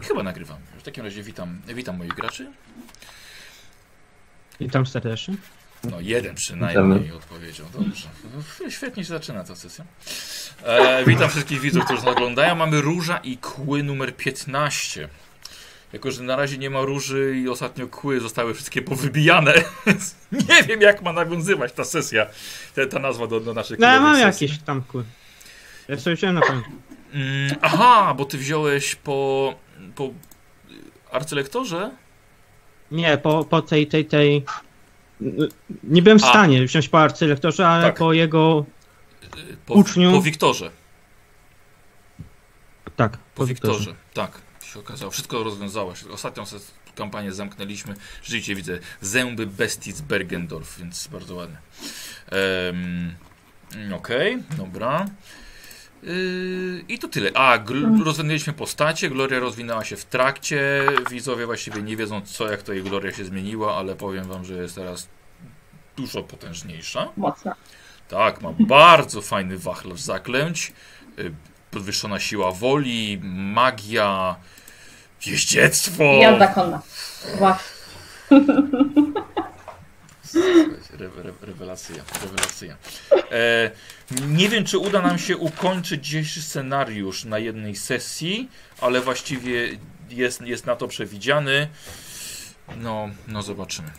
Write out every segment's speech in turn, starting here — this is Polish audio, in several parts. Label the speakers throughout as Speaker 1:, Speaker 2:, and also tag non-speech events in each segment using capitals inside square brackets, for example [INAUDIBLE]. Speaker 1: Chyba nagrywam. W takim razie witam, witam moich graczy.
Speaker 2: Witam serdecznie.
Speaker 1: No jeden przynajmniej odpowiedział. Dobrze. No, Świetnie się zaczyna ta sesja. E, witam wszystkich widzów, którzy nas oglądają. Mamy róża i kły numer 15. Jako, że na razie nie ma róży i ostatnio kły zostały wszystkie powybijane. [LAUGHS] więc nie wiem, jak ma nawiązywać ta sesja, ta, ta nazwa do, do naszych
Speaker 2: No ja mam
Speaker 1: sesji.
Speaker 2: jakieś tam kły. Ja sobie wziąłem na pamięć.
Speaker 1: Mm, aha, bo ty wziąłeś po, po arcylektorze?
Speaker 2: Nie, po, po tej, tej, tej... N- Nie byłem w
Speaker 1: A.
Speaker 2: stanie wziąć po arcylektorze, ale
Speaker 1: Tak.
Speaker 2: po jego...
Speaker 1: Y, Po,
Speaker 2: Uczniu.
Speaker 1: po Wiktorze.
Speaker 2: Tak,
Speaker 1: Po Wiktorze, tak. Się okazało, wszystko rozwiązałaś. Ostatnią se- kampanię zamknęliśmy. Rzeczywiście widzę zęby bestii z Bergendorf, więc bardzo ładne. Em, Okej, dobra. Yy, I to tyle. A, gl- rozwinęliśmy postacie, Gloria rozwinęła się w trakcie. Widzowie właściwie nie wiedzą co, jak to jej Gloria się zmieniła, ale powiem wam, że jest teraz dużo potężniejsza.
Speaker 3: Mocno.
Speaker 1: Tak, ma bardzo fajny wachlarz zaklęć. y, Podwyższona siła woli, magia, jeździectwo.
Speaker 3: Jazda konna. Właśnie.
Speaker 1: Re, re, rewelacja, rewelacja. E, nie wiem, czy uda nam się ukończyć dzisiejszy scenariusz na jednej sesji, ale właściwie jest, jest na to przewidziany. No, no zobaczymy.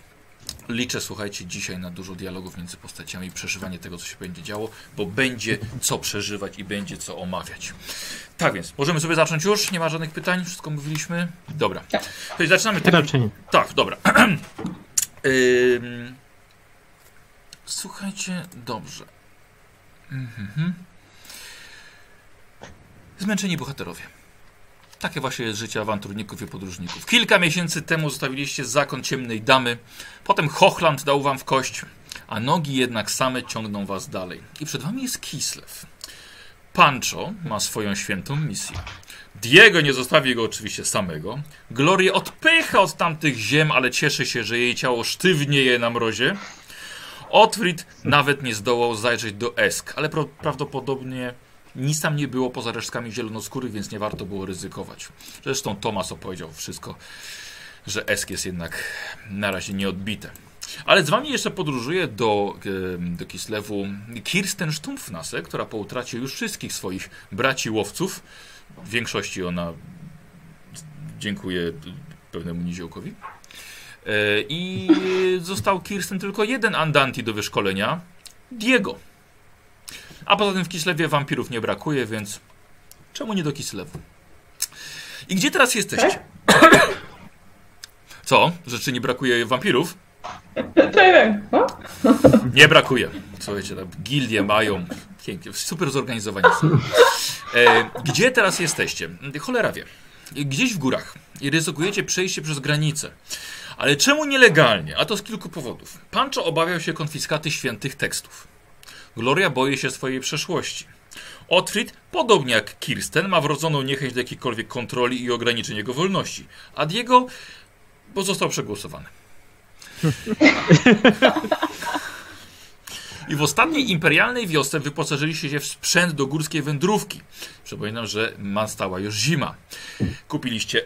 Speaker 1: Liczę, słuchajcie, dzisiaj na dużo dialogów między postaciami, przeżywanie tego, co się będzie działo, bo będzie co przeżywać i będzie co omawiać. Tak więc, możemy sobie zacząć już, nie ma żadnych pytań, wszystko mówiliśmy. Dobra.
Speaker 3: Tak.
Speaker 1: To zaczynamy tak,
Speaker 2: Raczej nie.
Speaker 1: tak, dobra. [CLEARS THROAT] Ym, Słuchajcie, dobrze. Mhm. Zmęczeni bohaterowie. Takie właśnie jest życie awanturników i podróżników. Kilka miesięcy temu zostawiliście zakon ciemnej damy, potem Hochland dał wam w kość, a nogi jednak same ciągną was dalej. I przed wami jest Kislev. Pancho ma swoją świętą misję. Diego nie zostawi go oczywiście samego. Glorię odpycha od tamtych ziem, ale cieszy się, że jej ciało sztywnieje na mrozie. Otfrid nawet nie zdołał zajrzeć do Esk, ale pro, prawdopodobnie nic tam nie było poza resztkami zielonoskórych, więc nie warto było ryzykować. Zresztą Tomas opowiedział wszystko, że Esk jest jednak na razie nieodbite. Ale z wami jeszcze podróżuje do, em, do Kislewu Kirsten Stumpfnase, która po utracie już wszystkich swoich braci łowców, w większości ona dziękuję pewnemu niziołkowi, E, I został Kirsten tylko jeden Andanti do wyszkolenia Diego. A poza tym w Kislewie wampirów nie brakuje, więc czemu nie do Kislewu? I gdzie teraz jesteście? Co? Rzeczy nie brakuje wampirów?
Speaker 3: Czekaj, o?
Speaker 1: Nie brakuje. Słuchajcie, tam gildie mają. Pięknie, super zorganizowanie. są. E, gdzie teraz jesteście? Cholera wie. Gdzieś w górach i ryzykujecie przejście przez granicę. Ale czemu nielegalnie? A to z kilku powodów. Pancho obawiał się konfiskaty świętych tekstów. Gloria boi się swojej przeszłości. Otfrid, podobnie jak Kirsten, ma wrodzoną niechęć do jakiejkolwiek kontroli i ograniczeń jego wolności. A Diego, bo został przegłosowany. I w ostatniej imperialnej wiosce wyposażyliście się w sprzęt do górskiej wędrówki. Przypominam, że nastała już zima. Kupiliście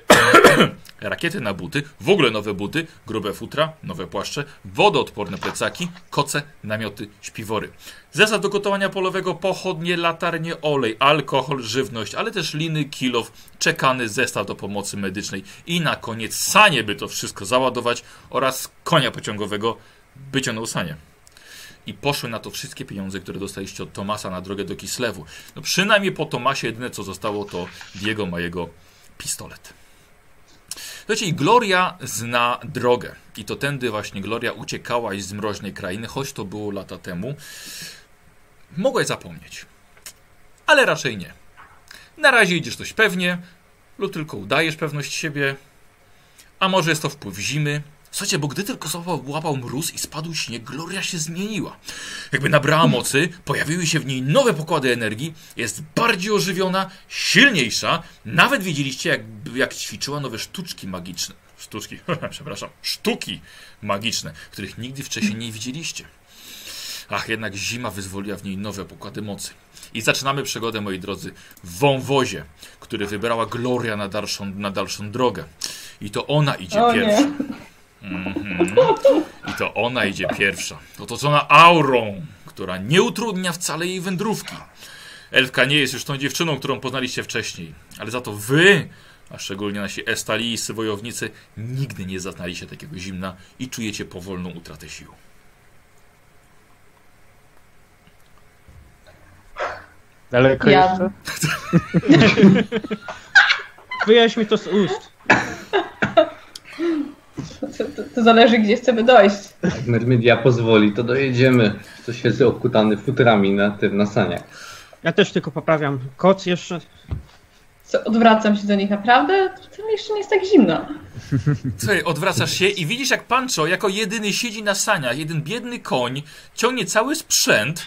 Speaker 1: [CLEARS THROAT] rakiety na buty, w ogóle nowe buty, grube futra, nowe płaszcze, wodoodporne plecaki, koce, namioty, śpiwory. Zestaw do gotowania polowego, pochodnie, latarnie, olej, alkohol, żywność, ale też liny, kilow, czekany zestaw do pomocy medycznej i na koniec sanie, by to wszystko załadować oraz konia pociągowego, by ciągnął sanie i poszły na to wszystkie pieniądze, które dostaliście od Tomasa na drogę do Kislewu. No przynajmniej po Tomasie jedyne co zostało to Diego ma jego pistolet. Słuchajcie, i Gloria zna drogę. I to tędy właśnie Gloria uciekała z mroźnej krainy, choć to było lata temu. Mogłeś zapomnieć. Ale raczej nie. Na razie idziesz dość pewnie, lub tylko udajesz pewność siebie. A może jest to wpływ zimy, Słuchajcie, bo gdy tylko złapał, łapał mróz i spadł śnieg, Gloria się zmieniła. Jakby nabrała mocy, pojawiły się w niej nowe pokłady energii, jest bardziej ożywiona, silniejsza. Nawet wiedzieliście, jak, jak ćwiczyła nowe sztuczki magiczne. Sztuczki, [LAUGHS] przepraszam, sztuki magiczne, których nigdy wcześniej nie widzieliście. Ach, jednak zima wyzwoliła w niej nowe pokłady mocy. I zaczynamy przygodę, moi drodzy, w wąwozie, który wybrała Gloria na dalszą, na dalszą drogę. I to ona idzie
Speaker 3: O
Speaker 1: pierwsza.
Speaker 3: nie.
Speaker 1: Mhm. I to ona idzie pierwsza, otoczona aurą, która nie utrudnia wcale jej wędrówki. Elfka nie jest już tą dziewczyną, którą poznaliście wcześniej, ale za to wy, a szczególnie nasi estalijscy wojownicy, nigdy nie zaznaliście takiego zimna i czujecie powolną utratę sił.
Speaker 4: Daleko
Speaker 3: Ja-
Speaker 4: jeszcze?
Speaker 2: Wyjaś mi to z ust.
Speaker 3: To, to, to zależy, gdzie chcemy dojść.
Speaker 5: Jak Mermedia pozwoli, to dojedziemy. Co siedzę okutany futrami na tym, na saniach.
Speaker 2: Ja też tylko poprawiam. Koc jeszcze.
Speaker 3: Co, odwracam się do nich naprawdę? To mi jeszcze nie jest tak zimno.
Speaker 1: Słuchaj, odwracasz się i widzisz, jak Pancho jako jedyny siedzi na saniach. Jeden biedny koń ciągnie cały sprzęt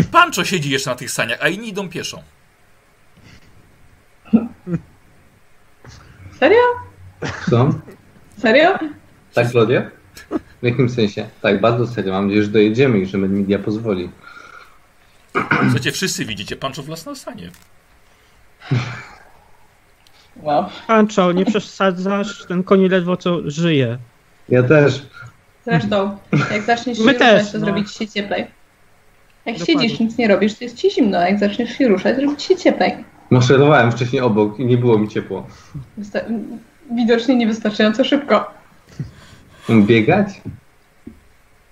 Speaker 1: i Pancho siedzi jeszcze na tych saniach, a inni idą pieszo.
Speaker 3: Serio?
Speaker 5: Co?
Speaker 3: Serio?
Speaker 5: Tak, Gloria? W jakim sensie? Tak, bardzo serio. Mam nadzieję, że dojedziemy i że Mermedia pozwoli.
Speaker 1: Słuchajcie, wszyscy widzicie, Pancho w las na sanie.
Speaker 3: Wow.
Speaker 2: Pancho, nie przesadzasz, ten koni ledwo co żyje.
Speaker 5: Ja też.
Speaker 3: Zresztą, jak zaczniesz się
Speaker 2: My
Speaker 3: ruszać,
Speaker 2: też,
Speaker 3: to
Speaker 2: no.
Speaker 3: zrobi ci się cieplej. Jak
Speaker 2: Dokładnie.
Speaker 3: siedzisz, nic nie robisz, to jest ci zimno. a Jak zaczniesz się ruszać, zrobi ci się cieplej.
Speaker 5: Maszerowałem wcześniej obok i nie było mi ciepło.
Speaker 3: Wysta- m, widocznie niewystarczająco szybko.
Speaker 5: Biegać?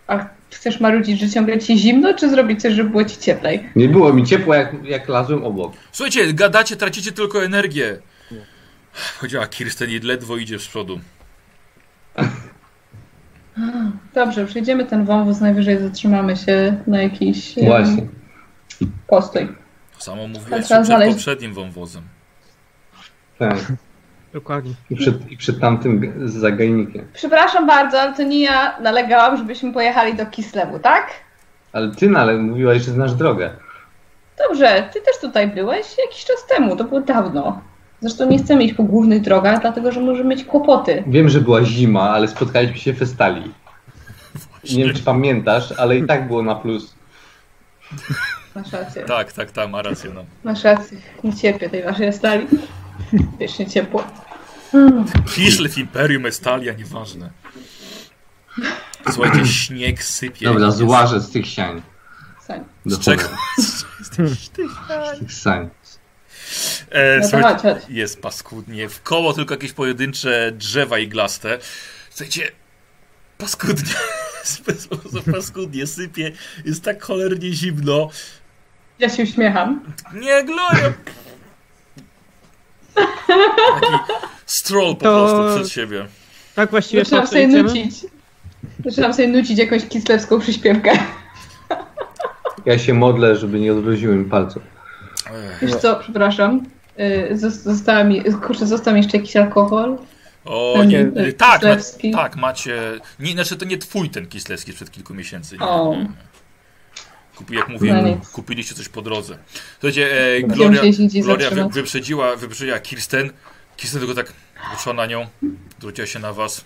Speaker 3: A chcesz marudzić, że ciągle ci zimno, czy zrobić coś, żeby było ci cieplej?
Speaker 5: Nie było mi ciepło, jak, jak lazłem obok.
Speaker 1: Słuchajcie, gadacie, tracicie tylko energię. Chodziła Kirsten i ledwo idzie z przodu.
Speaker 3: Dobrze, przejdziemy ten wąwóz, najwyżej zatrzymamy się na jakiś em,
Speaker 5: Właśnie.
Speaker 3: postój.
Speaker 1: To samo mówiłeś
Speaker 3: trzeba
Speaker 1: przed
Speaker 3: znaleźć-
Speaker 1: poprzednim wąwozem.
Speaker 5: Tak.
Speaker 2: Dokładnie.
Speaker 5: I przed, i przed tamtym g- zagajnikiem.
Speaker 3: Przepraszam bardzo, ale to nie ja nalegałam, żebyśmy pojechali do Kislewu, tak?
Speaker 5: Ale ty, no, ale mówiłaś, że znasz drogę.
Speaker 3: Dobrze, ty też tutaj byłeś jakiś czas temu, to było dawno. Zresztą nie chcemy iść po głównych drogach, dlatego że możemy mieć kłopoty.
Speaker 5: Wiem, że była zima, ale spotkaliśmy się w Festali. I nie wiem, czy pamiętasz, ale i tak było na plus.
Speaker 3: Masz rację,
Speaker 1: Tak, tak, tak, ma rację. No.
Speaker 3: masz rację. Nie cierpię tej waszej stali. Wiecznie ciepło. Mm.
Speaker 1: Kislev, Imperium, Estalia, nieważne. Słuchajcie, śnieg sypie.
Speaker 5: Dobra,
Speaker 1: Jest-
Speaker 5: złażę z tych siań.
Speaker 3: Sań.
Speaker 1: Z czego?
Speaker 3: No
Speaker 5: Z tych siań.
Speaker 1: E,
Speaker 3: No to
Speaker 1: słuchajcie,
Speaker 3: chodź, chodź.
Speaker 1: jest paskudnie. W koło tylko jakieś pojedyncze drzewa iglaste. Słuchajcie, paskudnie. [LAUGHS] Po prostu paskudnie sypie. Jest tak cholernie zimno.
Speaker 3: Ja się uśmiecham.
Speaker 1: Nie, Gloria! Taki stroll po
Speaker 2: To-
Speaker 1: prostu przed siebie.
Speaker 2: Tak właściwie
Speaker 3: Zaczynam
Speaker 2: po co
Speaker 3: sobie
Speaker 2: idziemy?
Speaker 3: nucić. Zaczynam sobie nucić jakąś kislewską przyśpiewkę.
Speaker 5: Ja się modlę, żeby nie odwróciły mi palców.
Speaker 1: Ech.
Speaker 3: Wiesz co, przepraszam. Y, zos- Została mi, kurczę, został mi jeszcze jakiś alkohol.
Speaker 1: O nie,
Speaker 3: Ten
Speaker 1: tak, ma,
Speaker 3: kislewski.
Speaker 1: tak, macie. Nie, znaczy to nie twój ten kislewski sprzed kilku miesięcy. Nie,
Speaker 3: O.
Speaker 1: nie, nie. Kupi, jak
Speaker 3: No
Speaker 1: mówiłem,
Speaker 3: nic.
Speaker 1: kupiliście coś po drodze. Słuchajcie, e,
Speaker 3: Będziemy
Speaker 1: Gloria,
Speaker 3: musieli się gdzieś
Speaker 1: Gloria wy,
Speaker 3: zatrzymać.
Speaker 1: wyprzedziła, wyprzedziła Kirsten. Kirsten tylko tak patrzyła na nią, zwróciła się na was.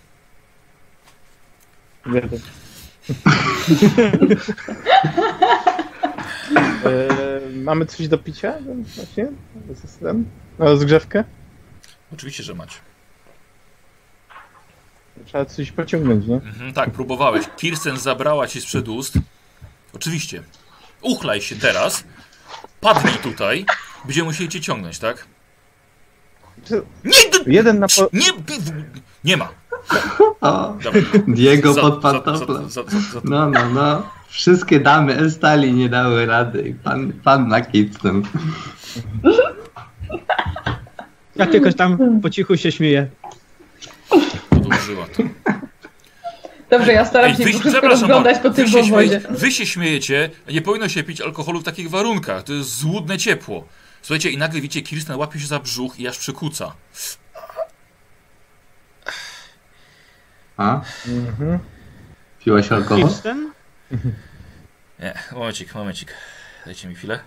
Speaker 4: E, Mamy coś do picia? Właśnie? Z- Ten? No, zgrzewkę?
Speaker 1: Oczywiście, że macie.
Speaker 4: Trzeba coś pociągnąć, nie?
Speaker 1: Mhm, tak, próbowałeś. Kirsten zabrała ci sprzed ust. Oczywiście. Uchlaj się teraz. Padnij tutaj. Będziemy musieli cię ciągnąć, tak?
Speaker 4: Czy-
Speaker 1: Nie, d-
Speaker 4: Jeden na po...
Speaker 1: nie, nie, nie ma.
Speaker 5: O,
Speaker 1: Dobra.
Speaker 5: Diego
Speaker 1: Za-
Speaker 5: pod
Speaker 1: za-
Speaker 5: pantoflem.
Speaker 1: za- za- za- za-
Speaker 5: No, no, no. Wszystkie damy Estali nie dały rady. I Pan, pan na kicem.
Speaker 2: Ja tylko tam po cichu się śmieję.
Speaker 1: Podłożyła to.
Speaker 3: Dobrze, ja staram
Speaker 1: Ej,
Speaker 3: się
Speaker 1: wy,
Speaker 3: po prostu
Speaker 1: przepraszam,
Speaker 3: rozglądać po
Speaker 1: bardzo,
Speaker 3: tym
Speaker 1: wy, się
Speaker 3: wąwozie.
Speaker 1: śmieje, wy się śmiejecie, nie powinno się pić alkoholu w takich warunkach. To jest złudne ciepło. Słuchajcie, i nagle widzicie, Kirsten łapie się za brzuch i aż przykuca.
Speaker 5: A?
Speaker 4: Mhm.
Speaker 5: Piłaś alkohol?
Speaker 2: Kirsten?
Speaker 1: Nie, momencik, momencik. Dajcie mi chwilę.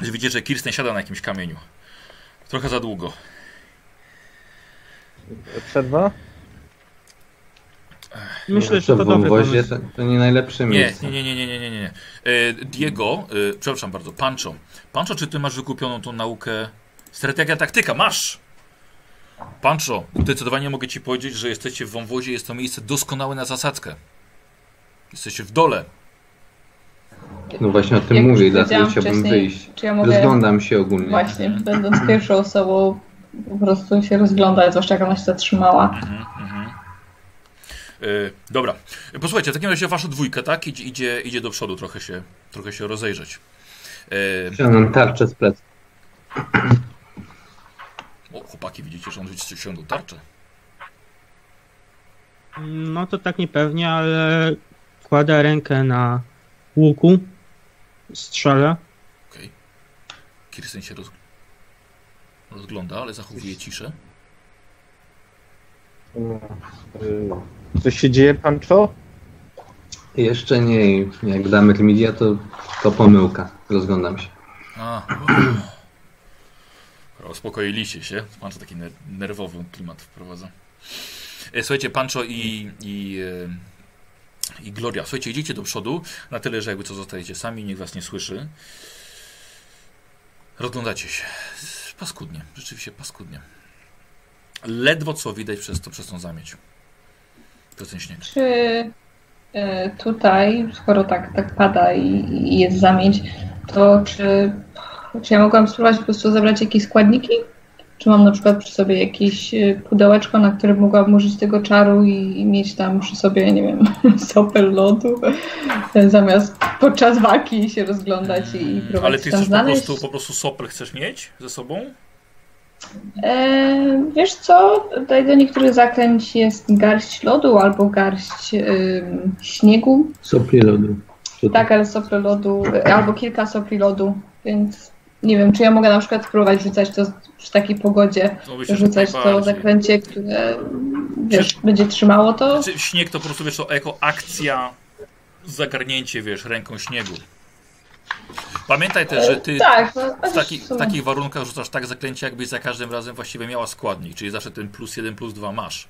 Speaker 1: Że widzicie, że Kirsten siada na jakimś kamieniu. Trochę za długo.
Speaker 4: Przerwa?
Speaker 2: Myślę, że
Speaker 5: Jeszcze
Speaker 2: to
Speaker 5: w
Speaker 2: dobry
Speaker 5: wąwozie
Speaker 2: pomysł.
Speaker 5: to, to nie najlepsze
Speaker 1: Nie,
Speaker 5: miejsce.
Speaker 1: nie, nie, nie, nie, nie, nie, nie. E, Diego, e, przepraszam bardzo, Pancho. Pancho, czy ty masz wykupioną tą naukę? Strategia, taktyka, masz! Pancho, zdecydowanie mogę ci powiedzieć, że jesteście w wąwozie, jest to miejsce doskonałe na zasadzkę. Jesteście w dole.
Speaker 5: No właśnie o tym
Speaker 3: Jak już
Speaker 5: mówię, dlatego
Speaker 3: powiedziałam
Speaker 5: chciałbym
Speaker 3: wcześniej,
Speaker 5: wyjść.
Speaker 3: Czy ja mogę
Speaker 5: Rozglądam się ogólnie.
Speaker 3: właśnie, będąc pierwszą osobą, po prostu się rozglądać, zwłaszcza jak ona się zatrzymała.
Speaker 1: Mhm, mhm. E, dobra. E, Posłuchajcie, w takim razie wasza dwójka, tak? Idzie, idzie, idzie do przodu, trochę się, trochę się rozejrzeć. E,
Speaker 5: Wciągnąłem tarczę z pleców.
Speaker 1: o, chłopaki, widzicie, że on wyciągnął tarczę.
Speaker 2: No to tak niepewnie, ale kładę rękę na łuku, strzela.
Speaker 1: Okej. Kirsten się roz... rozgląda, ale zachowuje ciszę.
Speaker 4: Y, Coś się dzieje, Pancho?
Speaker 5: Jeszcze nie. Jak damy media, to, to pomyłka. Rozglądam się.
Speaker 1: A. Uspokoiliście się. Pancho taki ner- nerwowy klimat wprowadza. E, Słuchajcie, Pancho i, i, e, i Gloria, słuchajcie, idziecie do przodu na tyle, że jakby co zostajecie sami, nikt was nie słyszy. Rozglądacie się. Paskudnie, rzeczywiście paskudnie. Ledwo co widać przez, to, przez tą zamieć. Przez ten śnieg.
Speaker 3: Czy e, tutaj, skoro tak, tak pada i, i jest zamieć, to czy, czy ja mogłam spróbować po prostu zabrać jakieś składniki? Czy mam na przykład przy sobie jakieś e, pudełeczko, na które mogłabym użyć tego czaru i, i mieć tam przy sobie, nie wiem, [LAUGHS] sopę lodu, e, zamiast podczas walki się rozglądać i, i próbować
Speaker 1: Ale ty
Speaker 3: się tam
Speaker 1: chcesz po
Speaker 3: znaleźć?
Speaker 1: prostu, po prostu sopel chcesz mieć ze sobą?
Speaker 3: E, wiesz co, tutaj do niektórych zakręć jest garść lodu albo garść em, śniegu,
Speaker 5: Sopli lodu. Czy to-
Speaker 3: Tak, ale sopry lodu, e, albo kilka sopli lodu, więc nie wiem, czy ja mogę na przykład spróbować rzucać to z- przy takiej pogodzie,
Speaker 1: To myślę, że
Speaker 3: rzucać to tak
Speaker 1: najbardziej.
Speaker 3: zakręcie, które wiesz, będzie trzymało to.
Speaker 1: Znaczy, śnieg to po prostu wiesz, to jako akcja zagarnięcie, wiesz, ręką śniegu. Pamiętaj też, że ty
Speaker 3: Tak, no,
Speaker 1: w, taki,
Speaker 3: w
Speaker 1: w
Speaker 3: sumie.
Speaker 1: takich warunkach rzucasz tak zaklęcie, jakbyś za każdym razem właściwie miała składnik, czyli zawsze ten plus jeden plus dwa masz.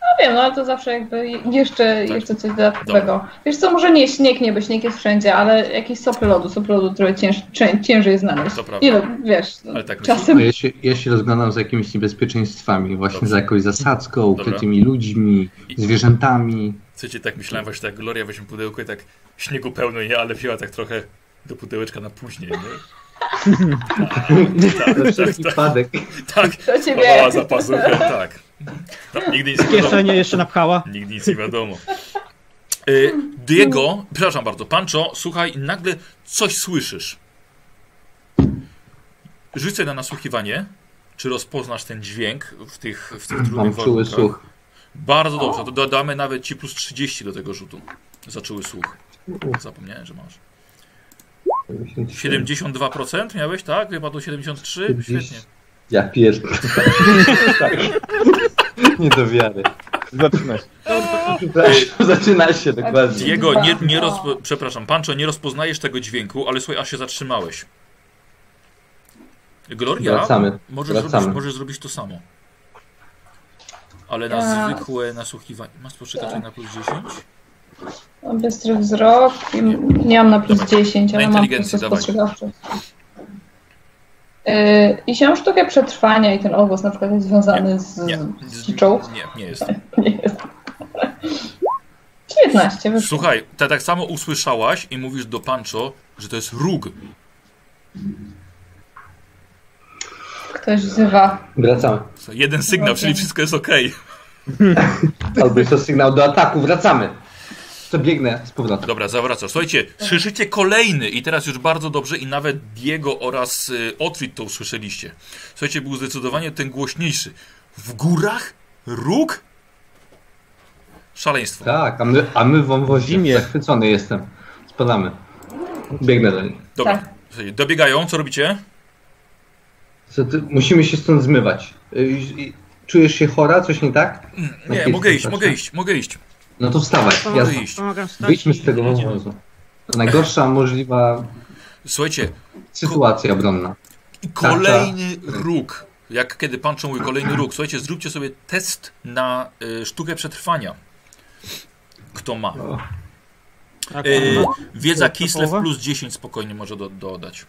Speaker 3: No wiem, no ale to zawsze jakby jeszcze,
Speaker 1: Tak.
Speaker 3: jeszcze coś dodatkowego. Wiesz co, może nie śnieg, nie, bo śnieg jest wszędzie, ale jakieś sopy lodu, sopy lodu trochę cięż, cię- ciężej jest znaleźć.
Speaker 1: To prawda.
Speaker 3: Ile, wiesz, no,
Speaker 1: Ale tak
Speaker 5: No,
Speaker 3: czasem
Speaker 5: ja, się, ja się rozglądam za jakimiś niebezpieczeństwami, właśnie
Speaker 1: Dobrze.
Speaker 5: za jakąś zasadzką,
Speaker 1: Dobra.
Speaker 5: ukrytymi ludźmi,
Speaker 1: I-
Speaker 5: zwierzętami.
Speaker 1: Słuchajcie, tak myślałem właśnie, tak Gloria weźmie pudełko i tak śniegu pełno nie, ale wzięła tak trochę do pudełeczka na później, nie? [LAUGHS] Tak, tak, tak,
Speaker 5: Wszelki wypadek.
Speaker 1: tak,
Speaker 3: do ciebie.
Speaker 1: chowała za pazuchę, tak. No, nigdy nie składała.
Speaker 2: Kieszenie jeszcze napchała.
Speaker 1: Nigdy nic nie wiadomo. Y, Diego, przepraszam bardzo, Pancho, słuchaj, nagle coś słyszysz. Rzucę na nasłuchiwanie. Czy rozpoznasz ten dźwięk w tych, w tych
Speaker 5: Mam
Speaker 1: trudnych
Speaker 5: czuły
Speaker 1: warunkach?
Speaker 5: słuch.
Speaker 1: Bardzo dobrze, to dodamy nawet ci plus 30 do tego rzutu. Zaczęły słuch. Zapomniałem, że masz. 72% miałeś, tak? Wypadło 73? Świetnie.
Speaker 5: Ja pierdolę. [LAUGHS] nie do wiary.
Speaker 4: Zaczyna się.
Speaker 5: Zaczyna się dokładnie.
Speaker 1: Diego, nie, nie rozpo... przepraszam, Pancho, nie rozpoznajesz tego dźwięku, ale słuchaj, aż się zatrzymałeś. Gloria,
Speaker 5: Wracamy.
Speaker 1: Możesz, zrobić,
Speaker 5: Wracamy.
Speaker 1: możesz zrobić to samo. Ale na
Speaker 3: Ja-
Speaker 1: zwykłe nasłuchiwanie. Masz poczytać na plus 10?
Speaker 3: Mam bystry wzrok i m- nie mam na plus 10,
Speaker 1: Na
Speaker 3: ale mam plus
Speaker 1: inteligencję, dawaj.
Speaker 3: spostrzegawczość. Yy, I się mam sztukę przetrwania i ten owoc na przykład jest związany z,
Speaker 1: Nie.
Speaker 3: Mm. z ciczą.
Speaker 1: Nie, nie jest.
Speaker 3: [LAUGHS] Nie jest. 19, wyszło.
Speaker 1: Słuchaj, ta tak samo usłyszałaś i mówisz do Pancho, że to jest róg.
Speaker 3: Ktoś wzywa.
Speaker 5: Wracamy.
Speaker 1: Jeden sygnał,
Speaker 3: Okej.
Speaker 1: czyli wszystko jest okej.
Speaker 5: Albo jest to sygnał do ataku. Wracamy. To biegnę z powrotem.
Speaker 1: Dobra, zawracasz. Słuchajcie, słyszycie kolejny i teraz już bardzo dobrze i nawet Diego oraz y, Otwit to usłyszeliście. Słuchajcie, był zdecydowanie ten głośniejszy. W górach? Róg? Szaleństwo.
Speaker 5: Tak, a my, a my w wąwozie.
Speaker 4: Zimie.
Speaker 5: Zachwycony jestem. Spadamy. Biegnę do niej.
Speaker 1: Dobra,
Speaker 3: Tak.
Speaker 1: słuchajcie, dobiegają, co robicie?
Speaker 5: Co ty, musimy się stąd zmywać. Y, y, Czujesz się chora? Coś nie tak?
Speaker 1: Nie,
Speaker 5: Jakieś
Speaker 1: mogę iść,
Speaker 5: coś,
Speaker 1: mogę
Speaker 5: tak?
Speaker 1: iść, mogę iść.
Speaker 5: No to wstawaj.
Speaker 1: Mogę
Speaker 5: Jasne.
Speaker 1: iść.
Speaker 2: Pomagam wstać
Speaker 5: Wyjdźmy
Speaker 2: i
Speaker 5: z tego no.
Speaker 2: jedziemy.
Speaker 5: wąwozu. To najgorsza możliwa Tak,
Speaker 1: Słuchajcie,
Speaker 5: sytuacja obronna.
Speaker 1: kolejny róg. jak kiedy panczą mój kolejny róg. Słuchajcie, zróbcie sobie test na y, sztukę przetrwania. Kto ma?
Speaker 2: Tak,
Speaker 1: Y,
Speaker 2: no.
Speaker 1: wiedza
Speaker 2: To
Speaker 1: Kislev
Speaker 2: połowa?
Speaker 1: plus 10 spokojnie może do, dodać.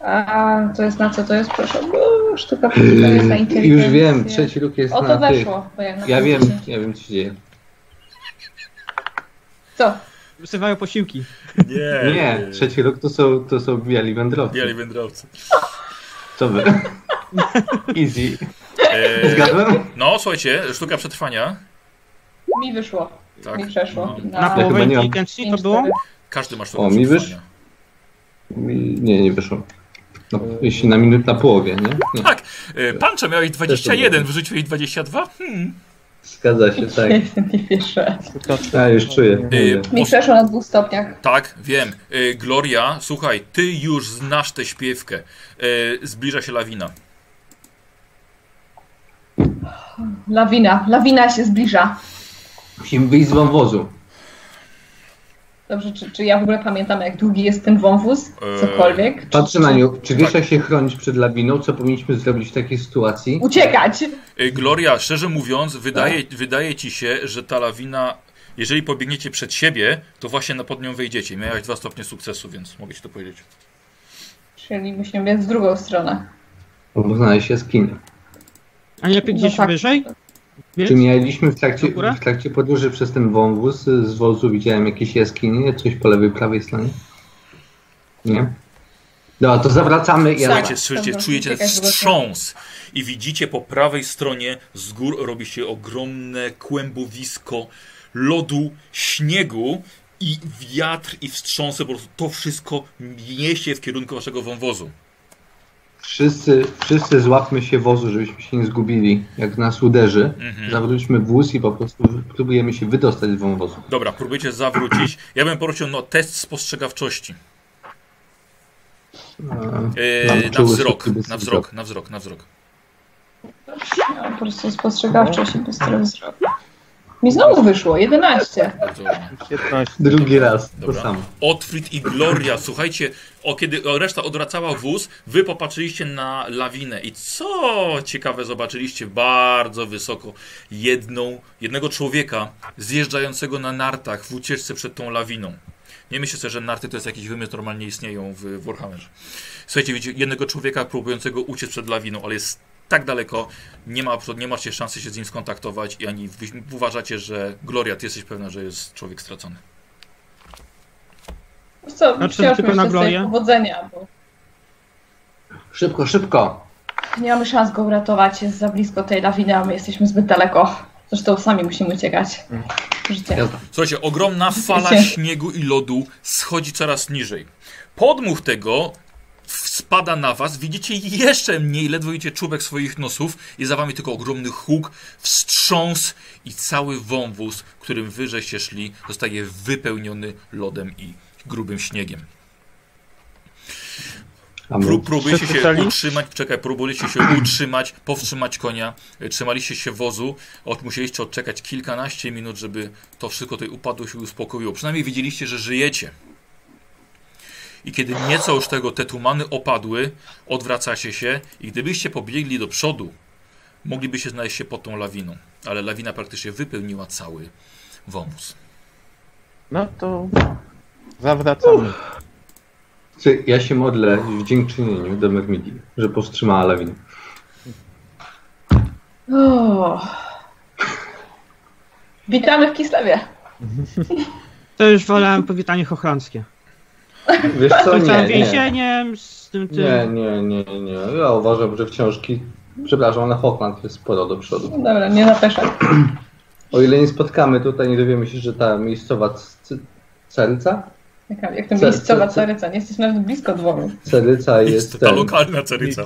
Speaker 3: A to jest na co to jest, proszę? Bo Sztuka to jest na
Speaker 5: Yy,
Speaker 3: inteligencję.
Speaker 5: Już wiem, trzeci róg jest
Speaker 3: O
Speaker 5: na
Speaker 3: to
Speaker 5: tych.
Speaker 3: weszło. bo jak na
Speaker 5: Ja wiem,
Speaker 3: pozycji.
Speaker 5: ja wiem co się dzieje.
Speaker 3: Co?
Speaker 2: Wysyłają posiłki.
Speaker 1: Nie, Yy,
Speaker 5: Nie, trzeci róg to są, to są biali wędrowcy.
Speaker 1: Biali wędrowcy.
Speaker 5: Co wy? Easy.
Speaker 1: E,
Speaker 5: Zgadłem?
Speaker 1: no, słuchajcie, sztuka przetrwania.
Speaker 3: Mi wyszło.
Speaker 1: Tak.
Speaker 3: Mi przeszło.
Speaker 1: No.
Speaker 2: Na
Speaker 5: chyba
Speaker 2: połowę
Speaker 5: nie mam.
Speaker 2: inteligencji to było?
Speaker 1: Każdy ma sztukę
Speaker 5: O, mi
Speaker 1: przetrwania.
Speaker 5: wyszło. Nie, nie wyszło. No, jeśli na minut na połowie, nie? nie.
Speaker 1: Tak. E, Pancza miałeś 21,
Speaker 5: Też
Speaker 1: wyrzuciłeś 22. Hmm.
Speaker 5: Zgadza się, tak.
Speaker 3: [LAUGHS] Nie pierwsze.
Speaker 5: Ja już czuję.
Speaker 1: Y,
Speaker 3: [LAUGHS] Mi
Speaker 1: os-
Speaker 3: przeszło na dwóch stopniach.
Speaker 1: tak, wiem. E, Gloria, słuchaj, ty już znasz tę śpiewkę. E, zbliża się lawina.
Speaker 3: Lawina. Lawina się zbliża.
Speaker 5: Musimy wyjść z wąwozu.
Speaker 3: Dobrze, czy, czy ja w ogóle pamiętam, jak długi jest ten wąwóz? Cokolwiek? Czy-
Speaker 5: Patrzę na nią. Czy wiesz,
Speaker 1: Tak.
Speaker 5: jak się chronić przed lawiną? Co powinniśmy zrobić w takiej sytuacji?
Speaker 3: Uciekać!
Speaker 1: E, Gloria, szczerze mówiąc, wydaje,
Speaker 5: Tak.
Speaker 1: wydaje ci się, że ta lawina, jeżeli pobiegniecie przed siebie, to właśnie na pod nią wejdziecie. Miałeś dwa stopnie sukcesu, więc mogę ci to powiedzieć.
Speaker 3: Czyli musimy biec w drugą stronę.
Speaker 5: Bo znaleźć jaskinię.
Speaker 2: A nie lepiej
Speaker 3: No
Speaker 2: gdzieś
Speaker 3: tak.
Speaker 2: wyżej? Więc
Speaker 5: Czy mieliśmy w trakcie,
Speaker 2: Dobra.
Speaker 5: w trakcie podróży przez ten wąwóz, y, z wozu widziałem jakieś jaskinie, coś po lewej, prawej stronie? Nie? No, to zawracamy i
Speaker 1: Słuchajcie,
Speaker 5: jazda.
Speaker 1: słyszycie,
Speaker 3: Dobra,
Speaker 1: czujecie ten
Speaker 3: czekaj, zobaczę.
Speaker 1: wstrząs i widzicie po prawej stronie z gór robi się ogromne kłębowisko lodu, śniegu i wiatr i wstrząsy, po prostu to wszystko niesie w kierunku waszego wąwozu.
Speaker 5: Wszyscy, wszyscy złapmy się wozu, żebyśmy się nie zgubili, jak nas uderzy.
Speaker 1: Mhm.
Speaker 5: Zawróćmy wóz i po prostu próbujemy się wydostać z wąwozu.
Speaker 1: Dobra, próbujcie zawrócić. Ja bym prosił no, test spostrzegawczości.
Speaker 5: E, Mam
Speaker 1: Eee, na,
Speaker 5: czuły tak.
Speaker 1: wzrok,
Speaker 5: szybki bez
Speaker 1: na wzrok, na wzrok, na wzrok.
Speaker 3: No, po prostu spostrzegawczo się
Speaker 2: No.
Speaker 3: bystro wzrok. Mi znowu wyszło, 11.
Speaker 1: Bardzo ładnie.
Speaker 4: 15.
Speaker 5: Drugi raz,
Speaker 1: Dobra.
Speaker 5: to samo.
Speaker 1: Otfrid i Gloria, słuchajcie, o kiedy reszta odwracała wóz, wy popatrzyliście na lawinę i co ciekawe zobaczyliście bardzo wysoko jedną, jednego człowieka zjeżdżającego na nartach w ucieczce przed tą lawiną. Nie myślę sobie, że narty to jest jakiś wymiot, normalnie istnieją w Warhammerze. Słuchajcie, widzicie jednego człowieka próbującego uciec przed lawiną, ale jest tak daleko, nie, ma, nie macie szansy się z nim skontaktować i ani wy uważacie, że Gloria, ty jesteś pewna, że jest człowiek stracony.
Speaker 3: Wiesz Co,
Speaker 2: Znaczy,
Speaker 3: wciąż
Speaker 2: tylko
Speaker 3: myślę
Speaker 2: na
Speaker 3: sobie
Speaker 2: glorie?
Speaker 3: powodzenia, bo
Speaker 5: Szybko, szybko!
Speaker 3: nie mamy szans go uratować, jest za blisko tej lawiny, a my jesteśmy zbyt daleko. Zresztą sami musimy uciekać. Życie.
Speaker 5: Jazda.
Speaker 1: Słuchajcie, ogromna fala
Speaker 3: Wiecie-
Speaker 1: śniegu i lodu schodzi coraz niżej. Podmuch tego spada na was, widzicie jeszcze mniej, ledwo widzicie czubek swoich nosów i za wami tylko ogromny huk, wstrząs i cały wąwóz, którym wy żeście szli, zostaje wypełniony lodem i grubym śniegiem.
Speaker 5: A my-
Speaker 1: Pró próbujecie się
Speaker 4: Przeczytali?
Speaker 1: utrzymać, czekaj, próbujecie się utrzymać, powstrzymać konia, y, trzymaliście się wozu, od, musieliście odczekać kilkanaście minut, żeby to wszystko tutaj upadło się uspokoiło. Przynajmniej wiedzieliście, że żyjecie. I kiedy nieco już tego te tumany opadły, odwracacie się i gdybyście pobiegli do przodu, moglibyście znaleźć się pod tą lawiną. Ale lawina praktycznie wypełniła cały wąwóz.
Speaker 4: No to zawracamy.
Speaker 5: Czy ja się modlę w dziękczynieniu do Mermidi, że powstrzymała lawinę.
Speaker 3: O. Witamy w Kislewie.
Speaker 2: To już wolałem powitanie chochlandzkie.
Speaker 5: Wiesz co,
Speaker 2: Z całym
Speaker 5: nie, nie.
Speaker 2: więzieniem, z tym tym.
Speaker 5: Nie, nie, nie, nie. Ja uważam, że wciążki, przepraszam, na Hochland jest sporo do przodu.
Speaker 3: No Dobra, nie zapeszam.
Speaker 5: O ile nie spotkamy tutaj, nie dowiemy się, że ta miejscowa c- c- celca,
Speaker 3: Jaka- Jak to
Speaker 5: Co-
Speaker 3: miejscowa
Speaker 5: co- co-
Speaker 3: caryca, nie jesteśmy nawet blisko dworu.
Speaker 5: celica
Speaker 1: Jest
Speaker 5: jest
Speaker 1: ta
Speaker 5: ten.
Speaker 1: lokalna ceryca.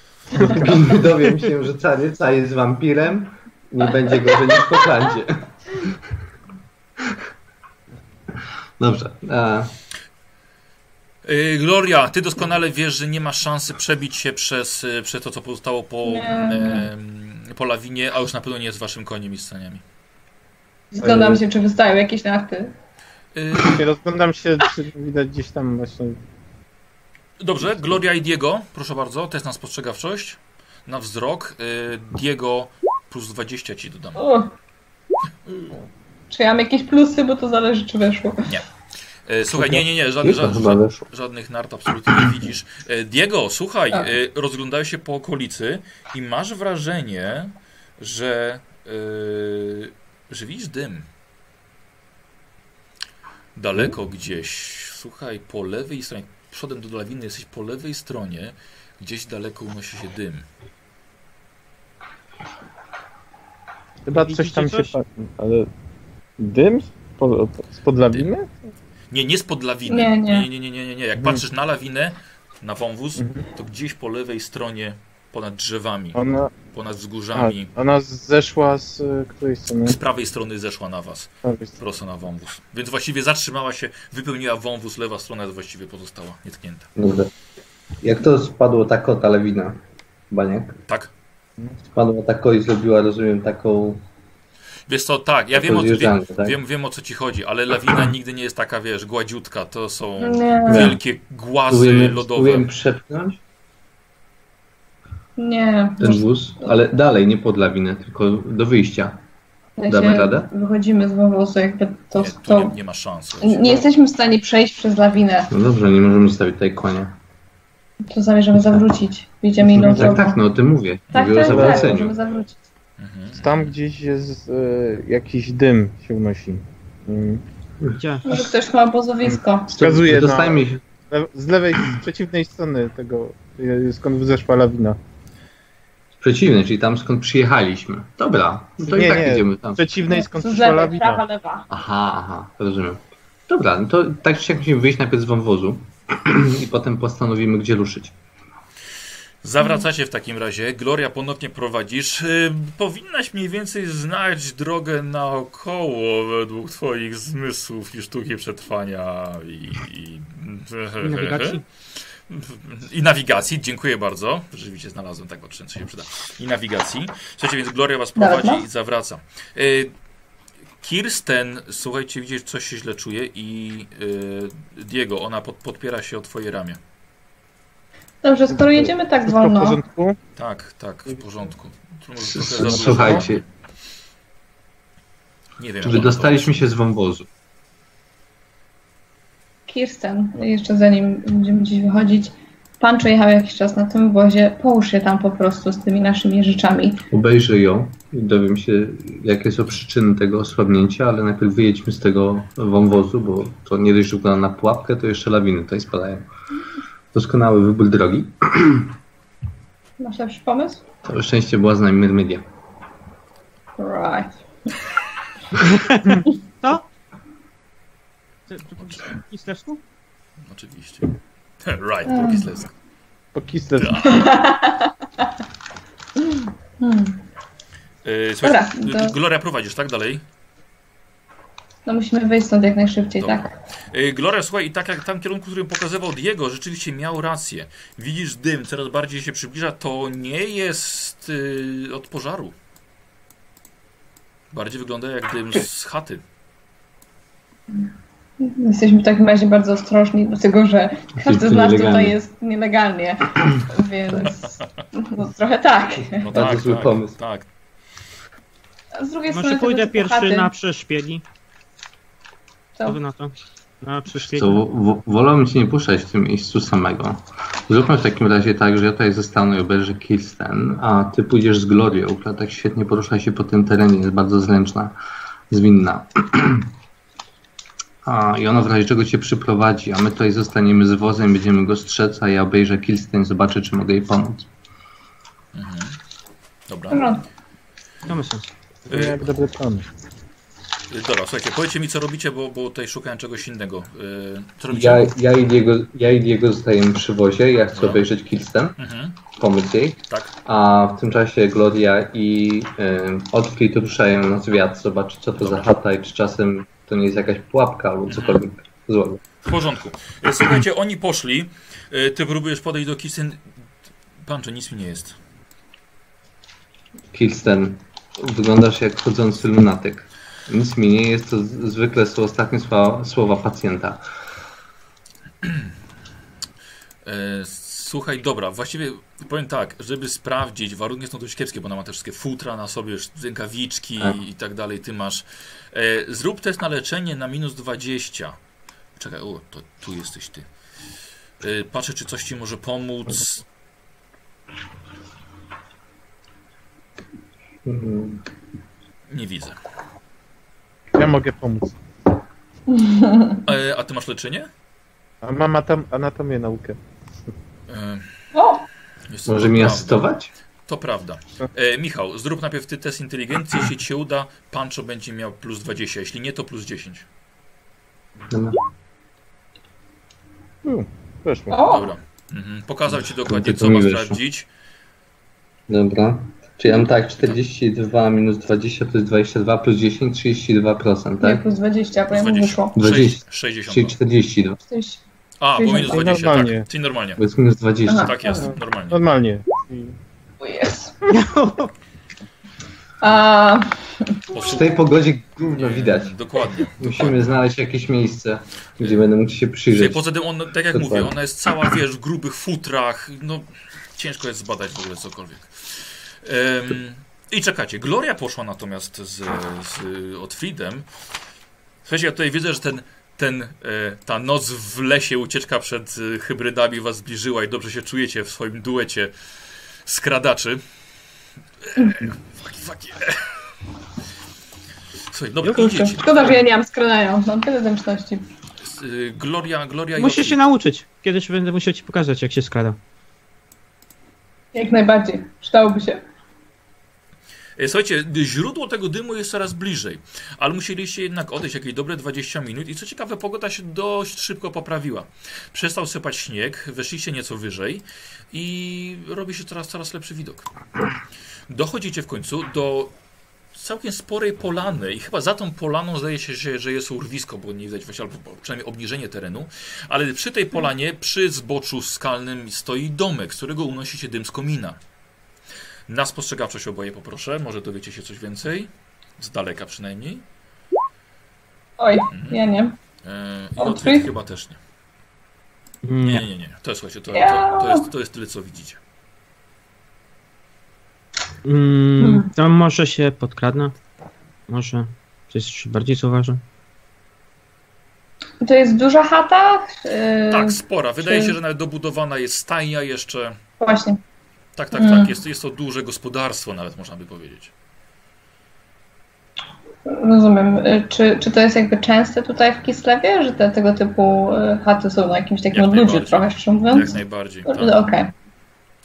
Speaker 5: [LAUGHS] Nie dowiem się, że celica jest wampirem, nie będzie gorzej niż w Hochlandzie. [LAUGHS] Dobrze. E,
Speaker 1: Yy, Gloria, ty doskonale wiesz, że nie ma szansy przebić się przez, yy, przez to, co pozostało po,
Speaker 3: Nie.
Speaker 1: em, po lawinie, a już na pewno nie z waszym koniem i sceniami.
Speaker 3: Zglądam
Speaker 5: Ej.
Speaker 3: się, czy wystają jakieś narty.
Speaker 1: Yy,
Speaker 4: Rozglądam się, czy widać gdzieś tam właśnie
Speaker 1: Dobrze, Gloria i Diego, proszę bardzo, test na spostrzegawczość, na wzrok. Y, Diego plus 20 ci dodam.
Speaker 3: O. Czy ja mam jakieś plusy, bo to zależy, czy weszło.
Speaker 1: E, Słuchaj, nie, nie, nie, żadnych,
Speaker 5: Już tam chyba
Speaker 1: żadnych,
Speaker 5: weszło.
Speaker 1: żadnych nart absolutnie nie widzisz. E, Diego, słuchaj,
Speaker 3: Tak.
Speaker 1: e, rozglądałeś się po okolicy i masz wrażenie, że, e, że widzisz dym. Daleko
Speaker 3: Mm.
Speaker 1: gdzieś, słuchaj, po lewej stronie, przodem do lawiny jesteś po lewej stronie, gdzieś daleko unosi się dym.
Speaker 4: Chyba coś
Speaker 2: Widzicie
Speaker 4: tam
Speaker 2: coś?
Speaker 4: się... pa- Ale... Dym? Spo- Spod lawiny?
Speaker 1: Nie, nie spod lawiny.
Speaker 3: Nie, nie.
Speaker 1: nie, nie, nie, nie, nie, nie. Jak
Speaker 4: Mhm.
Speaker 1: patrzysz na lawinę, na wąwóz,
Speaker 4: Mhm. Tak.
Speaker 1: to gdzieś po lewej stronie, ponad drzewami,
Speaker 4: Ona,
Speaker 1: ponad
Speaker 4: a,
Speaker 1: wzgórzami,
Speaker 4: ona zeszła z y, której strony?
Speaker 1: z prawej strony zeszła na was,
Speaker 4: Z prawej strony.
Speaker 1: prosto na wąwóz. Więc właściwie zatrzymała się, wypełniła wąwóz, lewa strona właściwie pozostała nietknięta.
Speaker 5: Kurde. Jak to spadło tako, ta lawina? Baniak.
Speaker 1: Tak?
Speaker 5: Spadła tako i zrobiła, rozumiem, taką...
Speaker 1: Wiesz co, tak, ja
Speaker 5: To
Speaker 1: wiem o, co- wiem,
Speaker 5: zjeżdżamy, tak?
Speaker 1: wiem, wiem o co ci chodzi, ale lawina nigdy nie jest taka, wiesz, gładziutka, to są
Speaker 3: Mm. Nie,
Speaker 1: wielkie głazy
Speaker 5: Spróbujemy,
Speaker 1: lodowe.
Speaker 5: spróbujemy przepchnąć
Speaker 3: nie.
Speaker 5: ten wóz, ale dalej, nie pod lawinę, tylko do wyjścia.
Speaker 3: W sensie
Speaker 5: damy radę?
Speaker 3: Wychodzimy z wąwozu, jakby to...
Speaker 1: Nie,
Speaker 3: Nie,
Speaker 1: tu
Speaker 3: to...
Speaker 1: nie, nie ma szans.
Speaker 3: nie,
Speaker 1: słuchajcie.
Speaker 3: jesteśmy w stanie przejść przez lawinę.
Speaker 5: No dobrze, nie możemy zostawić tutaj konia.
Speaker 3: To zamierzamy zawrócić. Idziemy inną drogą.
Speaker 5: Tak, tak, no o tym mówię.
Speaker 3: tak,
Speaker 5: mówię
Speaker 3: tak,
Speaker 5: o
Speaker 3: tak,
Speaker 5: zawróceniu.
Speaker 3: możemy zawrócić.
Speaker 1: Mhm.
Speaker 4: Tam gdzieś jest y, jakiś dym się unosi. Y,
Speaker 2: Gdzie?
Speaker 3: Może ktoś ma obozowisko.
Speaker 4: Wskazuje na,
Speaker 5: Wydostajmy się.
Speaker 4: le, z lewej, z przeciwnej strony tego, y, skąd zeszła lawina.
Speaker 5: Przeciwny, czyli tam skąd przyjechaliśmy. Dobra, no to
Speaker 4: Nie,
Speaker 5: i tak
Speaker 4: nie.
Speaker 5: idziemy tam.
Speaker 4: Z przeciwnej, skąd
Speaker 3: Z
Speaker 4: przyszła
Speaker 3: lewej,
Speaker 4: lawina.
Speaker 3: prawa, lewa.
Speaker 5: Aha, aha, rozumiem. Dobra, no to tak czy siak musimy wyjść najpierw z wąwozu [CLEARS THROAT] i potem postanowimy, gdzie ruszyć.
Speaker 1: Zawracacie w takim razie. Gloria ponownie prowadzisz. Y, Powinnaś mniej więcej znać drogę naokoło według twoich zmysłów i sztuki przetrwania i... i...
Speaker 2: I nawigacji?
Speaker 1: I nawigacji, dziękuję bardzo. Rzeczywiście znalazłem tak o czym co się przyda. I nawigacji. Słuchajcie, więc Gloria was
Speaker 3: Dobra.
Speaker 1: prowadzi i zawraca. Y, Kirsten, słuchajcie, widzisz, coś się źle czuje i y, Diego, ona pod, podpiera się o twoje ramię.
Speaker 3: Dobrze, skoro jedziemy tak
Speaker 4: Wszystko w
Speaker 3: wolno,
Speaker 4: porządku?
Speaker 1: Tak, tak, w porządku. Tu może
Speaker 5: S-
Speaker 1: trochę za dużo.
Speaker 5: Słuchajcie,
Speaker 1: Nie wiem.
Speaker 5: czy
Speaker 1: jak ona
Speaker 5: wydostaliśmy się z wąwozu?
Speaker 3: Kirsten, jeszcze zanim będziemy gdzieś wychodzić, pan przejechał jakiś czas na tym wozie, połóż się tam po prostu z tymi naszymi rzeczami.
Speaker 5: Obejrzę ją i dowiem się, jakie są przyczyny tego osłabnięcia, ale najpierw wyjedźmy z tego wąwozu, bo to nie dość, że wygląda na pułapkę, to jeszcze lawiny tutaj spadają. Doskonały wybór drogi.
Speaker 3: Masz lepszy pomysł?
Speaker 5: Całe szczęście była z nami Myrmedia.
Speaker 3: Right.
Speaker 2: Co? Ty- ty- I Stefku?
Speaker 1: to- Oczywiście. [LAUGHS] right, drugi
Speaker 3: Mm.
Speaker 1: zlesk.
Speaker 4: Po kisle.
Speaker 3: Hmm.
Speaker 1: Yy, słuchaj,
Speaker 3: Dobra, to-
Speaker 1: Gloria prowadzisz, tak? Dalej.
Speaker 3: No musimy wyjść stąd jak najszybciej,
Speaker 1: Dobra.
Speaker 3: tak?
Speaker 1: Yy, Gloria, słuchaj, i tak jak tam kierunku, którym pokazywał Diego, rzeczywiście miał rację. Widzisz dym, coraz bardziej się przybliża. To nie jest yy, od pożaru. Bardziej wygląda jak dym z chaty.
Speaker 3: Jesteśmy w takim razie bardzo ostrożni, dlatego że każdy z nas tutaj
Speaker 5: nielegalnie.
Speaker 3: jest nielegalnie, więc no, trochę tak.
Speaker 1: No
Speaker 5: Bardzo
Speaker 1: tak,
Speaker 5: zły
Speaker 1: tak,
Speaker 5: pomysł.
Speaker 1: tak.
Speaker 3: A Z drugiej
Speaker 2: Może
Speaker 3: strony
Speaker 2: pójdę
Speaker 3: tego typu
Speaker 2: pierwszy
Speaker 3: chaty,
Speaker 2: na przeszpiegi. Co
Speaker 3: to
Speaker 2: wy na to? Na przeszpiegi.
Speaker 5: Co, w- wolałbym cię nie puszczać w tym miejscu samego. Zróbmy w takim razie tak, że ja tutaj zostanę i obejrzę Kirsten, a ty pójdziesz z Glorią, która tak świetnie porusza się po tym terenie, jest bardzo zręczna, zwinna. [CLEARS THROAT] A, I ona w razie czego cię przyprowadzi, a my tutaj zostaniemy z wozem, będziemy go strzec, a ja obejrzę Kirsten i zobaczę, czy mogę jej pomóc.
Speaker 1: Dobra.
Speaker 3: no,
Speaker 2: To ma sens.
Speaker 1: Yy,
Speaker 4: Jak dobry plan.
Speaker 1: yy, dobra, słuchajcie, powiedzcie mi co robicie, bo, bo tutaj szukałem czegoś innego. Yy, co robicie?
Speaker 5: Ja, ja, i Diego, ja i Diego zostajemy przy wozie, ja chcę
Speaker 1: Dobra.
Speaker 5: obejrzeć Kirsten,
Speaker 1: Mhm,
Speaker 5: pomóc jej.
Speaker 1: tak.
Speaker 5: A w tym czasie Gloria i y, Otfrid ruszają na zwiat, zobaczyć co to za chata i czy czasem to nie jest jakaś pułapka albo cokolwiek złego.
Speaker 1: W porządku. E, Słuchajcie, oni poszli. E, Ty próbujesz podejść do Kirsten. Pancze, nic mi nie jest.
Speaker 5: Kirsten, wyglądasz jak chodzący lunatyk. Nic mi nie jest, to z- zwykle są ostatnie słowa, słowa pacjenta.
Speaker 1: E, E, Słuchaj, dobra, właściwie powiem tak, żeby sprawdzić, warunki są dość kiepskie, bo ona ma te wszystkie futra na sobie, rękawiczki
Speaker 6: Tak.
Speaker 1: i tak dalej, ty masz. E, zrób test na leczenie na minus 20. Czekaj, o, to tu jesteś ty. E, patrzę, czy coś ci może pomóc.
Speaker 3: Mhm.
Speaker 6: Mm,
Speaker 1: Nie widzę.
Speaker 4: Ja mogę pomóc.
Speaker 1: E, a ty masz leczenie?
Speaker 4: A mam atom, anatomię naukę.
Speaker 1: E,
Speaker 3: O!
Speaker 1: jest to
Speaker 6: Może mi
Speaker 1: prawda.
Speaker 6: asystować?
Speaker 1: To prawda. E, Michał, zrób najpierw ty test inteligencji, jeśli ci się uda, Pancho będzie miał plus 20, jeśli nie, to plus 10.
Speaker 6: Dobra.
Speaker 4: U, weszło.
Speaker 3: O!
Speaker 1: Dobra. Mhm. Pokazał ci dokładnie,
Speaker 6: Tylko
Speaker 1: co
Speaker 6: mi
Speaker 1: ma
Speaker 6: weszło.
Speaker 1: sprawdzić.
Speaker 6: Dobra. Czyli ja mam tak, 42 minus 20 plus 22 plus 10, 32%,
Speaker 3: Nie,
Speaker 6: tak?
Speaker 3: plus 20, bo ja mu
Speaker 1: 20.
Speaker 3: wyszło.
Speaker 1: 6,
Speaker 6: 20. Czyli
Speaker 1: 60.
Speaker 6: 42.
Speaker 2: [LAUGHS]
Speaker 3: Coś.
Speaker 1: A, bo minus
Speaker 3: Czyli
Speaker 1: 20,
Speaker 4: normalnie. No.
Speaker 1: tak. Czyli normalnie.
Speaker 6: Bo jest minus 20.
Speaker 3: Aha.
Speaker 1: Tak jest, normalnie.
Speaker 4: Normalnie. I
Speaker 3: O Jezu. A,
Speaker 6: Przy tej pogodzie gówno widać.
Speaker 1: Dokładnie.
Speaker 6: Musimy znaleźć jakieś miejsce, gdzie będę mógł się
Speaker 1: Czyli
Speaker 6: przyjrzeć.
Speaker 1: poza tym, on, tak jak
Speaker 6: Dokładnie.
Speaker 1: mówię, ona jest cała, wiesz, w grubych futrach. No, ciężko jest zbadać w ogóle cokolwiek. Em, I czekacie. Gloria poszła natomiast z, z Otfriedem. Słuchajcie, ja tutaj widzę, że ten, ten, e, ta noc w lesie, ucieczka przed e, hybrydami was zbliżyła i dobrze się czujecie w swoim duecie skradaczy. E, fuck, fuck, e. Słuchaj, dobra,
Speaker 4: Jurka.
Speaker 1: idziecie.
Speaker 3: szkoda, że ja nie mam skradają. Mam tyle zręczności.
Speaker 1: Y, Gloria, Gloria i
Speaker 2: Muszę
Speaker 1: Otfrid.
Speaker 2: się nauczyć. Kiedyś będę musiał ci pokazać, jak się skrada.
Speaker 3: Jak najbardziej. Przydałoby się.
Speaker 1: E, Słuchajcie, źródło tego dymu jest coraz bliżej, ale musieliście jednak odejść jakieś dobre 20 minut i co ciekawe, pogoda się dość szybko poprawiła. Przestał sypać śnieg, weszliście nieco wyżej i robi się coraz, coraz lepszy widok. Dochodzicie w końcu do całkiem sporej polany i chyba za tą polaną zdaje się, że, że jest urwisko, bo nie widać właśnie, albo przynajmniej obniżenie terenu, ale przy tej polanie, przy zboczu skalnym stoi domek, z którego unosi się dym z komina. Na spostrzegawczość oboje poproszę, może dowiecie się coś więcej. Z daleka przynajmniej.
Speaker 3: Oj,
Speaker 1: Mhm.
Speaker 3: ja nie.
Speaker 1: E, I
Speaker 3: Okej.
Speaker 1: odkryć chyba też nie. Nie,
Speaker 2: Nie.
Speaker 1: nie, nie. To jest, słuchajcie, to, to,
Speaker 3: Ja.
Speaker 1: to, jest, to jest tyle, co widzicie.
Speaker 2: Mm,
Speaker 3: Hmm.
Speaker 2: to Mm, no, może się podkradnę. Może. Coś jeszcze bardziej zauważę.
Speaker 3: To jest duża chata? Yy,
Speaker 1: Tak, spora. Wydaje
Speaker 3: czy-
Speaker 1: się, że nawet dobudowana jest stajnia jeszcze.
Speaker 3: Właśnie.
Speaker 1: Tak, tak,
Speaker 3: Mm.
Speaker 1: tak. Jest, jest to duże gospodarstwo nawet, można by powiedzieć.
Speaker 3: Rozumiem. Y, Czy, czy to jest jakby częste tutaj w Kislewie, że te, tego typu y, chaty są na jakimś takim
Speaker 1: Jak
Speaker 3: odludziu
Speaker 1: najbardziej.
Speaker 3: trochę szczerze
Speaker 1: Jak
Speaker 3: mówiąc?
Speaker 1: najbardziej.
Speaker 3: Kurde,
Speaker 1: Tak.
Speaker 3: Okej.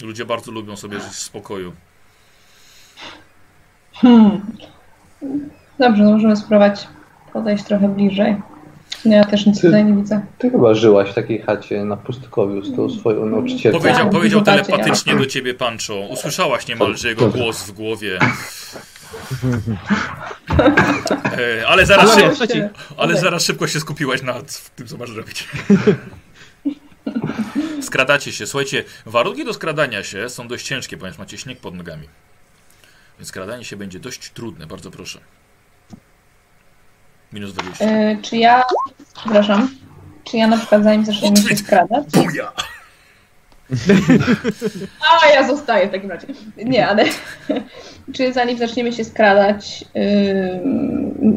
Speaker 1: Ludzie bardzo lubią sobie żyć w spokoju.
Speaker 3: Hmm. Dobrze, no możemy spróbować podejść trochę bliżej. No ja też nic
Speaker 6: Ty-
Speaker 3: tutaj nie widzę.
Speaker 6: Ty chyba żyłaś w takiej chacie na pustkowiu z tą swoją nauczycielką.
Speaker 1: Mm, Powiedział,
Speaker 3: Tak,
Speaker 1: powiedział
Speaker 3: zobaczcie,
Speaker 1: telepatycznie do ciebie, Pancho. Usłyszałaś niemalże jego głos w głowie. E, ale zaraz,
Speaker 2: Ale
Speaker 1: się,
Speaker 2: wiesz, co ci?
Speaker 1: Ale
Speaker 3: Okej.
Speaker 1: zaraz szybko się skupiłaś na tym, co masz
Speaker 3: [LAUGHS]
Speaker 1: robić. Skradacie się. Słuchajcie, warunki do skradania się są dość ciężkie, ponieważ macie śnieg pod nogami. Więc skradanie się będzie dość trudne, bardzo proszę. Minus 20.
Speaker 3: Y, czy ja, przepraszam, czy ja na przykład zanim zaczniemy się skradać?
Speaker 1: Buja!
Speaker 3: A, ja zostaję w takim razie. Nie, ale [LAUGHS] czy zanim zaczniemy się skradać, y,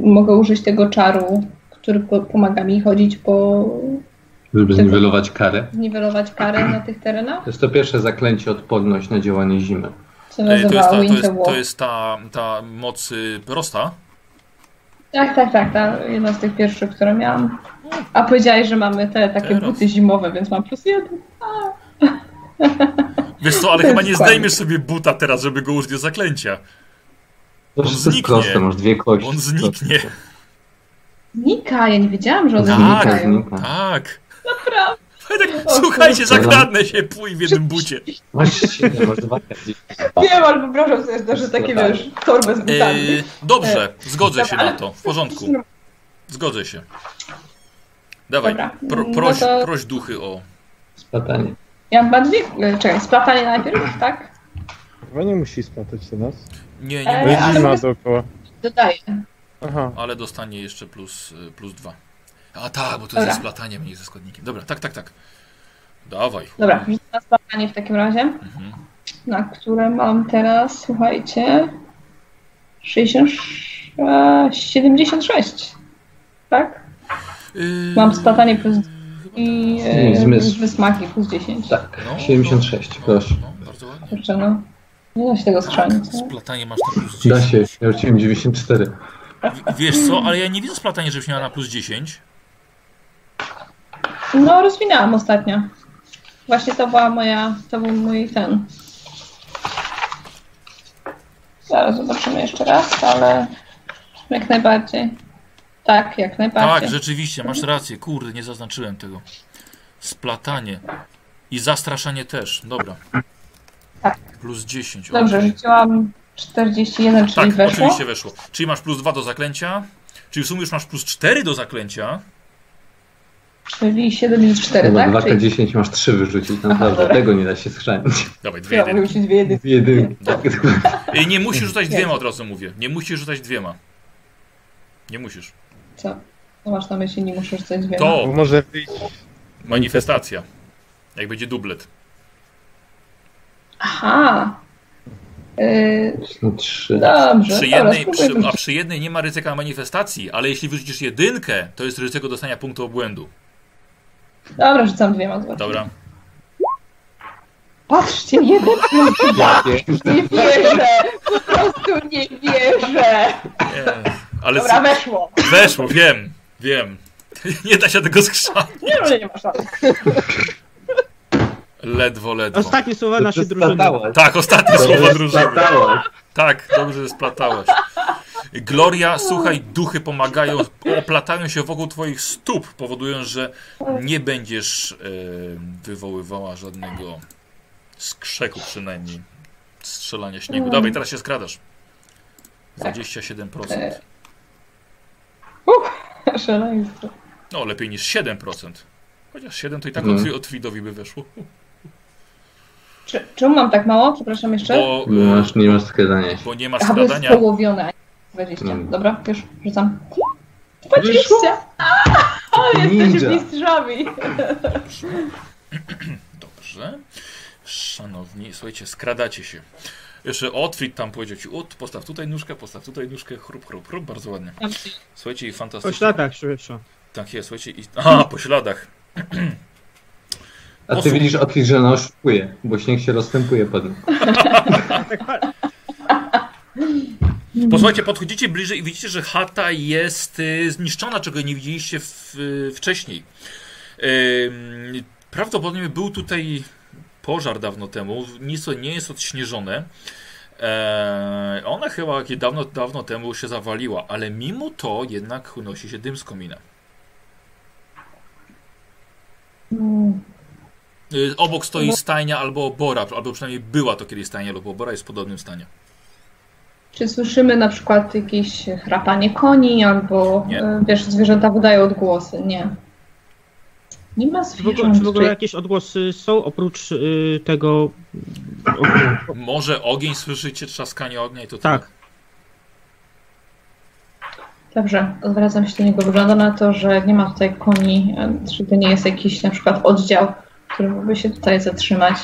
Speaker 3: mogę użyć tego czaru, który po, pomaga mi chodzić po
Speaker 6: Żeby zniwelować karę.
Speaker 3: zniwelować karę na tych terenach?
Speaker 6: To jest to pierwsze zaklęcie odporność na działanie zimy.
Speaker 3: Co
Speaker 1: E, To jest,
Speaker 3: nazywa
Speaker 1: ta, to jest,
Speaker 3: no Winter
Speaker 1: to
Speaker 3: Walk.
Speaker 1: jest ta, ta moc y, prosta.
Speaker 3: Tak, tak, tak, ta jedna z tych pierwszych, które miałam. A powiedziałeś, że mamy te takie
Speaker 1: Teraz.
Speaker 3: buty zimowe, więc mam plus jeden.
Speaker 1: Wiesz
Speaker 3: [LAUGHS]
Speaker 1: co, ale
Speaker 3: To
Speaker 1: chyba
Speaker 3: jest
Speaker 1: nie
Speaker 3: fajne.
Speaker 1: zdejmiesz sobie buta teraz, żeby go użyć do zaklęcia.
Speaker 6: To
Speaker 1: On
Speaker 6: wszystko
Speaker 1: zniknie.
Speaker 6: jest proste, masz dwie kości.
Speaker 1: On zniknie.
Speaker 3: Znika, ja nie wiedziałam, że one
Speaker 1: Tak.
Speaker 3: znikają.
Speaker 1: Tak.
Speaker 3: Naprawdę.
Speaker 1: Fajtek, Słuchajcie, zakradnę się, pój w jednym bucie.
Speaker 6: Masz siedem, [LAUGHS] masz dwa kości.
Speaker 3: Wiem, ale wyobrażam sobie, że- że takie,
Speaker 6: Składamy.
Speaker 3: wiesz, torby z butami.
Speaker 1: Eee, dobrze, zgodzę się
Speaker 3: Tak. E, Dobra,
Speaker 1: na
Speaker 3: ale-
Speaker 1: to. W porządku. Zgodzę się. Dawaj,
Speaker 3: Dobra,
Speaker 1: pro,
Speaker 3: no
Speaker 1: proś,
Speaker 3: to-
Speaker 1: proś duchy o.
Speaker 6: Splatanie.
Speaker 3: Ja mam dwie, e, czekaj, splatanie najpierw, tak?
Speaker 4: Chyba nie musi splatać się nas.
Speaker 1: Nie, nie,
Speaker 3: Eee,
Speaker 1: mówi,
Speaker 4: Jest
Speaker 3: ale
Speaker 4: zima
Speaker 3: jest-
Speaker 4: dookoła.
Speaker 3: Dodaję.
Speaker 4: Aha.
Speaker 1: ale dostanie jeszcze plus, y, plus dwa. A tak, bo to
Speaker 3: Dobra.
Speaker 1: jest ze splataniem, nie ze składnikiem. Dobra, tak, tak, tak. Dawaj.
Speaker 3: Dobra, rzucę na zbadanie w takim razie,
Speaker 1: Mhm.
Speaker 3: na które mam teraz, słuchajcie, 66, e, 76, tak?
Speaker 1: Yy,
Speaker 3: Mam splatanie plus
Speaker 1: chyba
Speaker 3: I
Speaker 6: Nie,
Speaker 3: e,
Speaker 6: zmysł.
Speaker 3: wysmaki plus 10. Tak.
Speaker 1: tak. No,
Speaker 6: 76,
Speaker 1: no,
Speaker 6: proszę.
Speaker 1: No, bardzo ładnie.
Speaker 3: Kurczę, no. Nie da się tego skrzanić. nie?
Speaker 1: Splatanie masz na plus 10.
Speaker 6: Da się, ja rzuciłem 94.
Speaker 1: W- Wiesz co, ale ja nie widzę splatania, żebyś miała na plus 10.
Speaker 3: No, rozwinęłam ostatnio. Właśnie to była moja, to był mój ten. Zaraz zobaczymy jeszcze raz, ale jak najbardziej. Tak, jak najbardziej.
Speaker 1: Tak, rzeczywiście, masz rację. Kurde, nie zaznaczyłem tego. Splatanie. I zastraszanie też. Dobra.
Speaker 3: Tak.
Speaker 1: Plus 10. okej.
Speaker 3: Dobrze, rzuciłam 41, czyli
Speaker 1: Tak,
Speaker 3: weszło.
Speaker 1: oczywiście weszło. Czyli masz plus 2 do zaklęcia. Czyli w sumie już masz plus 4 do zaklęcia.
Speaker 3: Czyli 7 i 4,
Speaker 6: Chyba
Speaker 3: tak?
Speaker 6: 2K10
Speaker 3: Czyli...
Speaker 6: masz 3 wyrzucić, naprawdę.
Speaker 3: dobra.
Speaker 6: Tego nie da się schrzanić.
Speaker 1: Dawaj, dwie
Speaker 3: Ja mogę
Speaker 1: jedynki.
Speaker 3: rzucić dwie jedynki.
Speaker 6: Jedynki.
Speaker 1: Tak.
Speaker 6: Tak.
Speaker 1: I nie musisz rzucać dwiema, od razu mówię. Nie musisz rzucać dwiema. Nie musisz.
Speaker 3: Co? Co masz na myśli? Nie muszę rzucać dwie.
Speaker 4: Bo
Speaker 1: To
Speaker 4: może wyjść.
Speaker 1: manifestacja. Jak będzie dublet.
Speaker 3: Aha! Yy,
Speaker 6: No 3.
Speaker 3: Dobrze,
Speaker 1: Przy
Speaker 3: dobra,
Speaker 1: jednej,
Speaker 3: spróbuj
Speaker 1: przy,
Speaker 3: wrócić.
Speaker 1: a przy jednej nie ma ryzyka manifestacji, ale jeśli wyrzucisz jedynkę, to jest ryzyko dostania punktu obłędu.
Speaker 3: Dobra, rzucam dwiema zobaczymy.
Speaker 1: Dobra.
Speaker 3: Patrzcie, jeden [LAUGHS] nie wierzę! Po prostu nie wierzę!
Speaker 1: Nie. Ale
Speaker 3: Dobra, weszło!
Speaker 1: co- weszło, wiem, wiem. [LAUGHS] Nie da się tego skrzanić.
Speaker 3: Nie no, że nie ma szans. [LAUGHS]
Speaker 1: Ledwo, ledwo.
Speaker 2: Ostatnie słowa naszej drużyny.
Speaker 1: Tak, ostatnie słowa drużyny.
Speaker 6: Splatałeś.
Speaker 1: Tak, dobrze, że splatałeś. Gloria, słuchaj, duchy pomagają, oplatają się wokół twoich stóp, powodując, że nie będziesz e, wywoływała żadnego skrzeku przynajmniej strzelania śniegu. Dawaj, teraz się skradasz. 27%.
Speaker 3: Szaleństwo.
Speaker 1: No, lepiej niż 7%. Chociaż 7 to i tak
Speaker 6: Mhm.
Speaker 1: od, od Widowi by wyszło.
Speaker 3: Czy, czemu mam tak mało? Przepraszam jeszcze.
Speaker 1: Bo,
Speaker 6: Nie masz, nie masz skradania się.
Speaker 1: bo nie ma
Speaker 3: Aha, bo jest
Speaker 1: skradania.
Speaker 3: połowione, a nie 20.
Speaker 6: Mm.
Speaker 3: Dobra, już rzucam. 20! A,
Speaker 6: Ninja.
Speaker 3: jesteśmy mistrzami!
Speaker 1: Dobrze. Szanowni, słuchajcie, skradacie się. Jeszcze Otwit tam powiedział ci, ut, postaw tutaj nóżkę, postaw tutaj nóżkę, chrup, chrup, chrup, bardzo ładnie. Słuchajcie i
Speaker 2: Po
Speaker 1: fantastycznie.
Speaker 2: śladach szybszo.
Speaker 1: Tak jest, słuchajcie i... A, po śladach.
Speaker 6: A ty
Speaker 1: Osób-
Speaker 6: widzisz Otis, że ona oszukuje, bo śnieg się rozstępuje pod nim.
Speaker 1: Posłuchajcie, podchodzicie bliżej i widzicie, że chata jest y, zniszczona, czego nie widzieliście w, y, wcześniej. Ym, prawdopodobnie był tutaj pożar dawno temu, nic nie jest odśnieżone. Eee, ona chyba jakieś dawno, dawno temu się zawaliła, ale mimo to jednak unosi się dym z komina.
Speaker 3: Mm,
Speaker 1: Y, obok stoi stajnia albo obora, albo przynajmniej była to kiedyś stajnia albo obora, jest w podobnym stanie.
Speaker 3: Czy słyszymy na przykład jakieś chrapanie koni, albo
Speaker 1: Nie.
Speaker 3: e, wiesz, zwierzęta wydają odgłosy? Nie. Nie ma
Speaker 2: Czy w ogóle, czy
Speaker 3: zwierząt.
Speaker 2: w ogóle
Speaker 3: tutaj.
Speaker 2: jakieś odgłosy są oprócz y, tego.
Speaker 1: Może ogień słyszycie, trzaskanie ognia i to
Speaker 2: Tak.
Speaker 3: Dobrze, odwracam się do niego. Wygląda na to, że nie ma tutaj koni, e, czy to nie jest jakiś na przykład oddział, który mógłby się tutaj zatrzymać.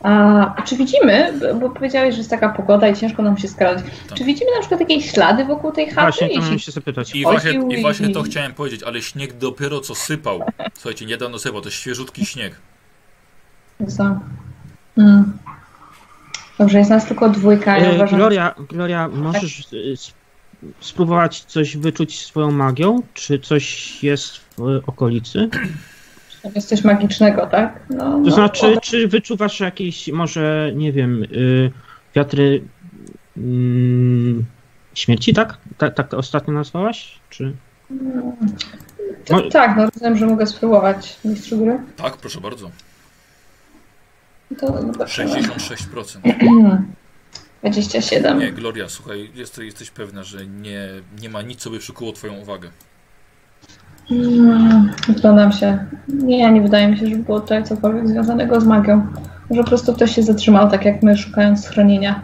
Speaker 3: A czy widzimy, b- bo powiedziałeś, że jest taka pogoda i ciężko nam się skradać.
Speaker 2: Tak.
Speaker 3: Czy widzimy na przykład jakieś ślady wokół tej chaty?
Speaker 2: Właśnie, to miałem
Speaker 3: Jeśli...
Speaker 2: się zapytać.
Speaker 1: I właśnie,
Speaker 3: Chodził
Speaker 1: I właśnie to
Speaker 3: i-
Speaker 1: chciałem powiedzieć, ale śnieg dopiero co sypał. Słuchajcie, niedawno sypał, to jest świeżutki śnieg.
Speaker 3: Za- Mm. Dobrze, jest nas tylko dwójka. Ja
Speaker 2: Y,
Speaker 3: uważam,
Speaker 2: Gloria, Gloria, możesz y, sp- spróbować coś wyczuć swoją magią? Czy coś jest w y, okolicy?
Speaker 3: że jest coś magicznego, tak? No,
Speaker 2: To
Speaker 3: no,
Speaker 2: znaczy,
Speaker 3: o-
Speaker 2: czy wyczuwasz jakieś, może, nie wiem, y, wiatry mm, śmierci, tak? Ta, tak ostatnio nazwałaś? Czy...
Speaker 3: to,
Speaker 2: Mo-
Speaker 3: tak, no rozumiem, że mogę spróbować mistrzu gry. No
Speaker 1: Tak, proszę bardzo.
Speaker 3: To zobaczymy.
Speaker 1: 66%.
Speaker 3: 27.
Speaker 1: Nie, Gloria, słuchaj, jesteś, jesteś pewna, że nie, nie ma nic, co by przykuło twoją uwagę.
Speaker 3: Mm, Zgadzam się. Nie, nie wydaje mi się, żeby było tutaj cokolwiek związanego z magią. Może po prostu ktoś się zatrzymał, tak jak my, szukając schronienia.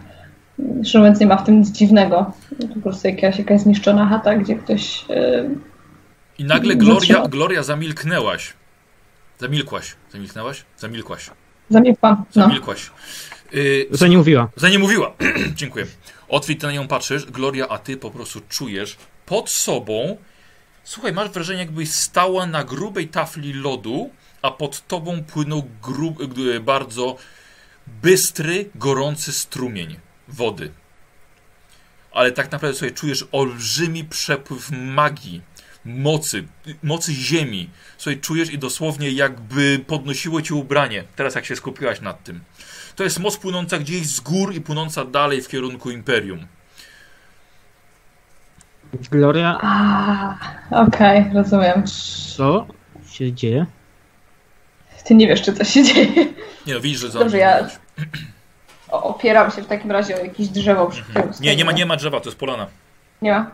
Speaker 3: Szczerze mówiąc, nie ma w tym nic dziwnego. Po prostu jakaś, jakaś zniszczona chata, gdzie ktoś... e,
Speaker 1: I nagle
Speaker 3: Zatrzymał.
Speaker 1: Gloria, Gloria zamilknęłaś. Zamilkłaś. Zamilknęłaś? Zamilkłaś.
Speaker 3: Zamilkłam. No.
Speaker 1: Zamilkłaś. Y,
Speaker 2: Co nie mówiła.
Speaker 1: za nie mówiła. [CLEARS THROAT] Dziękuję. Otwit, ty na nią patrzysz, Gloria, a ty po prostu czujesz pod sobą. Słuchaj, masz wrażenie, jakbyś stała na grubej tafli lodu, a pod tobą płynął gru... g- bardzo bystry, gorący strumień wody. Ale tak naprawdę sobie czujesz olbrzymi przepływ magii, mocy, mocy ziemi. Słuchaj, czujesz i dosłownie jakby podnosiło ci ubranie. Teraz jak się skupiłaś nad tym. To jest moc płynąca gdzieś z gór i płynąca dalej w kierunku imperium.
Speaker 2: Gloria,
Speaker 3: A, Okej, rozumiem.
Speaker 2: co się dzieje?
Speaker 3: Ty nie wiesz, czy coś się dzieje.
Speaker 1: Nie no, widzisz, że za-
Speaker 3: Dobrze, ja- O, opieram się w takim razie o jakieś drzewo przy którym
Speaker 1: Nie, nie ma,
Speaker 3: stoję.
Speaker 1: nie ma drzewa, to jest polana.
Speaker 3: Nie ma.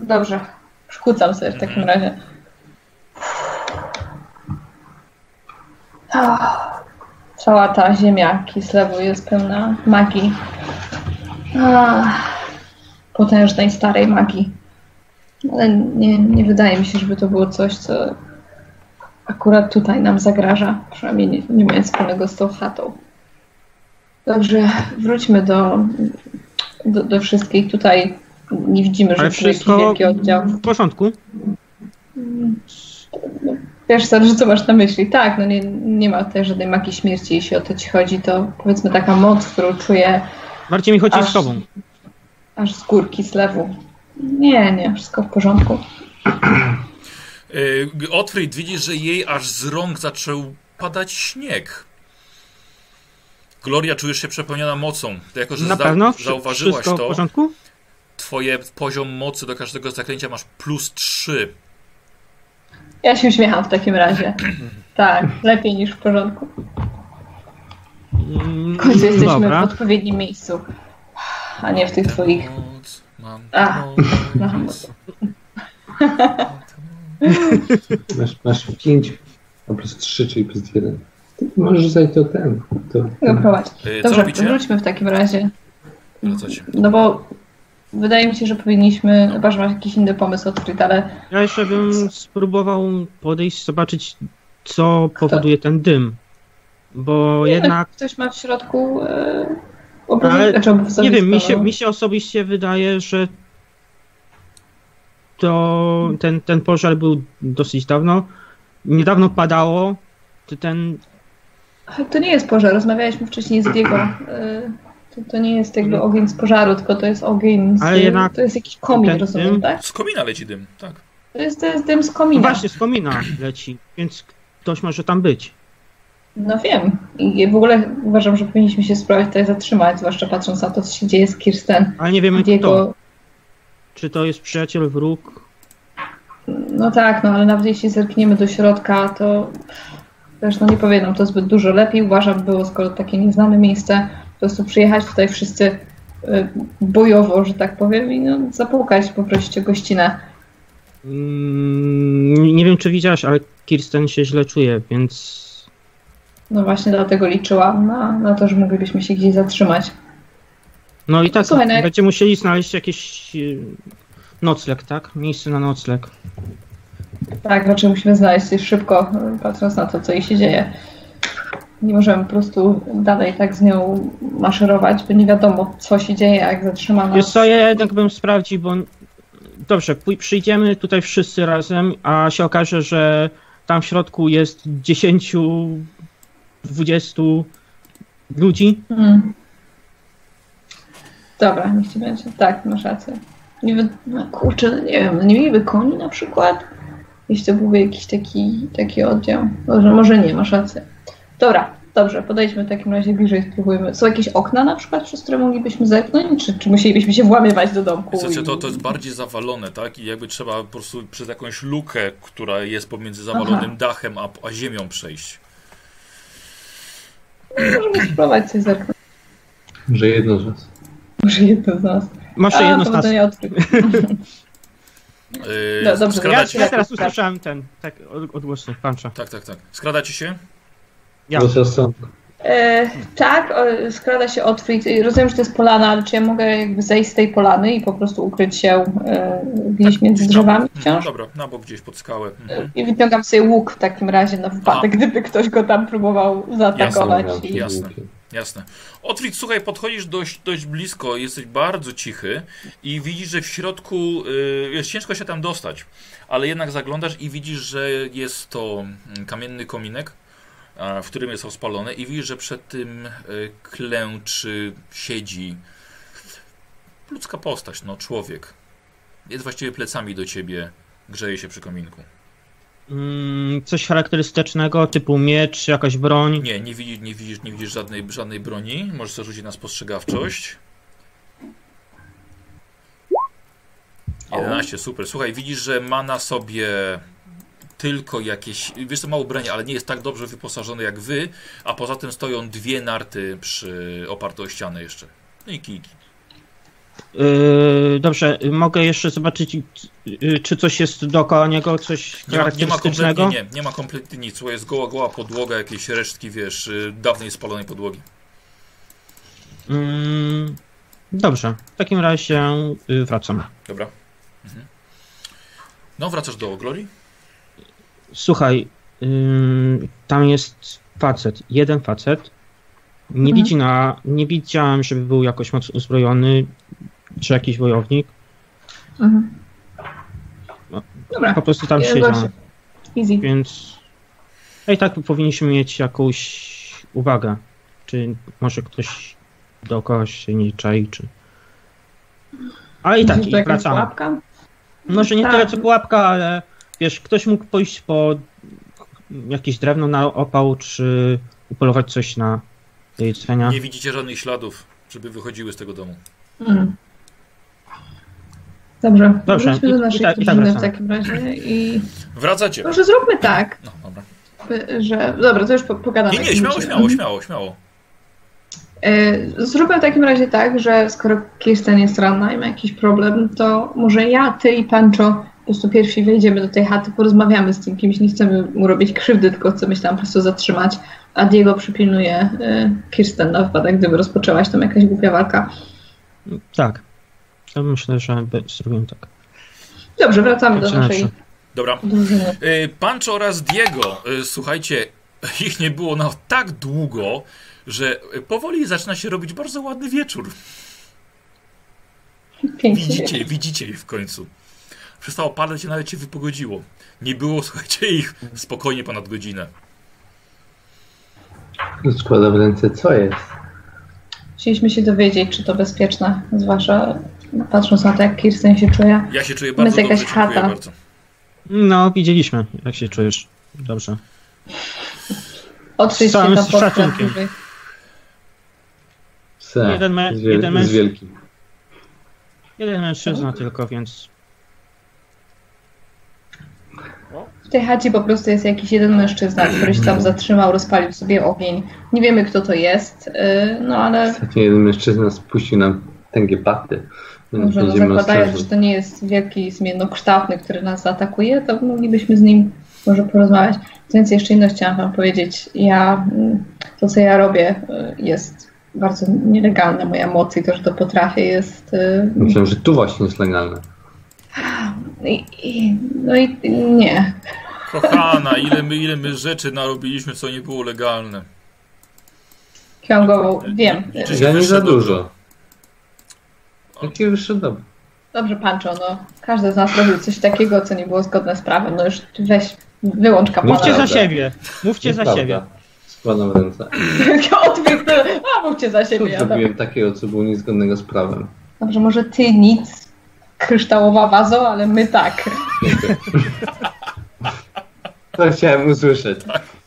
Speaker 3: Dobrze. Przykucam sobie w takim razie. Ah, Cała ta ziemia Kislewu jest pełna magii. Ah, Potężnej, starej magii. Ale nie, nie wydaje mi się, żeby to było coś, co akurat tutaj nam zagraża. Przynajmniej nie, nie mając wspólnego z tą chatą. Dobrze, wróćmy do, do, do wszystkich tutaj. Nie widzimy, że
Speaker 2: Ale
Speaker 3: był jakiś
Speaker 2: wszystko
Speaker 3: wielki oddział.
Speaker 2: w porządku.
Speaker 3: Wiesz, zależy co masz na myśli. Tak, no nie, nie ma tutaj żadnej magii śmierci, jeśli o to ci chodzi, to powiedzmy taka moc, którą czuję
Speaker 2: Bardziej mi chodzi
Speaker 3: Aż-
Speaker 2: z tobą.
Speaker 3: aż z górki, z lewu. Nie, nie, wszystko w porządku.
Speaker 1: Yy, Otfrid, widzisz, że jej aż z rąk zaczął padać śnieg. Gloria, czujesz się przepełniona mocą. To jako, że
Speaker 2: Na
Speaker 1: za-
Speaker 2: pewno Wsz-
Speaker 1: zauważyłaś
Speaker 2: wszystko w
Speaker 1: to,
Speaker 2: porządku?
Speaker 1: twoje poziom mocy do każdego zaklęcia masz plus 3.
Speaker 3: Ja się uśmiecham w takim
Speaker 2: [CLEARS THROAT]
Speaker 3: razie. Tak, lepiej niż w porządku.
Speaker 2: Mm,
Speaker 3: W końcu jesteśmy
Speaker 2: Dobra.
Speaker 3: w odpowiednim miejscu, a nie w tych twoich.
Speaker 1: Moc, mam
Speaker 3: Ach, [LAUGHS] mam
Speaker 1: moc.
Speaker 6: Masz, masz 5, a plus 3, czyli plus 1. Możesz rzucać to ten. To,
Speaker 3: No prowadź.
Speaker 1: Yy, Co
Speaker 3: Dobrze,
Speaker 1: robicie?
Speaker 3: wróćmy w takim razie.
Speaker 1: Wracacie.
Speaker 3: No bo wydaje mi się, że powinniśmy, chyba że masz jakiś inny pomysł odkryć, ale
Speaker 2: Ja jeszcze bym spróbował podejść, zobaczyć, co
Speaker 3: Tak.
Speaker 2: powoduje ten dym.
Speaker 3: no,
Speaker 2: Bo jednak,
Speaker 3: Ktoś ma w środku e, obozu-
Speaker 2: Ale
Speaker 3: znaczy obozowisko,
Speaker 2: nie wiem, mi się,
Speaker 3: no.
Speaker 2: mi się osobiście wydaje, że to ten, ten pożar był dosyć dawno. Niedawno padało. Ty Ten, no
Speaker 3: To nie jest pożar, rozmawialiśmy wcześniej z Diego. e, To, to nie jest jakby ogień z pożaru, tylko to jest ogień z...
Speaker 2: Ale jednak
Speaker 3: to jest jakiś komin,
Speaker 2: ten
Speaker 3: rozumiem,
Speaker 2: dym-
Speaker 3: tak?
Speaker 1: Z komina leci dym, tak.
Speaker 3: To jest, to jest dym z
Speaker 2: no
Speaker 3: komina.
Speaker 2: właśnie, z komina leci, więc ktoś może tam być.
Speaker 3: No wiem. I w ogóle uważam, że powinniśmy się spróbować tutaj zatrzymać, zwłaszcza patrząc na to, co się dzieje z Kirsten.
Speaker 2: Ale nie wiemy kto.
Speaker 3: Diego,
Speaker 2: Czy to jest przyjaciel, wróg?
Speaker 3: no tak, no ale nawet jeśli zerkniemy do środka, to też no nie powiedzą to zbyt dużo. Lepiej uważam było, skoro takie nieznane miejsce, po prostu przyjechać tutaj wszyscy e, bojowo, że tak powiem, i no, zapukać, poprosić o gościnę.
Speaker 2: Mm, nie wiem, czy widziałaś, ale Kirsten się źle czuje, więc
Speaker 3: No właśnie dlatego liczyłam na, na to, że moglibyśmy się gdzieś zatrzymać.
Speaker 2: No i tak,
Speaker 3: Słuchaj, no jak-
Speaker 2: będziemy musieli znaleźć jakiś e, nocleg, tak? Miejsce na nocleg.
Speaker 3: Tak, raczej musimy znaleźć się szybko, y, patrząc na to, co jej się dzieje. Nie możemy po prostu dalej tak z nią maszerować, bo nie wiadomo, co się dzieje, jak zatrzymamy.
Speaker 2: Wiesz co, ja jednak bym sprawdził, bo... Dobrze, pój- przyjdziemy tutaj wszyscy razem, a się okaże, że tam w środku jest 10, 20 ludzi.
Speaker 3: Hmm. Dobra, niech ci będzie. Tak, masz rację. Nie wy... no, kurczę, nie wiem, nie mieliby koni na przykład? Jeśli to byłby jakiś taki, taki oddział. Może, może nie, masz rację. Dobra, dobrze, podejdźmy w takim razie bliżej, spróbujmy. Są jakieś okna na przykład, przez które moglibyśmy zerknąć? Czy, czy musielibyśmy się włamywać do domku?
Speaker 1: Wiecie,
Speaker 3: i-
Speaker 1: to, to jest bardziej zawalone, tak? I jakby trzeba po prostu przez jakąś lukę, która jest pomiędzy zawalonym
Speaker 3: Aha.
Speaker 1: dachem a, a ziemią przejść.
Speaker 3: Możemy spróbować coś zerknąć.
Speaker 6: że jedno z was.
Speaker 3: Może jedno z nas.
Speaker 2: Masz
Speaker 3: A,
Speaker 2: jedno
Speaker 3: to
Speaker 2: z nas.
Speaker 3: będę ja odkryć.
Speaker 1: Yy,
Speaker 3: No, dobrze,
Speaker 2: Ja,
Speaker 1: skradacie,
Speaker 2: ja teraz
Speaker 3: Tak.
Speaker 2: usłyszałem ten, tak, od- odgłosy pancza.
Speaker 1: Tak, tak, tak. Skradacie się?
Speaker 2: Ja.
Speaker 6: Bez rozsądku.
Speaker 3: E, tak, o, skrada się otwór i rozumiem, że to jest polana, ale czy ja mogę jakby zejść z tej polany i po prostu ukryć się e, gdzieś
Speaker 2: Tak,
Speaker 3: między drzewami
Speaker 1: No
Speaker 3: wciąż?
Speaker 1: Tak. dobra, na bok gdzieś pod skałę. Mhm.
Speaker 3: E, I wyciągam sobie łuk w takim razie na wypadek, gdyby ktoś go tam próbował zaatakować.
Speaker 6: Zastanawiam się,
Speaker 3: I...
Speaker 1: Jasne.
Speaker 6: głupie.
Speaker 1: Jasne. Otwit, słuchaj, podchodzisz dość, dość blisko, jesteś bardzo cichy i widzisz, że w środku y, wiesz, ciężko się tam dostać, ale jednak zaglądasz i widzisz, że jest to mm, kamienny kominek, a, w którym jest rozpalone i widzisz, że przed tym y, klęczy, siedzi ludzka postać, no człowiek. Jest właściwie plecami do ciebie, grzeje się przy kominku.
Speaker 2: Mm, coś charakterystycznego, typu miecz, jakaś broń.
Speaker 1: Nie, nie widzisz, nie widzisz, nie widzisz żadnej, żadnej broni. Możesz sobie rzucić na spostrzegawczość. 11, super. Słuchaj, widzisz, że ma na sobie tylko jakieś, wiesz co, ma ubranie, ale nie jest tak dobrze wyposażony jak wy, a poza tym stoją dwie narty przy, oparte o ścianę jeszcze. No I kijki.
Speaker 2: Yy, dobrze, mogę jeszcze zobaczyć, yy, czy coś jest dookoła niego, coś
Speaker 1: Nie ma, nie ma kompletnie,
Speaker 2: charakterystycznego?
Speaker 1: nie, nie ma kompletnie nic. Słuchaj, jest goła, goła podłoga, jakieś resztki, wiesz, y, dawnej spalonej podłogi.
Speaker 2: Mm, dobrze, w takim razie yy, wracam.
Speaker 1: Dobra. Mhm. No, wracasz do Glory?
Speaker 2: Słuchaj, ym, tam jest facet, jeden facet. Nie,
Speaker 3: Mhm.
Speaker 2: widzi na, nie widziałem, żeby był jakoś mocno uzbrojony, czy jakiś wojownik.
Speaker 3: Mhm. Dobra,
Speaker 2: Po prostu No, tam
Speaker 3: Ja
Speaker 2: siedział.
Speaker 3: właśnie- easy.
Speaker 2: Więc no i tak powinniśmy mieć jakąś uwagę. Czy może ktoś dookoła się nie czai, czy... Ale i tak,
Speaker 3: Myślisz, że
Speaker 2: i
Speaker 3: jakaś
Speaker 2: wracamy.
Speaker 3: pułapka?
Speaker 2: Może No, nie
Speaker 3: Tak.
Speaker 2: tyle co pułapka, ale wiesz, ktoś mógł pójść po jakieś drewno na opał, czy upolować coś na do jedzenia.
Speaker 1: Nie widzicie żadnych śladów, żeby wychodziły z tego domu.
Speaker 3: Mm. Dobrze,
Speaker 2: Dobrze,
Speaker 3: wróćmy
Speaker 2: i-
Speaker 3: do
Speaker 2: i
Speaker 3: naszej
Speaker 2: tak- i tak
Speaker 3: drużyny w
Speaker 2: wracamy.
Speaker 3: takim razie i
Speaker 1: Wracacie.
Speaker 3: może zróbmy tak,
Speaker 1: No, dobra.
Speaker 3: by- że... Dobra, to już po, pogadamy.
Speaker 1: Nie, nie, śmiało, śmiało, śmiało, śmiało.
Speaker 3: E, Zróbmy w takim razie tak, że skoro Kirsten jest ranna i ma jakiś problem, to może ja, ty i Pancho po prostu pierwsi wejdziemy do tej chaty, porozmawiamy z tym kimś, nie chcemy mu robić krzywdy, tylko chcemy się tam po prostu zatrzymać, a Diego przypilnuje e, Kirsten na wypadek, gdyby rozpoczęłaś tam jakaś głupia walka.
Speaker 2: Tak. To myślę, że by- zrobimy tak.
Speaker 3: Dobrze, wracamy do
Speaker 2: Dobrze,
Speaker 3: naszej
Speaker 1: Dobra.
Speaker 3: drużyny.
Speaker 1: Y, Pancho oraz Diego, y, słuchajcie, [LAUGHS] ich nie było na tak długo, że y, powoli zaczyna się robić bardzo ładny wieczór.
Speaker 3: Pięknie.
Speaker 1: Widzicie, widzicie ich w końcu. Przestało padać i nawet się wypogodziło. Nie było, [LAUGHS] słuchajcie, ich spokojnie ponad godzinę.
Speaker 6: Składa w ręce, co jest?
Speaker 3: Chcieliśmy się dowiedzieć, czy to bezpieczne, zwłaszcza patrząc na to, jak Kirsten się czuje.
Speaker 1: Ja się czuję bardzo
Speaker 3: Jest
Speaker 1: dobrze,
Speaker 3: jakaś
Speaker 1: dziękuję
Speaker 3: chata.
Speaker 1: bardzo.
Speaker 2: No, widzieliśmy, jak się czujesz. Dobrze.
Speaker 3: Otrzyj się
Speaker 2: Sam
Speaker 3: na
Speaker 2: z
Speaker 3: portret
Speaker 2: szacunkiem.
Speaker 3: wyżej.
Speaker 6: Pse,
Speaker 2: Jeden me-
Speaker 6: z,
Speaker 2: jeden męż-
Speaker 6: z wielki.
Speaker 2: Jeden mężczyzna tylko, więc
Speaker 3: W tej chacie po prostu jest jakiś jeden mężczyzna, który się tam zatrzymał, rozpalił sobie ogień. Nie wiemy, kto to jest, yy, no ale
Speaker 5: Hmm,
Speaker 6: Ostatnio jeden mężczyzna spuścił nam tęgie paty, więc
Speaker 3: może no,
Speaker 6: będziemy
Speaker 3: zakładając, że
Speaker 6: ostrożni.
Speaker 3: to nie jest wielki zmiennokształtny, który nas zaatakuje, to moglibyśmy z nim może porozmawiać. Więc jeszcze inno chciałam wam powiedzieć. Ja, mm, to co ja robię y, jest bardzo nielegalne. Moja moc i to, że to potrafię jest y,
Speaker 6: Myślę, że tu właśnie jest legalne.
Speaker 3: I, i, no i i nie.
Speaker 1: Kochana, ile my, ile my rzeczy narobiliśmy, co nie było legalne.
Speaker 3: Ksiągował, wiem.
Speaker 1: Czy-
Speaker 6: Ja nie za
Speaker 1: wyszedł?
Speaker 6: dużo. Jakie wyszedłem?
Speaker 3: Dobrze, Pancho, no. Każdy z nas robił coś takiego, co nie było zgodne z prawem. No już weź, wyłącz kapłana.
Speaker 2: mówcie
Speaker 3: [LAUGHS]
Speaker 2: za
Speaker 6: Prawda.
Speaker 2: siebie. Mówcie za
Speaker 6: Nieprawda.
Speaker 2: siebie.
Speaker 6: Składam w ręce.
Speaker 3: Odbiegł, a mówcie za
Speaker 6: Tu
Speaker 3: siebie. Ja tam.
Speaker 6: zrobiłem takiego, co było niezgodnego z prawem.
Speaker 3: Dobrze, może ty nic, kryształowa wazo, ale my tak.
Speaker 6: To chciałem usłyszeć.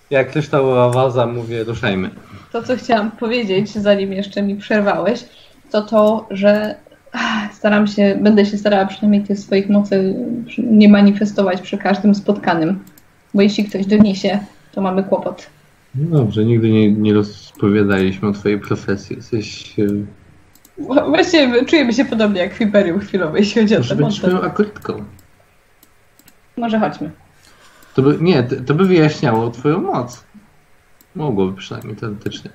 Speaker 6: Jak ktoś ta waza, mówię, ruszajmy.
Speaker 3: To, co chciałam powiedzieć, zanim jeszcze mi przerwałeś, to to, że ach, staram się, będę się starała przynajmniej tych swoich mocy przy- nie manifestować przy każdym spotkanym. Bo jeśli ktoś doniesie, to mamy kłopot.
Speaker 6: No Dobrze, nigdy nie, nie rozpowiadaliśmy o twojej profesji. Jesteś... e,
Speaker 3: Wła- Właśnie my czujemy się podobnie jak w Imperium chwilowe, jeśli chodzi o
Speaker 6: Może
Speaker 3: ten
Speaker 6: będziesz
Speaker 3: motyw.
Speaker 6: moją akolitką.
Speaker 3: Może chodźmy.
Speaker 6: To by, nie, to, to by wyjaśniało twoją moc. Mogłoby przynajmniej teoretycznie.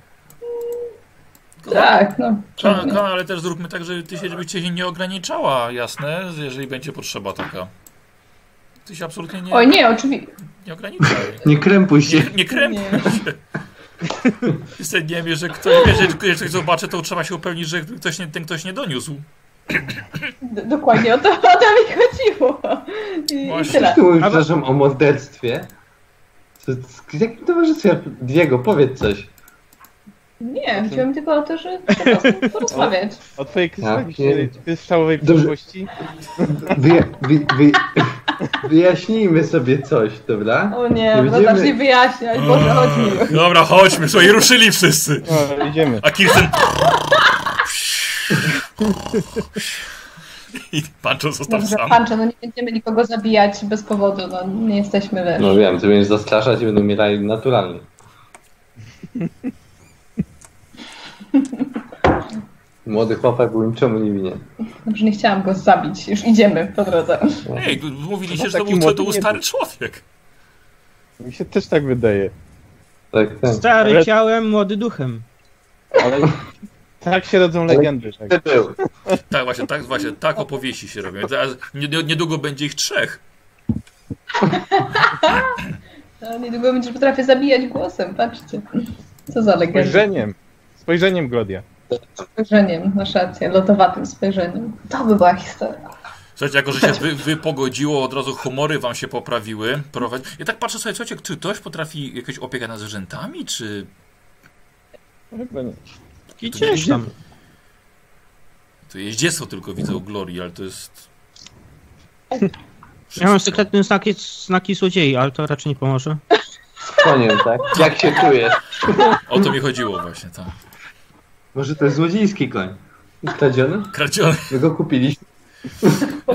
Speaker 3: Tak, no.
Speaker 1: Ka-
Speaker 3: czemu nie?
Speaker 1: Ka, ale też zróbmy tak, żeby ty się, żeby cię nie ograniczała, jasne, jeżeli będzie potrzeba taka. Ty się absolutnie nie,
Speaker 3: Oj, nie, oczywiście.
Speaker 1: nie ograniczaj.
Speaker 6: Nie krępuj się.
Speaker 1: Nie, nie krępuj się. Jestem nie wiem, że ktoś, jeżeli ktoś zobaczy, to trzeba się upewnić, że ktoś nie, ten ktoś nie doniósł.
Speaker 3: D- dokładnie o to, o to mi chodziło. I, i
Speaker 1: Właśnie.
Speaker 3: tyle.
Speaker 6: Ty mówisz, przepraszam, o morderstwie? Co- Z jakim towarzystwem? Diego, powiedz coś.
Speaker 3: Nie, chodziło mi tylko o to, że po prostu porozmawiać.
Speaker 4: O twojej krystali
Speaker 6: pierdzie-
Speaker 4: kryształowej
Speaker 6: Dobrze.
Speaker 4: przyszłości.
Speaker 6: Wyja wy wy wyjaśnijmy sobie coś, dobra?
Speaker 3: O Mm. nie,
Speaker 6: Nie
Speaker 3: no
Speaker 6: będziemy-
Speaker 3: zacznij wyjaśniać, Boże, chodzi.
Speaker 1: Dobra, chodźmy, słuchaj, ruszyli wszyscy.
Speaker 4: O, No, idziemy.
Speaker 1: A Kirsten... I Pancho został
Speaker 3: Dobrze,
Speaker 1: sam.
Speaker 3: Pancho, no nie będziemy nikogo zabijać bez powodu, no nie jesteśmy wiesz.
Speaker 6: No wiem, ty będziesz zastraszać i będą umierali naturalnie. Młody chłopak był niczemu nie winien.
Speaker 3: Dobrze, nie chciałam go zabić, już idziemy po drodze.
Speaker 1: Ej, mówiliście,
Speaker 4: No
Speaker 1: że to
Speaker 4: taki
Speaker 1: był, to
Speaker 4: młody
Speaker 1: był
Speaker 4: nie
Speaker 1: stary
Speaker 4: był.
Speaker 1: człowiek.
Speaker 4: Mi się też tak wydaje.
Speaker 6: Tak, tak.
Speaker 2: Stary
Speaker 4: Ale-
Speaker 2: ciałem, młody duchem.
Speaker 4: Ale tak się rodzą legendy. Tak.
Speaker 6: Ty był.
Speaker 1: Tak, właśnie, tak, właśnie, tak opowieści się robią. Zaraz, nie- nie- niedługo będzie ich trzech.
Speaker 3: No, niedługo będziesz potrafię zabijać głosem, patrzcie. Co za legenda.
Speaker 4: Spojrzeniem. Spojrzeniem Glodia.
Speaker 3: Spojrzeniem, masz rację, lodowatym spojrzeniem. To by była historia.
Speaker 1: Słuchajcie, jako że się wy, wy pogodziło, od razu humory wam się poprawiły. Prowadź... Ja tak patrzę sobie, słuchajcie, czy ktoś potrafi jakąś opiekę nad zwierzętami, czy...
Speaker 4: Chyba nie.
Speaker 2: I gdzieś tam.
Speaker 1: To jeździectwo tylko widzę u Glorii, ale to jest...
Speaker 2: Ja mam sekretny znaki, znaki złodziei, ale to raczej nie pomoże.
Speaker 6: Koniem, tak? Jak się czujesz?
Speaker 1: O to mi chodziło właśnie, tak.
Speaker 6: Może to jest złodziejski koń? Kradziony?
Speaker 1: Kradziony.
Speaker 6: My go kupiliśmy.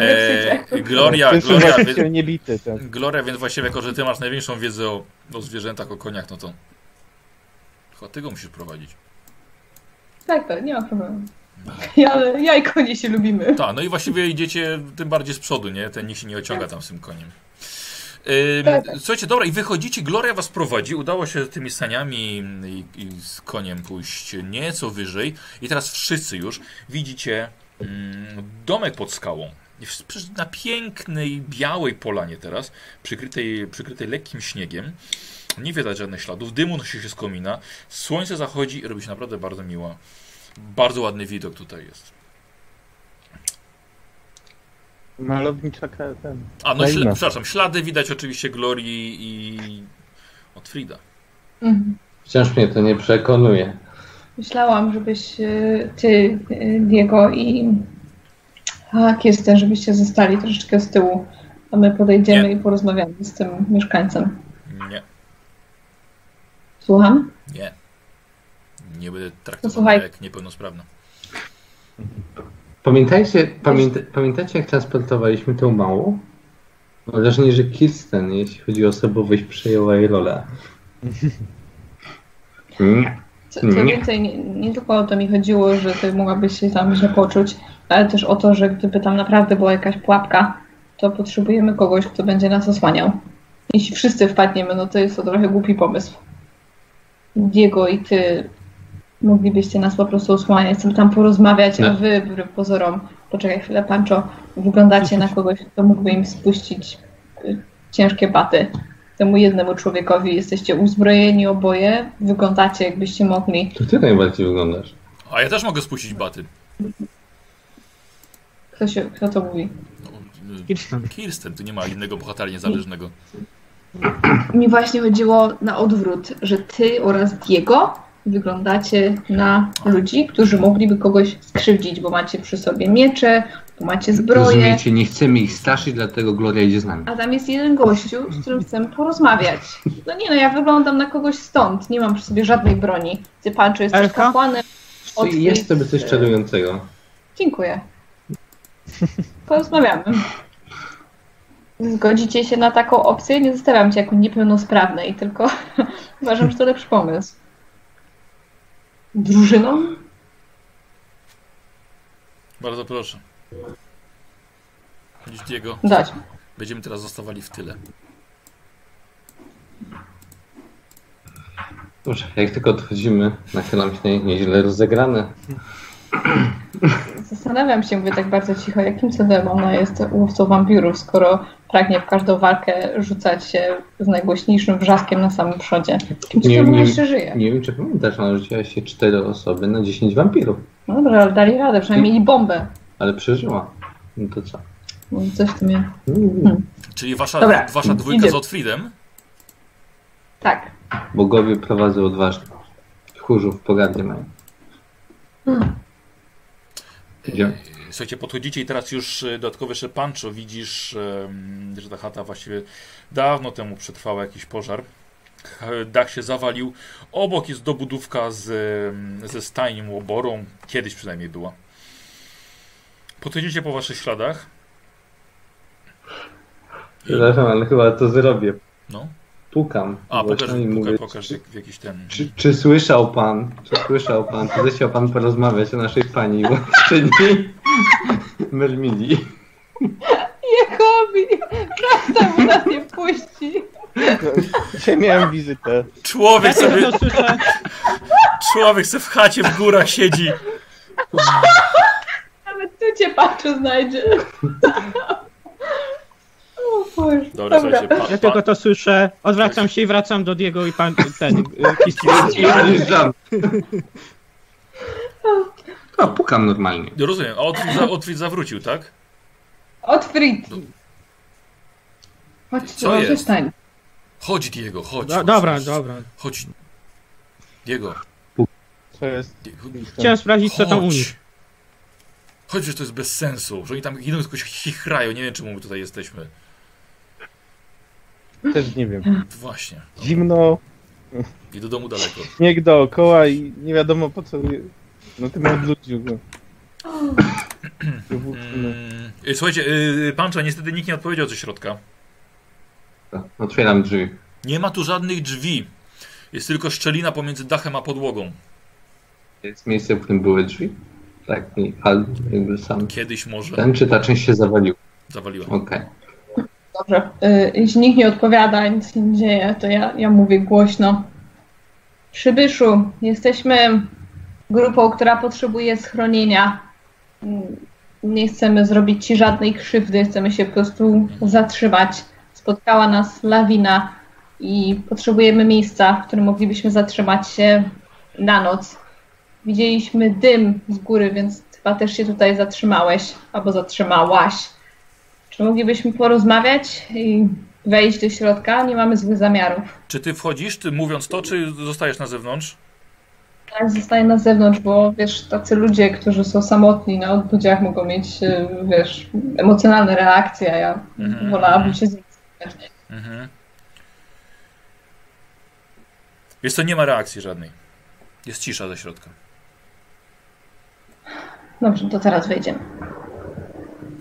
Speaker 3: Eee,
Speaker 1: E, Gloria,
Speaker 4: Pierwszy
Speaker 1: Gloria,
Speaker 4: raz
Speaker 1: wy...
Speaker 4: się nie bity. Tak.
Speaker 1: Gloria, więc właściwie jako, że ty masz największą wiedzę o, o zwierzętach, o koniach, no to... Chyba ty go musisz prowadzić.
Speaker 3: tak, to nie ma problemu. Ja, ja i konie się lubimy.
Speaker 1: Tak, no i właściwie idziecie tym bardziej z przodu, nie? Ten nikt się nie ociąga tam z tym koniem. Ym,
Speaker 3: Tak.
Speaker 1: słuchajcie, dobra, i wychodzicie, Gloria was prowadzi, udało się tymi saniami i, i z koniem pójść nieco wyżej i teraz wszyscy już widzicie mm, domek pod skałą. I w- przy- Na pięknej, białej polanie teraz, przykrytej, przykrytej lekkim śniegiem. Nie widać żadnych śladów, dymu nosi się z komina, słońce zachodzi i robi się naprawdę bardzo miła. Bardzo ładny widok tutaj jest.
Speaker 4: Malownicza ka- ten.
Speaker 1: A no,
Speaker 4: Kraina.
Speaker 1: śl- przepraszam, ślady widać oczywiście Glorii i od Frida.
Speaker 3: Mhm.
Speaker 6: Wciąż mnie to nie przekonuje.
Speaker 3: Myślałam, żebyś e, ty, e, Diego i a, Kirsten, żebyście zostali troszeczkę z tyłu, a my podejdziemy
Speaker 1: Nie.
Speaker 3: i porozmawiamy z tym mieszkańcem.
Speaker 1: Nie,
Speaker 3: Słucham?
Speaker 1: nie. Nie będę traktowana
Speaker 3: Posłuchaj.
Speaker 1: jak niepełnosprawna.
Speaker 6: Pamiętajcie, pamięta, pamiętacie jak transportowaliśmy tą małą? Mam wrażenie, że Kirsten, jeśli chodzi o osobowość, przejęła jej rolę. Hmm? Nie.
Speaker 3: Co, co
Speaker 6: Nie.
Speaker 3: więcej, nie, nie tylko o to mi chodziło, że ty mogłabyś się tam źle poczuć, ale też o to, że gdyby tam naprawdę była jakaś pułapka, to potrzebujemy kogoś, kto będzie nas osłaniał. Jeśli wszyscy wpadniemy, no to jest to trochę głupi pomysł. Diego i ty moglibyście nas po prostu osłaniać, sobie tam porozmawiać, a
Speaker 6: Nie.
Speaker 3: wy wbrew pozorom, poczekaj chwilę, Pancho, wyglądacie na kogoś, kto mógłby im spuścić y, ciężkie baty. Temu jednemu człowiekowi jesteście uzbrojeni oboje, wyglądacie jakbyście mogli.
Speaker 6: To ty najbardziej wyglądasz.
Speaker 1: A ja też mogę spuścić baty.
Speaker 3: Kto, się, kto to mówi?
Speaker 1: No,
Speaker 2: Kirsten.
Speaker 1: y, Kirsten, tu nie ma innego bohatera niezależnego.
Speaker 3: Mi właśnie chodziło na odwrót, że ty oraz Diego wyglądacie na ludzi, którzy mogliby kogoś skrzywdzić, bo macie przy sobie miecze, bo macie zbroję,
Speaker 6: Rozumiecie, nie chcemy ich straszyć, dlatego Gloria idzie z nami.
Speaker 3: a tam jest jeden gościu, z którym chcę porozmawiać. No nie no, ja wyglądam na kogoś stąd, nie mam przy sobie żadnej broni. Ty, Pancho, jesteś
Speaker 2: Elka?
Speaker 3: kapłanem. od
Speaker 6: Czy Jest
Speaker 3: tej-
Speaker 6: sobie coś czarującego.
Speaker 3: Dziękuję. Porozmawiamy. Zgodzicie się na taką opcję? Nie zostawiam cię jako niepełnosprawnej, tylko [LAUGHS] uważam, że to lepszy pomysł. Drużyną?
Speaker 1: Bardzo proszę. Dziś Diego,
Speaker 3: Dać.
Speaker 1: będziemy teraz zostawali w tyle.
Speaker 6: Dobrze, jak tylko odchodzimy, nachylam się nie- nieźle rozegrany.
Speaker 3: Zastanawiam się, mówię tak bardzo cicho, jakim cudem ona jest łowcą wampirów, skoro pragnie w każdą walkę rzucać się z najgłośniejszym wrzaskiem na samym przodzie. Jakim
Speaker 6: Nie,
Speaker 3: cudem ona
Speaker 6: nie-
Speaker 3: jeszcze żyje?
Speaker 6: Nie wiem, czy pamiętasz, ale rzuciła się cztery osoby na 10 wampirów,
Speaker 3: No dobrze, ale dali radę, przynajmniej mieli bombę.
Speaker 6: ale przeżyła. No to co?
Speaker 3: No, Coś w tym jest.
Speaker 6: Mm,
Speaker 1: Czyli wasza,
Speaker 3: Dobra,
Speaker 1: wasza dwójka
Speaker 3: idzie.
Speaker 1: z Otfridem.
Speaker 3: Tak.
Speaker 6: Bogowie prowadzą odważnie. Chórzu w pogardzie mają. Idziemy.
Speaker 1: Słuchajcie, podchodzicie i teraz już e, dodatkowo jeszcze Pancho widzisz, em, że ta chata właściwie dawno temu przetrwała jakiś pożar. K- Dach się zawalił. Obok jest dobudówka z, em, ze stajnią łoborą. Kiedyś przynajmniej była. Podchodzicie po waszych śladach.
Speaker 6: Przepraszam, ale chyba to zrobię.
Speaker 1: No.
Speaker 6: Pukam.
Speaker 1: A,
Speaker 6: Właśnie
Speaker 1: pokaż,
Speaker 6: i
Speaker 1: pokaż,
Speaker 6: mówię,
Speaker 1: pokaż jak, jakiś ten...
Speaker 6: Czy, czy słyszał pan, czy słyszał pan, czy zechciał pan porozmawiać o naszej pani władczyni Mermili?
Speaker 3: Jakobi! Prawda, bo nas nie puści.
Speaker 4: Dzisiaj miałem wizytę.
Speaker 1: Człowiek sobie,
Speaker 2: to słyszę,
Speaker 1: człowiek sobie w chacie w górach siedzi.
Speaker 3: Nawet tu cię patrzu znajdzie. O Boże.
Speaker 1: Dobra, słuchajcie, pa,
Speaker 2: ja
Speaker 1: pa,
Speaker 2: tylko to słyszę, odwracam się i wracam do Diego i pan, ten, y, Kiski.
Speaker 6: Odjeżdżam. A, pukam normalnie.
Speaker 1: Rozumiem, a Otwit, za, Otwit zawrócił, tak?
Speaker 3: Otwrit. Chodź,
Speaker 1: Co
Speaker 3: no,
Speaker 1: jest?
Speaker 3: przestań.
Speaker 1: Chodź Diego, chodź.
Speaker 2: Do,
Speaker 1: chodź,
Speaker 2: dobra,
Speaker 1: chodź,
Speaker 2: dobra.
Speaker 1: Chodź. Diego.
Speaker 4: Co jest?
Speaker 1: Diego.
Speaker 2: Chciałem sprawdzić, co tam u nich.
Speaker 1: Chodź. Chodź, że to jest bez sensu, że oni tam idą tylko się chichrają, nie wiem czemu my tutaj jesteśmy.
Speaker 4: Też nie wiem.
Speaker 1: Właśnie.
Speaker 4: Zimno,
Speaker 1: I do domu daleko.
Speaker 4: śnieg dookoła i nie wiadomo po co. No tym odludził go. Włóczny.
Speaker 1: Mm, y, słuchajcie, yy, Pancza, niestety nikt nie odpowiedział ze środka.
Speaker 6: Otwieram drzwi.
Speaker 1: Nie ma tu żadnych drzwi. Jest tylko szczelina pomiędzy dachem a podłogą.
Speaker 6: Jest miejsce, w którym były drzwi? Tak, nie, ale jakby sam.
Speaker 1: Kiedyś może
Speaker 6: Ten czy ta część się zawaliła?
Speaker 1: zawaliła.
Speaker 6: Okej.
Speaker 3: Dobrze. Y, jeśli nikt nie odpowiada, nic się nie dzieje, to ja, ja mówię głośno. Przybyszu, jesteśmy grupą, która potrzebuje schronienia. Mm, Nie chcemy zrobić ci żadnej krzywdy, chcemy się po prostu zatrzymać. Spotkała nas lawina i potrzebujemy miejsca, w którym moglibyśmy zatrzymać się na noc. Widzieliśmy dym z góry, więc chyba też się tutaj zatrzymałeś albo zatrzymałaś. Czy moglibyśmy porozmawiać i wejść do środka? Nie mamy złych zamiarów.
Speaker 1: Czy ty wchodzisz, ty mówiąc to, czy zostajesz na zewnątrz?
Speaker 3: Ale zostaję na zewnątrz, bo wiesz, tacy ludzie, którzy są samotni na odbudziach mogą mieć, y, wiesz, emocjonalne reakcje, a ja
Speaker 1: Mhm.
Speaker 3: wolałabym się z nimi spotkać.
Speaker 1: Mhm. Wiesz co, nie ma reakcji żadnej. Jest cisza ze środka.
Speaker 3: Dobrze, to teraz wejdziemy.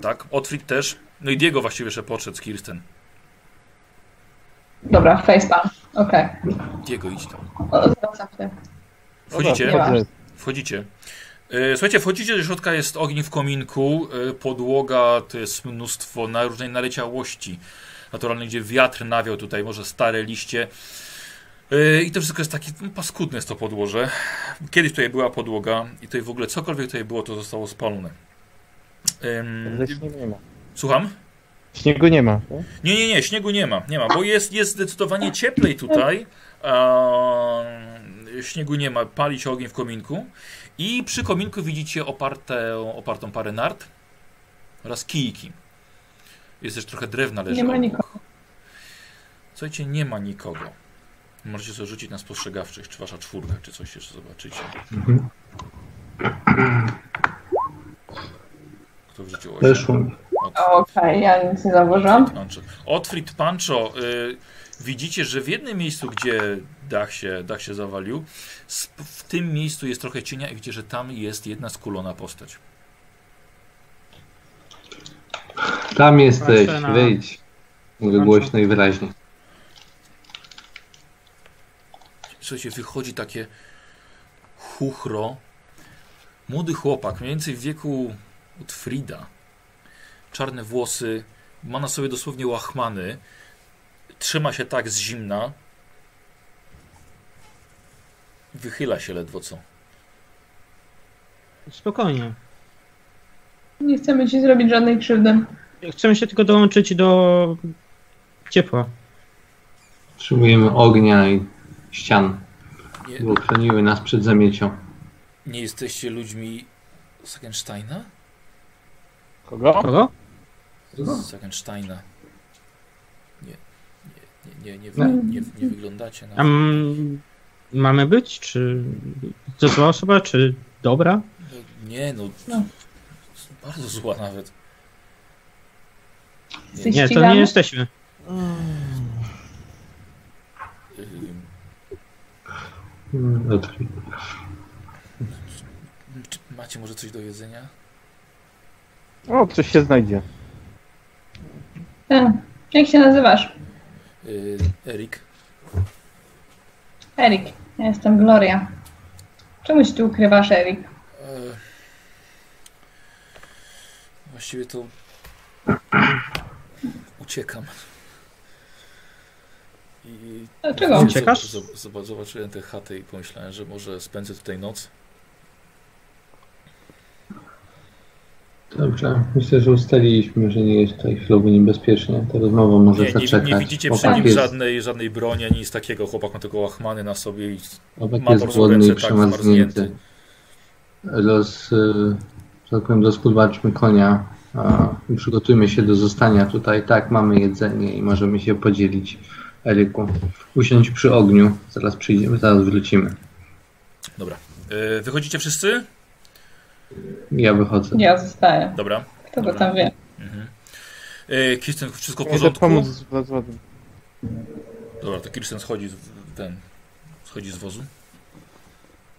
Speaker 1: Tak? Otwit też. No i Diego właściwie jeszcze podszedł z Kirsten.
Speaker 3: Dobra, facepalm. Okej.
Speaker 1: Diego, idź tam.
Speaker 3: O, Zwracam się.
Speaker 4: No
Speaker 1: Wchodzicie?
Speaker 3: Dobra.
Speaker 1: Wchodzicie. E, Słuchajcie, wchodzicie do środka, jest ogień w kominku, e, podłoga, to jest mnóstwo na różnej naleciałości. Naturalnie, gdzie wiatr nawiał tutaj, może stare liście. E, I to wszystko jest takie no, paskudne jest to podłoże. Kiedyś tutaj była podłoga i tutaj w ogóle cokolwiek tutaj było, to zostało spalone. Em,
Speaker 4: Śniegu nie ma.
Speaker 1: Słucham?
Speaker 4: Śniegu nie ma. tak?
Speaker 1: Nie, nie, nie, śniegu nie ma, nie ma, bo jest, jest zdecydowanie cieplej tutaj. Eee, śniegu nie ma, pali się ogień w kominku. I przy kominku widzicie oparte, opartą parę nart oraz kijki. Jest też trochę drewna leży.
Speaker 3: Nie ma
Speaker 1: obok.
Speaker 3: nikogo.
Speaker 1: Słuchajcie, nie ma nikogo. Możecie sobie rzucić na spostrzegawczych, czy wasza czwórka, czy coś jeszcze zobaczycie. Kto wrzucił osiem?
Speaker 6: Weszło mi.
Speaker 1: Od-
Speaker 3: Okej, ja nic nie zauważyłam.
Speaker 1: Pancho. Otfrid Pancho, y, widzicie, że w jednym miejscu, gdzie dach się, dach się zawalił, sp- w tym miejscu jest trochę cienia i widzicie, że tam jest jedna skulona postać.
Speaker 6: Tam jesteś,
Speaker 2: Patrzę na-
Speaker 6: wyjdź. Mówię
Speaker 2: Patrzę.
Speaker 6: głośno i wyraźnie.
Speaker 1: Słuchajcie, wychodzi takie chuchro. Młody chłopak, mniej więcej w wieku od Frida. Czarne włosy, ma na sobie dosłownie łachmany. Trzyma się tak z zimna. Wychyla się ledwo co.
Speaker 2: Spokojnie.
Speaker 3: Nie chcemy ci zrobić żadnej krzywdy.
Speaker 2: Chcemy się tylko dołączyć do ciepła.
Speaker 5: Potrzebujemy ognia i ścian,
Speaker 1: Nie,
Speaker 5: bo chroniły nas przed zamiecią.
Speaker 1: nie jesteście ludźmi Sagensteina?
Speaker 4: Kogo?
Speaker 2: Kogo?
Speaker 1: Z Sagensteina. Nie, nie, nie, nie, nie, wy- nie, nie wyglądacie
Speaker 2: A
Speaker 1: na...
Speaker 2: m- mamy być? Czy to zła osoba, czy dobra?
Speaker 1: No, Nie no,
Speaker 3: No.
Speaker 1: bardzo zła nawet.
Speaker 3: Jesteś
Speaker 2: Nie, to nie
Speaker 3: ścigany?
Speaker 2: jesteśmy.
Speaker 1: Ym,
Speaker 5: No, to-
Speaker 1: Czy macie może coś do jedzenia?
Speaker 4: O, coś się znajdzie.
Speaker 3: E, jak się nazywasz?
Speaker 1: Yy, Erik,
Speaker 3: Erik. Ja jestem Gloria. Czemu się tu ukrywasz, Erik?
Speaker 1: E, Właściwie to uciekam. I
Speaker 3: Dlaczego?
Speaker 2: Uciekasz?
Speaker 1: Zob- zob- Zobaczyłem tę chatę i pomyślałem, że może spędzę tutaj noc.
Speaker 5: Dobrze, myślę, że ustaliliśmy, że nie jest tutaj chwilowo niebezpiecznie. Ta rozmowa może
Speaker 1: Nie, nie,
Speaker 5: zaczekać.
Speaker 1: nie widzicie przy
Speaker 5: Chłopak
Speaker 1: nim
Speaker 5: jest-
Speaker 1: żadnej, żadnej broni ani nic takiego. Chłopak ma tylko łachmany na sobie i
Speaker 5: Obek
Speaker 1: Ma
Speaker 5: jest
Speaker 1: po prostu
Speaker 5: głodny
Speaker 1: ręce
Speaker 5: i
Speaker 1: tak zmarznięte.
Speaker 5: przemarznięty. Roz, y, że tak powiem, rozpudłaczmy konia a, i przygotujmy się do zostania tutaj. Tak, mamy jedzenie i możemy się podzielić. Eryku, usiądź przy ogniu, zaraz przyjdziemy, zaraz wrócimy.
Speaker 1: Dobra. E, Wychodzicie wszyscy?
Speaker 5: Ja wychodzę.
Speaker 3: Ja zostaję.
Speaker 1: Dobra.
Speaker 3: Kto go
Speaker 1: Dobra.
Speaker 3: tam wie?
Speaker 1: Mhm. E, Kirsten, wszystko w
Speaker 4: Idę
Speaker 1: porządku?
Speaker 4: pomóc z z ładem.
Speaker 1: Dobra, to Kirsten schodzi z, ten, schodzi z wozu.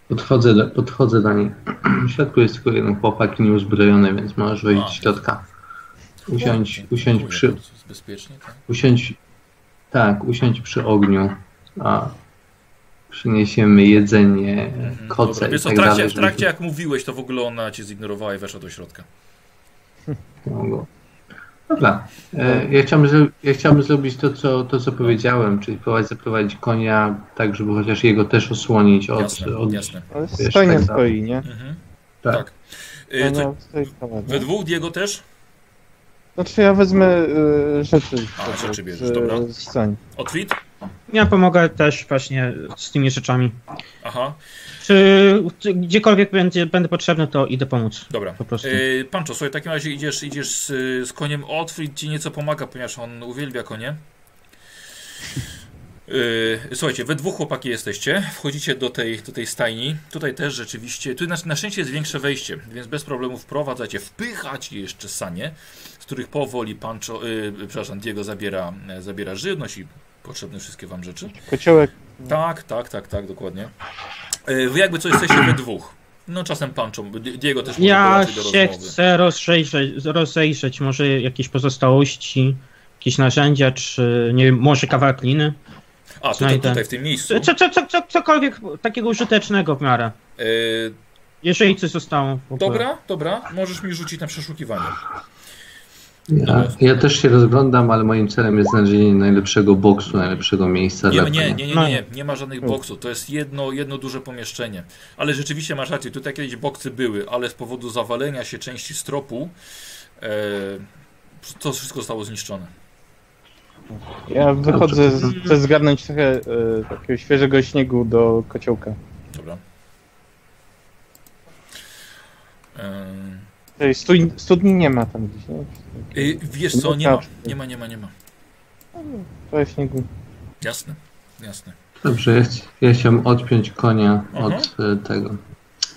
Speaker 5: Podchodzę do, podchodzę do niej. [CLEARS THROAT] W środku jest tylko jeden chłopak nieuzbrojony, więc możesz wejść
Speaker 1: A.
Speaker 5: do środka. Usiądź,
Speaker 1: Dziękuję,
Speaker 5: usiądź przy,
Speaker 1: bardzo jest Bezpiecznie, tak?
Speaker 5: Usiądź. Tak, usiądź przy ogniu. A przyniesiemy jedzenie,
Speaker 1: Mhm,
Speaker 5: koce
Speaker 1: Dobra,
Speaker 5: i
Speaker 1: wiesz co, w
Speaker 5: tak
Speaker 1: trakcie,
Speaker 5: dalej.
Speaker 1: w trakcie jak mówiłeś, to w ogóle ona cię zignorowała i weszła do środka.
Speaker 5: żebyśmy mogło. Dobra. E, Ja chciałbym, zro- ja chciałbym zrobić to co, to, co powiedziałem, czyli próbować zaprowadzić konia tak, żeby chociaż jego też osłonić od.
Speaker 1: Jasne,
Speaker 5: od
Speaker 1: jasne.
Speaker 4: Ale
Speaker 5: Wiesz,
Speaker 4: stojnia
Speaker 5: tak za-
Speaker 4: stoi, nie?
Speaker 1: Mhm.
Speaker 5: tak.
Speaker 1: Tak. Y, to,
Speaker 4: Ona stoi stała,
Speaker 1: we dwóch Diego też?
Speaker 4: Znaczy ja wezmę y, rzeczy.
Speaker 1: A, rzeczy
Speaker 4: z- y,
Speaker 1: bierzesz, dobra.
Speaker 4: Z stojni.
Speaker 1: Otwit?
Speaker 2: Ja pomogę też właśnie z tymi rzeczami.
Speaker 1: Aha,
Speaker 2: Czy czy gdziekolwiek będzie, będę potrzebny, to idę pomóc.
Speaker 1: dobra.
Speaker 2: Po prostu.
Speaker 1: Y, Pancho, słuchaj, w takim razie idziesz, idziesz z, z koniem. Otwit ci nieco pomaga, ponieważ on uwielbia konie. Y, Słuchajcie, we dwóch chłopaki jesteście, wchodzicie do tej, do tej stajni. Tutaj też rzeczywiście, tu na, na szczęście jest większe wejście, więc bez problemu wprowadzacie, wpychacie jeszcze sanie, z których powoli Pancho, y, przepraszam, Diego zabiera, e, zabiera żywność i potrzebne wszystkie wam rzeczy.
Speaker 4: Kociołek
Speaker 1: Tak, tak, tak, tak, dokładnie. E, Wy jakby co jesteście we dwóch. No czasem Pancho, Di- Diego też może
Speaker 2: Ja
Speaker 1: dołączyć do
Speaker 2: się
Speaker 1: rozmowy.
Speaker 2: chcę rozejrzeć, rozejrzeć, może jakieś pozostałości, jakieś narzędzia, czy nie wiem, może kawałek liny.
Speaker 1: A, tutaj,
Speaker 2: Znajdę.
Speaker 1: tutaj w tym miejscu.
Speaker 2: Co, co, co, co, cokolwiek takiego użytecznego w miarę.
Speaker 1: E,
Speaker 2: Jeżeli coś zostało. w ogóle.
Speaker 1: dobra, dobra, możesz mi rzucić na przeszukiwanie.
Speaker 5: Ja, ja też się rozglądam, ale moim celem jest znalezienie najlepszego boksu, najlepszego miejsca
Speaker 1: Nie,
Speaker 5: dla
Speaker 1: nie, nie,
Speaker 5: konia.
Speaker 1: nie,
Speaker 2: No.
Speaker 1: nie, nie, nie ma żadnych boksów. To jest jedno, jedno duże pomieszczenie. Ale rzeczywiście masz rację, tutaj kiedyś boksy były, ale z powodu zawalenia się części stropu e, to wszystko zostało zniszczone.
Speaker 4: Ja wychodzę, z, chcę zgarnąć trochę e, takiego świeżego śniegu do kociołka.
Speaker 1: Dobra. Em,
Speaker 4: Tej stuj, studni nie ma tam gdzieś, nie?
Speaker 1: Y, wiesz co, nie ma, nie ma, nie ma, nie ma.
Speaker 4: Trochę śniegu.
Speaker 1: Jasne, jasne.
Speaker 5: Dobrze, ja, chci- ja chciałem odpiąć konia
Speaker 1: Mhm.
Speaker 5: od e, tego,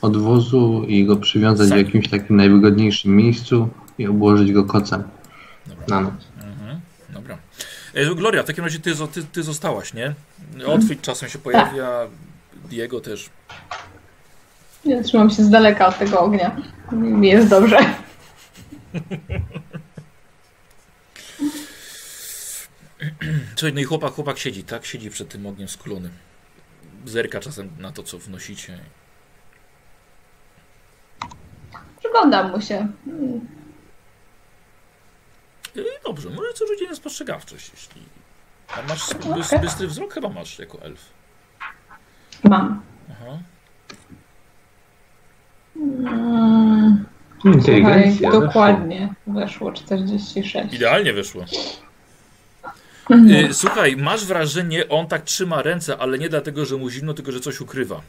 Speaker 5: od wozu i go przywiązać
Speaker 1: Sam.
Speaker 5: w jakimś takim najwygodniejszym miejscu i obłożyć go kocem
Speaker 1: Dobra.
Speaker 5: na noc.
Speaker 1: Mhm, dobra. E, Gloria, w takim razie ty, zo- ty, ty zostałaś, nie? Outfit czasem się pojawia, Diego też.
Speaker 3: Ja trzymam się z daleka od tego ognia. Mi jest dobrze.
Speaker 1: Słuchaj, no i chłopak, chłopak siedzi, tak? Siedzi przed tym ogniem skulonym. Zerka czasem na to, co wnosicie.
Speaker 3: Przyglądam mu się. Mm,
Speaker 1: E, dobrze, może co rzucić na spostrzegawczość, jeśli... A masz bys,
Speaker 3: Okej.
Speaker 1: bystry wzrok chyba masz jako elf.
Speaker 3: Mam.
Speaker 1: Aha.
Speaker 3: Mm, Słuchaj,
Speaker 6: Inteligencja.
Speaker 3: dokładnie weszło 46.
Speaker 1: Idealnie wyszło.
Speaker 3: Mhm.
Speaker 1: Y, Słuchaj, masz wrażenie, on tak trzyma ręce, ale nie dlatego, że mu zimno, tylko że coś ukrywa.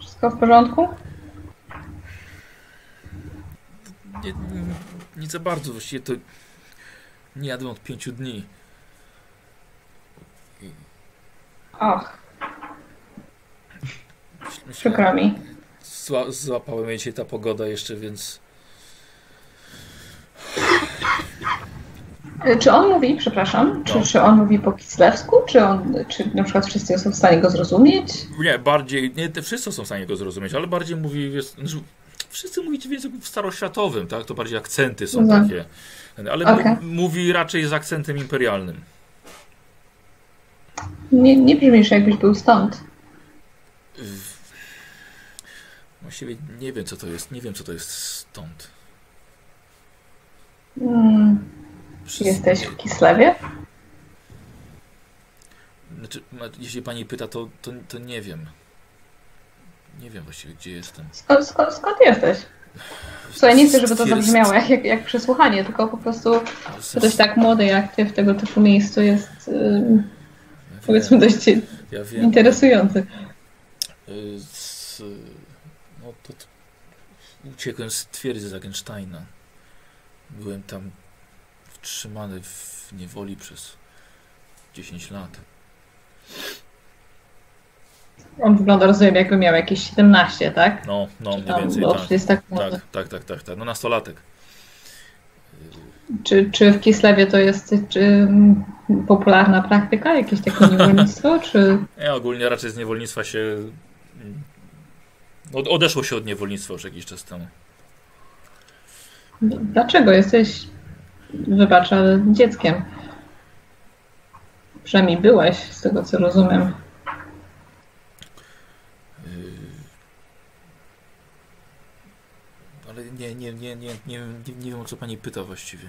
Speaker 3: Wszystko w porządku?
Speaker 1: Nie, nie, nie za bardzo, właściwie to nie jadłem od pięciu dni.
Speaker 3: Ach,
Speaker 1: Myślałem,
Speaker 3: przykro mi.
Speaker 1: zła, złapała mnie dzisiaj ta pogoda jeszcze, więc
Speaker 3: Y, Czy on mówi, przepraszam, czy,
Speaker 1: No.
Speaker 3: czy on mówi po kislewsku? Czy on, czy na przykład wszyscy są w stanie go zrozumieć?
Speaker 1: nie, bardziej, nie, te wszyscy są w stanie go zrozumieć, ale bardziej mówi, jest, znaczy, wszyscy mówicie w języku staroświatowym, tak, to bardziej akcenty są
Speaker 3: Mhm.
Speaker 1: takie, ale
Speaker 3: Okej.
Speaker 1: m- mówi raczej z akcentem imperialnym.
Speaker 3: Nie, nie brzmisz jakbyś był stąd.
Speaker 1: W- Właściwie nie wiem co to jest, nie wiem co to jest stąd.
Speaker 3: Mm,
Speaker 1: Przez-
Speaker 3: jesteś w Kislewie?
Speaker 1: Znaczy, ma- jeśli pani pyta, to, to, to nie wiem. Nie wiem właściwie gdzie jestem.
Speaker 3: Skąd, skąd, skąd jesteś? Słuchaj, nie chcę, żeby to
Speaker 1: Stwierdz-
Speaker 3: zabrzmiało jak, jak, jak przesłuchanie, tylko po prostu ktoś tak młody jak ty w tego typu miejscu jest, ym,
Speaker 1: Ja wiem,
Speaker 3: powiedzmy, dość
Speaker 1: Ja wiem.
Speaker 3: interesujący.
Speaker 1: Y, Z, no to, to uciekłem z twierdzy Zagensteina. Byłem tam trzymany w niewoli przez 10 lat.
Speaker 3: On wygląda, rozumiem, jakby miał jakieś 17, tak?
Speaker 1: No, no,
Speaker 3: Czy
Speaker 1: mniej
Speaker 3: tam
Speaker 1: więcej
Speaker 3: do
Speaker 1: tak.
Speaker 3: 30 tak. młody.
Speaker 1: Tak, tak, tak, tak, tak. No nastolatek.
Speaker 3: Czy, czy w Kislewie to jest czy, ym, popularna praktyka, jakieś
Speaker 1: [LAUGHS]
Speaker 3: takie niewolnictwo, czy...
Speaker 1: Ja E, ogólnie raczej z niewolnictwa się. mm, Od, odeszło się od niewolnictwa już jakiś czas temu.
Speaker 3: Dlaczego jesteś, wybacz, ale dzieckiem? Przynajmniej byłeś, z tego co rozumiem.
Speaker 1: Yy. Ale nie, nie, nie, nie, nie, wiem- nie, nie wiem o co pani pyta właściwie.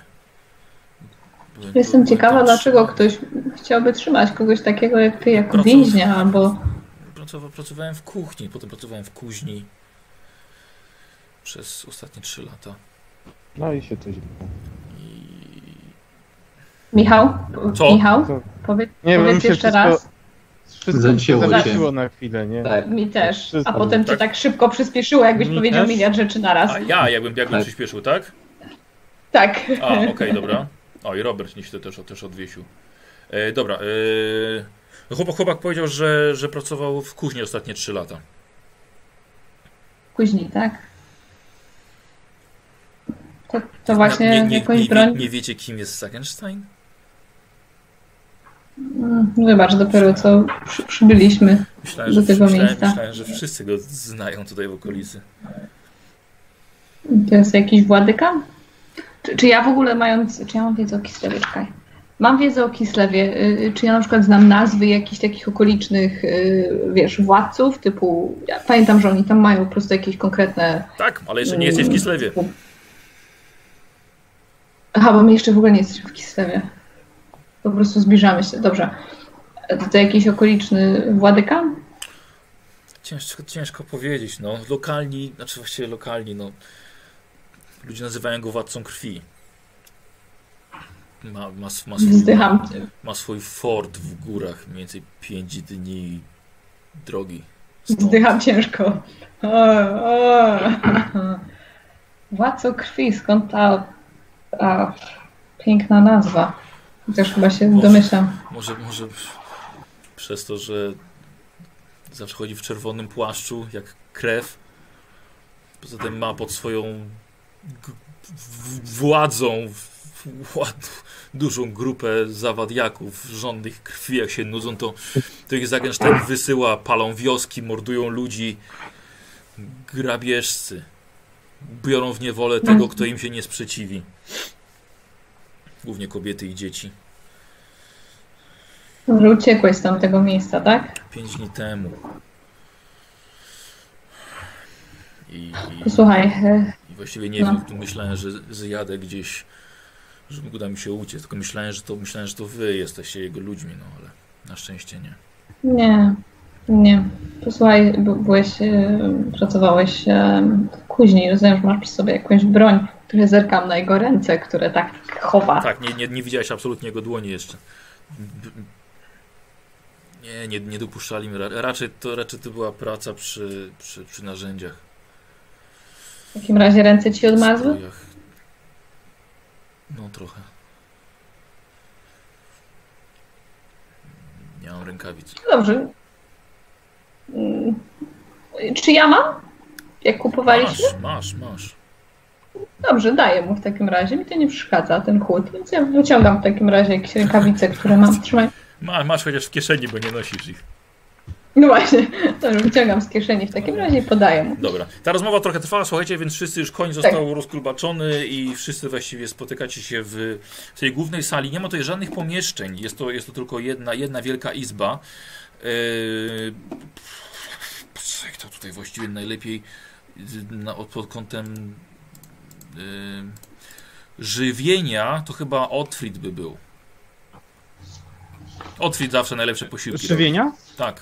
Speaker 1: Byłem-
Speaker 3: Jestem
Speaker 1: byłem
Speaker 3: ciekawa,
Speaker 1: tam
Speaker 3: dlaczego
Speaker 1: trzymany.
Speaker 3: ktoś chciałby trzymać kogoś takiego jak ty, jako
Speaker 1: Pracow-
Speaker 3: więźnia, albo
Speaker 1: Pracowa, pracowałem w kuchni, potem pracowałem w kuźni przez ostatnie 3 lata.
Speaker 4: No i się coś dzieje.
Speaker 1: I
Speaker 3: Michał?
Speaker 1: Co?
Speaker 3: Michał?
Speaker 4: Co?
Speaker 3: Powiedz,
Speaker 4: Nie, bo mi
Speaker 3: powiedz
Speaker 4: się
Speaker 3: jeszcze
Speaker 4: wszystko-
Speaker 3: raz.
Speaker 4: Wszystko
Speaker 6: Zacięło
Speaker 4: się
Speaker 6: się.
Speaker 4: zacięło na chwilę, nie?
Speaker 6: Tak.
Speaker 3: Mi też.
Speaker 4: Wszystko.
Speaker 3: A potem cię
Speaker 1: Tak.
Speaker 3: tak szybko przyspieszyło, jakbyś
Speaker 2: Mi
Speaker 3: powiedział
Speaker 2: też?
Speaker 3: miliard rzeczy naraz.
Speaker 1: A ja, jakbym, jakbym
Speaker 6: Tak.
Speaker 1: przyspieszył, tak?
Speaker 3: Tak.
Speaker 1: A,
Speaker 3: [LAUGHS]
Speaker 1: okej, dobra. O, i Robert nie się to też, też odwiesił. E, dobra. E, chłopak, chłopak powiedział, że, że pracował w kuźni ostatnie 3 lata.
Speaker 3: Później, tak. To, to właśnie
Speaker 1: nie, nie,
Speaker 3: jakąś
Speaker 1: nie,
Speaker 3: broń.
Speaker 1: Nie, nie wiecie, kim jest Sagenstein?
Speaker 3: Mm, Wybacz, dopiero co przy, przybyliśmy.
Speaker 1: Myślałem,
Speaker 3: Do
Speaker 1: że,
Speaker 3: tego
Speaker 1: myślałem,
Speaker 3: miejsca.
Speaker 1: myślałem, że wszyscy go znają tutaj w okolicy.
Speaker 3: To jest jakiś władyka? Czy, czy ja w ogóle mając. Czy ja mam wiedzę o Kislewie? Czekaj. Mam wiedzę o Kislewie. Y, Czy ja na przykład znam nazwy jakichś takich okolicznych, y, wiesz, władców, typu. Ja pamiętam, że oni tam mają po prostu jakieś konkretne.
Speaker 1: Tak, ale jeszcze nie jesteś w Kislewie.
Speaker 3: Aha, bo my jeszcze w ogóle nie jesteśmy w Kislewie. Po prostu zbliżamy się. Dobrze. To, to jakiś okoliczny władyka?
Speaker 1: Ciężko, ciężko powiedzieć, no. Lokalni, znaczy właściwie lokalni, no. Ludzie nazywają go władcą krwi. Ma, ma, sw- ma, swój,
Speaker 3: Wzdycham.
Speaker 1: ma swój fort w górach, mniej więcej 5 dni drogi. stąd.
Speaker 3: Zdycham ciężko. O, o. Władco krwi, skąd ta, ta piękna nazwa? Chociaż chyba się domyślam.
Speaker 1: Może, może przez to, że zawsze chodzi w czerwonym płaszczu, jak krew. Poza tym ma pod swoją g- w- władzą w- ład- dużą grupę zawadiaków, żądnych krwi, jak się nudzą, to, to ich Zagenstein wysyła, palą wioski, mordują ludzi. Grabieżcy. Biorą w niewolę tego, kto im się nie sprzeciwi. Głównie kobiety i dzieci.
Speaker 3: Że uciekłeś z tamtego miejsca, tak?
Speaker 1: Pięć dni temu. I, i,
Speaker 3: Posłuchaj, e,
Speaker 1: i właściwie nie
Speaker 3: No.
Speaker 1: wiem, tu myślałem, że zjadę gdzieś, że uda mi się uciec, tylko myślałem, że to myślałem, że to wy jesteście jego ludźmi, no ale na szczęście nie.
Speaker 3: Nie, nie. Posłuchaj, b- byłeś, e, pracowałeś e, później, rozumiem, że masz przy sobie jakąś broń. Trochę zerkam na jego ręce, które tak chowa.
Speaker 1: Tak, nie, nie, nie widziałeś absolutnie jego dłoni jeszcze. B- Nie, nie, nie dopuszczali mi. ra- Raczej to, raczej to była praca przy, przy, przy narzędziach.
Speaker 3: W takim razie ręce ci odmazły?
Speaker 1: strojach. No trochę. Nie mam rękawic.
Speaker 3: No Dobrze. Mm, Czy ja mam? Jak kupowaliśmy?
Speaker 1: Masz, masz, masz.
Speaker 3: Dobrze, daję mu w takim razie. Mi to nie przeszkadza, ten chłód. Więc ja wyciągam w takim razie jakieś rękawice, które mam. Trzymaj.
Speaker 1: Ma, masz chociaż w kieszeni, bo nie nosisz ich.
Speaker 3: No właśnie, dobrze, wyciągam z kieszeni w takim razie i podaję mu.
Speaker 1: Dobra. Ta rozmowa trochę trwała, słuchajcie, więc wszyscy już koń został rozkrubaczony i wszyscy właściwie spotykacie się w, w tej głównej sali. Nie ma tutaj żadnych pomieszczeń. Jest to, jest to tylko jedna, jedna wielka izba. Yy... pff, Jak to tutaj właściwie najlepiej z- na, od- pod kątem yy... żywienia, to chyba Otfrid by był. Otfrid zawsze najlepsze posiłki. robi.
Speaker 2: Żywienia?
Speaker 1: Tak.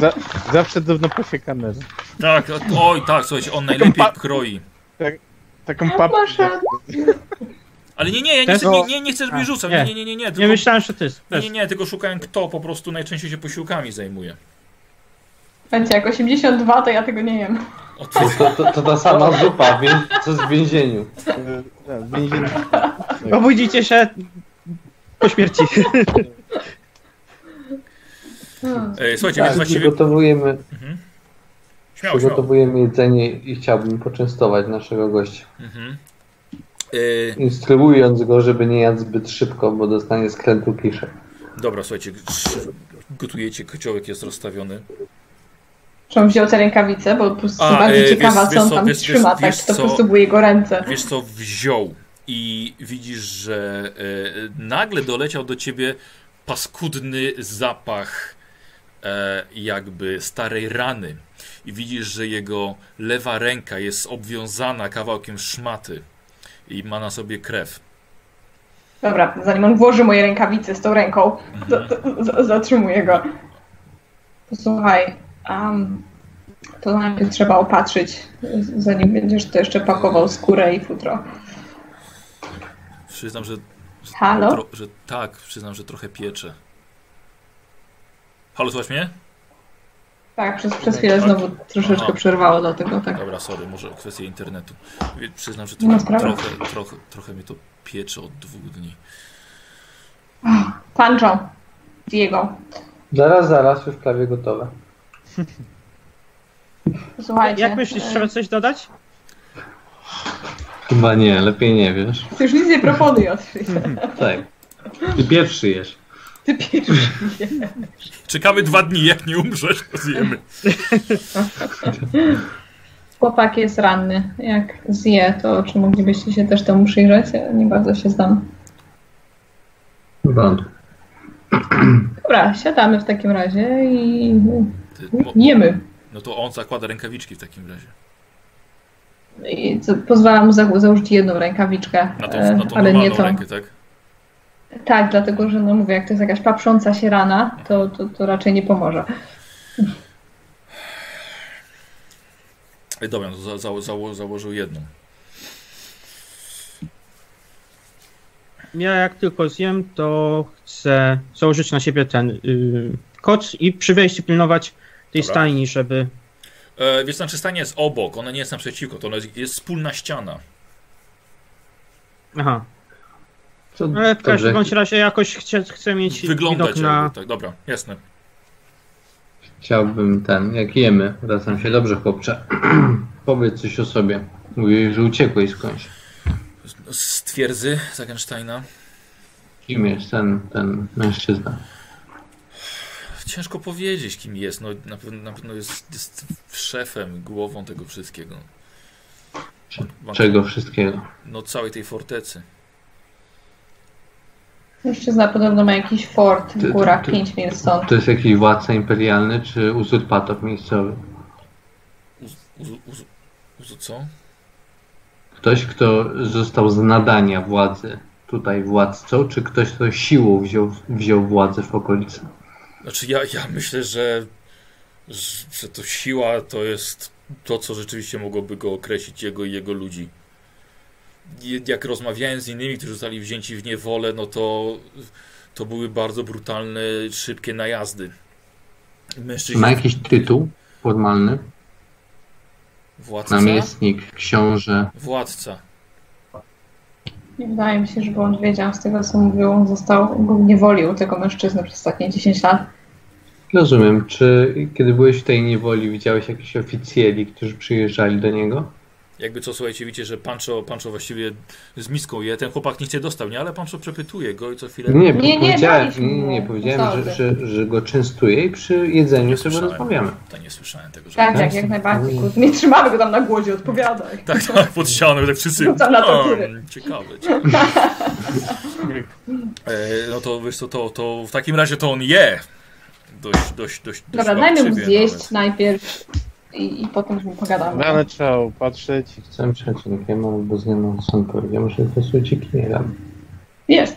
Speaker 4: Za, zawsze dawno posiekane.
Speaker 1: Tak, o- oj, tak, słuchajcie, on najlepiej kroi.
Speaker 4: Taką
Speaker 3: A,
Speaker 4: papkę.
Speaker 3: proszę.
Speaker 1: Ale nie, nie, ja nie,
Speaker 2: Też?
Speaker 1: chcę, nie, nie, nie chcę, żebyś
Speaker 2: A,
Speaker 1: rzucał. Nie,
Speaker 2: nie.
Speaker 1: nie, nie, nie, nie. Tylko,
Speaker 2: Nie myślałem, że ty.
Speaker 1: nie,
Speaker 2: Też.
Speaker 1: nie, nie, tylko szukałem, kto po prostu najczęściej się posiłkami zajmuje.
Speaker 3: Będzie jak 82, to ja tego nie jem.
Speaker 1: O,
Speaker 6: To,
Speaker 1: ty-
Speaker 5: Tak.
Speaker 6: to, to, to ta sama zupa, więc co jest w więzieniu.
Speaker 4: Tak, w więzieniu.
Speaker 2: Obudzicie się po śmierci.
Speaker 3: Hmm.
Speaker 1: E, słuchajcie,
Speaker 6: Tak,
Speaker 1: więc właściwie.
Speaker 6: przygotowujemy,
Speaker 1: Śmiało, śmiało.
Speaker 6: przygotowujemy jedzenie i chciałbym poczęstować naszego gościa.
Speaker 1: Mhm. E,
Speaker 6: Instruując go, żeby nie jadł zbyt szybko, bo dostanie skrętu kiszek.
Speaker 1: dobra, słuchajcie, trz- gotujecie, kociołek jest rozstawiony.
Speaker 3: Czy on wziął te rękawice, bo po prostu
Speaker 1: A,
Speaker 3: jestem bardziej
Speaker 1: e,
Speaker 3: ciekawa,
Speaker 1: wiesz-
Speaker 3: co on
Speaker 1: wiesz co,
Speaker 3: tam
Speaker 1: wiesz-
Speaker 3: trzyma,
Speaker 1: wiesz-
Speaker 3: tak,
Speaker 1: wiesz
Speaker 3: czy to po
Speaker 1: co?
Speaker 3: prostu były jego ręce.
Speaker 1: Wiesz co, wziął i widzisz, że e, nagle doleciał do ciebie paskudny zapach e, jakby starej rany. I widzisz, że jego lewa ręka jest obwiązana kawałkiem szmaty i ma na sobie krew.
Speaker 3: Dobra, zanim on włoży moje rękawice z tą ręką, za- za- zatrzymuję go. Posłuchaj, um, to najpierw trzeba opatrzyć, z- zanim będziesz to jeszcze pakował skórę i futro.
Speaker 1: Przyznam, że,
Speaker 3: Halo?
Speaker 1: tro, że tak, przyznam, że trochę piecze. Halo, słuchasz mnie?
Speaker 3: Tak, przez, przez chwilę znowu troszeczkę
Speaker 1: Aha.
Speaker 3: przerwało, dlatego tak.
Speaker 1: Dobra, sorry, może kwestia internetu. Wie- Przyznam, że
Speaker 3: Nie ma
Speaker 1: trochę,
Speaker 3: sprawy.
Speaker 1: trochę, trochę, trochę mnie to piecze od dwóch dni.
Speaker 3: Pancho, Diego,
Speaker 6: Zaraz, zaraz, już prawie gotowe.
Speaker 3: posłuchajcie.
Speaker 2: Jak myślisz,
Speaker 3: e,
Speaker 2: trzeba coś dodać?
Speaker 6: Chyba nie, lepiej nie wiesz.
Speaker 3: Ty już nic nie
Speaker 2: [LAUGHS]
Speaker 3: proponuj oczywiście.
Speaker 6: Tak. Ty pierwszy jesz.
Speaker 3: Ty pierwszy.
Speaker 1: Czekamy dwa dni, jak nie umrzesz, to zjemy.
Speaker 3: Chłopak jest ranny. Jak zje, to czy moglibyście się też temu przyjrzeć? Ja nie bardzo się znam.
Speaker 6: Bąd.
Speaker 3: Dobra, siadamy w takim razie i
Speaker 1: Ty, mo,
Speaker 3: jemy.
Speaker 1: no to on zakłada rękawiczki w takim razie.
Speaker 3: I co, pozwala mu za- założyć jedną rękawiczkę,
Speaker 1: Na tą,
Speaker 3: e,
Speaker 1: na tą
Speaker 3: ale nie
Speaker 1: normalną
Speaker 3: tą.
Speaker 1: rękę, tak?
Speaker 3: Tak, dlatego że no mówię, jak to jest jakaś paprząca się rana, to, to, to raczej nie pomoże.
Speaker 1: E, Dobra, no to za, za, zało, założył jedną.
Speaker 2: Ja jak tylko zjem, to chcę założyć na siebie ten yy, koc i przy wejściu pilnować tej
Speaker 1: Dobra.
Speaker 2: stajni, żeby...
Speaker 1: E, wiesz, znaczy stanie jest obok, ona nie jest naprzeciwko, to ona jest, jest wspólna ściana.
Speaker 2: Aha,
Speaker 6: Co,
Speaker 2: ale w każdym bądź
Speaker 6: dobrze,
Speaker 2: razie jakoś chcę, chcę mieć
Speaker 1: Wyglądać
Speaker 2: widok na...
Speaker 1: jakby, tak, dobra, jasne.
Speaker 6: chciałbym ten, jak jemy, wracam się. Dobrze, chłopcze, [CLEARS THROAT] powiedz coś o sobie. Mówiłeś, że uciekłeś skądś.
Speaker 1: Z twierdzy Zagensteina.
Speaker 6: Kim jest ten, ten mężczyzna?
Speaker 1: Ciężko powiedzieć, kim jest. No, na, pewno, na pewno jest, jest szefem, głową tego wszystkiego. On- ma-
Speaker 6: Czego wszystkiego?
Speaker 1: No całej tej fortecy.
Speaker 3: Mężczyzna podobno ma jakiś fort
Speaker 6: Ty-
Speaker 3: w górach,
Speaker 6: ty-
Speaker 3: 5 mil stąd.
Speaker 6: To jest jakiś władca imperialny czy uzurpator miejscowy?
Speaker 1: Uz, uz, uz, uz, co?
Speaker 6: Ktoś, kto został z nadania władzy tutaj władcą, czy ktoś, kto siłą wziął, wziął władzę w okolicy?
Speaker 1: Znaczy ja, ja myślę, że, że to siła to jest to, co rzeczywiście mogłoby go określić, jego i jego ludzi. Je- Jak rozmawiałem z innymi, którzy zostali wzięci w niewolę, no to, to były bardzo brutalne, szybkie najazdy.
Speaker 5: Czy ma
Speaker 1: Mężczyźni,
Speaker 5: jakiś tytuł formalny?
Speaker 1: władca,
Speaker 5: Namiestnik, książę.
Speaker 1: władca.
Speaker 3: Nie wydaje mi się, żeby on wiedział z tego, co mówił. On został, był w niewoli u tego mężczyzny przez ostatnie 10 lat.
Speaker 5: Rozumiem. Czy kiedy byłeś w tej niewoli, widziałeś jakichś oficjeli, którzy przyjeżdżali do niego?
Speaker 1: Jakby co, słuchajcie, widzicie, że Pancho, Pancho właściwie z miską je, ten chłopak nic nie dostał, nie? Ale Pancho przepytuje go i co chwilę...
Speaker 5: Nie,
Speaker 3: nie,
Speaker 5: powiedziałem,
Speaker 3: daliśmy mu.
Speaker 5: nie, powiedziałem że,
Speaker 3: Dostałby.
Speaker 5: że, że go częstuje i przy jedzeniu sobie
Speaker 1: słyszałem.
Speaker 5: rozmawiamy.
Speaker 1: To nie słyszałem tego, że...
Speaker 3: Tak, tak, jak najbardziej. Kurde, Nie trzymamy go tam na głodzie, odpowiadaj. [LAUGHS]
Speaker 1: Tak, tak, pod ścianą, tak wszyscy.
Speaker 3: Rzucam na No to
Speaker 1: "Mm,
Speaker 3: piry". [LAUGHS]
Speaker 1: Ciekawe. ciekawe. E, no to wiesz co, to, to w takim razie to on je. Dość, dość, dość.
Speaker 3: Dobra,
Speaker 1: dość
Speaker 3: dajmy mu
Speaker 1: łapczywie
Speaker 3: zjeść
Speaker 1: nawet.
Speaker 3: najpierw i, i potem z nim
Speaker 5: No,
Speaker 3: pogadamy.
Speaker 4: Rany trzeba opatrzyć.
Speaker 5: Chcę przeciwnikiem albo zmianą sądu. Ja muszę to jest uciekinierem.
Speaker 3: Jest.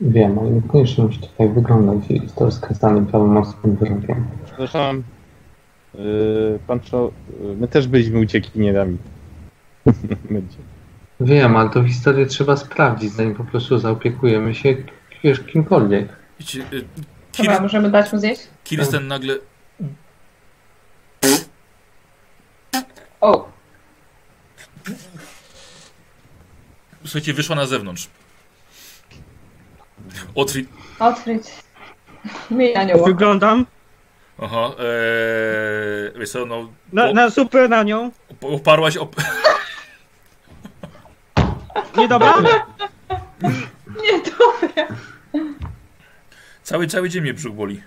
Speaker 5: Wiem, ale niekoniecznie musi to tak wyglądać. Jest to skazany prawomocnym wyrokiem.
Speaker 4: Przepraszam. Yy, pan Czo... yy, My też byliśmy uciekinierami. [LAUGHS] Będzie.
Speaker 5: Wiem, ale to historię trzeba sprawdzić, zanim po prostu zaopiekujemy się wiesz, kimkolwiek.
Speaker 1: Wiecie, e, Kir-
Speaker 3: Dobra, możemy dać mu zjeść?
Speaker 1: Kirsten nagle.
Speaker 3: O,
Speaker 1: Słuchajcie, wyszła na zewnątrz. Otwi.
Speaker 3: odkryć. [LAUGHS] Miej anioła.
Speaker 2: Wyglądam
Speaker 1: Aha, eee, wiesz co, no.
Speaker 2: na, na super na nią.
Speaker 1: op- Oparłaś. Op... [LAUGHS]
Speaker 2: Niedobra?
Speaker 3: Nie, dobra.
Speaker 1: Cały, cały dzień mnie brzuch boli. [CLEARS THROAT]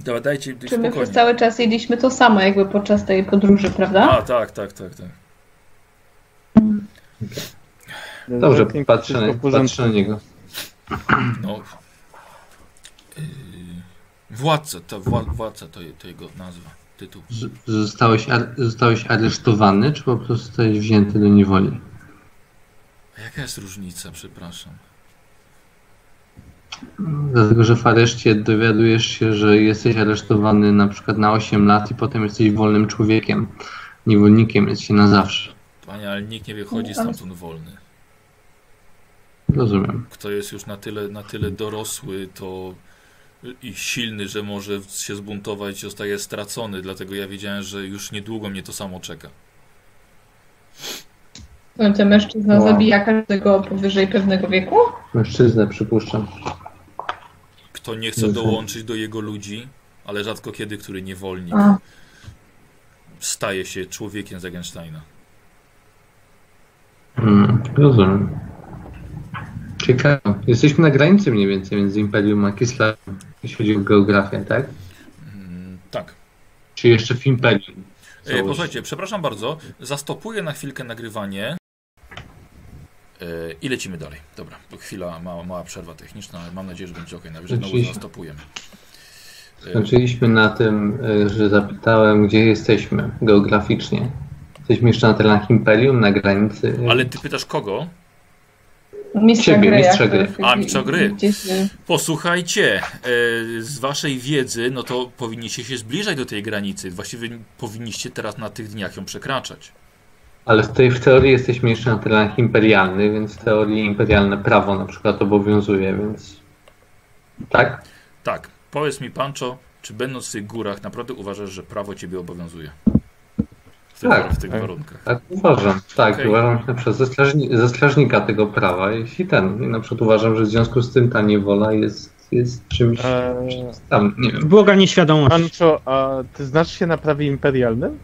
Speaker 1: Dobra, dajcie
Speaker 3: Czy my
Speaker 1: spokojnie.
Speaker 3: przez cały czas jedliśmy to samo, jakby podczas tej podróży, prawda?
Speaker 1: A, tak, tak, tak, tak.
Speaker 5: Dobrze,
Speaker 4: Z tym
Speaker 5: patrzę
Speaker 4: wszystko w
Speaker 5: na,
Speaker 4: porządku.
Speaker 5: patrzę na niego.
Speaker 1: No. Yy, władca, to, wła, władca to, je- to jego nazwa, tytuł.
Speaker 5: Z- Zostałeś, ar- zostałeś aresztowany, czy po prostu zostałeś wzięty do niewoli?
Speaker 1: A jaka jest różnica, przepraszam?
Speaker 5: Dlatego, że w areszcie dowiadujesz się, że jesteś aresztowany na przykład na 8 lat i potem jesteś wolnym człowiekiem. Niewolnikiem jesteś na zawsze.
Speaker 1: Panie, No, ale nikt nie wychodzi stamtąd wolny.
Speaker 5: Rozumiem.
Speaker 1: Kto jest już na tyle, na tyle dorosły, to i silny, że może się zbuntować, zostaje stracony, dlatego ja wiedziałem, że już niedługo mnie to samo czeka.
Speaker 3: No, ten mężczyzna
Speaker 5: Wow.
Speaker 3: zabija każdego powyżej pewnego wieku?
Speaker 5: Mężczyznę przypuszczam.
Speaker 1: Kto nie chce
Speaker 5: Rozumiem.
Speaker 1: dołączyć do jego ludzi, ale rzadko kiedy, który niewolnik,
Speaker 3: A,
Speaker 1: staje się człowiekiem Zagensteina.
Speaker 5: Mm, rozumiem. Ciekawe. Jesteśmy na granicy mniej więcej między Imperium a Kislavem, jeśli chodzi o geografię, tak?
Speaker 1: Mm, tak.
Speaker 5: Czy jeszcze w Imperium?
Speaker 1: E, posłuchajcie, przepraszam bardzo, zastopuję na chwilkę nagrywanie. E, I lecimy dalej. Dobra, to chwila, mała, mała przerwa techniczna, ale mam nadzieję, że będzie ok. Najwyżej znowu
Speaker 5: Oczywiście. Znaczy-
Speaker 1: zastopujemy. E,
Speaker 5: Skończyliśmy na tym, y, że zapytałem, gdzie jesteśmy geograficznie. Jesteśmy jeszcze na terenach Imperium, na granicy.
Speaker 1: ale ty pytasz kogo?
Speaker 3: mistrza
Speaker 5: Ciebie,
Speaker 3: gry.
Speaker 5: mistrza
Speaker 3: jak to
Speaker 5: gry.
Speaker 3: jest
Speaker 1: A, mistrza gry.
Speaker 3: Gdzieś, y,
Speaker 1: Posłuchajcie, e, z waszej wiedzy, no to powinniście się zbliżać do tej granicy. Właściwie powinniście teraz na tych dniach ją przekraczać.
Speaker 5: Ale w, tej, w teorii jesteśmy jeszcze na terenach imperialnych, więc w teorii imperialne prawo na przykład obowiązuje, więc. Tak?
Speaker 1: Tak, powiedz mi, Pancho, czy będąc w tych górach, naprawdę uważasz, że prawo ciebie obowiązuje? W tych,
Speaker 5: Tak.
Speaker 1: w tych
Speaker 4: Tak.
Speaker 1: warunkach.
Speaker 5: Tak uważam. Tak,
Speaker 1: Okej.
Speaker 5: uważam się na przykład za, strażni- za strażnika tego prawa, jeśli ten. I na przykład uważam, że w związku z tym ta niewola jest, jest czymś.
Speaker 4: Eee,
Speaker 5: Tam, nie wiem.
Speaker 2: Błoga nieświadomość.
Speaker 4: Pancho, a ty znasz się na prawie imperialnym?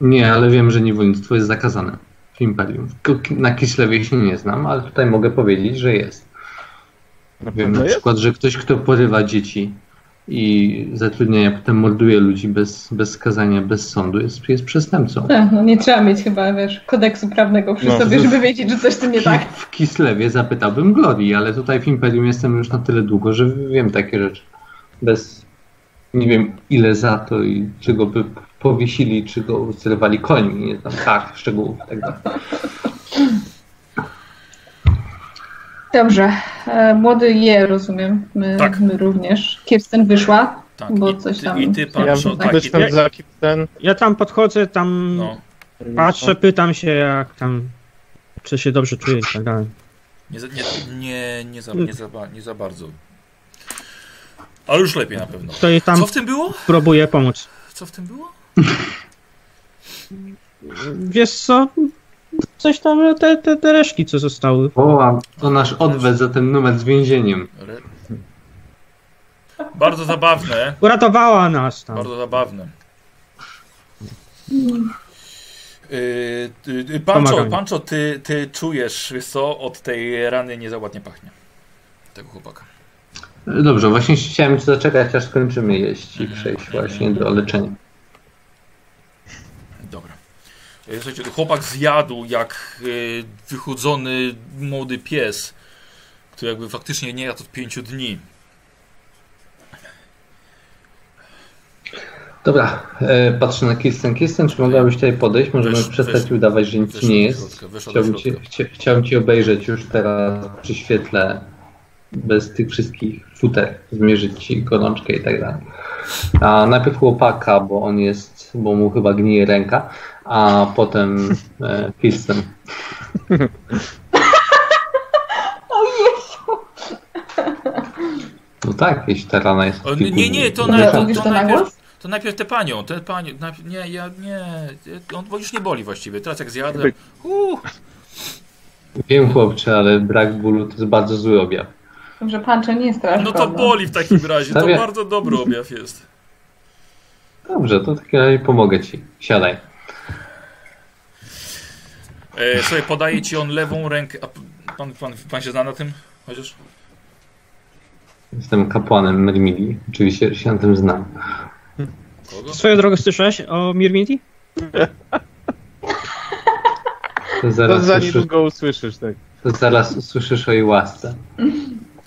Speaker 5: Nie, ale wiem, że niewolnictwo jest zakazane w imperium. K- Na Kislewie się nie znam, ale tutaj mogę powiedzieć, że jest. Wiem
Speaker 4: Na
Speaker 5: no,
Speaker 4: pewno
Speaker 5: na
Speaker 4: No jest?
Speaker 5: przykład, że ktoś, kto porywa dzieci i zatrudnienia, potem morduje ludzi bez, bez skazania, bez sądu, jest, jest przestępcą.
Speaker 3: tak, no nie trzeba mieć chyba, wiesz, kodeksu prawnego przy
Speaker 4: No,
Speaker 3: sobie,
Speaker 4: to-
Speaker 3: żeby wiedzieć, że coś z tym
Speaker 5: [LAUGHS]
Speaker 3: nie tak.
Speaker 5: Ki- W Kislewie zapytałbym Glorii, ale tutaj w Imperium jestem już na tyle długo, że wiem takie rzeczy. Bez nie wiem ile za to i czy go by powiesili, czy go zerwali końmi, nie znam tak szczegółów i tak dalej.
Speaker 3: Dobrze. E, Młody je, rozumiem. My,
Speaker 1: Tak.
Speaker 3: my również. Kirsten wyszła.
Speaker 1: Tak,
Speaker 3: Bo
Speaker 1: i,
Speaker 3: coś
Speaker 1: ty,
Speaker 3: tam-
Speaker 1: i ty
Speaker 4: Ja
Speaker 1: patrz, tak, i,
Speaker 4: wyszłem
Speaker 2: jak-
Speaker 4: za ten.
Speaker 2: Ja tam podchodzę, tam
Speaker 1: no,
Speaker 2: patrzę, pytam się jak tam, czy się dobrze czuję i tak dalej.
Speaker 1: nie, za- nie, nie, nie, za, nie, za, ba- nie za bardzo. Ale już lepiej na pewno.
Speaker 2: To jej tam
Speaker 1: Co w tym było?
Speaker 2: próbuję pomóc.
Speaker 1: Co w tym było?
Speaker 2: Wiesz co, coś tam, no, te, te, te reszki co zostały.
Speaker 5: O, a to nasz odwet za ten numer z więzieniem.
Speaker 1: Re... Bardzo zabawne.
Speaker 2: Uratowała nas tam.
Speaker 1: Bardzo zabawne. Yy, ty- ty- Pancho,
Speaker 2: Pomagam.
Speaker 1: Pancho ty, ty czujesz, wiesz co, od tej rany niezaładnie pachnie. Tego chłopaka.
Speaker 5: Dobrze, właśnie chciałem zaczekać, aż skończymy jeść i przejść właśnie do leczenia.
Speaker 1: Dobra. Yy, Słuchajcie, chłopak zjadł jak yy, wychudzony młody pies, który jakby faktycznie nie jadł od pięciu dni.
Speaker 5: Dobra, e, patrzę na Kirsten. Kirsten, czy mogłabyś tutaj podejść? Możemy
Speaker 1: Wesz-
Speaker 5: przestać
Speaker 1: wesz-
Speaker 5: udawać, że nic
Speaker 1: weszła
Speaker 5: nie
Speaker 1: do
Speaker 5: jest.
Speaker 1: środka, weszła do
Speaker 5: Chciałbym cię,
Speaker 1: środka.
Speaker 5: chcia, chciałem cię obejrzeć już teraz przy świetle, bez tych wszystkich futer, zmierzyć ci gorączkę i tak dalej. A najpierw chłopaka, bo on jest, bo mu chyba gnije ręka, a potem e, Kirsten. No tak, jeśli ta rana jest.
Speaker 1: O,
Speaker 5: od
Speaker 1: nie,
Speaker 5: kilku
Speaker 1: nie, nie,
Speaker 5: dni.
Speaker 1: to
Speaker 3: Ale
Speaker 1: na-
Speaker 3: mówisz to na
Speaker 1: najpierw-
Speaker 3: głos?
Speaker 1: To najpierw tę panią, tę panią. najp- Nie, ja nie. e, On bo już nie boli właściwie. Teraz jak zjadłem. Uh,
Speaker 5: Wiem chłopcze, ale brak bólu to jest bardzo zły objaw.
Speaker 3: Dobrze, panczo nie jest teraz
Speaker 1: no to
Speaker 3: problem.
Speaker 1: boli w takim razie. To
Speaker 5: Stawiam.
Speaker 1: bardzo dobry objaw jest.
Speaker 5: Dobrze, to w takim razie pomogę ci. Siadaj.
Speaker 1: E, sobie podaje ci on lewą rękę. A p- pan, pan, pan się zna na tym? Chociaż.
Speaker 5: Jestem kapłanem Mermili. Oczywiście się na tym znam.
Speaker 1: Kogo?
Speaker 2: Swoją drogą słyszałeś o Mirmiti?
Speaker 5: To
Speaker 4: To
Speaker 5: zaraz,
Speaker 4: za
Speaker 5: usłyszy,
Speaker 4: niedługo usłyszysz, tak.
Speaker 5: to zaraz usłyszysz o jej łasce.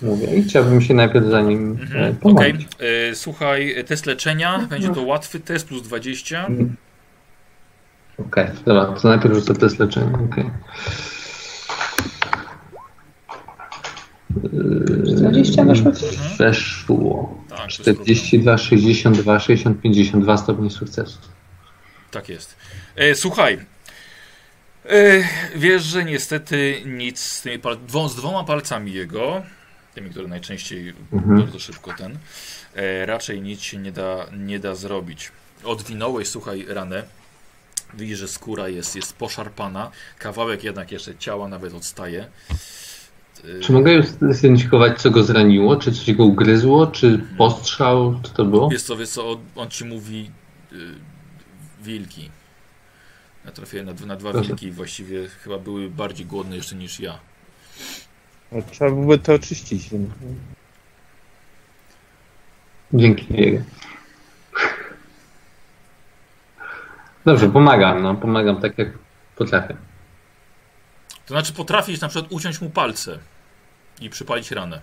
Speaker 5: Mówię i chciałbym się najpierw za nim e,
Speaker 1: Mhm,
Speaker 5: pomóc.
Speaker 1: Okej. E, Słuchaj, test leczenia. Będzie to łatwy test plus 20.
Speaker 5: Okej, dobra, to najpierw rzucę test leczenia. Okej.
Speaker 3: 20 weszło ci?
Speaker 5: E, Weszło.
Speaker 1: Tak, bez problemu.
Speaker 5: 42, 62, 60, 52 stopni sukcesu.
Speaker 1: Tak jest. E, słuchaj. E, wiesz, że niestety nic z tymi pal- dwo- z dwoma palcami jego, tymi, które najczęściej
Speaker 5: Mhm.
Speaker 1: bardzo szybko ten, e, raczej nic się nie da, nie da zrobić. Odwinąłeś, słuchaj, ranę. Widzisz, że skóra jest, jest poszarpana. Kawałek jednak jeszcze ciała nawet odstaje. E,
Speaker 5: Czy mogę już zidentyfikować, co go zraniło? Czy coś go ugryzło? Czy postrzał? Co to było?
Speaker 1: Wiesz co, wiesz co, on, on ci mówi y, wilki. Ja trafiłem na, dwa- na dwa
Speaker 5: Proszę.
Speaker 1: wilki i właściwie chyba były bardziej głodne jeszcze niż ja.
Speaker 4: No, trzeba byłoby to oczyścić.
Speaker 5: Dzięki jego. Dobrze, pomagam, no, pomagam tak jak potrafię.
Speaker 1: To znaczy potrafisz na przykład uciąć mu palce i przypalić ranę.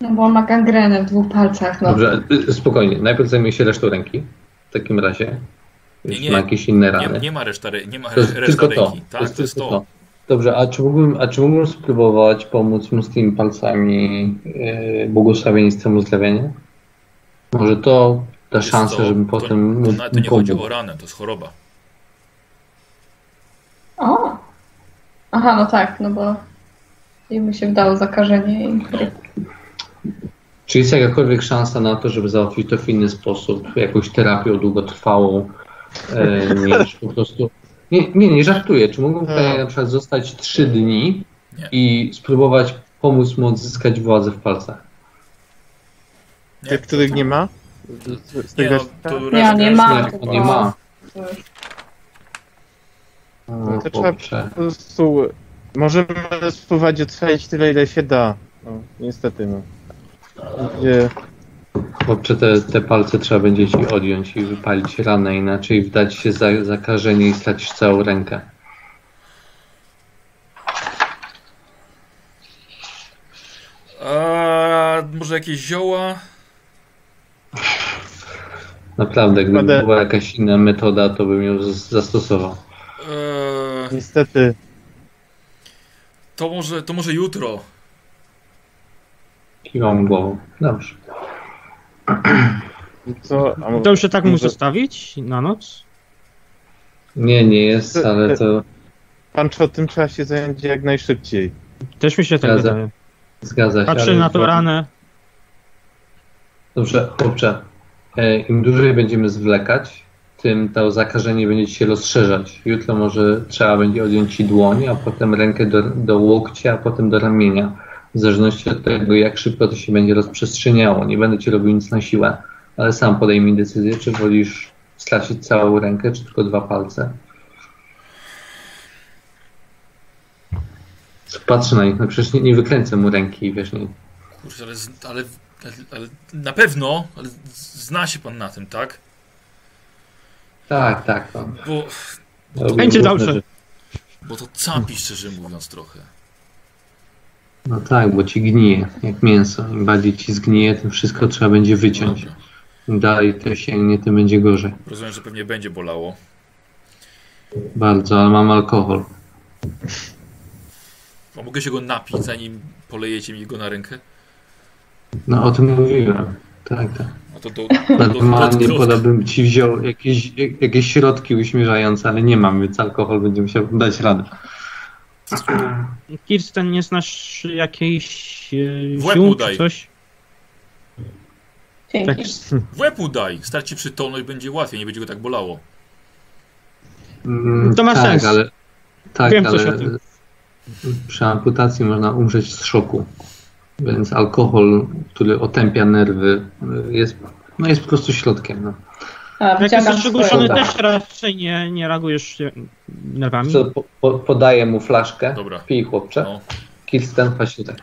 Speaker 3: No bo on ma gangrenę w dwóch palcach, no.
Speaker 5: Dobrze, y, spokojnie, najpierw zajmuję się resztą ręki. W takim razie,
Speaker 1: Nie,
Speaker 5: jeśli
Speaker 1: nie.
Speaker 5: ma jakieś inne rany.
Speaker 1: Nie, nie ma reszta, re- nie ma
Speaker 5: Tak. to jest
Speaker 1: reszta
Speaker 5: tylko to.
Speaker 1: ręki. Tak, to jest
Speaker 5: tylko
Speaker 1: to.
Speaker 5: Dobrze, a czy mógłbym, a czy mógłbym spróbować pomóc mu z tymi palcami yy, błogosławieństwem uzdrowienia? Może to da
Speaker 1: Wiesz
Speaker 5: szansę,
Speaker 1: co,
Speaker 5: żebym potem
Speaker 1: To,
Speaker 5: mógł
Speaker 1: to nawet nie
Speaker 5: pomóc.
Speaker 1: chodzi o ranę, to jest choroba.
Speaker 3: O! Aha, no tak, no bo jemu się wdało zakażenie i chryb.
Speaker 5: Czy jest jakakolwiek szansa na to, żeby załatwić to w inny sposób, jakąś terapią długotrwałą,
Speaker 4: [LAUGHS]
Speaker 5: e, niż po prostu... Nie, nie, nie żartuję. Czy mógłbym
Speaker 4: No.
Speaker 5: tutaj na przykład zostać trzy dni
Speaker 1: Nie.
Speaker 5: i spróbować pomóc mu odzyskać władzę w palcach?
Speaker 1: Nie,
Speaker 4: Tych, których nie ma? Z, z
Speaker 1: nie,
Speaker 4: tych
Speaker 1: no,
Speaker 4: resztek?
Speaker 1: to
Speaker 3: Nie,
Speaker 1: reszta-
Speaker 3: nie
Speaker 1: reszta-
Speaker 3: ma.
Speaker 4: Tak.
Speaker 5: nie,
Speaker 3: tylko-
Speaker 5: nie ma.
Speaker 3: to już.
Speaker 5: O,
Speaker 4: No, to trzeba-
Speaker 5: kurczę.
Speaker 4: Po prostu możemy spróbować odtrwalić tyle, ile się da. No, niestety, no. Gdzie...
Speaker 5: Chłopcze, te, te palce trzeba będzie ci odjąć i wypalić ranę, inaczej wdać się za zakażenie i stracisz całą rękę.
Speaker 1: A, może jakieś zioła?
Speaker 5: Naprawdę, gdyby
Speaker 4: Będę-
Speaker 5: była jakaś inna metoda, to bym ją z- zastosował.
Speaker 1: Eee,
Speaker 4: Niestety.
Speaker 1: To może, to może jutro.
Speaker 5: Kiwam głową. Dobrze.
Speaker 4: Co? A mo-
Speaker 2: Dobrze tak mu
Speaker 4: może-
Speaker 2: zostawić na noc?
Speaker 5: Nie, nie jest, ale to
Speaker 4: Pan czy o tym trzeba się zająć jak najszybciej.
Speaker 2: Też mi się tak
Speaker 5: Zgadza.
Speaker 2: wydaje.
Speaker 5: zgadza się.
Speaker 2: Patrzę
Speaker 5: ale-
Speaker 2: na to ranę.
Speaker 5: Dobrze, chłopcze. E, Im dłużej będziemy zwlekać, tym to zakażenie będzie ci się rozszerzać. Jutro może trzeba będzie odjąć ci dłoń, a potem rękę do, do łokcia, a potem do ramienia. W zależności od tego, jak szybko to się będzie rozprzestrzeniało. Nie będę ci robił nic na siłę, ale sam podejmij decyzję, czy wolisz stracić całą rękę, czy tylko dwa palce. Patrzę na nich, no przecież nie, nie wykręcę mu ręki, wiesz, nie,
Speaker 1: Kurczę, ale, z- ale, ale, ale na pewno ale z- zna się pan na tym, tak?
Speaker 5: Tak, tak. No.
Speaker 1: Bo,
Speaker 5: Robię
Speaker 2: Będzie
Speaker 5: różne
Speaker 2: dobrze.
Speaker 5: rzeczy.
Speaker 1: bo to capi, szczerze mówiąc, trochę.
Speaker 5: No tak, bo ci gnije, jak mięso. Im bardziej ci zgnije, tym wszystko trzeba będzie wyciąć.
Speaker 1: Dobra.
Speaker 5: Im dalej to sięgnie, tym będzie gorzej.
Speaker 1: Rozumiem, że pewnie będzie bolało.
Speaker 5: Bardzo, ale mam alkohol.
Speaker 1: A mogę się go napić, zanim polejecie mi go na rękę?
Speaker 5: No o tym mówiłem. Tak, tak.
Speaker 1: No to do, do,
Speaker 5: Normalnie
Speaker 1: do, do,
Speaker 5: podałbym ci wziął jakieś, jak- jakieś środki uśmierzające, ale nie mam, więc alkohol będzie musiał dać radę.
Speaker 2: Kirsten, nie znasz jakiejś e,
Speaker 1: W łeb mu
Speaker 2: ziół
Speaker 1: daj.
Speaker 2: czy coś? No, Tak,
Speaker 3: Dzięki.
Speaker 1: w łeb mu daj, straci przytomność, będzie łatwiej, nie będzie go tak bolało.
Speaker 5: Mm,
Speaker 2: To ma
Speaker 5: tak,
Speaker 2: sens.
Speaker 5: Ale, tak,
Speaker 2: Wiem
Speaker 5: ale
Speaker 2: coś o tym.
Speaker 5: przy amputacji można umrzeć z szoku. Więc alkohol, który otępia nerwy, jest, no jest po prostu środkiem. No.
Speaker 3: A,
Speaker 2: Jak jesteś
Speaker 3: wyciągam
Speaker 2: przygłuszony,
Speaker 5: swoje.
Speaker 2: też raczej nie, nie reagujesz e, nerwami.
Speaker 5: Co, po, po, podaję mu flaszkę.
Speaker 1: Dobra.
Speaker 5: Pij, chłopcze.
Speaker 1: No.
Speaker 5: Kirsten, właśnie tak.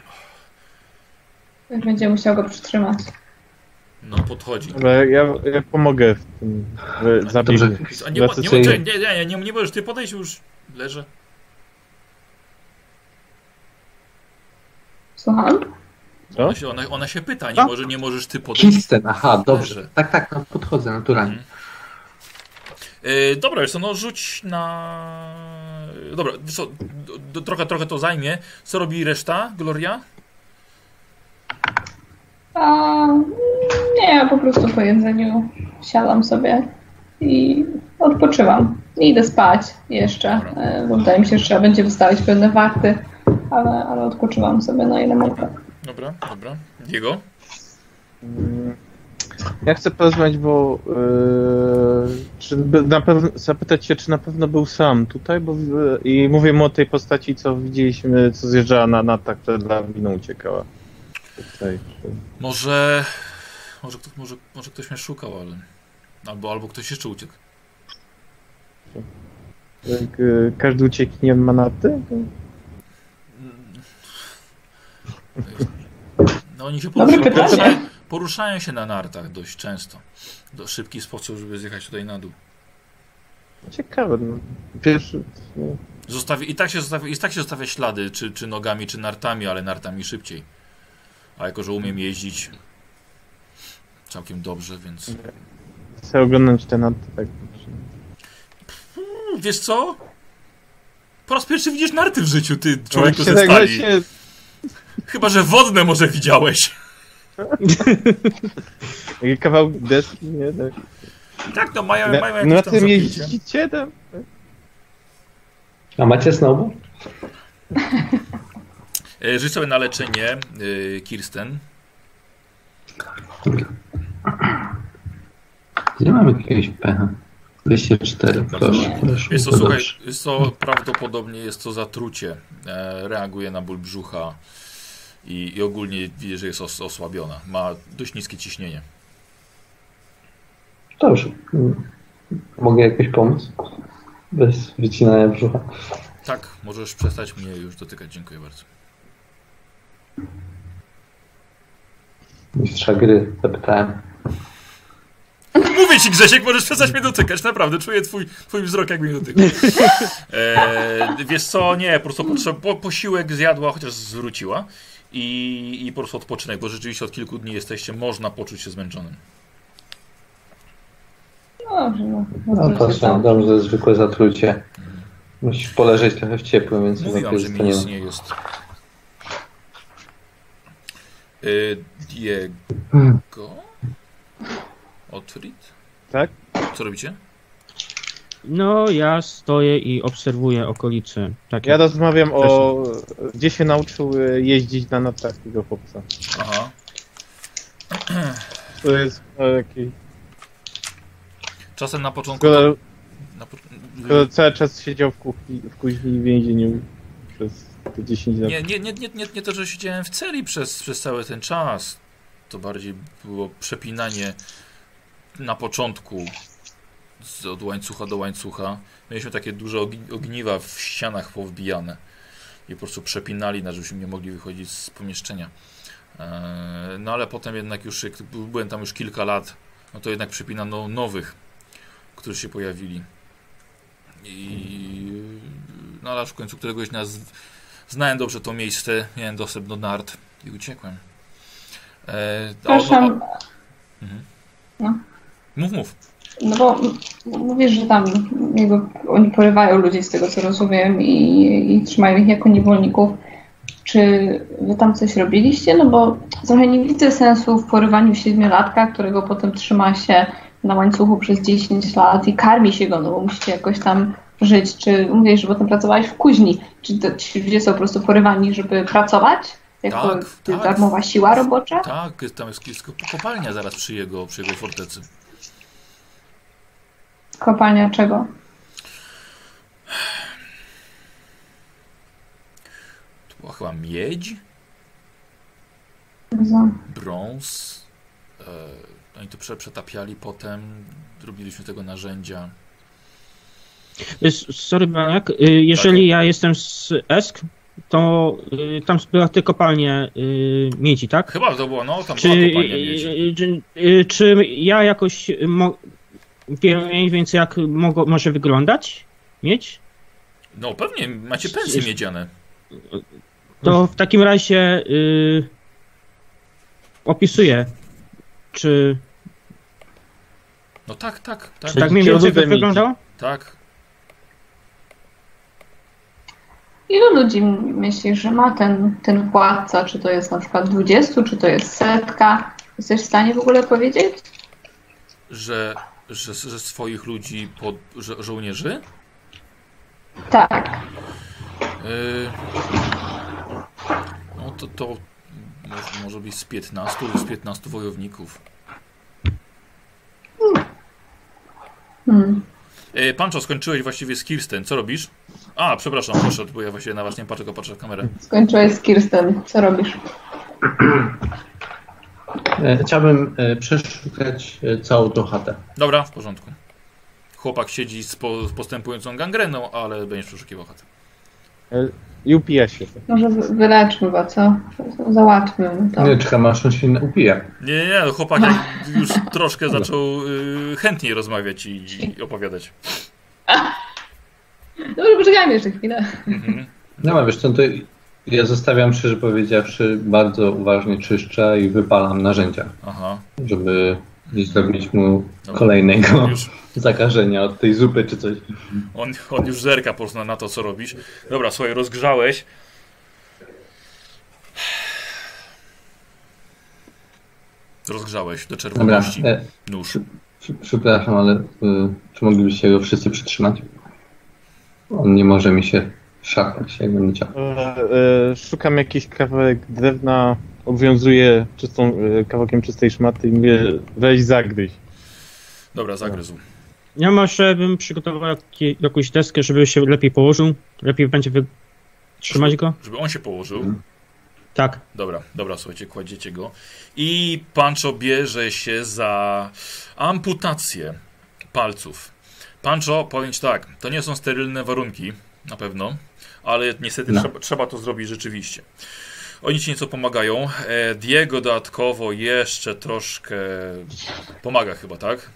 Speaker 3: swoje. Będzie musiał go przytrzymać.
Speaker 1: No, podchodzi.
Speaker 4: Ale ja, ja pomogę w tym w
Speaker 5: Dobrze.
Speaker 4: zabiegu.
Speaker 1: A nie, ma- nie, ma-
Speaker 5: Zacytuję.
Speaker 1: czekaj, nie, nie, nie, nie możesz ty podejść, już leżę.
Speaker 3: Słucham?
Speaker 4: Co?
Speaker 1: Ona się, ona, ona się pyta, nie,
Speaker 2: Co?
Speaker 1: może, nie możesz ty podejść.
Speaker 5: Kirsten, aha, dobrze.
Speaker 1: Dobrze.
Speaker 5: Tak, tak, no, podchodzę naturalnie.
Speaker 1: E, dobra, wiesz co, no rzuć na... Dobra, wiesz co, do, do, trochę, trochę to zajmie. Co robi reszta, Gloria?
Speaker 3: A, nie, po prostu po jedzeniu siadam sobie i odpoczywam. I idę spać jeszcze, e, bo wydaje mi się, że trzeba będzie wystawić pewne warty, ale, ale odpoczywam sobie na ile mogę.
Speaker 1: Dobra, dobra. Jego?
Speaker 4: Mm, Ja chcę porozmawiać, bo yy, czy by- na pewno, zapytać się, czy na pewno był sam tutaj, bo yy, i mówię mu o tej postaci, co widzieliśmy, co zjeżdżała na natak, która dla winą uciekała. Tutaj.
Speaker 1: Może... Może, ktoś- może, może ktoś mnie szukał, ale... Albo, albo ktoś jeszcze uciekł.
Speaker 4: Jak, yy, Każdy ucieknie ma naty?
Speaker 1: Mm. No oni się
Speaker 3: Dobre
Speaker 1: poruszają,
Speaker 3: pytanie.
Speaker 1: poruszają, poruszają się na nartach dość często. Do szybki sposób, żeby zjechać tutaj na dół.
Speaker 4: Ciekawe. No. Pierwszy, no,
Speaker 1: Zostawi, i, tak się zostawia, I tak się zostawia ślady, czy, czy nogami, czy nartami, ale nartami szybciej. A jako, że umiem jeździć całkiem dobrze, więc...
Speaker 4: chcę oglądać te naty. Tak.
Speaker 1: Mm, Wiesz co? Po raz pierwszy widzisz narty w życiu, ty człowieku
Speaker 4: Właśnie
Speaker 1: ze stali.
Speaker 4: tak właśnie-
Speaker 1: Chyba, że wodne może widziałeś.
Speaker 4: Taki Kawał deski, nie? Tak.
Speaker 1: Tak, no mają, mają
Speaker 4: Na,
Speaker 1: jakieś
Speaker 4: na
Speaker 1: tam
Speaker 4: tym
Speaker 1: zapięcie.
Speaker 4: jeździcie tam?
Speaker 5: A macie znowu?
Speaker 1: E, Rzuć sobie na leczenie, y, Kirsten.
Speaker 5: Nie mam jakiegoś pecha. 204, proszę, proszę.
Speaker 1: Jest to,
Speaker 5: No
Speaker 1: słuchaj,
Speaker 5: dobrze.
Speaker 1: jest to prawdopodobnie jest to zatrucie. E, reaguje na ból brzucha i, i ogólnie widzisz, że jest os, osłabiona. Ma dość niskie ciśnienie.
Speaker 5: Dobrze. Mm. Mogę jakoś pomóc? Bez wycinania brzucha.
Speaker 1: Tak, możesz przestać mnie już dotykać. Dziękuję bardzo.
Speaker 5: Mistrza gry, zapytałem.
Speaker 1: Mówię ci, Grzesiek, możesz przestać mnie dotykać, naprawdę. Czuję twój, twój wzrok, jak mnie dotyka. E, wiesz co, nie, po prostu potrze- po, posiłek zjadła, chociaż zwróciła. I, I po prostu odpoczynek, bo rzeczywiście od kilku dni jesteście, można poczuć się zmęczonym.
Speaker 3: No dobrze, no. tak.
Speaker 5: No to są, dobrze, zwykłe zatrucie.
Speaker 6: Musisz poleżeć trochę w ciepłym, więc
Speaker 1: Mówiłam,
Speaker 6: lepiej
Speaker 1: że mi
Speaker 6: zostaniemy.
Speaker 1: nic nie jest. Y, Diego?
Speaker 6: Hmm.
Speaker 1: Otwrit?
Speaker 4: Tak?
Speaker 1: Co robicie?
Speaker 2: No, ja stoję i obserwuję okolice. Tak
Speaker 4: Ja
Speaker 2: jak
Speaker 4: rozmawiam o... Gdzie się nauczył e, jeździć na nartach tego chłopca.
Speaker 1: Aha.
Speaker 4: To jest e, jakiś...
Speaker 1: Czasem na początku...
Speaker 4: Skoro,
Speaker 1: Na, po-
Speaker 4: skoro cały czas siedział w kuchni, w kuźni i w więzieniu przez te 10 lat.
Speaker 1: nie, nie, nie, nie, nie, nie to, że siedziałem w celi przez, przez cały ten czas. To bardziej było przepinanie na początku z, od łańcucha do łańcucha. Mieliśmy takie duże ogni- ogniwa w ścianach powbijane. I po prostu przepinali nas, żebyśmy nie mogli wychodzić z pomieszczenia. Eee, No ale potem jednak już, jak byłem tam już kilka lat, no to jednak przepinano nowych, którzy się pojawili. I no ale aż w końcu któregoś dnia z- Znałem dobrze to miejsce, miałem dostęp do nart i uciekłem. E, a ono-
Speaker 3: Przepraszam,
Speaker 1: mów, mów.
Speaker 3: No bo m- mówisz, że tam jakby oni porywają ludzi z tego co rozumiem i, i trzymają ich jako niewolników. Czy wy tam coś robiliście? No bo trochę nie widzę sensu w porywaniu siedmiolatka, którego potem trzyma się na łańcuchu przez 10 lat i karmi się go, no bo musicie jakoś tam żyć. Czy mówisz, że potem pracowałeś w kuźni? Czy to, ci ludzie są po prostu porywani, żeby pracować? Jako
Speaker 1: Tak, tak.
Speaker 3: darmowa siła robocza?
Speaker 1: Tak, tam jest kisko- kopalnia zaraz przy jego, przy jego fortecy.
Speaker 3: Kopalnia czego?
Speaker 1: To była chyba miedź,
Speaker 3: Za-
Speaker 1: brąz. E, oni to prze, przetapiali potem, robiliśmy tego narzędzia.
Speaker 2: S- Sorry, Banek, y, jeżeli
Speaker 1: Tak.
Speaker 2: ja jestem z Esk, to y, tam była te kopalnie y, miedzi, tak?
Speaker 1: Chyba to było, no tam
Speaker 2: Czy,
Speaker 1: była kopalnia miedzi.
Speaker 2: y, czy, y, czy ja jakoś mo- wiem mniej więcej, jak mogło, może wyglądać miedź?
Speaker 1: No pewnie, macie pensje miedziane.
Speaker 2: To w takim razie y, opisuję, czy
Speaker 1: No tak, tak, tak,
Speaker 2: czy tak mniej
Speaker 4: Czy
Speaker 2: więcej to
Speaker 4: ludy miedzi?
Speaker 2: wyglądało?
Speaker 1: tak.
Speaker 3: Ilu ludzi myślisz, że ma ten, ten władca? Czy to jest na przykład 20, czy to jest setka? Jesteś w stanie w ogóle powiedzieć?
Speaker 1: Że, że, że swoich ludzi, pod, że, żołnierzy?
Speaker 3: Tak.
Speaker 1: Y, No to, to może, może być z 15 lub z 15 wojowników.
Speaker 3: Hmm.
Speaker 1: E, Pancho, skończyłeś właściwie z Kirsten. Co robisz? A, przepraszam, proszę, bo ja właśnie na was nie patrzę, tylko patrzę w kamerę.
Speaker 3: Skończyłeś z Kirsten. Co robisz?
Speaker 6: E, Chciałbym e, przeszukać e, całą tą chatę.
Speaker 1: Dobra, w porządku. Chłopak siedzi z, po, z postępującą gangreną, ale będziesz przeszukiwał chatę.
Speaker 4: I upija się.
Speaker 3: Może wy- wyleczmy go, co? Załatwmy mu to.
Speaker 6: Nie, czekam aż on się upija.
Speaker 1: Nie, nie, nie, chłopak
Speaker 6: No.
Speaker 1: już troszkę zaczął y, chętniej rozmawiać i, i opowiadać.
Speaker 3: Dobrze, No, poczekajmy jeszcze chwilę.
Speaker 1: Mhm.
Speaker 6: No ale wiesz co, to ja zostawiam szczerze powiedziawszy, bardzo uważnie czyszczę i wypalam narzędzia,
Speaker 1: Aha,
Speaker 6: żeby nie zrobić mu
Speaker 1: Dobra.
Speaker 6: kolejnego
Speaker 1: już.
Speaker 6: zakażenia od tej zupy czy coś.
Speaker 1: On, on już zerka po prostu na- na to, co robisz. Dobra, słuchaj, rozgrzałeś. Rozgrzałeś do
Speaker 6: Dobra,
Speaker 1: czerwoności
Speaker 6: e,
Speaker 1: nóż.
Speaker 6: przy- przepraszam, ale y, czy moglibyście go wszyscy przytrzymać? On nie może mi się szarpać, jak będę chciał.
Speaker 4: E, e, Szukam jakiś kawałek drewna, obwiązuję czystą, e, kawałkiem czystej szmaty i mówię, weź zagryź.
Speaker 1: Dobra, zagryzł.
Speaker 2: Ja może bym przygotował jakie- jakąś deskę, żeby się lepiej położył, lepiej będzie wy- trzymać go.
Speaker 1: Żeby on się położył.
Speaker 6: Mhm.
Speaker 2: Tak.
Speaker 1: Dobra, dobra, słuchajcie, kładziecie go. I Pancho bierze się za amputację palców. Pancho, powiem ci tak, to nie są sterylne warunki, na pewno, ale niestety
Speaker 6: No.
Speaker 1: trzeba, trzeba to zrobić rzeczywiście. Oni ci nieco pomagają. E, Diego dodatkowo jeszcze troszkę pomaga chyba, tak?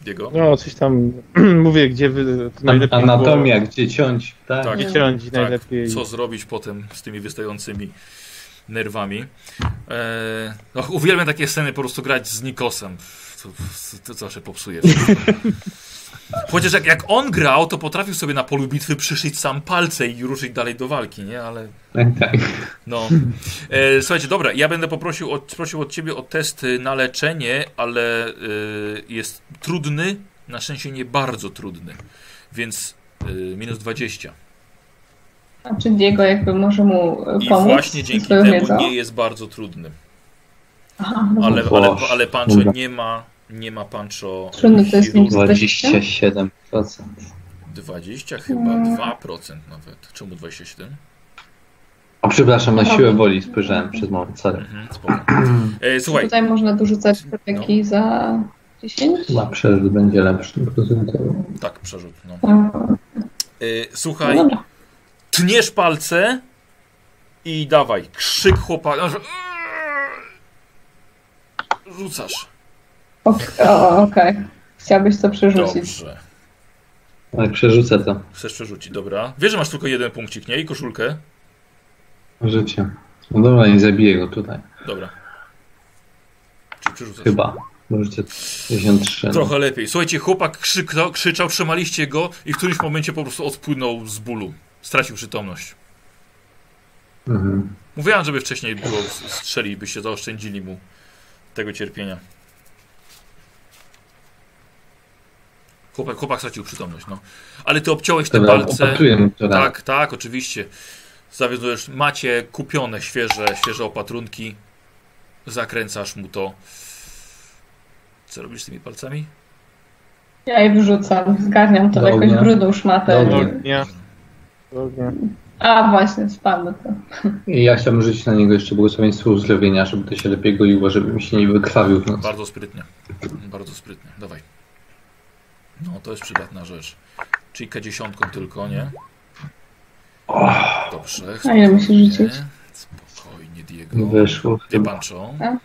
Speaker 1: Diego?
Speaker 4: No, coś tam [CLEARS THROAT] mówię, gdzie wy, najlepiej było-
Speaker 6: Anatomia, gdzie ciąć, tak?
Speaker 1: Tak.
Speaker 4: Gdzie ciąć najlepiej.
Speaker 1: Co zrobić potem z tymi wystającymi E, nerwami? Eee, och, uwielbiam takie sceny po prostu grać z Nikosem. to, to zawsze popsuje. Chociaż jak, jak on grał, to potrafił sobie na polu bitwy przyszyć sam palce i ruszyć dalej do walki, nie? Ale
Speaker 6: Tak, tak.
Speaker 1: no. E, słuchajcie, dobra, ja będę poprosił od, prosił od ciebie o test y, na leczenie, ale e, jest trudny, na szczęście nie bardzo trudny, więc e, minus 20.
Speaker 3: A czy Diego jakby może mu e,
Speaker 1: I
Speaker 3: pomóc?
Speaker 1: właśnie dzięki
Speaker 3: swoją
Speaker 1: temu
Speaker 3: wiedzą?
Speaker 1: nie jest bardzo trudny.
Speaker 3: Aha, no
Speaker 1: Ale,
Speaker 5: Boże.
Speaker 1: ale, ale Pancho
Speaker 5: Dobra.
Speaker 1: nie ma, nie ma Pancho
Speaker 3: Trudny to jest
Speaker 1: chirurg-
Speaker 3: nic.
Speaker 5: 27%.
Speaker 1: 20 chyba,
Speaker 3: Mm.
Speaker 1: 2% nawet. Czemu 27?
Speaker 5: O, przepraszam, na siłę woli spojrzałem przez moment, sorry.
Speaker 1: Mhm, spoko. E,
Speaker 3: Czy
Speaker 1: słuchaj, No.
Speaker 3: tutaj można dorzucać koreki za 10?
Speaker 6: Chyba przerzut będzie lepszy procentowo.
Speaker 1: tak, przerzut. No.
Speaker 3: A, no
Speaker 1: E, słuchaj,
Speaker 3: dobra.
Speaker 1: tniesz palce i dawaj, krzyk chłopaka. Rzucasz.
Speaker 3: Ok- o, o, Okej. Chciałbyś to przerzucić.
Speaker 1: Dobrze.
Speaker 5: Tak, przerzucę to.
Speaker 1: Chcesz przerzucić, dobra. Wiesz, że masz tylko jeden punkcik, nie? I koszulkę.
Speaker 6: Życie. No dobra, nie zabiję go tutaj.
Speaker 1: Dobra. Czy przerzucasz?
Speaker 6: Chyba.
Speaker 5: Możecie 53. No.
Speaker 1: Trochę lepiej. Słuchajcie, chłopak krzyknął, krzyczał, trzymaliście go i w którymś momencie po prostu odpłynął z bólu. Stracił przytomność.
Speaker 6: Mhm.
Speaker 1: Mówiłem, żeby wcześniej było strzeli, byście zaoszczędzili mu tego cierpienia. Chłopak, chłopak stracił przytomność, no. Ale ty obciąłeś te
Speaker 6: Dobra,
Speaker 1: palce.
Speaker 6: opatruję mu to raz.
Speaker 1: Tak, tak, oczywiście. Zawiązujesz, macie kupione świeże, świeże opatrunki. Zakręcasz mu to. Co robisz z tymi palcami?
Speaker 3: Ja je wrzucam, zgarniam to w
Speaker 6: Do
Speaker 3: jakąś
Speaker 6: ognia.
Speaker 3: brudną szmatę.
Speaker 6: Do
Speaker 4: Ognia. Ognia.
Speaker 3: A właśnie, spamy to.
Speaker 1: Tak.
Speaker 6: I ja chciałbym rzucić na niego jeszcze błogosławieństwo uzdrowienia, żeby to się lepiej goiło, żeby mi się nie wykrwawił w nocy.
Speaker 1: Bardzo sprytnie. Bardzo sprytnie. Dawaj. No, to jest przydatna rzecz. Czyli dziesiątką tylko, nie? Dobrze.
Speaker 3: A ile musisz
Speaker 1: spokojnie.
Speaker 3: rzucić?
Speaker 1: Spokojnie,
Speaker 6: Nie
Speaker 1: Diego.
Speaker 6: No wyszło.
Speaker 1: Ty
Speaker 6: Chyba.
Speaker 1: panczą.
Speaker 3: Tak.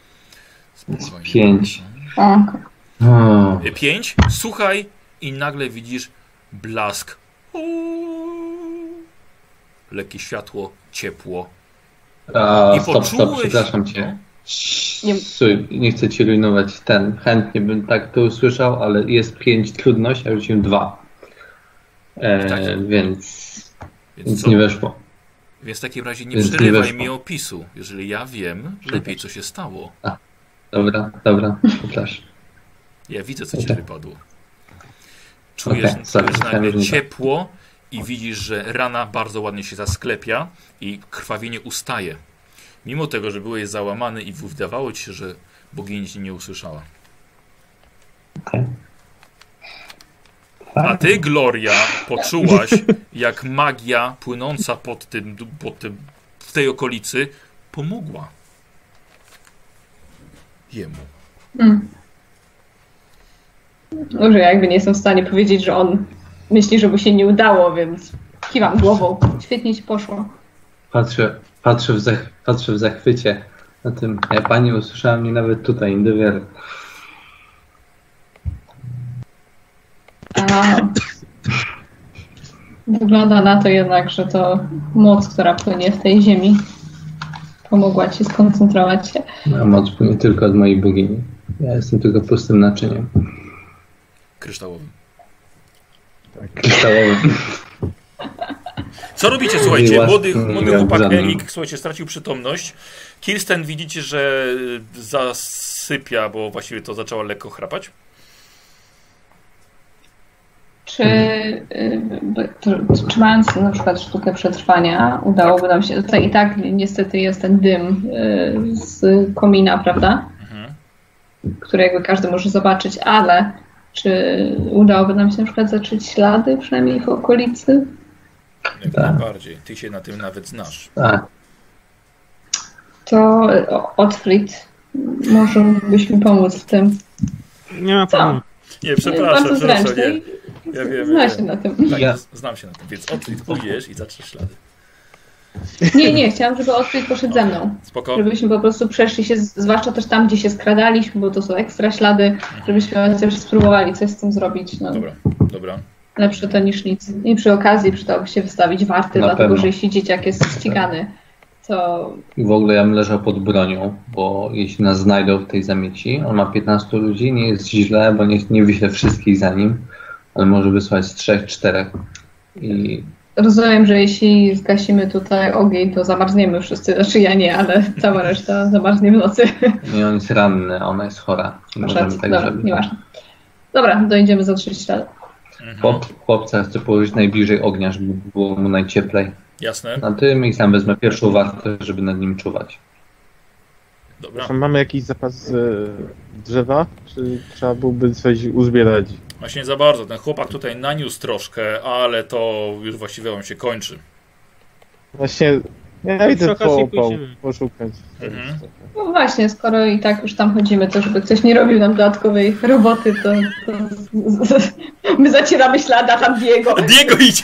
Speaker 1: Spokojnie.
Speaker 6: pięć.
Speaker 1: Pancho.
Speaker 3: O,
Speaker 6: O,
Speaker 1: Y, Pięć. Słuchaj i nagle widzisz blask. Uuu. Lekkie światło, ciepło.
Speaker 6: a,
Speaker 1: I
Speaker 6: stop, stop,
Speaker 1: poczułeś-
Speaker 6: przepraszam cię.
Speaker 1: No.
Speaker 3: Nie-
Speaker 6: Słuchaj, nie chcę ci rujnować ten. Chętnie bym tak to usłyszał, ale jest pięć trudność, a rzuciłem dwa. E,
Speaker 1: Tak.
Speaker 6: Więc
Speaker 1: Więc
Speaker 6: nic
Speaker 1: co?
Speaker 6: nie weszło.
Speaker 1: Więc w takim razie nie
Speaker 6: Więc nie
Speaker 1: przerywaj
Speaker 6: weszło.
Speaker 1: mi opisu. Jeżeli ja wiem, lepiej co się stało.
Speaker 6: Dobra, dobra, przepraszam.
Speaker 1: Ja widzę, co ci
Speaker 6: Okej.
Speaker 1: wypadło. Czujesz,
Speaker 6: Okej, sorry,
Speaker 1: czujesz
Speaker 6: myślałem, że
Speaker 1: nagle
Speaker 6: nie tak.
Speaker 1: ciepło i widzisz, że rana bardzo ładnie się zasklepia i krwawienie ustaje. Mimo tego, że byłeś załamany i wydawało ci się, że bogini cię nie usłyszała. A ty, Gloria, poczułaś, jak magia płynąca pod tym, pod tym w tej okolicy pomogła jemu.
Speaker 3: Mm. Dobrze, jakby nie jestem w stanie powiedzieć, że on myśli, że mu się nie udało, więc kiwam głową. Świetnie ci poszło.
Speaker 6: Patrzę, patrzę, w, zach- patrzę w zachwycie na tym. Ja pani usłyszała mnie nawet tutaj, nie dowierzę.
Speaker 3: A... Wygląda na to jednak, że to moc, która płynie w tej ziemi, pomogła ci skoncentrować się.
Speaker 6: A moc płynie tylko od mojej bogini. Ja jestem tylko pustym naczyniem.
Speaker 1: Kryształowym.
Speaker 6: Kryształowym.
Speaker 1: Co robicie, słuchajcie?
Speaker 6: Miła-
Speaker 1: Młody,
Speaker 6: miła
Speaker 1: młody chłopak
Speaker 6: zamiana.
Speaker 1: Erik, słuchajcie, stracił przytomność. Kirsten widzicie, że zasypia, bo właściwie to zaczęła lekko chrapać.
Speaker 3: Czy, y, by- czy, czy mając na przykład sztukę przetrwania, udałoby nam się. To i tak niestety jest ten dym y, z komina, prawda?
Speaker 1: Mhm.
Speaker 3: które jakby każdy może zobaczyć, ale czy udałoby nam się na przykład zacząć ślady przynajmniej w okolicy?
Speaker 1: Jak
Speaker 6: Tak.
Speaker 1: najbardziej. Ty się na tym nawet znasz.
Speaker 6: A,
Speaker 3: To o- Otfrid może mógłbyś mi pomóc w tym.
Speaker 2: Nie ma problemu.
Speaker 1: Nie,
Speaker 3: Bardzo
Speaker 1: przepraszam, przepraszam,
Speaker 3: zręczny.
Speaker 1: nie.
Speaker 3: i
Speaker 1: Ja wiem,
Speaker 3: Zna
Speaker 1: ja
Speaker 3: się
Speaker 1: wiem.
Speaker 3: na tym.
Speaker 1: Tak,
Speaker 6: Ja-
Speaker 1: znam się na tym, więc odkryj, pójdziesz i zatrzesz ślady.
Speaker 3: Nie, nie, chciałam, żeby Otfrid poszedł ze mną.
Speaker 1: Spoko.
Speaker 3: Żebyśmy po prostu przeszli się, z- zwłaszcza też tam, gdzie się skradaliśmy, bo to są ekstra ślady, żebyśmy też spróbowali coś z tym zrobić. No,
Speaker 1: Dobra, dobra.
Speaker 3: lepsze to niż nic. I przy okazji przydałoby się wystawić warty,
Speaker 6: Na
Speaker 3: dlatego
Speaker 6: pewno.
Speaker 3: że jeśli dzieciak jest ścigany, to
Speaker 5: I w ogóle ja bym leżał pod bronią, bo jeśli nas znajdą w tej zamieci, on ma 15 ludzi, nie jest źle, bo nie, nie wyśle wszystkich za nim, ale może wysłać z 3-4. I
Speaker 3: rozumiem, że jeśli zgasimy tutaj ogień, to zamarzniemy wszyscy. Znaczy ja nie, ale cała reszta zamarznie w nocy.
Speaker 5: nie, on jest ranny, a ona jest chora. Nie
Speaker 3: Żart,
Speaker 5: możemy tak
Speaker 3: dobra,
Speaker 5: zrobić.
Speaker 3: nieważne. Dobra, dojedziemy za trzy ślady.
Speaker 1: Mhm.
Speaker 5: Chłop, chłopca chcę położyć najbliżej ognia, żeby było mu najcieplej.
Speaker 1: Jasne,
Speaker 6: Tak.
Speaker 5: Na tym i sam wezmę pierwszą wartę, żeby nad nim czuwać.
Speaker 1: dobra.
Speaker 4: Mamy jakiś zapas e, drzewa? Czy trzeba byłby coś uzbierać?
Speaker 1: Właśnie za bardzo. Ten chłopak tutaj naniósł troszkę, ale to już właściwie wam się kończy.
Speaker 4: Właśnie, ja idę
Speaker 2: okazji
Speaker 4: po opał
Speaker 2: pójdziemy.
Speaker 4: poszukać.
Speaker 1: Mhm.
Speaker 3: No właśnie, skoro i tak już tam chodzimy, to żeby ktoś nie robił nam dodatkowej roboty, to, to z, z, my zacieramy ślada tam Diego.
Speaker 1: Diego idzie!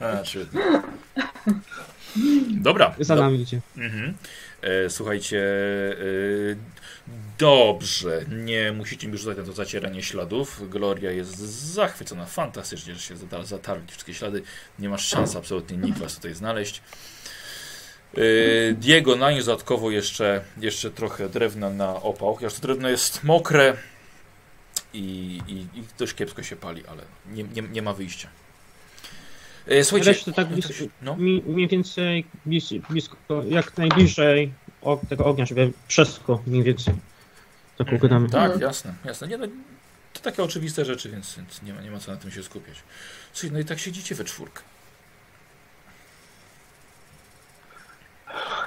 Speaker 1: A, świetnie. Dobra.
Speaker 2: Za
Speaker 1: Do-
Speaker 2: nami idzie.
Speaker 1: Mhm. E, słuchajcie, e, dobrze, nie musicie mi rzucać na to zacieranie śladów. Gloria jest zachwycona fantastycznie, że się zada- zatarli wszystkie ślady. Nie masz szans absolutnie nikt was tutaj znaleźć. E, Diego na nie dodatkowo jeszcze, jeszcze trochę drewna na opał, chociaż to drewno jest mokre i, i, i dość kiepsko się pali, ale nie, nie, nie ma wyjścia. E, Słuchajcie,
Speaker 2: Resztę tak blis-
Speaker 1: no.
Speaker 2: mi- mniej więcej blis- blisko, jak najbliżej og- tego ognia, żeby przeszło mniej więcej. To pogadamy.
Speaker 1: Tak,
Speaker 3: Mhm.
Speaker 1: jasne, jasne. Nie, no, to takie oczywiste rzeczy, więc więc nie ma, nie ma co na tym się skupiać. Słuchaj, no i tak siedzicie we czwórkę.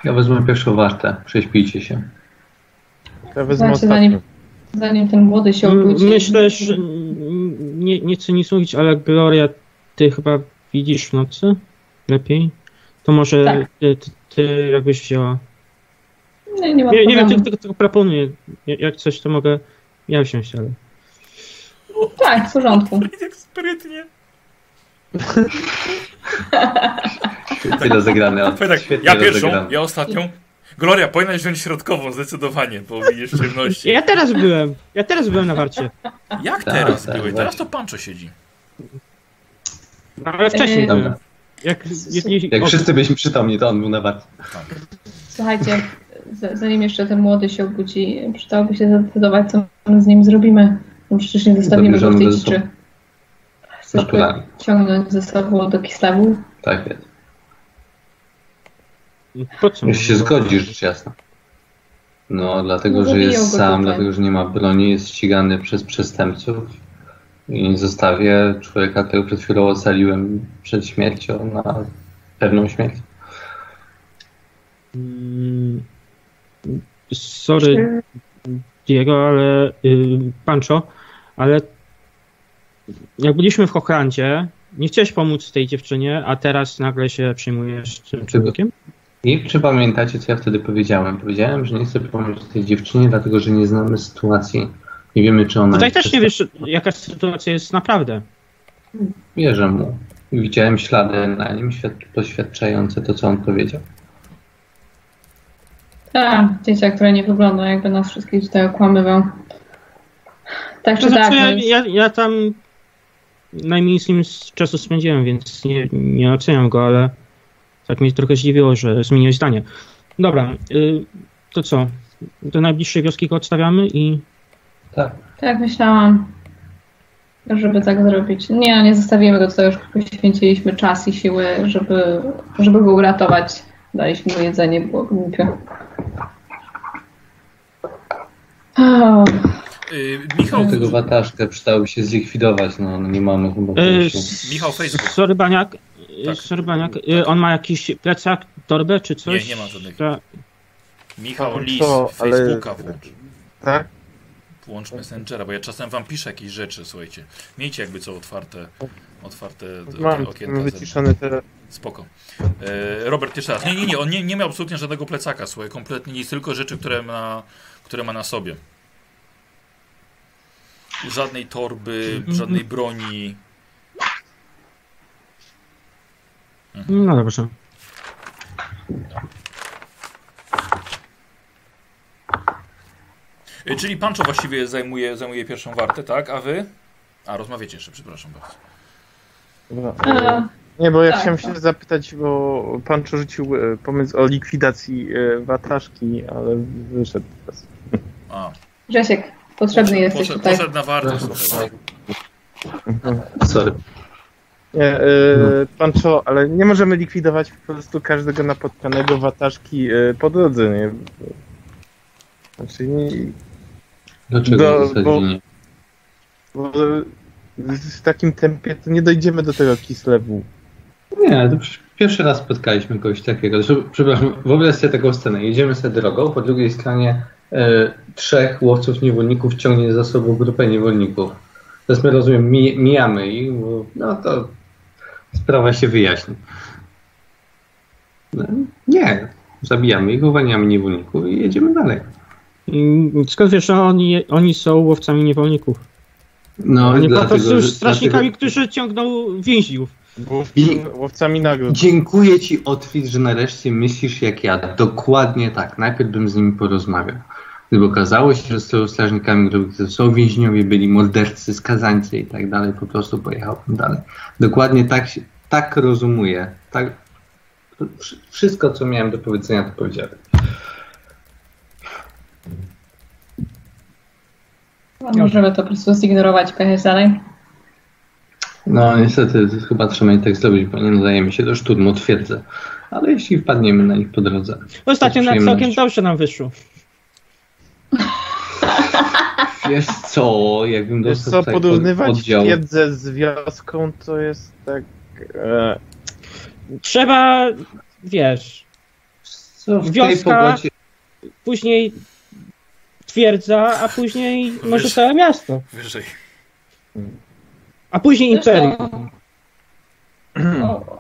Speaker 5: Ja wezmę pierwszą wartę, prześpijcie się.
Speaker 4: Ja wezmę
Speaker 3: Znaczy,
Speaker 4: ostatnią.
Speaker 3: zanim- Zanim ten młody się
Speaker 2: M-
Speaker 3: obudzi.
Speaker 2: Myślę, że n- nie, nie chcę nic mówić, ale Gloria, ty chyba widzisz w nocy lepiej. To może
Speaker 3: Tak.
Speaker 2: ty, ty, ty jakbyś wzięła.
Speaker 3: Nie, nie ma
Speaker 2: Nie, nie wiem,
Speaker 3: problemu.
Speaker 2: tylko, tylko proponuję. Ja- Jak coś, to mogę ja wziąć, ale.
Speaker 3: Tak, w porządku.
Speaker 1: Jak sprytnie. [LAUGHS]
Speaker 5: Tyle zagrane.
Speaker 1: Tak,
Speaker 5: świetnie
Speaker 1: ja pierwszą,
Speaker 5: rozegrane.
Speaker 1: ja ostatnią. Gloria, powinnaś wziąć środkową zdecydowanie, bo widzisz w ciemności.
Speaker 2: Ja teraz byłem! Ja teraz byłem na warcie.
Speaker 1: [LAUGHS] Jak
Speaker 5: Tak,
Speaker 1: teraz
Speaker 5: tak,
Speaker 1: byłeś?
Speaker 5: właśnie.
Speaker 1: Teraz to Pancho siedzi.
Speaker 2: No, ale wcześniej
Speaker 3: Eee,
Speaker 2: byłem.
Speaker 5: Dobra.
Speaker 2: Jak, jest, jest,
Speaker 5: Jak
Speaker 2: o,
Speaker 5: wszyscy byliśmy przytomni, to on był na warcie.
Speaker 3: Słuchajcie, z- zanim jeszcze ten młody się obudzi, przydałoby się zdecydować, co my z nim zrobimy. Bo przecież nie zostawimy go w tej
Speaker 5: Zabierzemy ze sobą.
Speaker 3: ciszy. Chcesz go
Speaker 5: Naturalnie.
Speaker 3: ciągnąć ze sobą do Kislewu?
Speaker 5: Tak jest.
Speaker 2: po co?
Speaker 5: Już się zgodzi, rzecz jasna. No, dlatego,
Speaker 3: No,
Speaker 5: że
Speaker 3: zabiją
Speaker 5: jest
Speaker 3: go
Speaker 5: sam,
Speaker 3: tutaj.
Speaker 5: dlatego, że nie ma broni, jest ścigany przez przestępców. I zostawię człowieka, którego przed chwilą ocaliłem przed śmiercią, na pewną śmierć.
Speaker 2: Mm, Sorry, Diego, ale y, Pancho, ale jak byliśmy w Hochlandzie, nie chciałeś pomóc tej dziewczynie, a teraz nagle się przejmujesz tym człowiekiem?
Speaker 5: I czy pamiętacie, co ja wtedy powiedziałem? Powiedziałem, że nie chcę pomóc tej dziewczynie, dlatego, że nie znamy sytuacji. Nie wiemy, czy ona
Speaker 2: Tutaj
Speaker 5: jest
Speaker 2: też nie wiesz, jaka sytuacja jest naprawdę.
Speaker 5: Wierzę mu. Widziałem ślady na nim świad- poświadczające to, co on powiedział.
Speaker 3: Tak, dzieciak, które nie wygląda jakby nas wszystkich tutaj okłamywał. Tak czy
Speaker 2: To
Speaker 3: tak,
Speaker 2: znaczy,
Speaker 3: no
Speaker 2: ja,
Speaker 3: już-
Speaker 2: ja, ja tam najmniej z nim z czasu spędziłem, więc nie, nie oceniam go, ale tak mnie trochę zdziwiło, że zmieniłeś zdanie. Dobra, y, to co? Do najbliższej wioski go odstawiamy i
Speaker 5: Tak.
Speaker 3: tak myślałam, żeby tak zrobić. Nie, nie zostawimy go tutaj, już poświęciliśmy czas i siły, żeby, żeby go uratować. Daliśmy mu jedzenie, było głupio. O,
Speaker 1: Yy, Michał,
Speaker 5: Dlatego wataszkę przydałoby się zlikwidować, no, no nie mamy chyba
Speaker 2: E,
Speaker 5: się...
Speaker 2: s-
Speaker 1: Michał Facebook.
Speaker 2: Sorry Baniak, e,
Speaker 1: Tak.
Speaker 2: sorry Baniak, e, on ma jakiś plecak, torbę czy coś?
Speaker 1: Nie, nie ma żadnych.
Speaker 2: Ta-
Speaker 1: Michał
Speaker 4: Co,
Speaker 1: Lis,
Speaker 4: ale-
Speaker 1: Facebooka włącz.
Speaker 4: Tak?
Speaker 1: Włącz Messengera, bo ja czasem wam piszę jakieś rzeczy, słuchajcie. Miejcie jakby co otwarte, otwarte te
Speaker 4: Mam
Speaker 1: okienka. ze-
Speaker 4: wyciszony teraz.
Speaker 1: Spoko. E, Robert, jeszcze raz. Nie, nie, nie, on nie, nie miał absolutnie żadnego plecaka, słuchaj, kompletnie nic, tylko rzeczy, które ma, które ma na sobie. Żadnej torby, żadnej broni. Mhm.
Speaker 2: No dobrze.
Speaker 1: E, Czyli Pancho właściwie zajmuje, zajmuje pierwszą wartę, tak? A wy? A, rozmawiacie jeszcze, przepraszam bardzo.
Speaker 4: Dobra.
Speaker 3: a,
Speaker 4: Nie, bo ja
Speaker 3: Tak,
Speaker 4: chciałem
Speaker 3: tak.
Speaker 4: się zapytać, bo pan przerzucił e, pomysł o likwidacji e, wataszki, ale wyszedł teraz.
Speaker 1: A,
Speaker 3: Grzesiek, potrzebny jesteś
Speaker 1: poszedł,
Speaker 3: tutaj.
Speaker 1: poszedł na wartę. słuchaj.
Speaker 5: Sorry.
Speaker 4: Nie, e, pan Czo, ale nie możemy likwidować po prostu każdego napotkanego wataszki e, po drodze, nie? Znaczy, nie,
Speaker 5: Dlaczego
Speaker 4: Do-
Speaker 5: w zasadzie
Speaker 4: bo-
Speaker 5: nie?
Speaker 4: bo w takim tempie to nie dojdziemy do tego Kislewu.
Speaker 5: Nie, to przecież pierwszy raz spotkaliśmy kogoś takiego. Zresztą, przepraszam, wyobraź sobie taką scenę. Jedziemy sobie drogą, po drugiej stronie e, trzech łowców niewolników ciągnie za sobą grupę niewolników. Teraz my rozumiem, mi, mijamy i no to sprawa się wyjaśni. No, nie, zabijamy ich, uwalniamy niewolników i jedziemy dalej.
Speaker 2: I Skąd wiesz, że oni, oni są łowcami niewolników?
Speaker 5: No,
Speaker 2: Oni po
Speaker 5: dlatego,
Speaker 2: prostu
Speaker 5: że-
Speaker 2: już strażnikami,
Speaker 5: dlatego-
Speaker 2: którzy ciągną więźniów.
Speaker 4: Łowcy, łowcami nagród.
Speaker 5: Dziękuję ci, Otwit, że nareszcie myślisz jak ja. Dokładnie tak. Najpierw bym z nimi porozmawiał. Gdyby okazało się, że są strażnikami, których to są więźniowie, byli mordercy, skazańcy i tak dalej, po prostu pojechałbym dalej. Dokładnie tak, się- tak rozumuję. Tak, wsz- wszystko, co miałem do powiedzenia, to powiedziałem.
Speaker 3: Możemy to po prostu zignorować, pojechać dalej.
Speaker 5: No, niestety, to chyba trzeba i tak zrobić, bo nie nadajemy się do szturmu, twierdzę. Ale jeśli wpadniemy na nich po drodze.
Speaker 2: Ostatnio
Speaker 5: Z
Speaker 2: na całkiem
Speaker 5: przyjemnością.
Speaker 2: dobrze nam wyszło.
Speaker 5: Wiesz co, jakbym
Speaker 4: Wiesz
Speaker 5: dostał
Speaker 4: co,
Speaker 5: tutaj od-
Speaker 4: porównywać wiedzę z wioską to jest tak... E,
Speaker 2: Trzeba, wiesz,
Speaker 5: Co w tej
Speaker 2: Wioska-
Speaker 5: pogodzie
Speaker 2: później twierdza, a później może
Speaker 1: Wiesz-
Speaker 2: całe miasto.
Speaker 1: Wyżej.
Speaker 2: A później
Speaker 3: No
Speaker 2: imperium,
Speaker 3: O.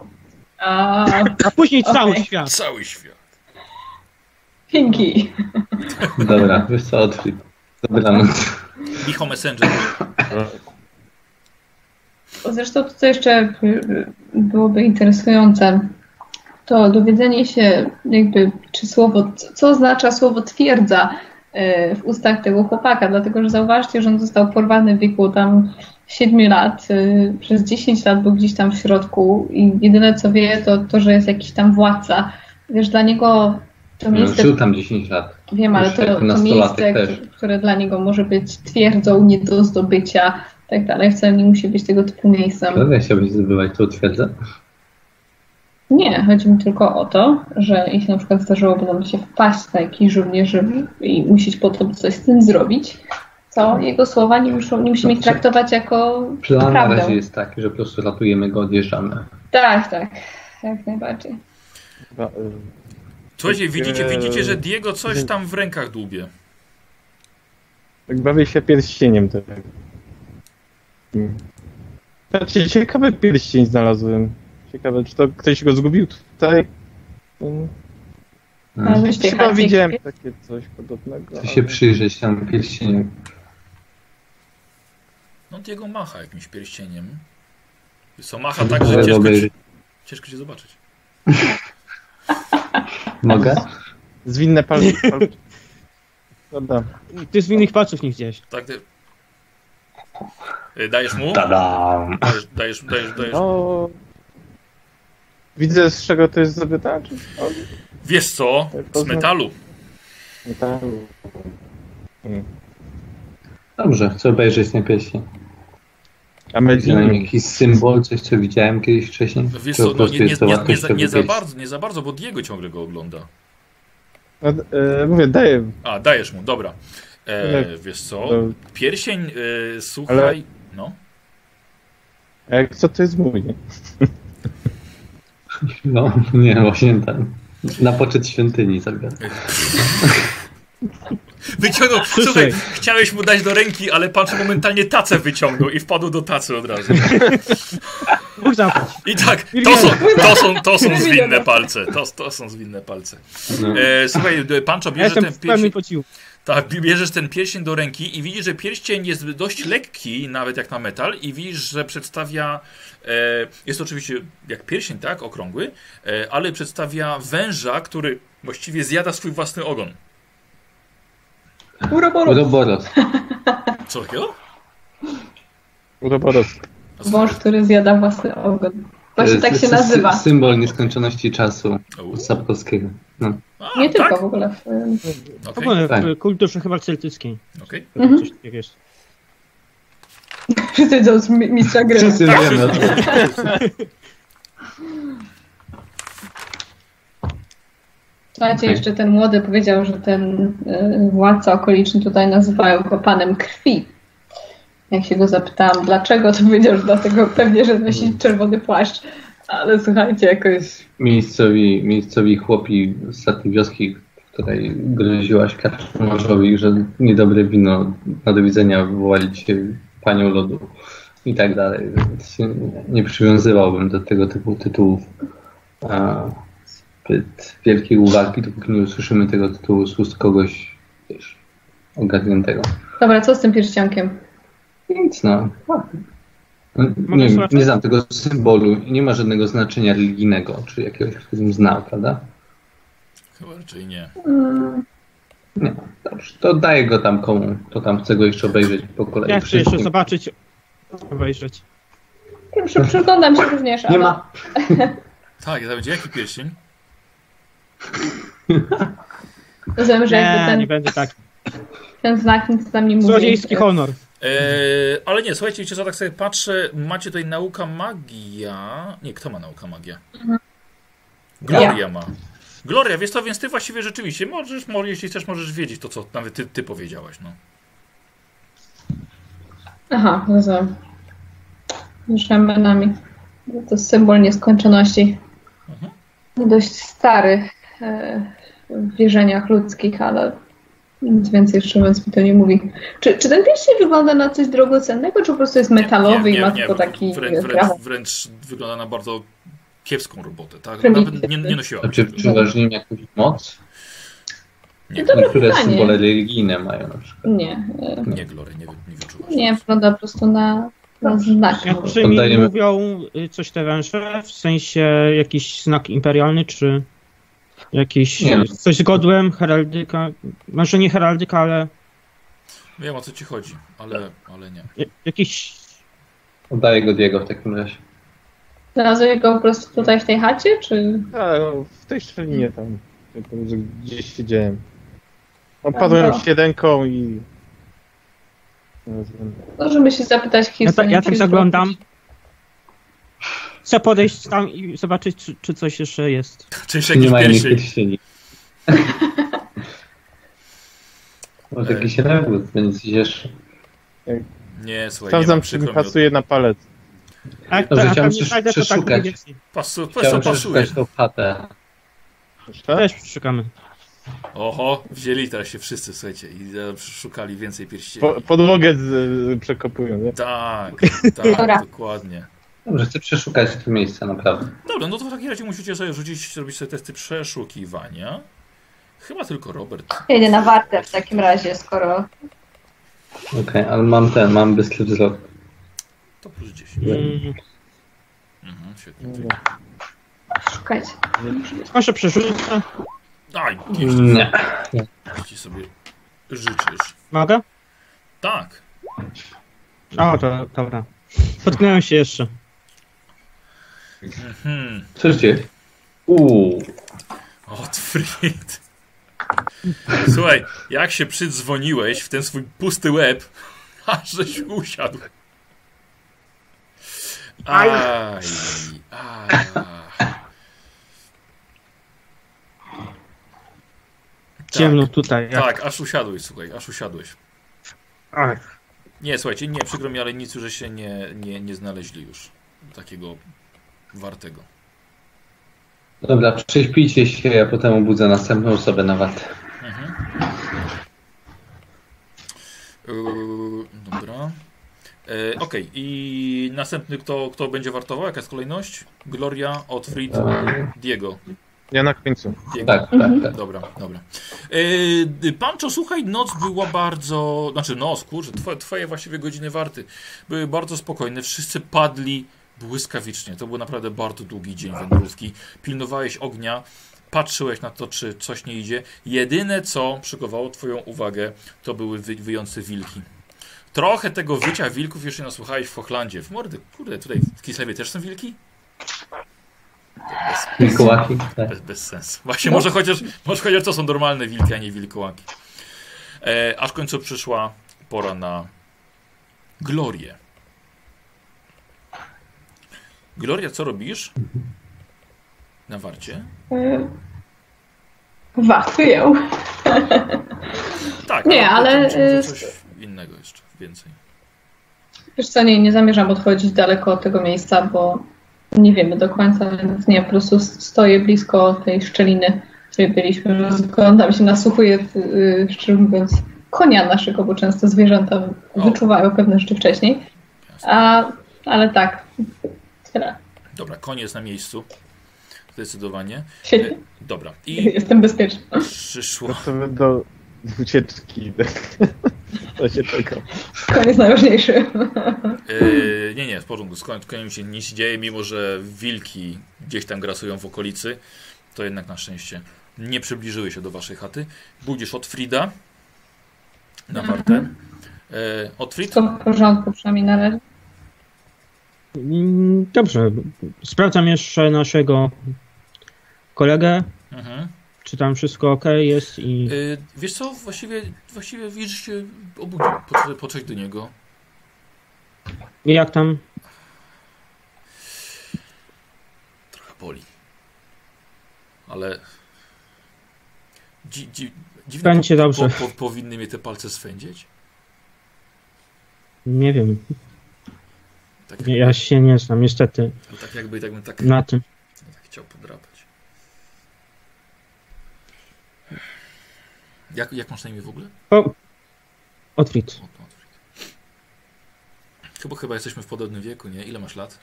Speaker 3: A,
Speaker 2: a później
Speaker 3: Okej.
Speaker 2: cały świat.
Speaker 1: Cały świat.
Speaker 3: dzięki.
Speaker 5: Dobra, [LAUGHS] no, wiesz co, odflip. Dobranoc.
Speaker 1: Micho Messenger.
Speaker 3: Zresztą to, co jeszcze y, byłoby interesujące, to dowiedzenie się, jakby, czy słowo, co oznacza słowo twierdza y, w ustach tego chłopaka, dlatego że zauważcie, że on został porwany w wieku tam 7 lat, y, przez 10 lat był gdzieś tam w środku i jedyne co wie, to to, że jest jakiś tam władca. Wiesz, dla niego to
Speaker 5: No,
Speaker 3: miejsce
Speaker 5: Żył tam 10 lat.
Speaker 3: Wiem, ale
Speaker 5: Już
Speaker 3: to,
Speaker 5: jako
Speaker 3: to
Speaker 5: nastolatek
Speaker 3: miejsce,
Speaker 5: też.
Speaker 3: które- które dla niego może być twierdzą, nie do zdobycia i tak dalej, wcale nie musi być tego typu miejscem.
Speaker 5: Prawda, chciałbyś zdobywać tą twierdzę?
Speaker 3: Nie, chodzi mi tylko o to, że jeśli na przykład zdarzyłoby nam się wpaść na jakiś żołnierzy
Speaker 5: Mhm.
Speaker 3: i musieć potem coś z tym zrobić, to jego słowa nie, muszą, nie musimy ich traktować jako
Speaker 5: Plan na
Speaker 3: prawdę.
Speaker 5: razie jest taki, że po prostu ratujemy go, odjeżdżamy.
Speaker 3: Tak, tak, jak najbardziej.
Speaker 4: chyba, e,
Speaker 1: Słuchajcie, widzicie,
Speaker 4: Eee.
Speaker 1: widzicie, że Diego coś tam w rękach dłubie.
Speaker 4: tak bawię się pierścieniem tak. Znaczy, ciekawy pierścień znalazłem. Ciekawe, czy to ktoś go zgubił tutaj? Mm,
Speaker 3: Ale
Speaker 5: Mm.
Speaker 3: myślę,
Speaker 4: Chyba
Speaker 3: że-
Speaker 4: widziałem takie coś podobnego.
Speaker 5: Chcę się
Speaker 4: ale-
Speaker 5: przyjrzeć tam pierścieniu.
Speaker 1: No Diego macha jakimś pierścieniem. Co macha tak, że
Speaker 5: Mogę
Speaker 1: ciężko, ci,
Speaker 5: obejrzeć.
Speaker 1: ciężko cię zobaczyć.
Speaker 5: Mogę?
Speaker 4: Zwinne palce. palce. Dobra.
Speaker 2: Ty z innych palców nie widziałeś.
Speaker 1: Tak, ty... Y, Dajesz mu?
Speaker 5: Tak. Tadam!
Speaker 1: Dajesz, dajesz, dajesz, dajesz.
Speaker 4: No. Widzę z czego to jest zrobione, czy? O,
Speaker 1: Wiesz co? Z metalu.
Speaker 4: nie, tak.
Speaker 5: Dobrze, chcę obejrzeć ten pierścień.
Speaker 4: A
Speaker 5: Widzę na nim
Speaker 4: Medini.
Speaker 5: jakiś symbol, coś co widziałem kiedyś wcześniej.
Speaker 1: No Wiesz
Speaker 5: Czy po
Speaker 1: co, no,
Speaker 5: prostu
Speaker 1: nie, nie,
Speaker 5: jest to
Speaker 1: nie, nie,
Speaker 5: wartość
Speaker 1: za,
Speaker 5: tego
Speaker 1: nie, za
Speaker 5: pierścienia?
Speaker 1: bardzo, nie za bardzo, bo Diego ciągle go ogląda.
Speaker 4: No, e, mówię, daję.
Speaker 1: A, dajesz mu, dobra. E,
Speaker 4: Nie.
Speaker 1: wiesz co?
Speaker 4: E,
Speaker 1: Pierścień, e, słuchaj... No.
Speaker 4: a jak co to jest mój? nie?
Speaker 5: No, [LAUGHS] nie, właśnie tam. Na poczet świątyni zabiorę.
Speaker 1: Wyciągnął,
Speaker 2: Przyszedł.
Speaker 1: słuchaj, chciałeś mu dać do ręki, ale patrz, momentalnie tacę wyciągnął i wpadł do tacy od razu.
Speaker 2: Bóg zapłać.
Speaker 1: I tak, to są, to są, to są zwinne palce, to, to są zwinne palce.
Speaker 5: No.
Speaker 1: E, słuchaj, Pancho,
Speaker 2: Ja
Speaker 1: bierzesz
Speaker 2: jestem
Speaker 1: ten
Speaker 2: w pełnym
Speaker 1: pierścień,
Speaker 2: podziwu.
Speaker 1: tak, bierzesz ten pierścień do ręki i widzisz, że pierścień jest dość lekki, nawet jak na metal i widzisz, że przedstawia, e, jest oczywiście jak pierścień, tak, okrągły, e, ale przedstawia węża, który właściwie zjada swój własny ogon.
Speaker 3: Uroboros,
Speaker 5: Uroboros.
Speaker 1: Co takiego?
Speaker 4: Uroboros.
Speaker 1: A co-
Speaker 3: wąż, który zjada własny ogon.
Speaker 5: E,
Speaker 3: Właśnie tak się nazywa.
Speaker 5: Symbol nieskończoności czasu Sapkowskiego. No.
Speaker 1: A,
Speaker 3: Nie tylko
Speaker 1: Tak?
Speaker 3: w ogóle. W,
Speaker 2: W
Speaker 1: Okej,
Speaker 2: ogóle
Speaker 5: Tak.
Speaker 2: w kulturze chyba celtyckiej.
Speaker 1: okej.
Speaker 3: Mhm.
Speaker 2: Coś takiego jest.
Speaker 3: wszyscy wiedzą z mi- mistrza gry.
Speaker 5: [LAUGHS] Wszyscy wiemy.
Speaker 3: Słuchajcie,
Speaker 5: Okej.
Speaker 3: jeszcze ten młody powiedział, że ten y, władca okoliczny tutaj nazywają go panem krwi. Jak się go zapytałam, dlaczego, to powiedział, że dlatego pewnie, że nosi czerwony płaszcz. Ale słuchajcie, jakoś
Speaker 5: Miejscowi, miejscowi chłopi z takiej wioski, której groziłaś karczmarzowi, że niedobre wino na do widzenia wołali cię panią lodu i tak dalej. Więc nie- nie przywiązywałbym do tego typu tytułów a, zbyt wielkiej uwagi, dopóki nie usłyszymy tego tytułu z ust kogoś wiesz, ogarniętego.
Speaker 3: Dobra, co z tym pierścionkiem?
Speaker 5: Nic, no.
Speaker 2: Mogę
Speaker 5: Nie,
Speaker 2: zobaczyć?
Speaker 5: nie znam tego symbolu, nie ma żadnego znaczenia religijnego, czy jakiegoś, którym znał, prawda?
Speaker 1: Chyba raczej nie.
Speaker 3: Mm,
Speaker 5: Nie, dobrze, to daję go tam komu, kto tam chce go jeszcze obejrzeć po kolei.
Speaker 2: Ja chcę jeszcze
Speaker 5: Wszystkim.
Speaker 2: zobaczyć, obejrzeć.
Speaker 3: Przy- Przyglądam się również,
Speaker 5: Nie
Speaker 3: ale
Speaker 5: ma.
Speaker 1: Tak, to będzie jaki pierścień?
Speaker 3: rozumiem, że jakby
Speaker 2: Nie, nie
Speaker 3: ten,
Speaker 2: będę
Speaker 3: [LAUGHS]
Speaker 2: tak.
Speaker 3: ten znak nic nam nie mówi.
Speaker 2: Złodziejski honor.
Speaker 1: Eee, ale nie, słuchajcie, wiecie co, tak sobie patrzę, macie tutaj nauka magia. Nie, kto ma nauka magia? Gloria ma. Gloria, wiesz co, więc ty właściwie rzeczywiście możesz, może, jeśli chcesz, możesz wiedzieć to, co nawet ty, ty powiedziałaś, no.
Speaker 3: Aha, rozumiem. Ruszamy nami. To symbol nieskończoności.
Speaker 1: Mhm.
Speaker 3: Dość stary e, w wierzeniach ludzkich, ale nic więcej jeszcze więc mi to nie mówi. Czy, czy ten pierścień wygląda na coś drogocennego, czy po prostu jest metalowy i ma tylko taki
Speaker 1: wręcz, wręcz,
Speaker 3: krawat?
Speaker 1: wręcz wygląda na bardzo kiepską robotę, tak?
Speaker 3: Prymitywny.
Speaker 1: Nawet nie, nie nosiła.
Speaker 5: A Znaczy, czy przyważnie jakąś moc?
Speaker 1: Nie,
Speaker 3: Dobre
Speaker 5: Niektóre
Speaker 3: pytanie.
Speaker 5: symbole religijne mają na przykład.
Speaker 3: Nie, e,
Speaker 1: nie, Gloria, nie, nie wyczuwasz.
Speaker 3: nie, wygląda po prostu na,
Speaker 1: No,
Speaker 3: na znak.
Speaker 2: Jak przy mi
Speaker 5: Oddajemy.
Speaker 2: mówią y, coś te węże, w sensie jakiś znak imperialny, czy jakiś
Speaker 5: Nie.
Speaker 2: y, coś z godłem, heraldyka, może nie heraldyka, ale
Speaker 1: Wiem, o co ci chodzi, ale, ale nie.
Speaker 2: j- y, jakiś
Speaker 5: Oddaję go Diego w takim razie.
Speaker 3: Znalazłeś go po prostu tutaj w tej chacie, czy...
Speaker 4: Tak, no, w tej szczelinie tam, jak to mówię, gdzieś siedziałem.
Speaker 3: Tam
Speaker 4: Opadłem
Speaker 3: było.
Speaker 4: siedemką i... No, z-
Speaker 3: Możemy się zapytać
Speaker 2: Ja,
Speaker 3: Kirsten.
Speaker 2: ta, ja
Speaker 3: jak
Speaker 2: tak
Speaker 3: się
Speaker 2: zaglądam.
Speaker 3: zrobić.
Speaker 2: Chcę podejść tam i zobaczyć, czy, czy coś jeszcze jest.
Speaker 1: Czy się
Speaker 5: Nie
Speaker 1: jakiś
Speaker 5: ma innych
Speaker 1: pierścień?
Speaker 5: [LAUGHS] pierścieni. Może
Speaker 1: Ej.
Speaker 5: jakiś rewód będzie ci jeszcze.
Speaker 1: Nie, słuchaj, nie ma,
Speaker 4: Sprawdzam, czy
Speaker 1: przykro
Speaker 4: mi
Speaker 1: mi, od-
Speaker 4: pasuje na palec.
Speaker 2: A jak
Speaker 5: Dobrze,
Speaker 2: tam-
Speaker 5: chciałem
Speaker 2: tam nie
Speaker 5: przesz-
Speaker 2: znajdę, to tak
Speaker 5: przeszukać.
Speaker 2: będzie więcej.
Speaker 1: Pasu, pasu,
Speaker 5: Chciałem
Speaker 1: pasuje.
Speaker 5: przeszukać tą chatę.
Speaker 4: Proszę?
Speaker 2: Też szukamy.
Speaker 1: Oho, wzięli teraz się wszyscy, słuchajcie, i e, szukali więcej pierścieni.
Speaker 4: Po, podłogę z, przekopują, nie?
Speaker 1: Tak,
Speaker 3: Dobra.
Speaker 1: tak, dokładnie.
Speaker 5: Dobrze, chcę przeszukać to miejsce naprawdę.
Speaker 1: Dobra, no to w takim razie musicie sobie rzucić, robić sobie testy przeszukiwania. Chyba tylko Robert.
Speaker 3: Ja Idę na wartę w takim razie, skoro
Speaker 5: Okej, ale mam ten, mam bystry wzrok.
Speaker 1: To plus 10.
Speaker 2: Mm,
Speaker 1: Mhm, świetnie.
Speaker 3: szukać.
Speaker 2: może przerzucę.
Speaker 1: Daj,
Speaker 5: Nie.
Speaker 1: jeśli sobie życzysz.
Speaker 2: Mogę?
Speaker 1: Tak.
Speaker 2: O, to dobra. Potknąłem się jeszcze.
Speaker 1: Hmm.
Speaker 5: Coś dzieje? Uuu.
Speaker 1: Otwryt. Słuchaj, jak się przydzwoniłeś w ten swój pusty łeb, [LAUGHS] aż żeś usiadł. Aj, Tak. aj.
Speaker 2: Ciemno tutaj. jak-
Speaker 1: Tak, aż usiadłeś, słuchaj, aż usiadłeś.
Speaker 2: Ach,
Speaker 1: Nie, słuchajcie, nie, przykro mi, ale nic, że się nie, nie, nie znaleźli już. Takiego wartego.
Speaker 5: Dobra, prześpijcie się, ja potem obudzę następną osobę na watę.
Speaker 1: Mhm. Yy, dobra. Yy, Okej, i następny kto, kto będzie wartował? Jaka jest kolejność? Gloria, Otfried,
Speaker 5: Eee.
Speaker 1: Diego.
Speaker 4: Ja na końcu.
Speaker 1: Diego.
Speaker 5: Tak, tak, tak.
Speaker 1: Dobra, dobra. Yy, Pancho, słuchaj, noc była bardzo. Znaczy, noc, kurczę, twoje, twoje właściwie godziny warty były bardzo spokojne. Wszyscy padli błyskawicznie. To był naprawdę bardzo długi dzień wędrówki. Pilnowałeś ognia, patrzyłeś na to, czy coś nie idzie. Jedyne, co przykowało Twoją uwagę, to były wy, wyjące wilki. Trochę tego wycia wilków jeszcze nasłuchałeś w Hochlandzie. W mordy, kurde, tutaj w Kislewie też są wilki? Bez, bez,
Speaker 5: Mikołaki. Tak.
Speaker 1: bez, bez sensu. Właśnie,
Speaker 3: No.
Speaker 1: może chociaż, może chociaż to są normalne wilki, a nie wilkołaki. E, aż w końcu przyszła pora na Glorię. Gloria, co robisz? Na warcie?
Speaker 3: E, Wartuję.
Speaker 1: Tak.
Speaker 3: Nie,
Speaker 1: to- to
Speaker 3: ale,
Speaker 1: czy może
Speaker 3: y,
Speaker 1: Coś innego jeszcze, więcej.
Speaker 3: Wiesz co, nie, nie zamierzam odchodzić daleko od tego miejsca, bo nie wiemy do końca, więc nie, po prostu stoję blisko tej szczeliny, w której byliśmy, rozglądam się, nasłuchuję, yy, szczerze mówiąc, konia naszego, bo często zwierzęta
Speaker 1: O.
Speaker 3: wyczuwają pewne rzeczy wcześniej, a, ale tak, tyle,
Speaker 1: Dobra, koniec na miejscu. Zdecydowanie.
Speaker 3: świetnie,
Speaker 1: Dobra, i
Speaker 3: jestem bezpieczna.
Speaker 1: przyszło.
Speaker 4: Gotowy do ucieczki. [LAUGHS] To się tego.
Speaker 3: Koniec najważniejszy.
Speaker 1: Yy, nie, nie, w porządku, z koń- koniem się nic nie dzieje, mimo że wilki gdzieś tam grasują w okolicy, to jednak na szczęście nie przybliżyły się do waszej chaty. Budzisz od Frida na
Speaker 2: Mhm.
Speaker 1: wartę. Yy, od Frida?
Speaker 3: Wszystko w porządku, przynajmniej na razie.
Speaker 2: Mm, Dobrze, sprawdzam jeszcze naszego kolegę,
Speaker 1: Mhm.
Speaker 2: czy tam wszystko ok jest i...
Speaker 1: Yy, wiesz co, właściwie, właściwie widzisz się obudził, podszedł- podszedł do niego.
Speaker 2: i Jak tam?
Speaker 1: Trochę boli. Ale... Dzi, dzi, dziwne,
Speaker 2: Będzie dobrze.
Speaker 1: Po, po, powinny mnie te palce swędzić?
Speaker 2: Nie wiem,
Speaker 1: Tak,
Speaker 2: ja się nie znam niestety
Speaker 1: bo tak jakby tak bym tak,
Speaker 2: na tym.
Speaker 1: tak chciał podrapać. Jak, jak masz na imię w ogóle?
Speaker 2: O, Otwit,
Speaker 1: O, to otwórz. Chyba, chyba jesteśmy w podobnym wieku, nie? Ile masz lat?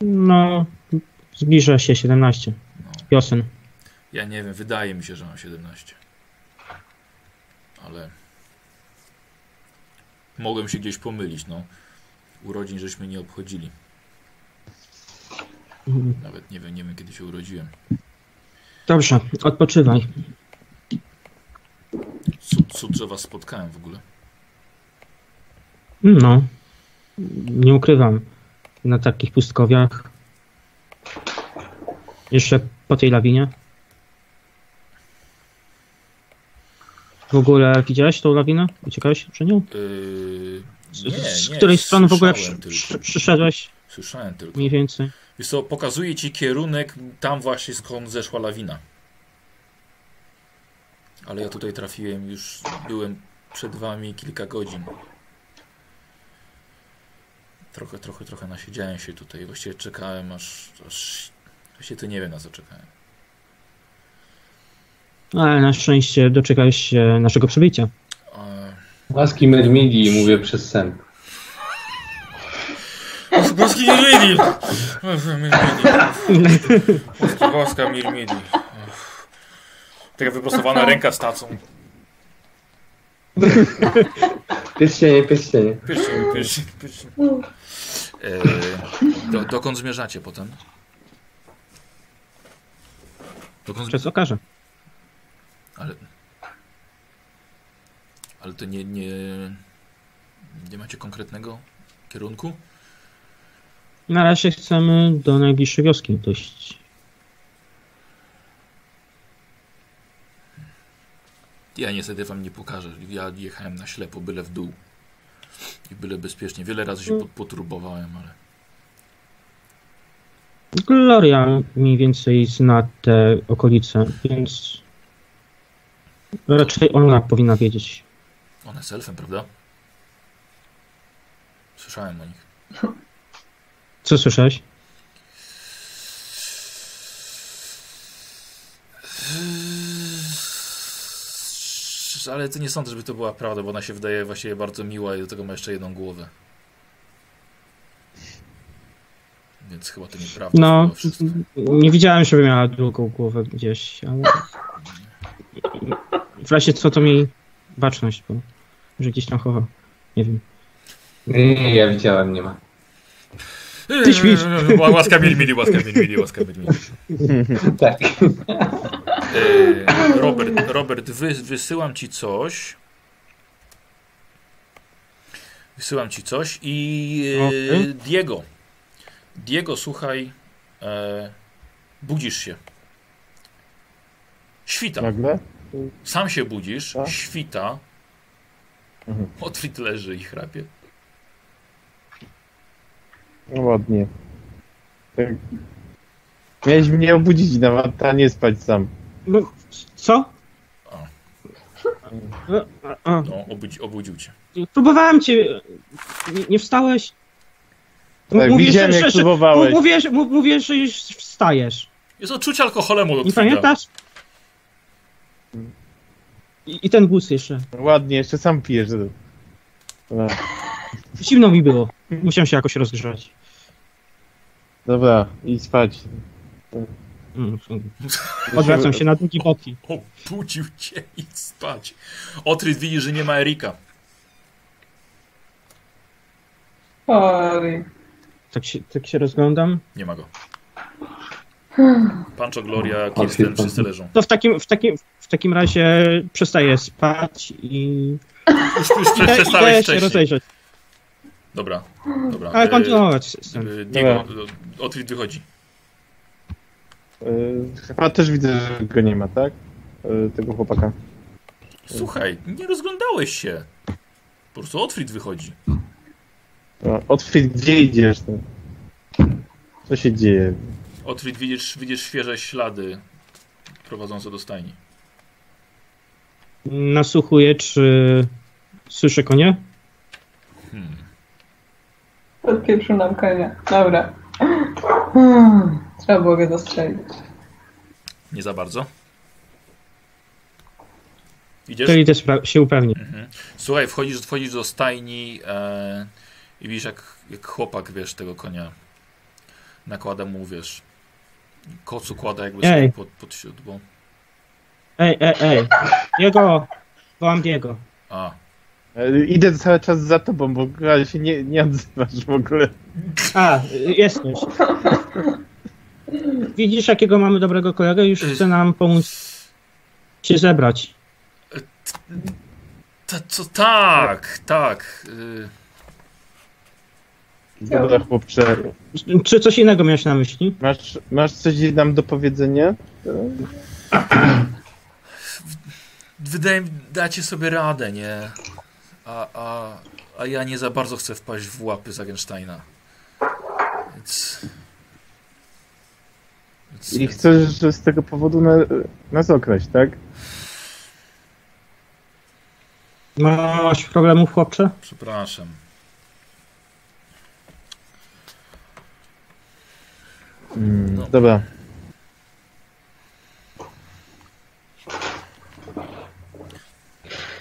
Speaker 2: no zbliża się 17,
Speaker 1: No,
Speaker 2: wiosen.
Speaker 1: ja nie wiem, wydaje mi się, że mam 17. Ale mogłem się gdzieś pomylić, no. Urodzin żeśmy nie obchodzili. Nawet nie wiem, nie wiem kiedy się urodziłem.
Speaker 2: Dobrze, odpoczywaj.
Speaker 1: Cud, cud, że was spotkałem w ogóle.
Speaker 2: No, nie ukrywam, na takich pustkowiach, jeszcze po tej lawinie. W ogóle widziałeś tą lawinę? Uciekałeś przed nią?
Speaker 1: Yy,
Speaker 2: Z,
Speaker 1: nie,
Speaker 2: z
Speaker 1: nie,
Speaker 2: której strony w ogóle przy,
Speaker 1: słyszałem
Speaker 2: przy,
Speaker 1: tylko.
Speaker 2: przyszedłeś
Speaker 1: Słyszałem tylko.
Speaker 2: mniej więcej?
Speaker 1: Wiesz co, pokazuję ci kierunek tam właśnie skąd zeszła lawina. Ale ja tutaj trafiłem już, byłem przed wami kilka godzin. Trochę, trochę, trochę nasiedziałem się tutaj. Właściwie czekałem aż... aż... Właściwie to nie wiem na co czekałem.
Speaker 2: No, Ale na szczęście doczekałeś się naszego przybycia.
Speaker 1: Eee,
Speaker 5: Łaski Mermidii mówię przez sen.
Speaker 1: Boski Mirmidi! Boski, boska Mirmidi. Taka wyprostowana ręka z tacą.
Speaker 5: Pierścienie, pierścienie.
Speaker 1: Pyszny, pyszny, pyszny. E, Do, dokąd zmierzacie potem? Dokąd
Speaker 2: Przez okaże.
Speaker 1: Ale, ale to nie, nie, nie macie konkretnego kierunku?
Speaker 2: Na razie chcemy do najbliższej wioski dojść.
Speaker 1: Ja niestety wam nie pokażę. Ja jechałem na ślepo, byle w dół. I byle bezpiecznie. Wiele razy się po- poturbowałem, ale...
Speaker 2: Gloria mniej więcej zna te okolice, więc raczej ona powinna wiedzieć.
Speaker 1: One z elfem, prawda? Słyszałem o nich.
Speaker 2: Co słyszałeś?
Speaker 1: Eee, Ale to nie sądzę, żeby to była prawda, bo ona się wydaje właściwie bardzo miła i do tego ma jeszcze jedną głowę. Więc chyba to nieprawda.
Speaker 2: No,
Speaker 1: chyba wszystko.
Speaker 2: nie widziałem, żeby miała drugą głowę gdzieś, ale w razie co to mi baczność, bo może gdzieś tam chowa. Nie wiem.
Speaker 5: Nie, nie, nie, ja widziałem, nie ma.
Speaker 2: Ty śmiesz.
Speaker 1: Ła- Łaska mili, mili, łaska mili, mili, łaska mili. mili.
Speaker 5: Tak.
Speaker 1: Eee, Robert, Robert wy, wysyłam ci coś. Wysyłam ci coś i eee,
Speaker 2: Okej.
Speaker 1: Diego. Diego, słuchaj, E, budzisz się. Świta.
Speaker 2: Tak.
Speaker 4: Nagle?
Speaker 1: Sam się budzisz,
Speaker 4: Tak.
Speaker 1: świta.
Speaker 4: Mhm.
Speaker 1: Otwit leży i chrapie.
Speaker 4: No ładnie. Tak. Miałeś mnie obudzić nawet, a nie spać sam.
Speaker 2: No, co?
Speaker 1: A.
Speaker 2: No, a, a.
Speaker 1: No, obudzi, obudził cię.
Speaker 2: Próbowałem cię. Nie, nie wstałeś? M-
Speaker 4: Tak, widziałem jak
Speaker 2: że,
Speaker 4: próbowałeś.
Speaker 2: m- mówię, że, m- mówię, że już wstajesz.
Speaker 1: Jest odczucie alkoholem od
Speaker 2: Nie
Speaker 1: Otwita.
Speaker 2: pamiętasz? I, I ten bus jeszcze.
Speaker 4: Ładnie, jeszcze sam pijesz. Dobra,
Speaker 2: Zimno mi było. Musiałem się jakoś rozgrzać.
Speaker 4: dobra i spać.
Speaker 2: Mm, mm.
Speaker 1: Znaczy,
Speaker 2: Odwracam się
Speaker 1: e,
Speaker 2: na drugi boki.
Speaker 1: Obudził cię i spać. Otryt widzi, że nie ma Erika.
Speaker 3: Oj.
Speaker 2: Tak się, tak się rozglądam.
Speaker 1: Nie ma go.
Speaker 3: Hmm.
Speaker 1: Pancho, Gloria, Kirsten, wszyscy leżą.
Speaker 2: To w takim, w takim, w takim razie przestaję spać i.
Speaker 1: Już, już prze-
Speaker 2: Idę- idę
Speaker 1: przestałeś
Speaker 2: się
Speaker 1: wcześniej.
Speaker 2: rozejrzeć.
Speaker 1: Dobra, dobra.
Speaker 2: Ale
Speaker 1: E,
Speaker 2: kontynuować z tym.
Speaker 1: e, Diego, e, Otwit wychodzi.
Speaker 4: Yy, chyba też widzę, że go nie ma, tak? Yy, tego chłopaka.
Speaker 1: Słuchaj, nie rozglądałeś się. Po prostu Otwit wychodzi.
Speaker 4: No, Otwit, gdzie idziesz? Ty? Co się dzieje?
Speaker 1: Otwit widzisz, widzisz świeże ślady prowadzące do stajni.
Speaker 2: Nasłuchuję, czy słyszę konie?
Speaker 1: Hmm.
Speaker 3: Odpieprzył nam konia. Dobra. Hmm. Trzeba było go zastrzelić.
Speaker 1: Nie za bardzo. Idziesz?
Speaker 2: To idę spra- się upewnić.
Speaker 1: Mhm. Słuchaj, wchodzisz, wchodzisz do stajni e, i widzisz, jak, jak chłopak, wiesz, tego konia nakłada mu, wiesz, koc układa jakby
Speaker 2: Ej.
Speaker 1: sobie pod, pod siódmą.
Speaker 2: Ej, ej, ej. Jego! Wołam Diego.
Speaker 1: A,
Speaker 4: Yy, Idę cały czas za tobą, bo ale się nie, nie odzywasz w ogóle.
Speaker 2: A, y, jesteś. Widzisz, jakiego mamy dobrego kolegę? Już chce nam pomóc się zebrać.
Speaker 1: ta, co, tak, tak. Y,
Speaker 4: Dobra, chłopcze.
Speaker 2: Czy coś innego miałeś na myśli?
Speaker 4: Masz, masz coś nam do powiedzenia?
Speaker 1: wydaje mi, dacie sobie radę, nie? A, a, a ja nie za bardzo chcę wpaść w łapy Zagensteina. Więc... Więc...
Speaker 4: I chcesz że z tego powodu na, nas okraść, tak?
Speaker 2: Masz problemów, chłopcze?
Speaker 1: Przepraszam.
Speaker 4: Mm,
Speaker 1: No.
Speaker 4: Dobra.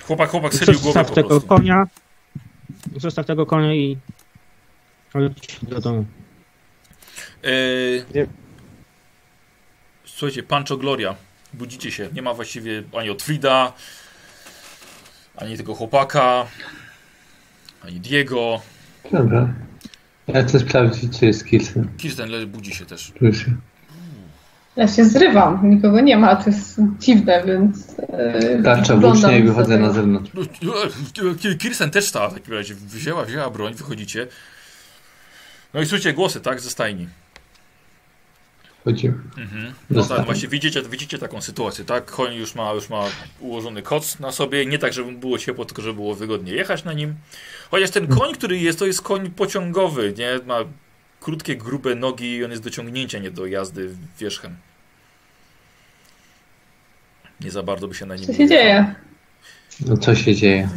Speaker 1: Chłopak, chłopak strzelił głowę
Speaker 2: Zostaw
Speaker 1: po
Speaker 2: tego
Speaker 1: prostu.
Speaker 2: konia. Zostaw tego konia i. Chodź do domu.
Speaker 1: Yy...
Speaker 4: Nie.
Speaker 1: Słuchajcie, Pancho Gloria, budzicie się. Nie ma właściwie ani Otwida, ani tego chłopaka, ani Diego.
Speaker 6: Dobra. Ja chcę sprawdzić, czy jest Kirsten.
Speaker 1: Kirsten leży, budzi się też.
Speaker 6: Proszę.
Speaker 3: Ja się zrywam, nikogo nie ma, to jest dziwne, więc. e,
Speaker 6: Tarcza
Speaker 3: oglądam
Speaker 6: włócznia i
Speaker 3: sobie.
Speaker 6: wychodzę na zewnątrz.
Speaker 1: No, Kirsten też stała w takim razie. Wzięła, wzięła broń, wychodzicie. No i słyszycie głosy, tak, ze stajni.
Speaker 6: Chodzimy.
Speaker 1: Mhm. No tak, właśnie widzicie, widzicie taką sytuację, tak? Koń już ma, już ma ułożony koc na sobie, nie tak, żeby mu było ciepło, tylko żeby było wygodnie jechać na nim. Chociaż ten koń, który jest, to jest koń pociągowy, nie? Ma krótkie, grube nogi i on jest do ciągnięcia, nie do jazdy wierzchem. Nie za bardzo by się na nim...
Speaker 3: Co się dzieje?
Speaker 6: No co się dzieje?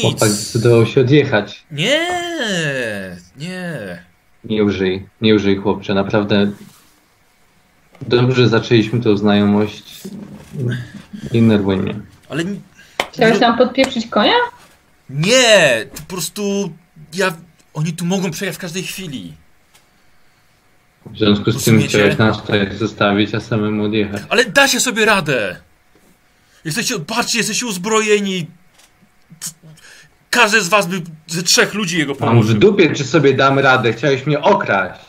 Speaker 6: Chłopak
Speaker 1: Nic!
Speaker 6: zdecydował się odjechać.
Speaker 1: Nie! Nie!
Speaker 6: Nie użyj, nie użyj chłopcze, naprawdę. Dobrze zaczęliśmy tą znajomość. Nie nerwuj mnie.
Speaker 1: Ale ni-
Speaker 3: Chciałeś nam podpieprzyć konia?
Speaker 1: nie! Po prostu ja... Oni tu mogą przejechać w każdej chwili.
Speaker 6: W związku z tym
Speaker 1: Rozumiecie?
Speaker 6: chciałeś nas tutaj zostawić, a samemu odjechać.
Speaker 1: Ale da się sobie radę! Jesteście, patrzcie, jesteście uzbrojeni. Każdy z was by ze trzech ludzi jego
Speaker 6: Mam w
Speaker 1: położył.
Speaker 6: dupie, czy sobie dam radę. Chciałeś mnie okraść.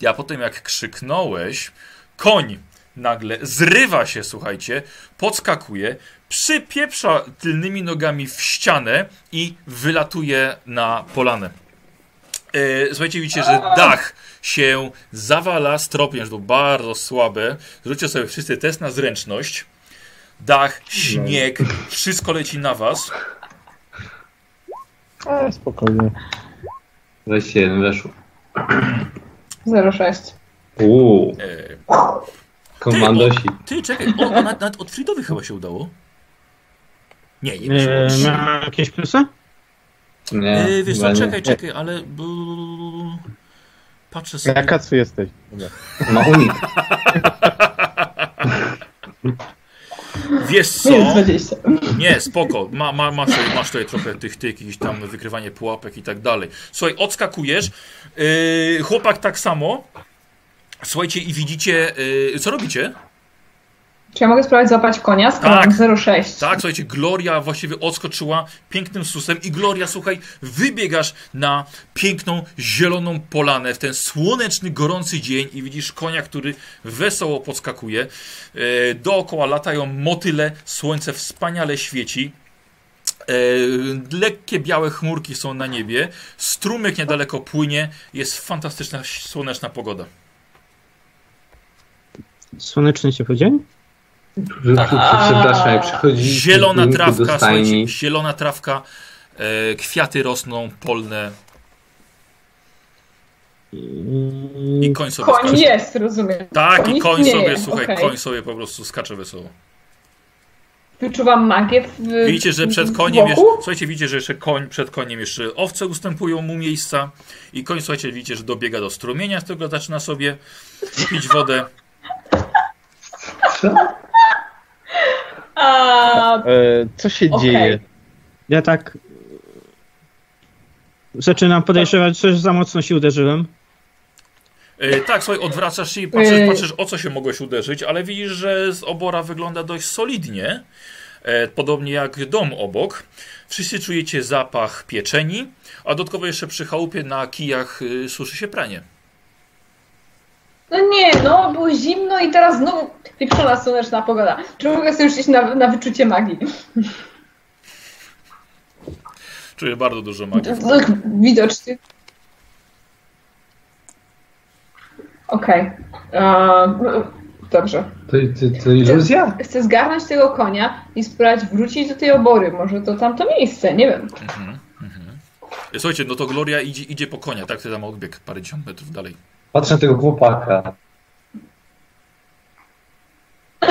Speaker 1: Ja potem jak krzyknąłeś, koń nagle zrywa się, słuchajcie, podskakuje, przypieprza tylnymi nogami w ścianę i wylatuje na polanę. E, słuchajcie, widzicie, że dach się zawala stropniem, że to bardzo słabe. Zróbcie sobie wszyscy test na zręczność. Dach, śnieg, wszystko leci na was.
Speaker 4: A, E, spokojnie.
Speaker 5: 21 weszło.
Speaker 3: 0,6.
Speaker 5: Uuu,
Speaker 1: E,
Speaker 5: komandosi.
Speaker 1: ty, czekaj, o, o, nad, nad, od Fridowy chyba się udało. Nie, nie.
Speaker 2: E,
Speaker 1: Eee,
Speaker 2: ma jakieś plusy?
Speaker 5: Nie,
Speaker 1: E, wiesz
Speaker 5: E, chyba
Speaker 1: co,
Speaker 5: nie.
Speaker 1: czekaj, czekaj, ale... bu- Patrzę sobie.
Speaker 4: Na E, kacu jesteś. Dobra.
Speaker 5: Ma unik.
Speaker 1: Wiesz co?
Speaker 3: Nie, 20.
Speaker 1: Nie, spoko. Ma, ma, masz, tutaj- masz tutaj trochę tych, tych jakichś tam wykrywanie pułapek i tak dalej. Słuchaj, odskakujesz. Yy, chłopak tak samo. Słuchajcie i widzicie, yy, co robicie?
Speaker 3: Czy ja mogę spróbować złapać konia? Skoro
Speaker 1: Tak.
Speaker 3: mam 0,6.
Speaker 1: Tak, słuchajcie, Gloria właściwie odskoczyła pięknym susem i Gloria, słuchaj, wybiegasz na piękną, zieloną polanę w ten słoneczny, gorący dzień i widzisz konia, który wesoło podskakuje. E, dookoła latają motyle, słońce wspaniale świeci. E, lekkie białe chmurki są na niebie, strumyk niedaleko płynie, jest fantastyczna, słoneczna pogoda.
Speaker 2: Słoneczny ciepły dzień?
Speaker 5: Przepraszam, jak przychodzi.
Speaker 1: Zielona
Speaker 5: do
Speaker 1: trawka,
Speaker 5: stajni,
Speaker 1: słuchajcie, zielona trawka, e, kwiaty rosną, polne, I
Speaker 2: Mm,
Speaker 1: koń sobie
Speaker 3: Koń
Speaker 1: skacze.
Speaker 3: jest, rozumiem.
Speaker 1: Tak,
Speaker 3: Koń
Speaker 1: i koń
Speaker 3: istnieje,
Speaker 1: sobie, słuchaj,
Speaker 3: okej.
Speaker 1: koń sobie po prostu skacze wesoło.
Speaker 3: Wyczuwam magię w
Speaker 1: Widzicie, że przed koniem
Speaker 3: w
Speaker 1: jeszcze,
Speaker 3: Y, boku?
Speaker 1: słuchajcie, widzicie, że jeszcze koń, przed koniem jeszcze owce ustępują mu miejsca i koń, słuchajcie, widzicie, że dobiega do strumienia, z którego zaczyna sobie pić wodę.
Speaker 3: A,
Speaker 4: E, co się
Speaker 3: Okej.
Speaker 4: dzieje?
Speaker 2: Ja tak zaczynam podejrzewać, że za mocno się uderzyłem.
Speaker 1: E, tak, słuchaj, odwracasz się i patrzysz,
Speaker 3: Yy.
Speaker 1: patrzysz, o co się mogłeś uderzyć, ale widzisz, że z obora wygląda dość solidnie, e, podobnie jak dom obok. Wszyscy czujecie zapach pieczeni, a dodatkowo jeszcze przy chałupie na kijach y, suszy się pranie.
Speaker 3: no nie, no było zimno i teraz znowu pieprzona słoneczna pogoda. Czy mogę sobie już iść na, na wyczucie magii?
Speaker 1: Czuję bardzo dużo magii.
Speaker 3: Widocznie. Okej. Okay. Dobrze.
Speaker 5: To, to, to iluzja?
Speaker 3: Chcę zgarnąć tego konia i spróbować wrócić do tej obory. Może to tamto miejsce, nie wiem.
Speaker 1: Mhm, mhm. Słuchajcie, no to Gloria idzie, idzie po konia, tak? Ty tam odbieg parędziesiąt metrów dalej.
Speaker 5: Patrzę na tego chłopaka.
Speaker 2: Ja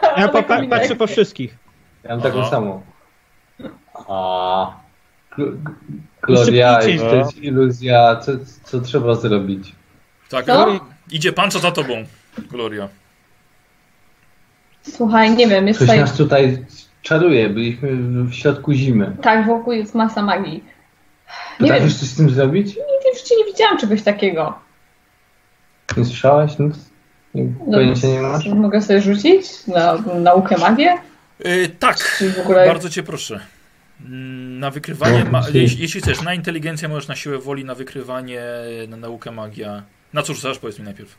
Speaker 3: Tak, Ale
Speaker 2: pa pa
Speaker 3: kominek.
Speaker 2: patrzę po wszystkich.
Speaker 5: Ja mam taką
Speaker 1: Aha.
Speaker 5: samą. A. Gl- Gloria,
Speaker 2: Szybciej.
Speaker 5: to jest iluzja, co, co trzeba zrobić?
Speaker 1: Tak,
Speaker 3: Co?
Speaker 1: idzie panczo za tobą, Gloria.
Speaker 3: Słuchaj, nie wiem, jest
Speaker 5: Coś
Speaker 3: tutaj...
Speaker 5: nas tutaj czaruje, byliśmy w- w środku zimy.
Speaker 3: Tak, wokół jest masa magii. Nie wiem,
Speaker 5: Potrafisz coś z tym zrobić?
Speaker 3: nigdy w życiu nie widziałam czegoś takiego.
Speaker 5: Nie słyszałaś nic? Nie-
Speaker 3: No,
Speaker 5: Pojęcia nie masz?
Speaker 3: Mogę sobie rzucić na naukę magię?
Speaker 1: Yy, tak,
Speaker 3: Czy w ogóle-
Speaker 1: bardzo cię proszę. Mm, Na wykrywanie,
Speaker 5: No,
Speaker 1: ma-
Speaker 5: czyli-
Speaker 1: jeśli, jeśli chcesz, na inteligencję możesz, na siłę woli, na wykrywanie, na naukę magia. Na cóż rzucasz? Powiedz mi najpierw.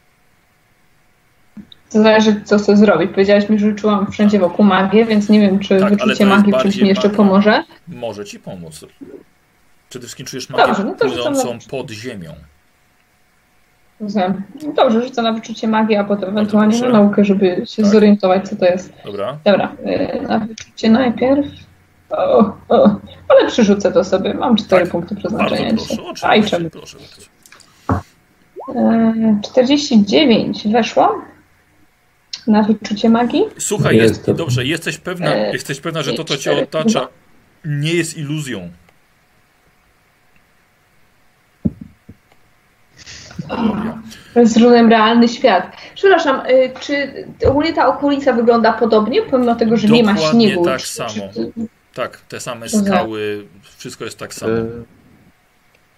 Speaker 3: To zależy, co chcę zrobić. Powiedziałaś mi, że rzuciłam wszędzie wokół magię, więc nie wiem, czy
Speaker 1: Tak, ale to
Speaker 3: wyczucie
Speaker 1: jest
Speaker 3: magii w czymś
Speaker 1: bardziej
Speaker 3: mi jeszcze
Speaker 1: magia.
Speaker 3: pomoże.
Speaker 1: Może ci pomóc. Przede wszystkim czujesz magię
Speaker 3: Dobrze, no to rzucam na-
Speaker 1: płynącą pod ziemią.
Speaker 3: Rozumiem. Dobrze, rzucę na wyczucie magii, a potem ewentualnie na
Speaker 1: proszę.
Speaker 3: naukę, żeby się
Speaker 1: Tak.
Speaker 3: zorientować, co to jest.
Speaker 1: Dobra?
Speaker 3: Dobra, yy, na wyczucie najpierw. O, o. Ale przerzucę to sobie. Mam cztery
Speaker 1: Tak,
Speaker 3: punkty
Speaker 1: Bardzo
Speaker 3: przeznaczenia.
Speaker 1: proszę,
Speaker 3: dzisiaj. A i
Speaker 1: oczywiście,
Speaker 3: czemu?
Speaker 1: proszę. bardzo.
Speaker 3: Yy, 49 weszło na wyczucie magii.
Speaker 1: Słuchaj,
Speaker 5: Jest
Speaker 1: jest,
Speaker 5: to-
Speaker 1: dobrze, jesteś pewna,
Speaker 3: E,
Speaker 1: jesteś pewna, że to, co cię
Speaker 3: cztery.
Speaker 1: otacza, nie jest iluzją. Gloria.
Speaker 3: Zrozumiem realny świat. Przepraszam, y, czy ogólnie ta okolica wygląda podobnie, pomimo tego, że nie ma
Speaker 1: Dokładnie
Speaker 3: śniegu?
Speaker 1: tak
Speaker 3: Czy-
Speaker 1: samo.
Speaker 3: czy-
Speaker 1: Tak, te same
Speaker 3: Dobra.
Speaker 1: skały, wszystko jest tak samo.
Speaker 4: E,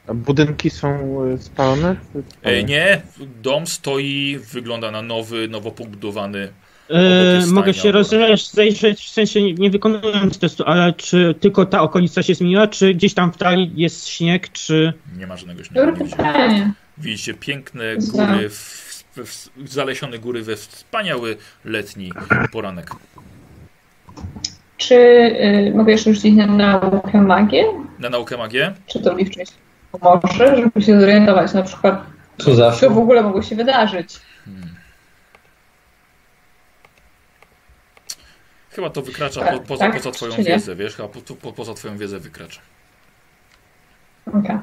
Speaker 4: a budynki są e, spalone?
Speaker 1: E, nie, dom stoi, wygląda na nowy, nowo pobudowany. Obok
Speaker 2: E,
Speaker 1: jest stajnia
Speaker 2: mogę się
Speaker 1: obok.
Speaker 2: rozejrzeć, w sensie nie, nie wykonując testu, ale czy tylko ta okolica się zmieniła, czy gdzieś tam w dali jest śnieg, czy...
Speaker 1: Nie ma żadnego śniegu.
Speaker 3: Dobre
Speaker 1: nie widziałem.
Speaker 3: pytanie.
Speaker 1: Widzicie piękne
Speaker 3: Za.
Speaker 1: góry, w, w, w, zalesione góry we wspaniały letni poranek.
Speaker 3: Czy y, mogę jeszcze rzucić na naukę magię?
Speaker 1: Na naukę magię?
Speaker 3: Czy to mi wcześniej? pomoże, żeby się zorientować na przykład,
Speaker 5: Co zawsze?
Speaker 3: co w ogóle mogło się wydarzyć.
Speaker 1: Chyba to wykracza
Speaker 3: Tak,
Speaker 1: po, poza,
Speaker 3: tak,
Speaker 1: poza twoją
Speaker 3: czy nie?
Speaker 1: wiedzę, wiesz? Chyba po, po, poza twoją wiedzę wykracza.
Speaker 3: Okej.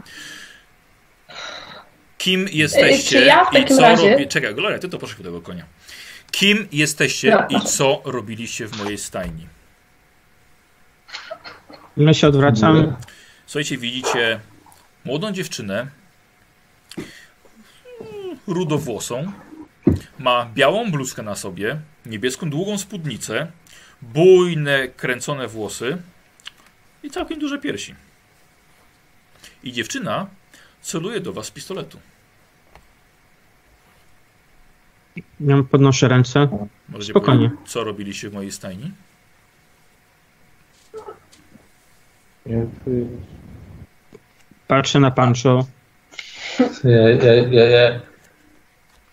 Speaker 1: Kim jesteście
Speaker 3: E, czy ja w
Speaker 1: i
Speaker 3: takim
Speaker 1: co
Speaker 3: razie-
Speaker 1: robi... Czekaj, Gloria, ty to poszedł tego konia. Kim jesteście
Speaker 3: Dobra.
Speaker 1: i co robiliście w mojej stajni?
Speaker 2: My się odwracamy.
Speaker 1: Słuchajcie, widzicie młodą dziewczynę, rudowłosą, ma białą bluzkę na sobie, niebieską długą spódnicę, bujne, kręcone włosy i całkiem duże piersi. I dziewczyna celuje do was z pistoletu.
Speaker 2: Ja no, podnoszę ręce.
Speaker 1: Możecie
Speaker 2: Spokojnie.
Speaker 1: powiedzieć, co robiliście w mojej stajni?
Speaker 2: Patrzę na Pancho.
Speaker 5: Ja, ja, ja, ja.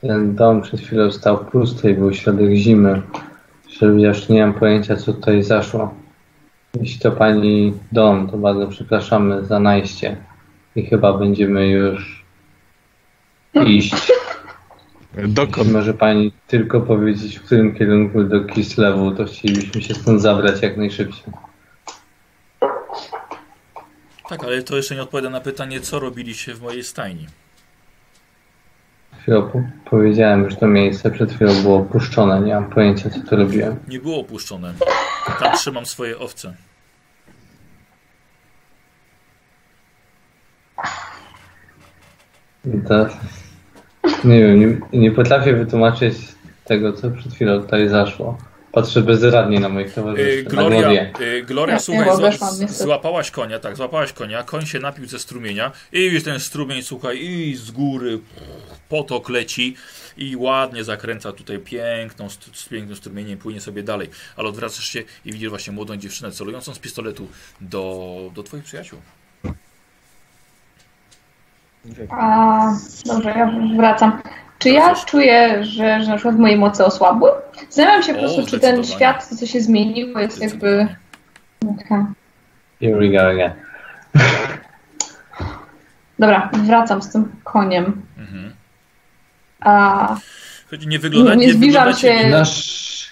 Speaker 5: Ten dom przed chwilą stał pusty i był środek zimy. Żeby ja już nie mam pojęcia, co tutaj zaszło. Jeśli to pani dom, to bardzo przepraszamy za najście. I chyba będziemy już iść.
Speaker 4: Dokąd?
Speaker 5: Jeśli może pani tylko powiedzieć, w którym kierunku do Kislewu, to chcielibyśmy się stąd zabrać jak najszybciej.
Speaker 1: Tak, ale to jeszcze nie odpowiada na pytanie, co robiliście w mojej stajni.
Speaker 5: Chwilę po- powiedziałem, że to miejsce przed chwilą było opuszczone. Nie mam pojęcia, co to robiłem.
Speaker 1: Nie było opuszczone. Tam trzymam swoje owce.
Speaker 5: I Teraz, Tak. nie wiem, nie, nie potrafię wytłumaczyć tego, co przed chwilą tutaj zaszło. Patrzę bezradnie na moich
Speaker 1: Y,
Speaker 5: towarzyszy, na
Speaker 1: Gloria,
Speaker 5: głowie.
Speaker 1: y, Gloria
Speaker 3: Tak, Ja
Speaker 1: słuchaj,
Speaker 3: weszłam,
Speaker 1: zła-
Speaker 3: niestety.
Speaker 1: złapałaś konia, tak, złapałaś konia, koń się napił ze strumienia i już ten strumień, słuchaj, i z góry pff, potok leci i ładnie zakręca tutaj piękną, st- z pięknym strumieniem, płynie sobie dalej, ale odwracasz się i widzisz właśnie młodą dziewczynę celującą z pistoletu do, do twoich przyjaciół.
Speaker 3: A, dobrze, ja wracam. Czy ja czuję, że, że na przykład moje moce osłabły? Zastanawiam się po
Speaker 1: O,
Speaker 3: prostu, czy ten
Speaker 1: zdecydowanie.
Speaker 3: świat, co się zmieniło, jest
Speaker 1: no,
Speaker 3: jakby... Okej.
Speaker 5: Here we go again.
Speaker 3: Dobra, wracam z tym koniem.
Speaker 1: Mhm.
Speaker 3: A,
Speaker 1: Choć nie wygląda,
Speaker 3: Nie
Speaker 1: nie
Speaker 3: zbliżam
Speaker 1: wygląda
Speaker 3: się.
Speaker 5: Nasz,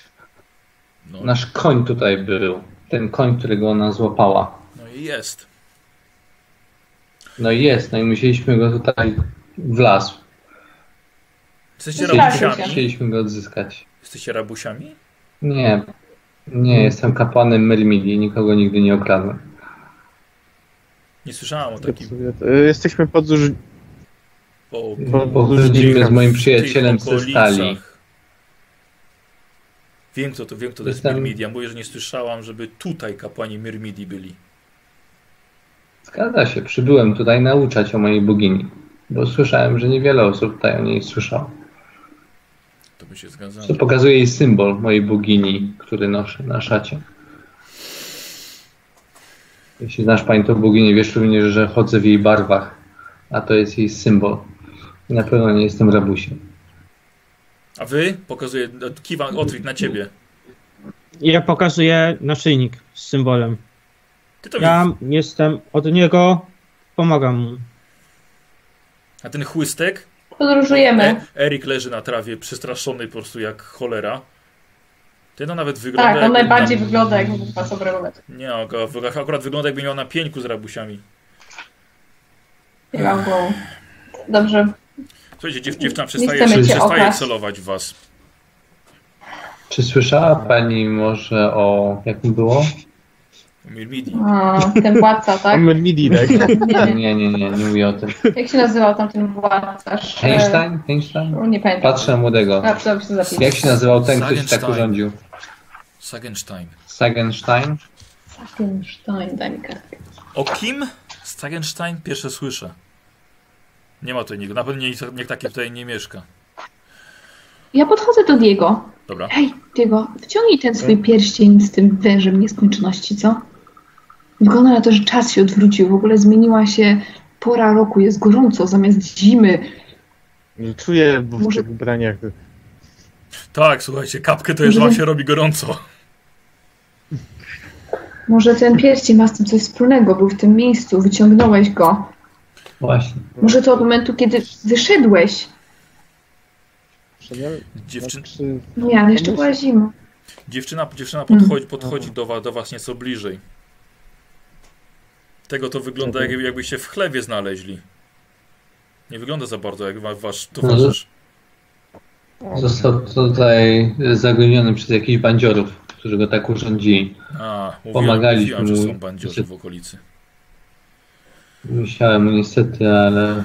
Speaker 1: No,
Speaker 5: nasz koń tutaj był. Ten koń, którego ona złapała.
Speaker 1: no i jest.
Speaker 5: No i jest, no i musieliśmy go tutaj wlazł.
Speaker 1: Jesteście
Speaker 3: Zbliżam
Speaker 5: Chcieliśmy,
Speaker 3: się.
Speaker 1: rabusiami?
Speaker 5: chcieliśmy go odzyskać.
Speaker 1: Jesteście rabusiami?
Speaker 5: Nie, nie, jestem kapłanem Mermidi, nikogo nigdy nie okradłem.
Speaker 1: Nie słyszałem o takim.
Speaker 4: E, Jesteśmy pod zuż-
Speaker 1: O,
Speaker 4: Po- po-
Speaker 5: Pochodzimy z moim
Speaker 1: w tych
Speaker 5: przyjacielem ze
Speaker 1: okolicach.
Speaker 5: stali.
Speaker 1: Wiem kto to, wiem kto to jest
Speaker 5: Jestem-
Speaker 1: Myrmidia. Mówię, że nie słyszałam, żeby tutaj kapłani Myrmidii byli.
Speaker 5: Zgadza się, przybyłem tutaj nauczać o mojej bogini, bo słyszałem, że niewiele osób tutaj o niej słyszało.
Speaker 1: To by się zgadzało.
Speaker 5: To pokazuje jej symbol mojej bogini, który noszę na szacie. Jeśli znasz pani tą boginię, wiesz również, że chodzę w jej barwach, a to jest jej symbol. I na pewno nie jestem rabusiem.
Speaker 1: A wy? Pokazuję, kiwam Otwit na ciebie.
Speaker 2: Ja pokazuję naszyjnik z symbolem.
Speaker 1: Ty to
Speaker 2: Ja
Speaker 1: widzisz.
Speaker 2: jestem od niego, pomagam mu.
Speaker 1: A ten chłystek?
Speaker 3: podróżujemy.
Speaker 1: E, Erik leży na trawie, przestraszony po prostu jak cholera. Ten on nawet wygląda
Speaker 3: Tak, on
Speaker 1: jakby
Speaker 3: najbardziej
Speaker 1: na...
Speaker 3: wygląda jak wybuchła sobregolet.
Speaker 1: Nie, on go- akurat wygląda jakby miał na pieńku z rabusiami.
Speaker 3: Kiwam głową. Dobrze,
Speaker 1: Słuchajcie, dziew, dziewczyna
Speaker 3: chcemy
Speaker 1: przestaje,
Speaker 5: cię
Speaker 1: przestaje
Speaker 3: okraść.
Speaker 1: celować w was.
Speaker 5: Czy słyszała pani może o... jak mi było?
Speaker 1: Myrmidii.
Speaker 3: A, ten władca, tak?
Speaker 4: On midi, tak?
Speaker 3: Nie,
Speaker 5: Nie, nie, nie, nie mówię o tym.
Speaker 3: Jak się nazywał tamten władca? Sz-
Speaker 5: Einstein?
Speaker 7: E,
Speaker 5: Einstein?
Speaker 3: O, Nie pamiętam.
Speaker 5: Patrzę na młodego.
Speaker 3: A, trzeba by się zapisać.
Speaker 5: Jak się nazywał ten, ktoś tak
Speaker 1: Sagenstein.
Speaker 5: urządził?
Speaker 1: Sagenstein.
Speaker 5: Sagenstein?
Speaker 3: Einstein, daj mi kartkę.
Speaker 1: O kim? Stagenstein pierwsze słyszę. Nie ma tutaj nikogo. Na pewno nikt, nikt taki tutaj nie mieszka.
Speaker 7: Ja podchodzę do Diego.
Speaker 1: Dobra.
Speaker 7: Hej, Diego, wciągnij ten swój pierścień z tym wężem nieskończoności, co? Wygląda na to, że czas się odwrócił. W ogóle zmieniła się pora roku. Jest gorąco zamiast zimy.
Speaker 4: Czuję w
Speaker 7: Może-
Speaker 4: tych ubraniach.
Speaker 1: Tak, słuchajcie, kapkę to już wam się robi gorąco.
Speaker 7: Może ten pierścień ma z tym coś wspólnego. Był w tym miejscu, wyciągnąłeś go.
Speaker 5: Właśnie.
Speaker 7: Może to od momentu, kiedy wyszedłeś.
Speaker 4: Przedem-
Speaker 1: Dziewczyn,
Speaker 4: Znaczy,
Speaker 7: Nie, ale jeszcze była zima.
Speaker 1: dziewczyna dziewczyna podchodzi, podchodzi do, wa, do was nieco bliżej. Tego to wygląda jak, jakby się w chlebie znaleźli. Nie wygląda za bardzo jak wa- wasz towarzysz.
Speaker 5: Został tutaj zagubiony przez jakichś bandziorów, którzy go tak urządzili.
Speaker 1: A, mówiłem,
Speaker 5: Pomagaliśmy
Speaker 1: mówiłem, że
Speaker 5: mu.
Speaker 1: są bandziorzy w okolicy.
Speaker 5: Musiałem mu niestety, ale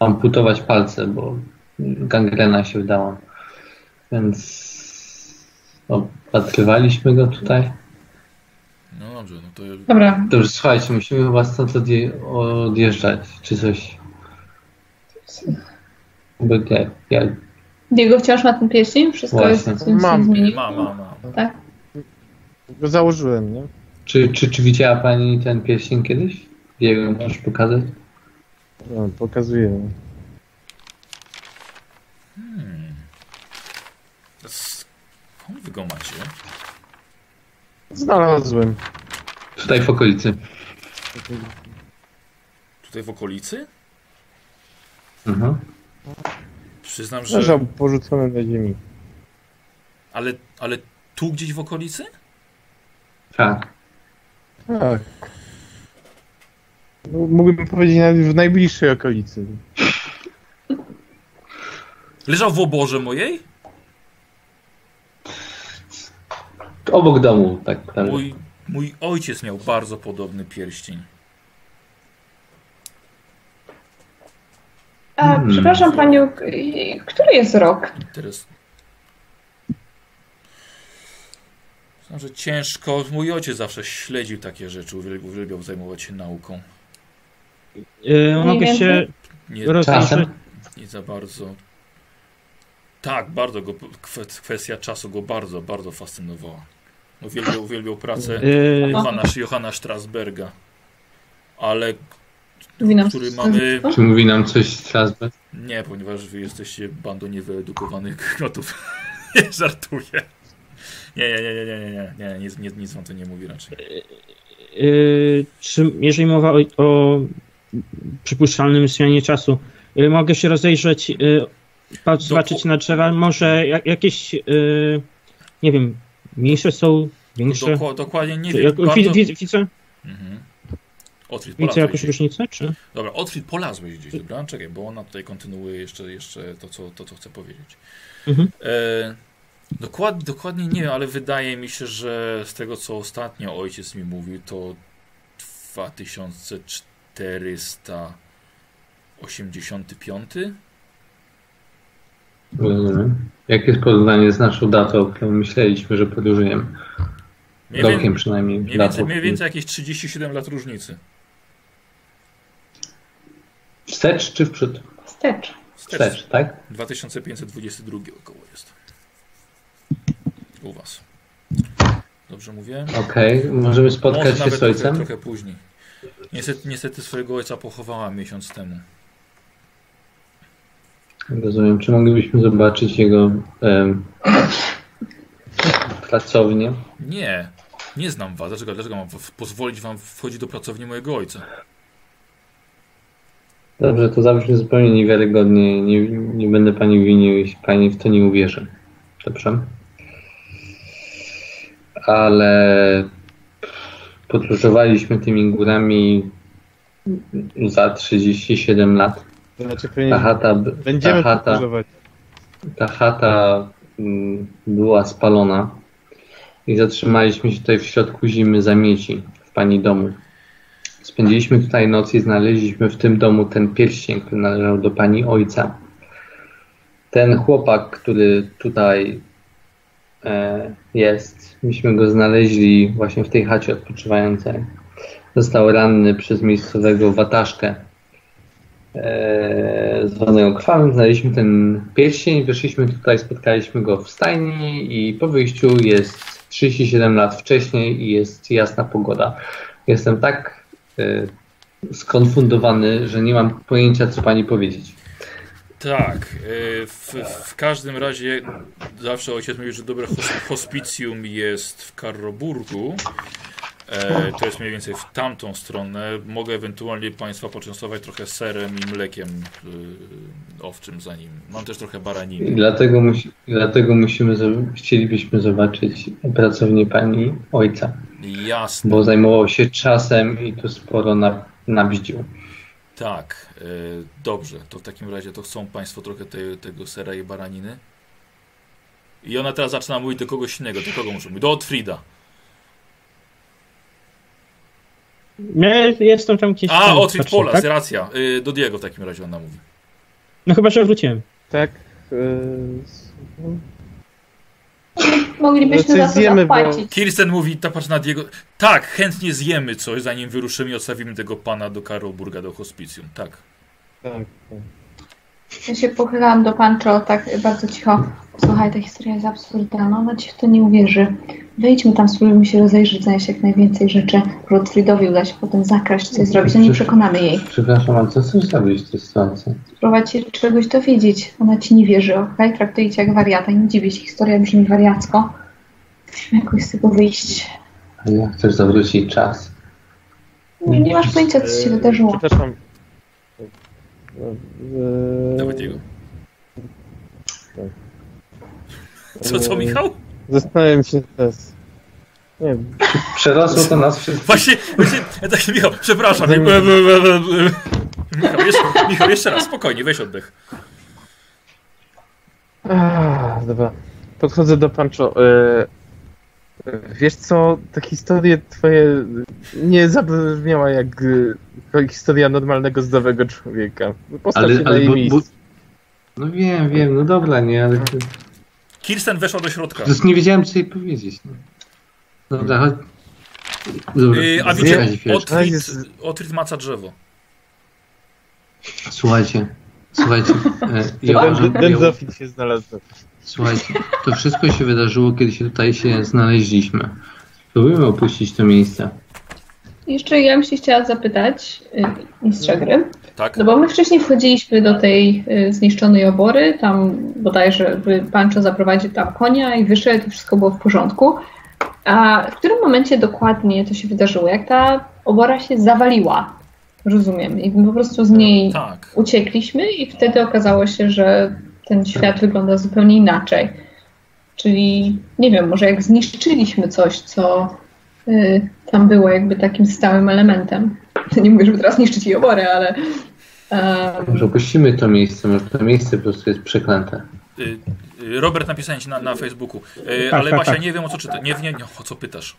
Speaker 5: amputować palce, bo gangrena się wdała. Więc opatrywaliśmy go tutaj.
Speaker 1: No dobrze, no to
Speaker 3: Dobra,
Speaker 5: Dobrze, słuchajcie, musimy chyba stąd odje- odjeżdżać, czy coś. Bo jak, jak
Speaker 3: Diego wciąż ma ten pierścień? Wszystko
Speaker 5: Właśnie.
Speaker 3: jest, co się
Speaker 4: Mam.
Speaker 1: nie,
Speaker 3: zmieniło?
Speaker 1: e, ma, ma, ma.
Speaker 3: Tak?
Speaker 4: go założyłem, nie?
Speaker 5: Czy, czy, czy widziała pani ten pierścień kiedyś? Jego możesz pokazać?
Speaker 4: No, pokazuję.
Speaker 1: Skąd wy go macie?
Speaker 4: Znalazłem.
Speaker 5: Tutaj w okolicy.
Speaker 1: Tutaj w okolicy?
Speaker 5: Mhm.
Speaker 1: Przyznam, że...
Speaker 4: Leżał porzucony na ziemi.
Speaker 1: Ale, ale tu gdzieś w okolicy?
Speaker 5: Tak.
Speaker 4: Tak. No, Mógłbym powiedzieć nawet w najbliższej okolicy.
Speaker 1: Leżał w oborze mojej?
Speaker 5: Obok domu, tak naprawdę.
Speaker 1: Mój, mój ojciec miał bardzo podobny pierścień.
Speaker 3: A,
Speaker 5: Hmm.
Speaker 3: przepraszam panią, k- i- który jest rok?
Speaker 1: Teraz. Znam, że ciężko. Mój ojciec zawsze śledził takie rzeczy, uwiel- uwielbiał zajmować się nauką.
Speaker 2: Yy, mogę
Speaker 3: więcej?
Speaker 2: się
Speaker 1: Nie,
Speaker 2: rozejrzeć.
Speaker 5: Czasem?
Speaker 1: nie za bardzo. Tak, bardzo go. kwe- Kwestia czasu go bardzo, bardzo fascynowała. Uwielbiał, uwielbiał pracę
Speaker 2: Yy,
Speaker 1: Johana, Johana Strasberga. Ale
Speaker 3: Powinnam
Speaker 1: który mamy.
Speaker 7: No,
Speaker 5: Czy mówi nam coś Strasberg?
Speaker 1: Nie, ponieważ wy jesteście bandą niewyedukowanych [LAUGHS] krotów. nie żartuję. Nie, nie, nie, nie, nie, nie, nie, nie, nic, nic, nic wam to nie mówi raczej.
Speaker 2: yy, czy, jeżeli mowa o, o przypuszczalnym zmianie czasu, yy, mogę się rozejrzeć, yy, patrz, zobaczyć na drzewa, może jak, jakieś, yy, nie wiem, mniejsze są, większe?
Speaker 1: Dokła- dokładnie nie wiem.
Speaker 2: Jak,
Speaker 1: bardzo...
Speaker 2: wi- wi- widzę,
Speaker 1: Mhm. Otwit
Speaker 2: widzę
Speaker 1: polazłeś
Speaker 2: jakąś
Speaker 1: gdzieś.
Speaker 2: różnicę, czy?
Speaker 1: Dobra, Otwit polazłeś gdzieś, dobra? Czekaj, bo ona tutaj kontynuuje jeszcze, jeszcze to, co, to, co chcę powiedzieć.
Speaker 2: Mhm.
Speaker 1: E, dokład, dokładnie nie wiem, ale wydaje mi się, że z tego, co ostatnio ojciec mi mówił, to 2485
Speaker 5: Rozumiem. Jakie jest porównanie z naszą datą, o którą myśleliśmy, że podróżujemy?
Speaker 1: Mniej,
Speaker 5: Rokiem
Speaker 1: więcej,
Speaker 5: przynajmniej.
Speaker 1: mniej,
Speaker 5: datą.
Speaker 1: więcej, mniej więcej jakieś 37 lat różnicy.
Speaker 5: Wstecz czy wprzód?
Speaker 3: Wstecz.
Speaker 1: Wstecz.
Speaker 5: Wstecz, tak?
Speaker 1: 2522 około jest. U was. Dobrze mówię?
Speaker 5: Okej, możemy
Speaker 1: Może
Speaker 5: spotkać się
Speaker 1: nawet
Speaker 5: z ojcem?
Speaker 1: Trochę, trochę później. Niestety, niestety swojego ojca pochowała miesiąc temu.
Speaker 5: Rozumiem. Czy moglibyśmy zobaczyć jego em, [CLEARS THROAT] pracownię?
Speaker 1: Nie, nie znam was. Dlaczego, dlaczego mam w- pozwolić wam wchodzić do pracowni mojego ojca?
Speaker 5: Dobrze, to zabrzmi zupełnie niewiarygodnie. Nie, nie będę pani winił, jeśli pani w to nie uwierzy. Dobrze? Ale podróżowaliśmy tymi górami za 37 lat.
Speaker 4: To Znaczy
Speaker 5: Ta
Speaker 4: pewnie
Speaker 5: chata, b- ta
Speaker 4: będziemy
Speaker 5: chata,
Speaker 4: podróżować.
Speaker 5: ta chata mm, była spalona i zatrzymaliśmy się tutaj w środku zimy za mieci w pani domu. Spędziliśmy tutaj noc i znaleźliśmy w tym domu ten pierścień, który należał do pani ojca. Ten chłopak, który tutaj e, jest, myśmy go znaleźli właśnie w tej chacie odpoczywającej. Został ranny przez miejscowego wataszkę e, zwanego krwawym. Znaleźliśmy ten pierścień, wyszliśmy tutaj, spotkaliśmy go w stajni i po wyjściu jest 37 lat wcześniej i jest jasna pogoda. Jestem tak e, skonfundowany, że nie mam pojęcia, co pani powiedzieć.
Speaker 1: Tak, y, w, w każdym razie zawsze ojciec mówił, że dobre hos- hospicjum jest w Karroburgu, E, to jest mniej więcej w tamtą stronę. Mogę ewentualnie Państwa poczęstować trochę serem i mlekiem y, owczym za nim. Mam też trochę
Speaker 5: I
Speaker 1: baraniny.
Speaker 5: dlatego, musi, dlatego musimy, zo- chcielibyśmy zobaczyć pracownię pani ojca,
Speaker 1: Jasne.
Speaker 5: bo zajmował się czasem i tu sporo na, nabździł.
Speaker 1: Tak, e, dobrze. To w takim razie to chcą Państwo trochę te, tego sera i baraniny. I ona teraz zaczyna mówić do kogoś innego. Do kogo muszę mówić? Do Otfrida.
Speaker 2: Ja jestem tam gdzieś.
Speaker 1: A,
Speaker 2: tam
Speaker 1: Otfrid
Speaker 2: patrzę,
Speaker 1: Polas,
Speaker 2: tak?
Speaker 1: racja. Y, do Diego w takim razie ona mówi.
Speaker 2: No chyba, że wróciłem.
Speaker 4: Tak. Yy, s-
Speaker 7: Moglibyśmy
Speaker 4: No
Speaker 7: za
Speaker 4: coś
Speaker 7: to
Speaker 4: zjemy, bo-
Speaker 7: zapłacić.
Speaker 1: Kirsten mówi, ta patrz na Diego. Tak, chętnie zjemy coś, zanim wyruszymy i odstawimy tego pana do Karolburga, do hospicjum. Tak.
Speaker 4: tak. tak.
Speaker 7: Ja się pochylałam do Pancho tak bardzo cicho. Słuchaj, ta historia jest absurdalna, No, ona ci w to nie uwierzy. Wejdźmy tam, spróbujmy się rozejrzeć, zanieść jak najwięcej rzeczy. Rotfridowi uda się potem zakraść, coś zrobić, no nie przekonamy jej.
Speaker 5: Przepraszam, ale co chcesz zrobić w tej sytuacji?
Speaker 7: Spróbować się czegoś dowiedzieć. Ona ci nie wierzy, okej? Traktuje cię jak wariata i nie dziwię się, historia brzmi wariacko. Musimy jakoś z tego wyjść.
Speaker 5: A ja chcesz zawrócić czas.
Speaker 7: Nie, nie masz pojęcia, co
Speaker 3: e,
Speaker 7: się
Speaker 4: Yy,
Speaker 7: wydarzyło.
Speaker 4: Przepraszam. Yy,
Speaker 1: Dawaj Diego. Co, co Michał?
Speaker 4: E, Zastanawiam się teraz. Nie wiem.
Speaker 5: Przerosło to nas wszystkich.
Speaker 1: Właśnie, właśnie, ja tak, Michał, przepraszam. Michał jeszcze, Michał, jeszcze raz, spokojnie, weź oddech.
Speaker 4: Ah, dobra. Podchodzę do Pancho. E, e, wiesz co, te historie twoje nie zabrzmiała jak e, historia normalnego, zdrowego człowieka. Postaw
Speaker 6: Ale-
Speaker 4: się na
Speaker 6: ale
Speaker 4: jej
Speaker 6: bo-
Speaker 4: miejscu.
Speaker 5: No wiem, wiem, no dobra, nie, ale to,
Speaker 1: Kirsten weszła do środka.
Speaker 5: po prostu nie wiedziałem, co jej powiedzieć. No. Dobra, chodź. Dobra,
Speaker 1: Yy, a
Speaker 5: zaczekaj
Speaker 1: widzicie,
Speaker 5: chwileczkę.
Speaker 1: Otfrid, Otfrid maca drzewo.
Speaker 5: Słuchajcie, słuchajcie. e, ja
Speaker 4: Ten-
Speaker 5: uważam,
Speaker 4: ten- Ten
Speaker 5: ja,
Speaker 4: Zofit się znalazł.
Speaker 5: słuchajcie, to wszystko się wydarzyło, kiedy się tutaj się znaleźliśmy. Spróbujmy opuścić to miejsce.
Speaker 3: Jeszcze ja bym się chciała zapytać y, mistrza
Speaker 7: Mhm.
Speaker 3: gry,
Speaker 1: Tak?
Speaker 3: no bo my wcześniej wchodziliśmy do tej y, zniszczonej obory, tam bodajże by Pancho zaprowadził tam konia i wyszedł, i wszystko było w porządku. A w którym momencie dokładnie to się wydarzyło? Jak ta obora się zawaliła? Rozumiem. I my po prostu z niej
Speaker 1: Tak.
Speaker 3: uciekliśmy i wtedy okazało się, że ten świat wygląda zupełnie inaczej. Czyli nie wiem, może jak zniszczyliśmy coś, co y, tam było jakby takim stałym elementem. [LAUGHS] Nie mówię, żeby teraz zniszczyć jej oborę, ale e, em,
Speaker 5: Może opuścimy to miejsce, może to miejsce po prostu jest przeklęte.
Speaker 1: Y, y, Robert napisałem ci na, na Facebooku. Y,
Speaker 2: Tak,
Speaker 1: ale
Speaker 2: tak,
Speaker 1: Basia,
Speaker 2: tak.
Speaker 1: nie wiem o co czyta. Nie, nie, nie, o co pytasz. Y,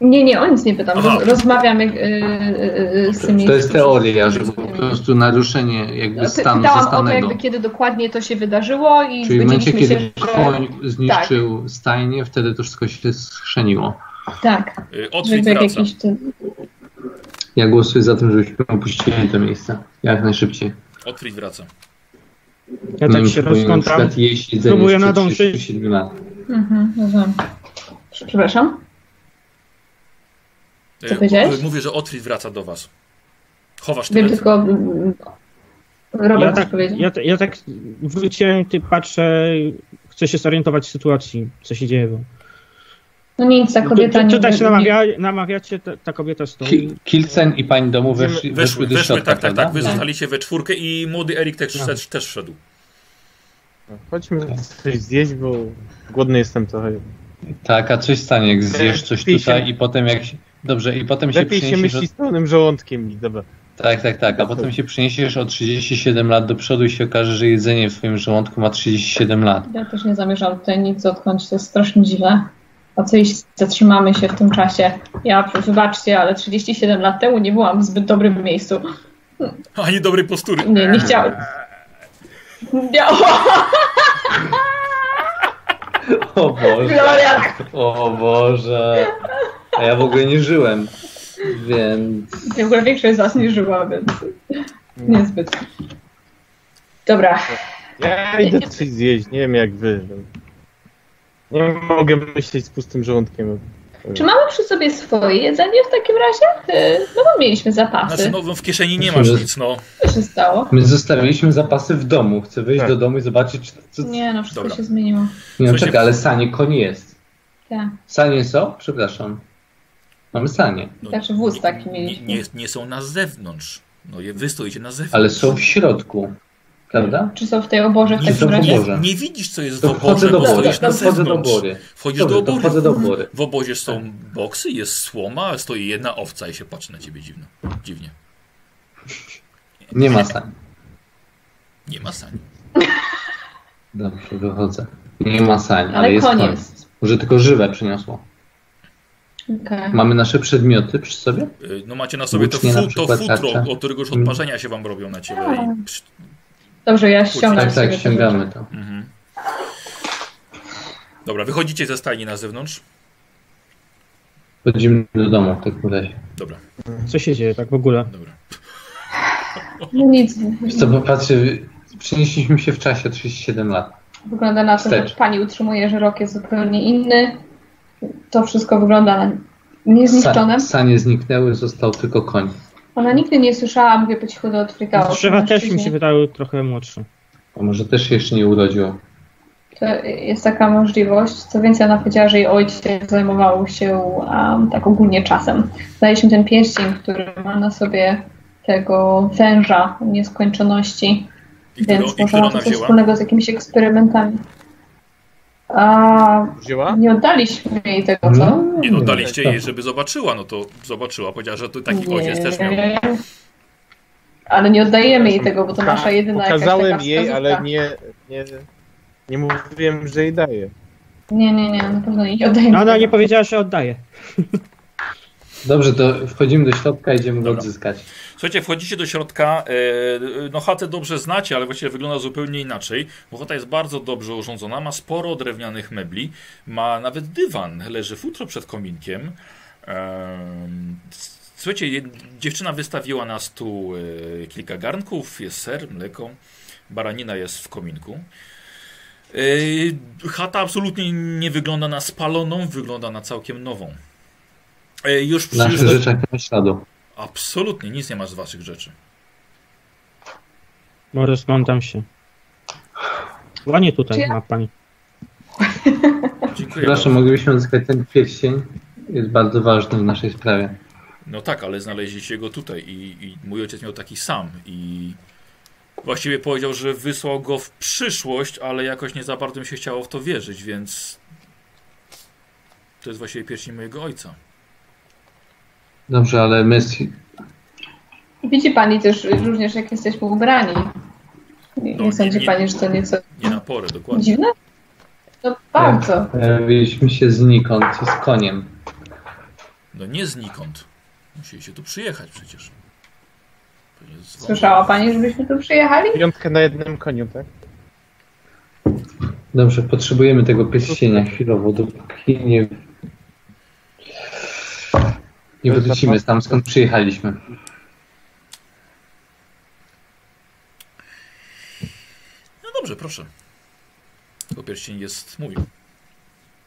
Speaker 3: nie, nie, o nic nie pytam.
Speaker 1: Aha.
Speaker 3: Roz, rozmawiam jak, y, y, y, z tymi...
Speaker 5: To jest teoria, że po prostu naruszenie jakby stanu
Speaker 3: No, Pytałam o to,
Speaker 5: zastanego.
Speaker 3: jakby kiedy dokładnie to się wydarzyło i
Speaker 5: Czyli w momencie,
Speaker 3: zgodziliśmy się, Tak.
Speaker 5: kiedy
Speaker 3: że...
Speaker 5: koń zniszczył stajnię, wtedy to wszystko się schrzeniło.
Speaker 3: Tak,
Speaker 1: Y, Otwórz
Speaker 3: żeby jak
Speaker 1: wraca.
Speaker 3: jakiś... ten-
Speaker 5: Ja głosuję za tym, żebyśmy opuścili to miejsce. Jak najszybciej.
Speaker 1: Otwórz wraca.
Speaker 2: Ja
Speaker 5: Nie
Speaker 2: tak
Speaker 5: wiem,
Speaker 2: się
Speaker 5: próbuję na
Speaker 2: rozkątam.
Speaker 5: przykład jeść jedzenie
Speaker 2: Próbuję
Speaker 5: sprzed
Speaker 2: nadążyć.
Speaker 5: 37 lat.
Speaker 3: Mhm, rozumiem. Przepraszam?
Speaker 1: Y,
Speaker 3: Co powiedziałeś?
Speaker 1: y, Mówię, że Otwórz wraca do was. Chowasz
Speaker 3: Wiem
Speaker 1: tyle.
Speaker 3: tylko... mm, Robert
Speaker 2: Ja
Speaker 3: coś
Speaker 2: tak,
Speaker 3: powiedział.
Speaker 2: ja, ta- ja tak wróciłem, ty patrzę, chcę się zorientować w sytuacji, co się dzieje. Bo...
Speaker 3: No nic, ta kobieta
Speaker 2: Czy-
Speaker 3: nie...
Speaker 2: czy tak się
Speaker 3: nie-
Speaker 2: namawia, namawiacie, ta, ta kobieta stoi.
Speaker 5: Ki- Kilcen i pani domu weszli, weszły,
Speaker 1: Weszły,
Speaker 5: do
Speaker 1: weszły,
Speaker 5: środka,
Speaker 1: tak, tak,
Speaker 5: prawda? No.
Speaker 1: tak. Wy zostaliście we czwórkę i młody Erik też,
Speaker 5: Tak.
Speaker 1: też, też wszedł. [LAUGHS]
Speaker 4: Chodźmy coś zjeść, bo głodny jestem trochę.
Speaker 5: Tak, a coś stanie, jak zjesz coś
Speaker 4: Lepiej się-
Speaker 5: tutaj i potem jak się... Dobrze, i potem się
Speaker 4: Lepiej się
Speaker 5: przyniesiesz...
Speaker 4: myśli
Speaker 5: Od...
Speaker 4: z pełnym żołądkiem i dobra.
Speaker 5: Tak, tak, tak, a potem się przyniesiesz o 37 lat do przodu i się okaże, że jedzenie w twoim żołądku ma 37 lat.
Speaker 3: Ja też nie zamierzam tutaj nic odkąd, to jest strasznie dziwne. A co jeśli zatrzymamy się w tym czasie? Ja, wybaczcie, ale 37 lat temu nie byłam w zbyt dobrym miejscu.
Speaker 1: Ani dobrej postury.
Speaker 3: Nie, nie chciałam. Ja, o,
Speaker 5: O Boże,
Speaker 3: Gloria!
Speaker 5: o Boże. A ja w ogóle nie żyłem, więc...
Speaker 3: W ogóle większość z was nie żyła, więc niezbyt. Dobra,
Speaker 4: Ja idę coś zjeść, nie wiem jak wy. Nie mogę myśleć z pustym żołądkiem.
Speaker 3: czy mamy przy sobie swoje jedzenie w takim razie? Y, No bo mieliśmy
Speaker 1: Znaczy,
Speaker 3: zapasy.
Speaker 1: no no, w kieszeni nie masz nic, no.
Speaker 3: Co się stało?
Speaker 5: My zostawiliśmy zapasy w domu, chcę wyjść
Speaker 4: Tak.
Speaker 5: do domu i zobaczyć, co... Nie,
Speaker 3: Nie, no wszystko
Speaker 1: Dobra.
Speaker 3: się zmieniło.
Speaker 5: no
Speaker 1: Słuchajcie-
Speaker 5: czekaj, ale sanie koń jest.
Speaker 3: Tak.
Speaker 5: Sanie są? Przepraszam. Mamy sanie.
Speaker 1: No,
Speaker 3: Znaczy wóz taki
Speaker 1: nie,
Speaker 3: mieliśmy.
Speaker 1: nie, nie są na zewnątrz. No je- wy stoicie na zewnątrz.
Speaker 5: Ale są w środku. Prawda?
Speaker 3: Czy są w tej oborze w
Speaker 5: Nie,
Speaker 3: takim
Speaker 5: to
Speaker 3: razie?
Speaker 5: oborze.
Speaker 1: nie, nie widzisz, co jest w
Speaker 5: To
Speaker 1: oborze,
Speaker 5: wchodzę do
Speaker 1: bo
Speaker 5: bory.
Speaker 1: stoisz na
Speaker 5: To wchodzę do
Speaker 1: zewnątrz.
Speaker 5: bory.
Speaker 1: Wchodzisz do
Speaker 5: Dobrze, to
Speaker 1: obory.
Speaker 5: wchodzę do bory.
Speaker 1: W obozie są boksy, jest słoma, stoi jedna owca i się patrzy na ciebie dziwno. dziwnie.
Speaker 5: Nie ma sani.
Speaker 1: Nie ma sani.
Speaker 5: Dobrze, wychodzę. Nie ma sani, ale,
Speaker 3: Ale
Speaker 5: jest koniec.
Speaker 3: koniec.
Speaker 5: Może tylko żywe przyniosło.
Speaker 3: Okej.
Speaker 5: Mamy nasze przedmioty przy sobie?
Speaker 1: Y, No macie na sobie to,
Speaker 5: Włócznie na
Speaker 1: fut, to
Speaker 5: przykład
Speaker 1: futro,
Speaker 5: tarcza.
Speaker 1: od którego już
Speaker 5: Mm.
Speaker 1: odparzenia się wam robią na ciebie.
Speaker 3: Tak.
Speaker 1: I... psz-
Speaker 3: Dobrze, ja ściągam
Speaker 5: Tak,
Speaker 3: sobie
Speaker 5: tak,
Speaker 3: te
Speaker 5: ściągamy to.
Speaker 1: Mhm. Dobra, wychodzicie ze stajni na zewnątrz.
Speaker 5: Chodzimy do domu w takim razie.
Speaker 1: Dobra,
Speaker 2: Co się dzieje tak w ogóle?
Speaker 1: dobra.
Speaker 3: rzeczy. No nic,
Speaker 5: Wiesz co, popatrzę, przenieśliśmy się w czasie 37 lat.
Speaker 3: wygląda na to, że
Speaker 5: Wstecz.
Speaker 3: pani utrzymuje, że rok jest zupełnie inny. To wszystko wygląda na niezniszczone.
Speaker 5: Sa, sanie zniknęły, został tylko koń.
Speaker 3: Ona nigdy nie słyszała, mówię po cichu do odfrykało.
Speaker 2: Drzewa też mi się wydały trochę młodsze.
Speaker 5: A może też się jeszcze nie urodził.
Speaker 3: To jest taka możliwość. Co więcej, ona powiedziała, że jej ojciec zajmował się um, tak ogólnie czasem. Daliśmy ten pierścień, który ma na sobie tego węża nieskończoności,
Speaker 1: I który,
Speaker 3: więc
Speaker 1: i
Speaker 3: może
Speaker 1: który
Speaker 3: ma
Speaker 1: ona
Speaker 3: to coś
Speaker 1: wzięła?
Speaker 3: wspólnego z jakimiś eksperymentami. A
Speaker 4: Wzięła?
Speaker 3: nie oddaliśmy jej tego, co?
Speaker 1: Nie no,
Speaker 5: dalej.
Speaker 1: daliście jej, żeby zobaczyła, no to zobaczyła. Powiedziała, że to taki
Speaker 3: Nie.
Speaker 1: ojciec też miał.
Speaker 3: Ale nie oddajemy jej tego, bo to nasza jedyna jakaś
Speaker 4: Pokazałem
Speaker 3: taka
Speaker 4: jej,
Speaker 3: wskazówka.
Speaker 4: ale nie, nie, nie mówiłem, że jej daję.
Speaker 3: Nie, nie, nie, na pewno jej nie oddajemy.
Speaker 2: No ona nie
Speaker 3: tego.
Speaker 2: powiedziała, że oddaje.
Speaker 5: Dobrze, to wchodzimy do środka, idziemy go
Speaker 1: Dobra.
Speaker 5: odzyskać.
Speaker 1: Słuchajcie, wchodzicie do środka. e, No chatę dobrze znacie, ale właściwie wygląda zupełnie inaczej, bo chata jest bardzo dobrze urządzona, ma sporo drewnianych mebli, ma nawet dywan, leży futro przed kominkiem. Em, s- Słuchajcie, jed- dziewczyna wystawiła na stół e, kilka garnków, jest ser, mleko, baranina jest w kominku. E, Chata absolutnie nie wygląda na spaloną, wygląda na całkiem nową. E, Już,
Speaker 5: W naszych
Speaker 1: już
Speaker 5: rzeczach nie ma śladu.
Speaker 1: absolutnie nic nie masz z waszych rzeczy.
Speaker 2: Bo rozglądam się. Ładnie tutaj
Speaker 3: Czy ja-
Speaker 2: ma pani.
Speaker 1: Dziękuję.
Speaker 5: Proszę,
Speaker 1: bardzo.
Speaker 5: moglibyśmy odzyskać ten pierścień. Jest bardzo ważny w naszej sprawie.
Speaker 1: No tak, ale znaleźliście go tutaj i, i mój ojciec miał taki sam i właściwie powiedział, że wysłał go w przyszłość, ale jakoś nie za bardzo mi się chciało w to wierzyć, więc to jest właściwie pierścień mojego ojca.
Speaker 5: Dobrze, ale my z-
Speaker 3: Widzi pani też y, również, jak jesteśmy ubrani. Nie,
Speaker 1: No,
Speaker 3: nie sądzi
Speaker 1: nie-
Speaker 3: pani, że to nieco
Speaker 1: Nie na porę, dokładnie.
Speaker 3: dziwne? No bardzo.
Speaker 5: pojawiliśmy się znikąd, co z koniem.
Speaker 1: No nie znikąd. Musieliście tu przyjechać przecież. Pewnie z wami.
Speaker 3: Słyszała pani, żebyśmy tu przyjechali?
Speaker 4: Piątkę na jednym koniu, tak?
Speaker 5: Dobrze, potrzebujemy tego pierścienia chwilowo, dopóki nie... Nie wrócimy tam, skąd przyjechaliśmy.
Speaker 1: No dobrze, proszę. Bo pierścień jest mój.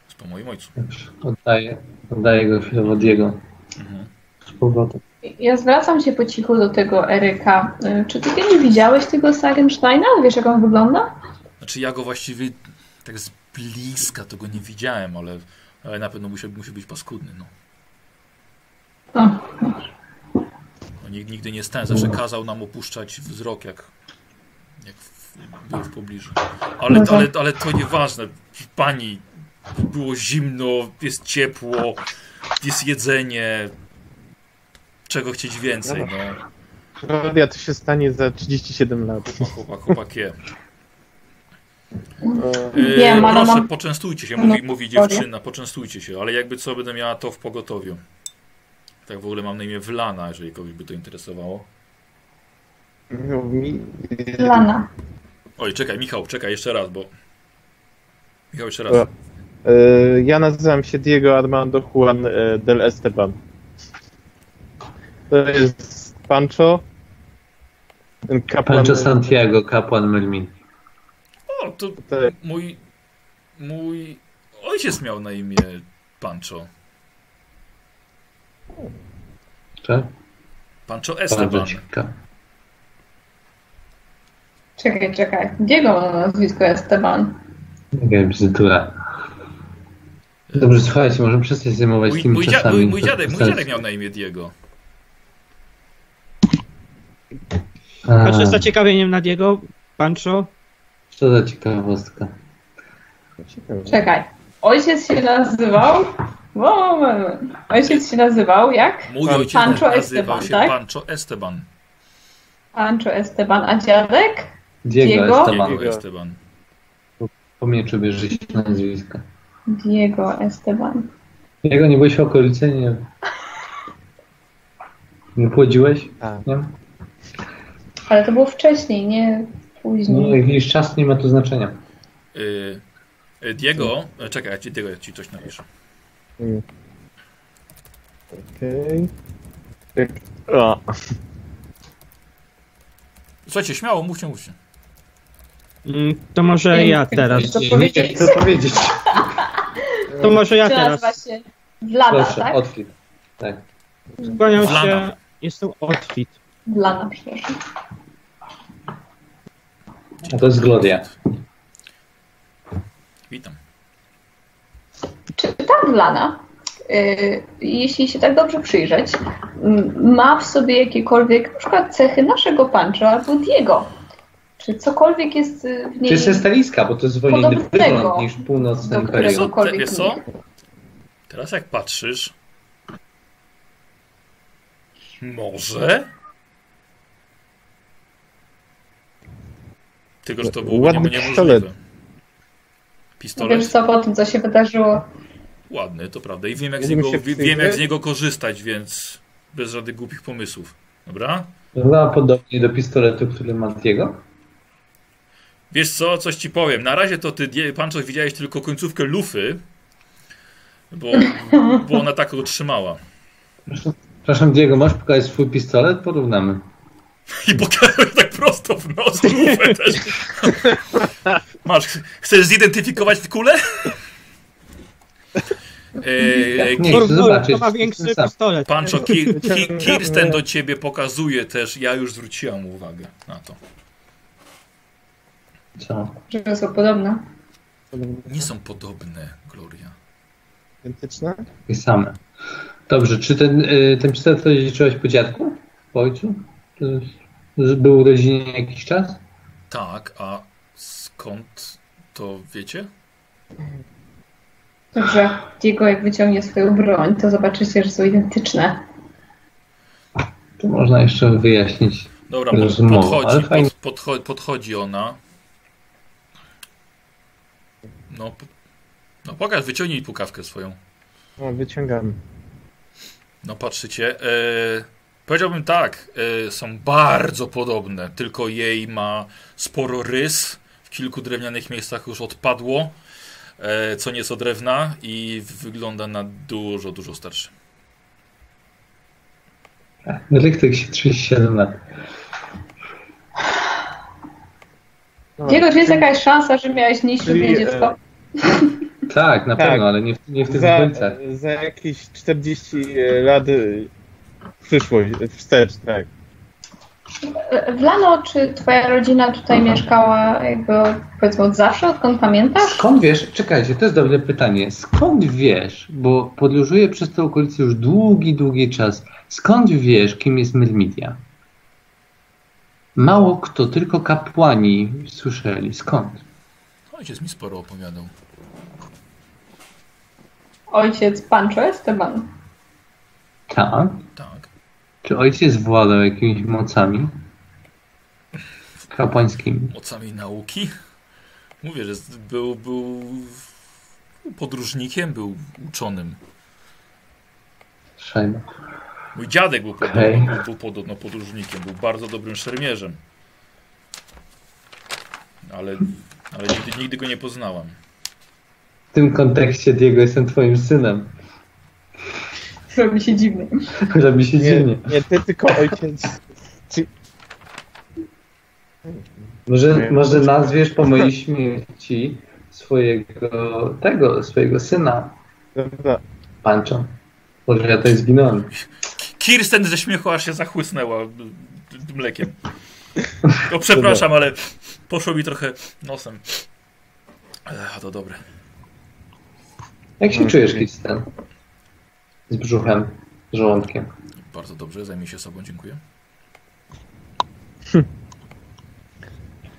Speaker 1: Jest po moim ojcu.
Speaker 5: Dobrze, oddaję, oddaję go chwilowo Diego.
Speaker 1: Mhm.
Speaker 5: Z powrotem.
Speaker 3: Ja zwracam się po cichu do tego Eryka. Y, Czy ty kiedyś widziałeś tego Sagensteina? Wiesz, jak on wygląda?
Speaker 1: Znaczy ja go właściwie tak z bliska tego nie widziałem, ale, ale na pewno musi, musi być paskudny. No.
Speaker 3: O,
Speaker 1: No, nig- nigdy nie stałem, zawsze kazał nam opuszczać wzrok, jak, jak w, był w pobliżu. Ale,
Speaker 3: No tak.
Speaker 1: ale, ale to nieważne. Pani, było zimno, jest ciepło, jest jedzenie. Czego chcieć więcej, no.
Speaker 4: Klaudia, to się stanie za 37 lat.
Speaker 1: Chłopak, chłopakie.
Speaker 3: Wiem, ale
Speaker 1: E, proszę,
Speaker 3: mam-
Speaker 1: poczęstujcie się,
Speaker 3: No,
Speaker 1: mówi, mówi
Speaker 3: sorry.
Speaker 1: dziewczyna, poczęstujcie się, ale jakby co, będę miała to w pogotowiu. Tak w ogóle mam na imię Wlana, jeżeli kogoś by to interesowało.
Speaker 4: No, mi-
Speaker 3: Lana.
Speaker 1: Oj, czekaj, Michał, czekaj jeszcze raz, bo... Michał, jeszcze raz.
Speaker 4: Dobra. E, Ja nazywam się Diego Armando Juan e, del Esteban. To jest Pancho. ten Kapłan.
Speaker 5: Pancho Santiago, kapłan Mermin.
Speaker 1: O, to
Speaker 4: Tak.
Speaker 1: mój... Mój ojciec miał na imię Pancho.
Speaker 5: Tak?
Speaker 1: Pancho
Speaker 5: Bardzo
Speaker 1: Esteban.
Speaker 5: ciekawe.
Speaker 3: Czekaj, czekaj. Diego ma na nazwisko Esteban.
Speaker 5: Jaka bzdura.
Speaker 1: E,
Speaker 5: Dobrze, słuchajcie, możemy przestać zajmować
Speaker 1: Mój,
Speaker 5: tymi
Speaker 1: mój, dzia,
Speaker 5: czasami.
Speaker 1: mój, mój, dziadek, mój
Speaker 5: Teraz-
Speaker 1: dziadek miał na imię Diego.
Speaker 5: A,
Speaker 2: Patrzę z zaciekawieniem nad jego, Pancho.
Speaker 5: Co za ciekawostka.
Speaker 4: Ciekawe.
Speaker 3: Czekaj. Ojciec się nazywał. Moment. Ojciec się nazywał jak?
Speaker 1: Mój
Speaker 4: Pan-
Speaker 1: ojciec
Speaker 3: Pancho
Speaker 1: nazywał
Speaker 3: Esteban,
Speaker 1: się
Speaker 3: tak?
Speaker 1: Pancho Esteban.
Speaker 3: Pancho Esteban, a dziadek?
Speaker 5: Diego,
Speaker 3: Diego?
Speaker 5: Esteban.
Speaker 1: Diego Esteban.
Speaker 5: Po mnie czy bierze się nazwiska.
Speaker 3: Diego Esteban.
Speaker 5: Diego, nie byłeś w okolicy? Nie. Nie płodziłeś?
Speaker 4: Tak.
Speaker 5: Nie?
Speaker 3: Ale to było wcześniej, nie
Speaker 5: No,
Speaker 3: później.
Speaker 5: jakiś czas nie ma tu znaczenia.
Speaker 1: Y, y, Diego, e, czekaj, ja ci, Diego, ja ci coś napiszę.
Speaker 4: Okej. Tak. O,
Speaker 1: Słuchajcie, śmiało, mówcie, mówcie.
Speaker 2: Mm, To może ja teraz.
Speaker 3: To
Speaker 5: Nie
Speaker 3: powiedzieć.
Speaker 5: wiem, co
Speaker 3: [LAUGHS]
Speaker 5: powiedzieć.
Speaker 2: To może ja
Speaker 3: Czy nazywa
Speaker 2: teraz.
Speaker 3: się Wlada,
Speaker 5: Proszę,
Speaker 3: tak?
Speaker 5: Otwit. Tak.
Speaker 2: Skłaniam się.
Speaker 1: Wlana.
Speaker 2: Jestem outfit.
Speaker 3: Wlada, przepraszam.
Speaker 5: A No to jest Gloria.
Speaker 1: Witam.
Speaker 3: Czy ta Wlana, y, jeśli się tak dobrze przyjrzeć, m, ma w sobie jakiekolwiek na przykład cechy naszego Pancho albo Diego? Czy cokolwiek jest y, w
Speaker 5: Czy
Speaker 3: niej
Speaker 5: jest estalijska, bo to jest zupełnie inny
Speaker 3: Podobnego.
Speaker 5: wygląd niż północny
Speaker 3: Do
Speaker 1: Wiesz
Speaker 5: imperium.
Speaker 1: co, te,
Speaker 3: Któregokolwiek
Speaker 1: wiesz co? Teraz jak patrzysz... Może? Tylko, że to było nie,
Speaker 4: Ładny
Speaker 1: niemożliwe.
Speaker 4: pistolet.
Speaker 3: Wiesz
Speaker 1: Pistolet
Speaker 3: co, po tym co się wydarzyło,
Speaker 1: ładny, to prawda. I wiem jak, z
Speaker 4: Będziemy
Speaker 1: niego,
Speaker 4: się
Speaker 1: wie- wiem, jak z niego korzystać, więc bez żadnych głupich pomysłów. Dobra?
Speaker 5: Wygląda podobnie do pistoletu, który ma Diego.
Speaker 1: Wiesz co, coś ci powiem. Na razie to ty, die- Pancho, widziałeś tylko końcówkę lufy, bo, bo ona tak utrzymała.
Speaker 5: Proszę- Przepraszam, Diego, możesz pokazać swój pistolet? Porównamy.
Speaker 1: I pokazał tak prosto w nos lufę też. Masz, ch- chcesz zidentyfikować w kulę? Eee,
Speaker 5: Nie,
Speaker 1: Ki-
Speaker 5: chcę zobaczyć.
Speaker 2: To ma większy pistolet.
Speaker 1: Pancho, Ki, Ki, Kirsten do ciebie pokazuje też, ja już zwróciłam uwagę na to.
Speaker 5: Co?
Speaker 3: że są podobne.
Speaker 1: Nie są podobne, Gloria.
Speaker 4: identyczne?
Speaker 5: Takie same. Dobrze, czy ten, y, ten pistolet to dziedziczyłeś po dziadku? Po ojcu? To jest- że Był w rodzinie jakiś czas?
Speaker 1: Tak, a skąd to wiecie?
Speaker 3: Dobrze, Diego jak wyciągnie swoją broń, to zobaczycie, że są identyczne.
Speaker 5: To można jeszcze wyjaśnić.
Speaker 1: Dobra, pod,
Speaker 5: Rozmowa, No, ale
Speaker 1: podchodzi,
Speaker 5: fajnie.
Speaker 1: pod, podcho, podchodzi ona. No, p- no pokaż, wyciągnij pukawkę swoją.
Speaker 4: O, wyciągam.
Speaker 1: No patrzycie. E, powiedziałbym tak, e, są bardzo podobne, tylko jej ma sporo rys. W kilku drewnianych miejscach już odpadło, e, co nieco drewna i wygląda na dużo, dużo starszy.
Speaker 5: Elektryk się 37 lat.
Speaker 4: No,
Speaker 3: Diego, czy jest jakaś szansa, że miałeś niższe
Speaker 4: Czyli, e,
Speaker 3: dziecko?
Speaker 5: Tak, na
Speaker 4: Tak.
Speaker 5: pewno, ale nie w, nie w tych
Speaker 4: za,
Speaker 5: końcach.
Speaker 4: za jakieś 40 lat y, w przyszłość, wstecz, tak.
Speaker 3: Wlano, E, czy twoja rodzina tutaj mieszkała jakby powiedzmy od zawsze, odkąd pamiętasz?
Speaker 5: Skąd wiesz, czekajcie, to jest dobre pytanie. Skąd wiesz, bo podróżuję przez tę okolicę już długi, długi czas, skąd wiesz, kim jest Myrmidia? Mało kto, tylko kapłani słyszeli. Skąd?
Speaker 1: Ojciec mi sporo opowiadał.
Speaker 3: Ojciec Pancho Esteban. [LAUGHS]
Speaker 5: Tak?
Speaker 1: Tak.
Speaker 5: Czy ojciec władał jakimiś mocami? Kapłańskimi.
Speaker 1: od samej nauki. Mówię, że z- był, był podróżnikiem, był uczonym.
Speaker 5: Szajba.
Speaker 1: Mój dziadek był podobno,
Speaker 5: Okej.
Speaker 1: był, był podobno podróżnikiem, był bardzo dobrym szermierzem. Ale, ale nigdy, nigdy go nie poznałam.
Speaker 5: W tym kontekście, Diego, jestem twoim synem. Tak
Speaker 3: Robi się dziwny.
Speaker 5: Robi się
Speaker 4: Nie,
Speaker 5: dziwnie.
Speaker 4: nie ty, tylko ojciec.
Speaker 5: Może,
Speaker 4: Nie.
Speaker 5: może nazwiesz po mojej śmierci swojego tego, swojego syna
Speaker 4: Dobra.
Speaker 5: Pancho. Może ja tutaj zginąłem.
Speaker 1: Kirsten ze śmiechu aż się zachłysnęła y, y, mlekiem. O, przepraszam, ale E, poszło mi trochę nosem. Ech, to dobre.
Speaker 5: Jak się czujesz, Kirsten? Z brzuchem, z żołądkiem.
Speaker 1: Bardzo dobrze, zajmij się sobą, dziękuję.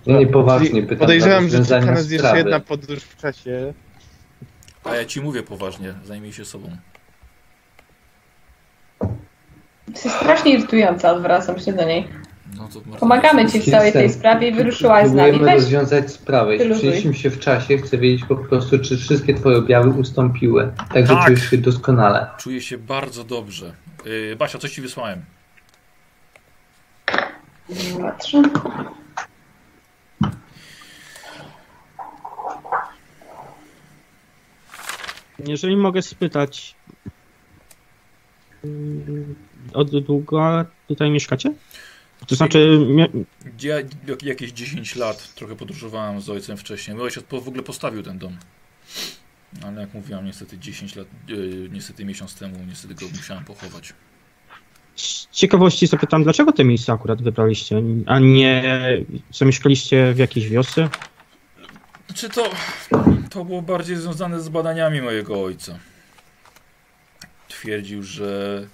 Speaker 5: No niepoważnie pytam.
Speaker 4: Podejrzewam,
Speaker 5: na
Speaker 4: że
Speaker 5: rozwiązanie
Speaker 4: czeka nas jeszcze
Speaker 5: sprawy.
Speaker 4: jedna podróż w czasie.
Speaker 1: A ja ci mówię poważnie, zajmij się sobą.
Speaker 3: Jesteś strasznie irytująca, odwracam się do niej.
Speaker 1: No to bardzo
Speaker 3: Pomagamy ci w całej tej
Speaker 5: Jestem.
Speaker 3: sprawie i wyruszyłaś z nami.
Speaker 5: Próbujemy
Speaker 3: Weź,
Speaker 5: rozwiązać sprawę. Jeśli
Speaker 3: Wyluzuj.
Speaker 5: przenieśmy się w czasie, chcę wiedzieć po prostu, czy wszystkie twoje objawy ustąpiły. Tak, że
Speaker 1: Tak.
Speaker 5: czujesz się doskonale.
Speaker 1: Czuję się bardzo dobrze. Yy, Basia, coś ci wysłałem.
Speaker 3: patrzę.
Speaker 2: Jeżeli mogę spytać. mm, Od długo tutaj mieszkacie? To znaczy, mia-
Speaker 1: Gdzie ja jak- jakieś 10 lat trochę podróżowałem z ojcem wcześniej. Mój ojciec po- w ogóle postawił ten dom. Ale jak mówiłam, niestety 10 lat, yy, niestety miesiąc temu, niestety go musiałem pochować.
Speaker 2: z ciekawości zapytam, dlaczego te miejsce akurat wybraliście, a nie zamieszkaliście w jakiejś wiosce?
Speaker 1: Znaczy to, to było bardziej związane z badaniami mojego ojca. Twierdził, że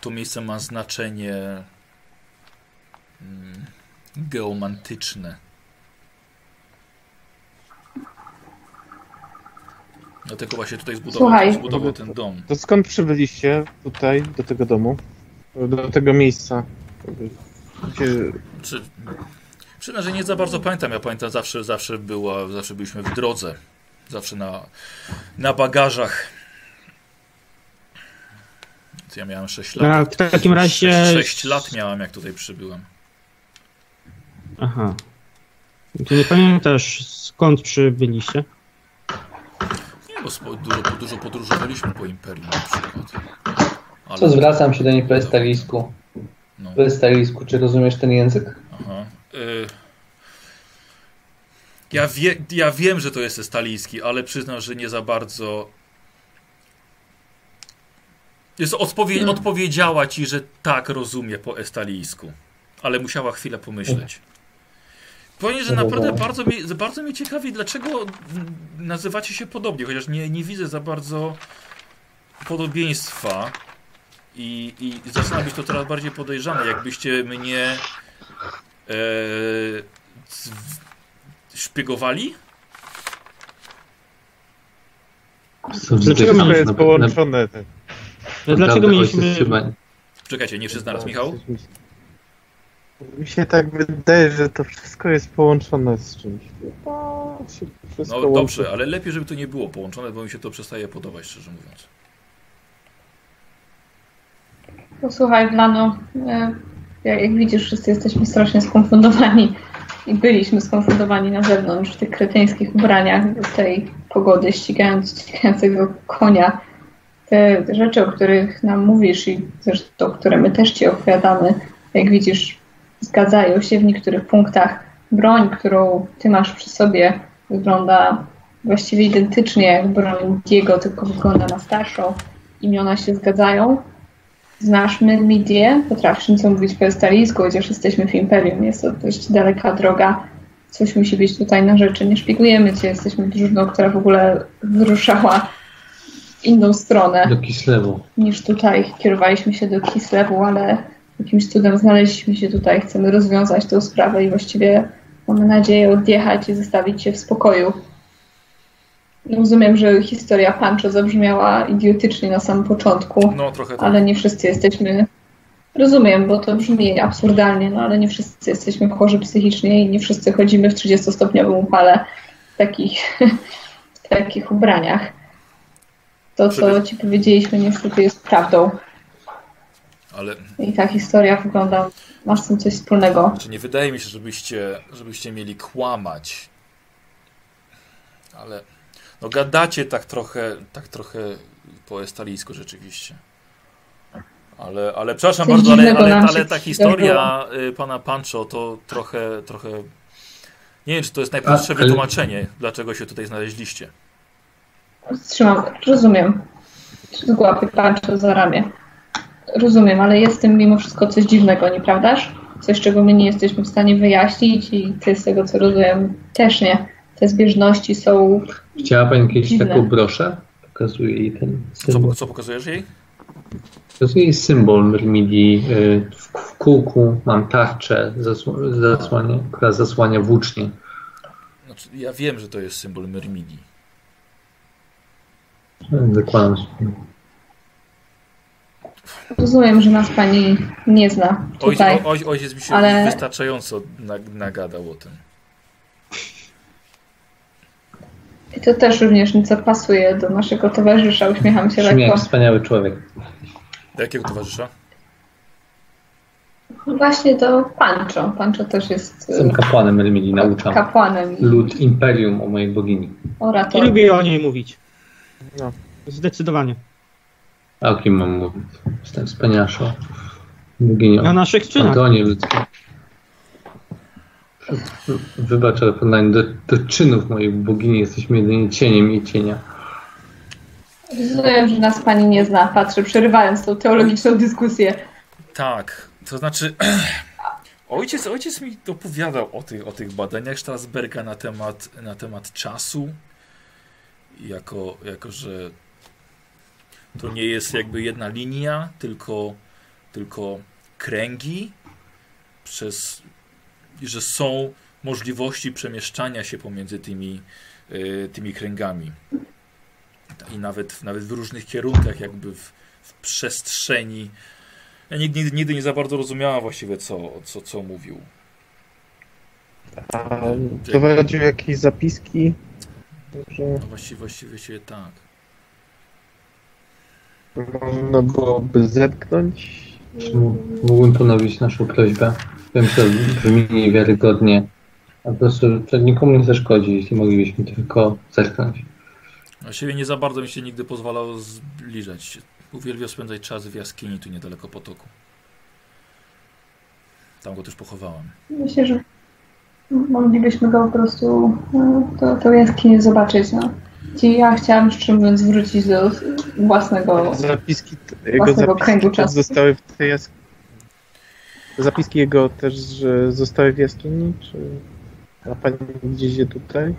Speaker 1: to miejsce ma znaczenie mm, geomantyczne. Dlatego właśnie tutaj zbudował,
Speaker 3: Słuchaj.
Speaker 1: zbudował ten dom.
Speaker 4: To skąd przybyliście tutaj, do tego domu? Do tego miejsca? Gdzie-
Speaker 1: Czy, przyznam, że nie za bardzo pamiętam. Ja pamiętam zawsze, zawsze była, zawsze byliśmy w drodze. Zawsze na, na bagażach. To Ja miałem 6
Speaker 2: No, A
Speaker 1: lat.
Speaker 2: w takim razie.
Speaker 1: 6 lat miałem, jak tutaj przybyłem.
Speaker 2: Aha. To nie pamiętasz skąd przybyliście?
Speaker 1: Nie, bo spo, dużo, dużo podróżowaliśmy po imperium na przykład. Ale,
Speaker 5: Co zwracam się do niej po estalisku?
Speaker 1: no,
Speaker 5: Po estalisku, czy rozumiesz ten język?
Speaker 1: aha. Y, ja, wie, ja wiem, że to jest estalijski, ale przyznam, że nie za bardzo Jest odpowie Odpowiedziała ci, że tak rozumie po estalijsku, ale musiała chwilę pomyśleć. Powiem, że naprawdę bardzo mnie, bardzo mnie ciekawi, dlaczego mm, nazywacie się podobnie, chociaż nie, nie widzę za bardzo podobieństwa i, i zaczyna być to coraz bardziej podejrzane, jakbyście mnie e, z- szpiegowali?
Speaker 4: Dlaczego
Speaker 2: Dlaczego
Speaker 4: to jest połączone? tak?
Speaker 2: Dlaczego mieliśmy.
Speaker 1: Czekajcie, nie wszyscy naraz, Michał?
Speaker 4: Mi się tak wydaje, że to wszystko jest połączone z czymś. To się wszystko
Speaker 1: No
Speaker 4: łączy.
Speaker 1: dobrze, ale lepiej, żeby to nie było połączone, bo mi się to przestaje podobać, szczerze mówiąc.
Speaker 3: Posłuchaj, Blano, e, jak jak widzisz, wszyscy jesteśmy strasznie skonfundowani i byliśmy skonfundowani na zewnątrz w tych kretyńskich ubraniach w tej pogody, ścigając ścigającego konia. Te rzeczy, o których nam mówisz i zresztą, które my też ci opowiadamy, jak widzisz, zgadzają się w niektórych punktach. Broń, którą ty masz przy sobie, wygląda właściwie identycznie jak broń Diego, tylko wygląda na starszą. Imiona się zgadzają. Znasz my Midię, potrafisz nieco mówić po estalijsku, chociaż jesteśmy w Imperium, jest to dość daleka droga. Coś musi być tutaj na rzeczy, nie szpiegujemy cię, jesteśmy drużyną, która w ogóle wyruszała w inną stronę
Speaker 5: Do Kislewu.
Speaker 3: niż tutaj. Kierowaliśmy się do Kislewu, ale jakimś cudem znaleźliśmy się tutaj. Chcemy rozwiązać tę sprawę i właściwie mamy nadzieję odjechać i zostawić się w spokoju. No, Rozumiem, że historia Pancho zabrzmiała idiotycznie na samym początku,
Speaker 1: No trochę tak.
Speaker 3: ale nie wszyscy jesteśmy. Rozumiem, bo to brzmi absurdalnie, no ale nie wszyscy jesteśmy chorzy psychicznie i nie wszyscy chodzimy w 30-stopniowym upale w takich, w takich ubraniach. To, co
Speaker 1: Przede-
Speaker 3: ci powiedzieliśmy, niestety jest prawdą.
Speaker 1: ale...
Speaker 3: I ta historia wygląda, masz z tym coś wspólnego.
Speaker 1: Znaczy nie wydaje mi się, żebyście, żebyście mieli kłamać. Ale no gadacie tak trochę, tak trochę po estalijsku rzeczywiście. Ale, ale przepraszam
Speaker 3: Coś
Speaker 1: bardzo, ale,
Speaker 3: dziwnego
Speaker 1: ale,
Speaker 3: nam się
Speaker 1: ale ta historia y, pana Pancho to trochę, trochę... Nie wiem, czy to jest najprostsze
Speaker 5: A, ale-
Speaker 1: wytłumaczenie, dlaczego się tutaj znaleźliście.
Speaker 3: Trzymam, rozumiem. Złapię Pancho za ramię. Rozumiem, ale jest w tym mimo wszystko coś dziwnego, nieprawdaż? Coś, czego my nie jesteśmy w stanie wyjaśnić i ty z tego, co rozumiem, też nie. te zbieżności są.
Speaker 5: Chciała pani kiedyś
Speaker 3: Dziwne.
Speaker 5: taką broszę? Pokazuje jej ten symbol.
Speaker 1: Co, co pokazujesz jej?
Speaker 5: Pokazuje jej symbol Myrmidii. y, W, w kółku mam tarczę, zasł- zasłania, która zasłania włócznie.
Speaker 1: Znaczy, ja wiem, że to jest symbol Myrmidii.
Speaker 5: Zakładam się.
Speaker 3: Rozumiem, że nas pani nie zna
Speaker 1: Ojciec,
Speaker 3: tutaj.
Speaker 1: o, oj- ojciec mi się
Speaker 3: Ale-
Speaker 1: wystarczająco nag- nagadał o tym.
Speaker 3: I to też również nieco pasuje do naszego towarzysza. Uśmiecham się
Speaker 5: Brzmi jak
Speaker 3: lekko.
Speaker 5: wspaniały człowiek.
Speaker 1: Do jakiego towarzysza?
Speaker 3: No Właśnie do Pancho. Pancho też jest
Speaker 5: Jestem
Speaker 3: e,
Speaker 5: kapłanem Myrmidii, nauczam
Speaker 3: kapłanem i
Speaker 5: lud imperium o mojej bogini.
Speaker 2: I
Speaker 3: oratorem.
Speaker 2: lubię o niej mówić.
Speaker 4: No.
Speaker 2: Zdecydowanie.
Speaker 5: A o kim mam mówić? Jestem wspanialszą boginią.
Speaker 2: Na naszych czynach.
Speaker 5: Antonie ludzkim. Wybacz, ale porównanie do, do czynów mojej bogini jesteśmy jedynie cieniem i cienia.
Speaker 3: Rozumiem, że nas pani nie zna. Patrzę, przerywając tą teologiczną dyskusję.
Speaker 1: Tak, to znaczy. [CLEARS THROAT] Ojciec, ojciec mi opowiadał o tych, o tych badaniach Strasberga na temat, na temat czasu. Jako, jako, że to nie jest jakby jedna linia, tylko, tylko kręgi, przez, że są możliwości przemieszczania się pomiędzy tymi, y, tymi kręgami. I nawet, nawet w różnych kierunkach, jakby w, w przestrzeni. Ja nigdy, nigdy, nigdy nie za bardzo rozumiałam właściwie, co, co, co mówił.
Speaker 4: A Prowadził jakieś zapiski. Także
Speaker 1: No właściwie, właściwie się tak.
Speaker 4: można byłoby zepchnąć.
Speaker 5: Czy m- mógłbym ponowić naszą prośbę? Wiem, że brzmi niewiarygodnie. A po prostu to nikomu nie zaszkodzi, jeśli moglibyśmy tylko zerknąć.
Speaker 1: Właściwie nie za bardzo mi się nigdy pozwalało zbliżać się. Uwielbiał spędzać czas w jaskini tu niedaleko potoku. Tam go też pochowałem.
Speaker 3: Myślę, że moglibyśmy go po prostu no, to, to jaskinię zobaczyć. No. Gdzie ja chciałam szczerze mówiąc wrócić do własnego.
Speaker 1: Tak,
Speaker 4: Zapiski t- jego
Speaker 3: Własnego kręgu
Speaker 4: zapiski też
Speaker 3: czasu.
Speaker 4: zostały w tej jaskini. Zapiski jego też że zostały w jaskini, czy a pani gdzieś je tutaj?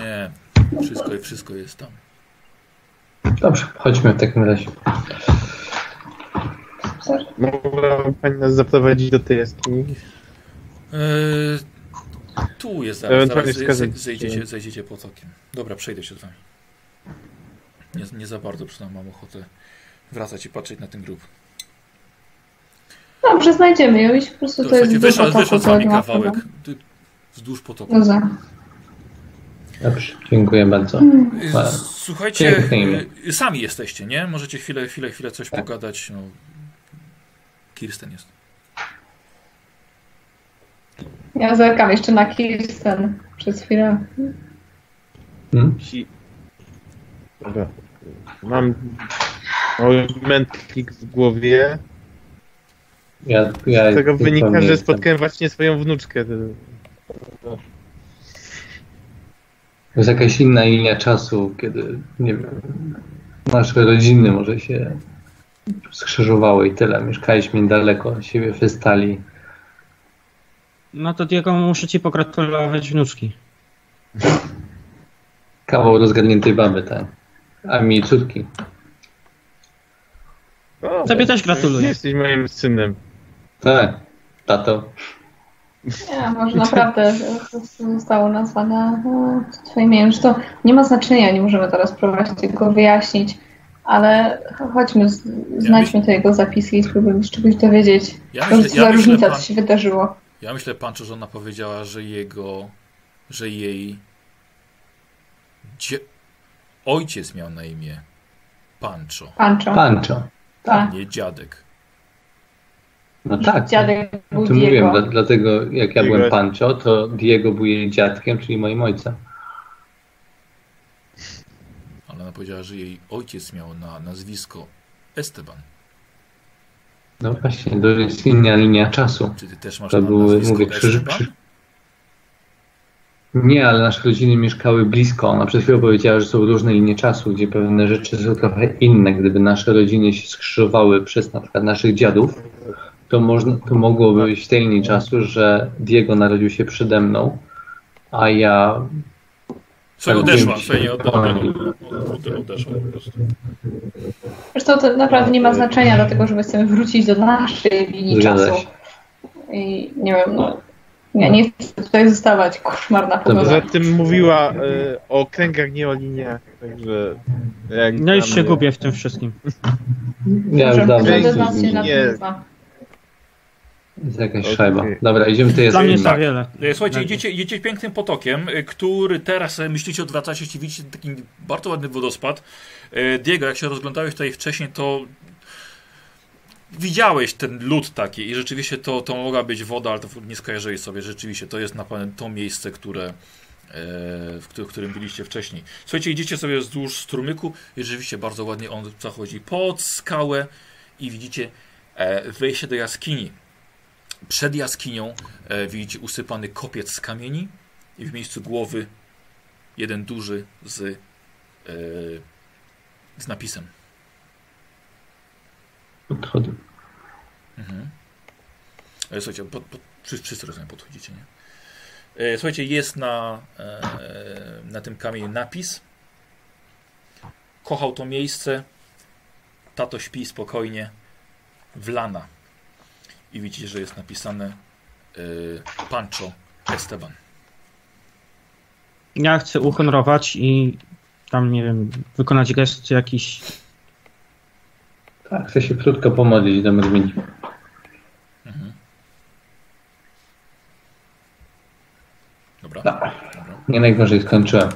Speaker 1: Nie, wszystko, wszystko jest tam.
Speaker 5: Dobrze, chodźmy w takim razie.
Speaker 4: Mogłaby No, pani nas zaprowadzić do tej jaskini.
Speaker 1: Eee, tu jest zaraz,
Speaker 4: Ewentualnie
Speaker 1: zaraz zej-
Speaker 4: wskazać-
Speaker 1: zej- zejdziecie, zejdziecie potokiem. Dobra, przejdę się z wami. Nie, nie za bardzo przynajmniej mam ochotę wracać i patrzeć na ten grób.
Speaker 3: Dobrze, znajdziemy ją i po prostu to,
Speaker 1: To
Speaker 3: jest no.
Speaker 1: słuchajcie,
Speaker 3: dużo
Speaker 1: wyszedł, wyszedł
Speaker 3: to
Speaker 1: za mi
Speaker 3: nie ma
Speaker 1: kawałek.
Speaker 3: problemu.
Speaker 1: Ty- Wzdłuż potoku.
Speaker 3: No za.
Speaker 5: Dobrze, dziękuję bardzo.
Speaker 3: Mhm.
Speaker 1: Y,
Speaker 5: Wow.
Speaker 1: Słuchajcie,
Speaker 5: Piękne imię.
Speaker 1: y, sami jesteście, nie? Możecie chwilę, chwilę, chwilę coś
Speaker 5: Tak.
Speaker 1: pogadać. No. Kirsten jest.
Speaker 3: Ja zerkam jeszcze na Kirsten przez chwilę.
Speaker 5: Hmm?
Speaker 4: Ci... Dobra. Mam mały mętlik w głowie.
Speaker 5: Ja, ja
Speaker 4: Z tego wynika,
Speaker 5: zupełnie
Speaker 4: że
Speaker 5: jestem-
Speaker 4: spotkałem właśnie swoją wnuczkę.
Speaker 5: To jest jakaś inna linia czasu, kiedy, nie wiem, nasze rodziny może się skrzyżowały i tyle. Mieszkaliśmy daleko od siebie w stali.
Speaker 2: No to Diego muszę ci pogratulować wnuczki.
Speaker 5: Kawał rozgadniętej baby, tak. A mi córki.
Speaker 4: O,
Speaker 2: Tobie też gratuluję.
Speaker 4: Jesteś moim synem.
Speaker 5: Tak, tato.
Speaker 3: Nie, może naprawdę zostało nazwane no, twoim imieniem. Że to nie ma znaczenia, nie możemy teraz próbować tego wyjaśnić, ale chodźmy, z- znajdźmy te jego zapisy i spróbujmy się czegoś dowiedzieć.
Speaker 1: Ja
Speaker 3: Co
Speaker 1: myślę,
Speaker 3: za
Speaker 1: ja myślę,
Speaker 3: różnica,
Speaker 1: pan,
Speaker 3: co się wydarzyło.
Speaker 1: ja myślę Pancho, że ona powiedziała, że jego, że jej dzie... ojciec miał na imię Pancho,
Speaker 3: Pancho.
Speaker 5: Pancho.
Speaker 3: Tak.
Speaker 1: nie dziadek.
Speaker 5: No tak.
Speaker 3: Dziadek
Speaker 5: O
Speaker 3: był
Speaker 5: tym mówiłem,
Speaker 3: Diego.
Speaker 5: dla- dlatego jak ja
Speaker 4: Diego.
Speaker 5: byłem Pancho, to Diego był jej dziadkiem, czyli moim ojcem.
Speaker 1: Ale ona powiedziała, że jej ojciec miał na nazwisko Esteban.
Speaker 5: No właśnie, to jest inna linia czasu.
Speaker 1: Czy ty też masz
Speaker 5: To
Speaker 1: na
Speaker 5: były,
Speaker 1: nazwisko
Speaker 5: mówię, krzyż,
Speaker 1: Esteban?
Speaker 5: krzyż. Nie, ale nasze rodziny mieszkały blisko. Ona przed chwilą powiedziała, że są różne linie czasu, gdzie pewne rzeczy są trochę inne. Gdyby nasze rodziny się skrzyżowały przez na przykład naszych dziadów, to, można, to mogłoby być w tej linii czasu, że Diego narodził się przede mną, a ja
Speaker 1: Słuchaj, odeszła. Słuchaj, nie, od, od, od, od, odeszła po prostu.
Speaker 7: Zresztą to naprawdę nie ma znaczenia, dlatego że my chcemy wrócić do naszej linii
Speaker 5: Zgadza
Speaker 7: czasu.
Speaker 5: się.
Speaker 7: I nie wiem, no. Ja nie chcę tutaj zostawać, koszmarna
Speaker 4: Poza
Speaker 7: pogoda.
Speaker 4: tym mówiła y, o kręgach, nie o liniach, także... Jak
Speaker 2: No już
Speaker 4: tam,
Speaker 2: się
Speaker 4: y,
Speaker 2: gubię w tym wszystkim.
Speaker 5: Ja już
Speaker 3: Znaczy,
Speaker 7: Że
Speaker 5: dawno
Speaker 7: każdy z
Speaker 4: Dzięki.
Speaker 7: nas się na
Speaker 4: Nie.
Speaker 7: tym zna.
Speaker 5: jest jakaś
Speaker 4: Okej.
Speaker 5: szajba. Dobra, idziemy, to jest
Speaker 2: Dla mnie za
Speaker 5: inna.
Speaker 2: wiele.
Speaker 1: E, Słuchajcie, jedziecie, jedziecie pięknym potokiem, e, który teraz e, myślicie odwracacie się, widzicie taki bardzo ładny wodospad. E, Diego, jak się rozglądałeś tutaj wcześniej, to widziałeś ten lód taki i rzeczywiście to, to mogła być woda, ale to nie skojarzyłeś sobie. Rzeczywiście to jest na pewno to miejsce, które, e, w, którym, w którym byliście wcześniej. Słuchajcie, idziecie sobie wzdłuż strumyku i rzeczywiście bardzo ładnie on zachodzi pod skałę i widzicie e, wejście do jaskini. Przed jaskinią E, widzicie usypany kopiec z kamieni i w miejscu głowy jeden duży z, e, z napisem.
Speaker 5: Odchody.
Speaker 1: Mhm. E, Słuchajcie, pod, pod, wszyscy, wszyscy rozumiem, podchodzicie, nie? E, Słuchajcie, jest na, e, na tym kamieniu napis. Kochał to miejsce. Tato śpi spokojnie. Wlana. I widzicie, że jest napisane e, Pancho Esteban.
Speaker 2: Ja chcę uhonorować i tam, nie wiem, wykonać gest jakiś.
Speaker 5: Tak, chcę się krótko pomodlić do Merwini.
Speaker 1: Dobra. Dobra.
Speaker 5: Nie najgorzej skończyłem.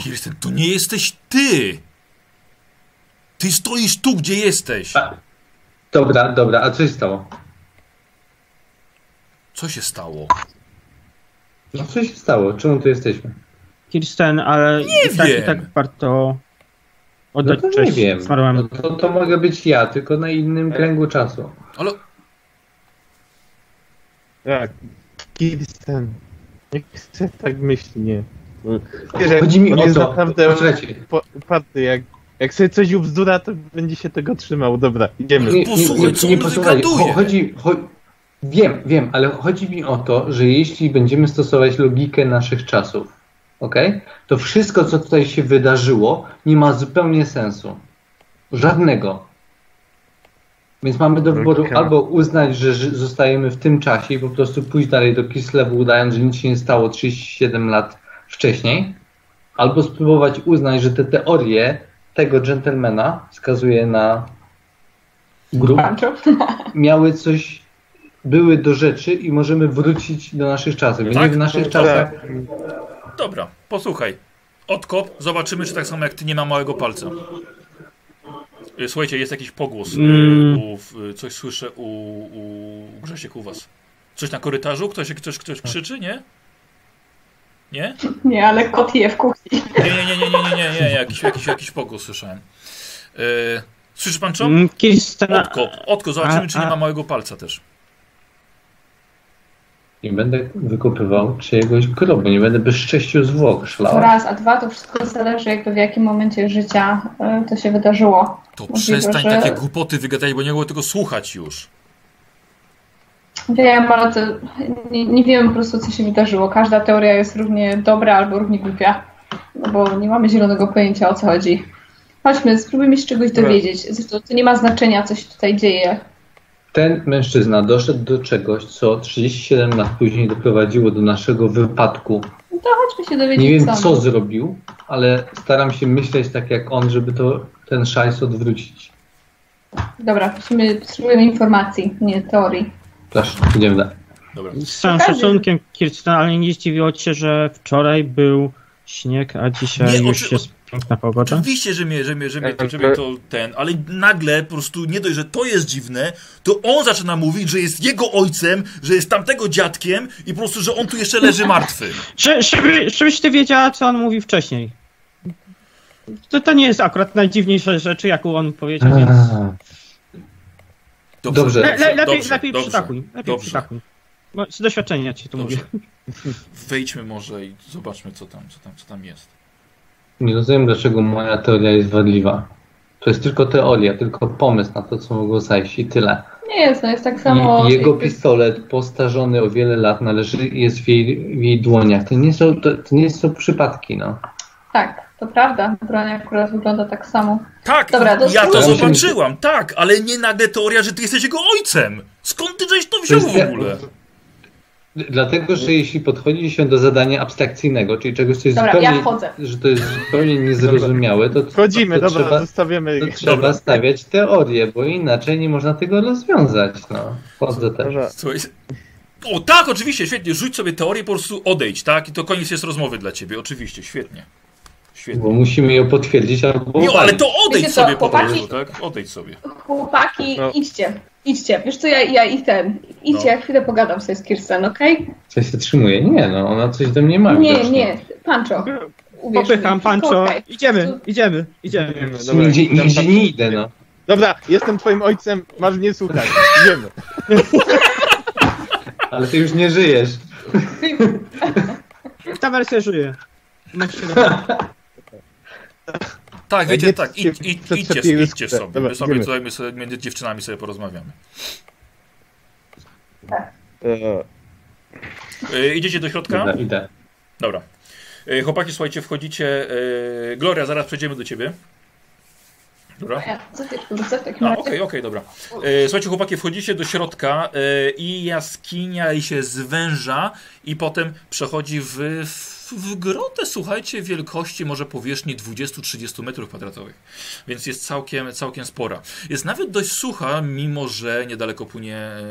Speaker 1: Kirsten, to nie jesteś ty! Ty stoisz tu, gdzie jesteś!
Speaker 5: Dobra, dobra, a co się stało?
Speaker 1: Co się stało?
Speaker 5: No co się stało? Czemu tu jesteśmy?
Speaker 2: Kirsten, ale i tak, i
Speaker 1: wiem.
Speaker 2: tak warto
Speaker 5: No
Speaker 2: oddać
Speaker 5: to nie
Speaker 2: cześć
Speaker 5: wiem. No
Speaker 2: zmarłemu.
Speaker 5: to, to mogę być ja, tylko na innym kręgu czasu.
Speaker 1: Ale
Speaker 4: Tak. Kirsten. Nie chcę tak myśli, nie. Wiesz, jak
Speaker 5: Chodzi mi
Speaker 4: on
Speaker 5: o
Speaker 4: jest
Speaker 5: No to.
Speaker 4: naprawdę
Speaker 5: Poczekajcie.
Speaker 4: po- uparty, jak, jak sobie coś ubzdura, to będzie się tego trzymał. Dobra, idziemy.
Speaker 5: Nie,
Speaker 1: Posłuchaj, co on
Speaker 5: posłuchaj.
Speaker 1: wygaduje.
Speaker 5: Cho- Chodzi, cho- wiem, wiem, ale chodzi mi o to, że jeśli będziemy stosować logikę naszych czasów, okej, to wszystko, co tutaj się wydarzyło, nie ma zupełnie sensu. Żadnego. Więc mamy do wyboru
Speaker 4: Logika.
Speaker 5: albo uznać, że ży- zostajemy w tym czasie i po prostu pójść dalej do Kislewu, udając, że nic się nie stało 37 lat wcześniej, albo spróbować uznać, że te teorie tego dżentelmena wskazuje na grup,
Speaker 3: Tak.
Speaker 7: Pancho?
Speaker 5: miały coś, były do rzeczy i możemy wrócić do naszych czasów. Będziemy w naszych czasach.
Speaker 4: Tak.
Speaker 1: dobra, posłuchaj. Odkop, zobaczymy, czy tak samo jak ty nie ma małego palca. Y, Słuchajcie, jest jakiś pogłos. y,
Speaker 2: Mm.
Speaker 1: U, w- y, coś słyszę u, u Grzesiek u was. Coś na korytarzu? Ktoś, ktoś, ktoś
Speaker 2: Tak.
Speaker 1: krzyczy, nie? Nie?
Speaker 7: [LAUGHS] Nie, ale kot je w kuchni.
Speaker 1: Nie, nie, nie, nie, nie, nie, nie, nie. Jakiś, jakiś, jakiś pogłos słyszałem. Y, słyszy pan co?
Speaker 2: Mm, Kirsten,
Speaker 5: No
Speaker 1: Odkop, odkop, zobaczymy,
Speaker 2: A,
Speaker 1: czy nie
Speaker 2: a.
Speaker 1: ma małego palca też.
Speaker 5: Nie będę wykopywał czyjegoś grobu, nie będę bezcześcił zwłok
Speaker 7: To
Speaker 5: szlał.
Speaker 7: raz, a dwa, to wszystko zależy jakby w jakim momencie życia y, to się wydarzyło.
Speaker 1: To
Speaker 7: Możliwe,
Speaker 1: przestań
Speaker 7: że-
Speaker 1: takie głupoty wygadać, bo nie mogę tego słuchać już.
Speaker 7: Wiem, ale to nie, nie wiemy po prostu co się wydarzyło. Każda teoria jest równie dobra albo równie głupia. No bo nie mamy zielonego pojęcia o co chodzi. Chodźmy, spróbujmy się czegoś dowiedzieć. Zresztą to nie ma znaczenia co się tutaj dzieje.
Speaker 5: Ten mężczyzna doszedł do czegoś, co 37 lat później doprowadziło do naszego wypadku.
Speaker 7: No to chodźmy się dowiedzieć
Speaker 5: Nie wiem,
Speaker 7: co.
Speaker 5: co zrobił, ale staram się myśleć tak jak on, żeby to ten szajs odwrócić.
Speaker 7: Dobra, musimy, potrzebujemy informacji, nie teorii.
Speaker 5: Proszę, idziemy dalej.
Speaker 1: Dobra.
Speaker 2: z całym
Speaker 7: Pokażę.
Speaker 2: szacunkiem, Kirsten, ale nie zdziwiło ci się, że wczoraj był śnieg, a dzisiaj
Speaker 1: Nie,
Speaker 2: już
Speaker 1: oczy-
Speaker 2: jest piękna pogoda?
Speaker 1: Oczywiście, że mnie, że mnie, że mnie, to,
Speaker 4: Tak,
Speaker 1: że
Speaker 4: ale-
Speaker 1: mnie to ten, ale nagle po prostu nie dość, że to jest dziwne, to on zaczyna mówić, że jest jego ojcem, że jest tamtego dziadkiem i po prostu, że on tu jeszcze leży martwy.
Speaker 2: Że, żeby, żebyś ty wiedziała, co on mówi wcześniej. To, to nie jest akurat najdziwniejsze rzeczy, jaką on powiedział, więc...
Speaker 5: Dobrze.
Speaker 2: Le, le, lepiej
Speaker 1: dobrze,
Speaker 2: lepiej
Speaker 1: dobrze,
Speaker 2: przytakuj, lepiej
Speaker 1: dobrze.
Speaker 2: przytakuj. Bo z doświadczenia ci to
Speaker 1: Dobrze.
Speaker 2: mówię.
Speaker 1: Wejdźmy może i zobaczmy, co tam, co tam, co tam jest.
Speaker 5: Nie rozumiem, dlaczego moja teoria jest wadliwa. To jest tylko teoria, tylko pomysł na to, co mogło zajść i tyle.
Speaker 3: Nie jest, no jest tak samo.
Speaker 5: I jego pistolet postarzony o wiele lat należy, jest w jej, w jej dłoniach. To nie, są, to, to nie są przypadki, no.
Speaker 3: Tak, to prawda. Broń akurat wygląda tak samo.
Speaker 1: Tak,
Speaker 3: Dobra, to
Speaker 1: ja to
Speaker 3: spróbujmy.
Speaker 1: zobaczyłam, tak, ale nie nagle teoria, że ty jesteś jego ojcem. Skąd ty żeś to wziął
Speaker 5: jest
Speaker 1: w
Speaker 5: jak-
Speaker 1: ogóle?
Speaker 5: Dlatego, że jeśli podchodzi się do zadania abstrakcyjnego, czyli czegoś, co jest
Speaker 3: Dobra, ja
Speaker 5: zupełnie,
Speaker 3: wchodzę.
Speaker 5: że to jest zupełnie niezrozumiałe, to,
Speaker 4: Wchodzimy,
Speaker 5: to,
Speaker 4: dobra,
Speaker 5: trzeba,
Speaker 4: zostawiamy
Speaker 5: to
Speaker 4: ich.
Speaker 5: trzeba
Speaker 1: Dobra.
Speaker 5: stawiać teorię, bo inaczej nie można tego rozwiązać, no. Wchodzę też.
Speaker 4: Dobra.
Speaker 1: Słuchaj, o tak, oczywiście, świetnie, rzuć sobie teorię, po prostu odejdź, tak? I to koniec jest rozmowy dla ciebie, oczywiście, świetnie. Świetnie.
Speaker 5: Bo musimy ją potwierdzić albo
Speaker 1: Nie, ale
Speaker 5: obalić.
Speaker 1: to odejdź
Speaker 3: Wiecie co,
Speaker 1: sobie po
Speaker 3: chłopaki?
Speaker 1: prostu, tak? Odejdź sobie.
Speaker 3: Chłopaki,
Speaker 4: No.
Speaker 3: idźcie. Idźcie. Wiesz co, ja, ja i ten. Idźcie,
Speaker 1: No.
Speaker 3: ja chwilę pogadam sobie z Kirsten, okej?
Speaker 5: Coś się trzymuje? Nie, no, ona coś do mnie ma.
Speaker 3: Nie,
Speaker 5: widocznie.
Speaker 3: nie, Pancho. Uwierz
Speaker 2: Popycham,
Speaker 3: mi.
Speaker 2: pancho.
Speaker 3: Okej.
Speaker 2: Idziemy, idziemy, idziemy.
Speaker 4: No Dobra,
Speaker 5: Nigdzie,
Speaker 4: idziemy
Speaker 5: nigdzie
Speaker 4: tam.
Speaker 5: nie idę, no.
Speaker 4: Dobra, jestem twoim ojcem, masz nie słuchać. Idziemy.
Speaker 5: Ale ty już nie żyjesz.
Speaker 1: No.
Speaker 2: Ta wersja żyje. Mam się
Speaker 1: Tak,
Speaker 4: Ja
Speaker 1: wiecie,
Speaker 4: nie
Speaker 1: tak,
Speaker 4: chcę
Speaker 1: idź, idź,
Speaker 4: przed
Speaker 1: idźcie,
Speaker 4: siebie
Speaker 1: idźcie
Speaker 4: skupiać.
Speaker 1: sobie,
Speaker 4: Dobra,
Speaker 1: my sobie
Speaker 4: idziemy.
Speaker 1: tutaj my sobie między dziewczynami sobie porozmawiamy.
Speaker 4: E,
Speaker 1: E, idziecie do środka?
Speaker 5: Idę, idę.
Speaker 1: Dobra. E, Chłopaki, słuchajcie, wchodzicie. e, Gloria, zaraz przejdziemy do ciebie. Dobra.
Speaker 3: Ja, co ty, co w takim
Speaker 2: No.
Speaker 1: A, Okej,
Speaker 3: razie?
Speaker 1: okej, dobra. E, Słuchajcie, chłopaki, wchodzicie do środka e, i jaskinia i się zwęża i potem przechodzi w, w, w grotę, słuchajcie, wielkości może powierzchni 20-30 metrów kwadratowych. Więc jest całkiem, całkiem spora. Jest nawet dość sucha, mimo że niedaleko płynie e,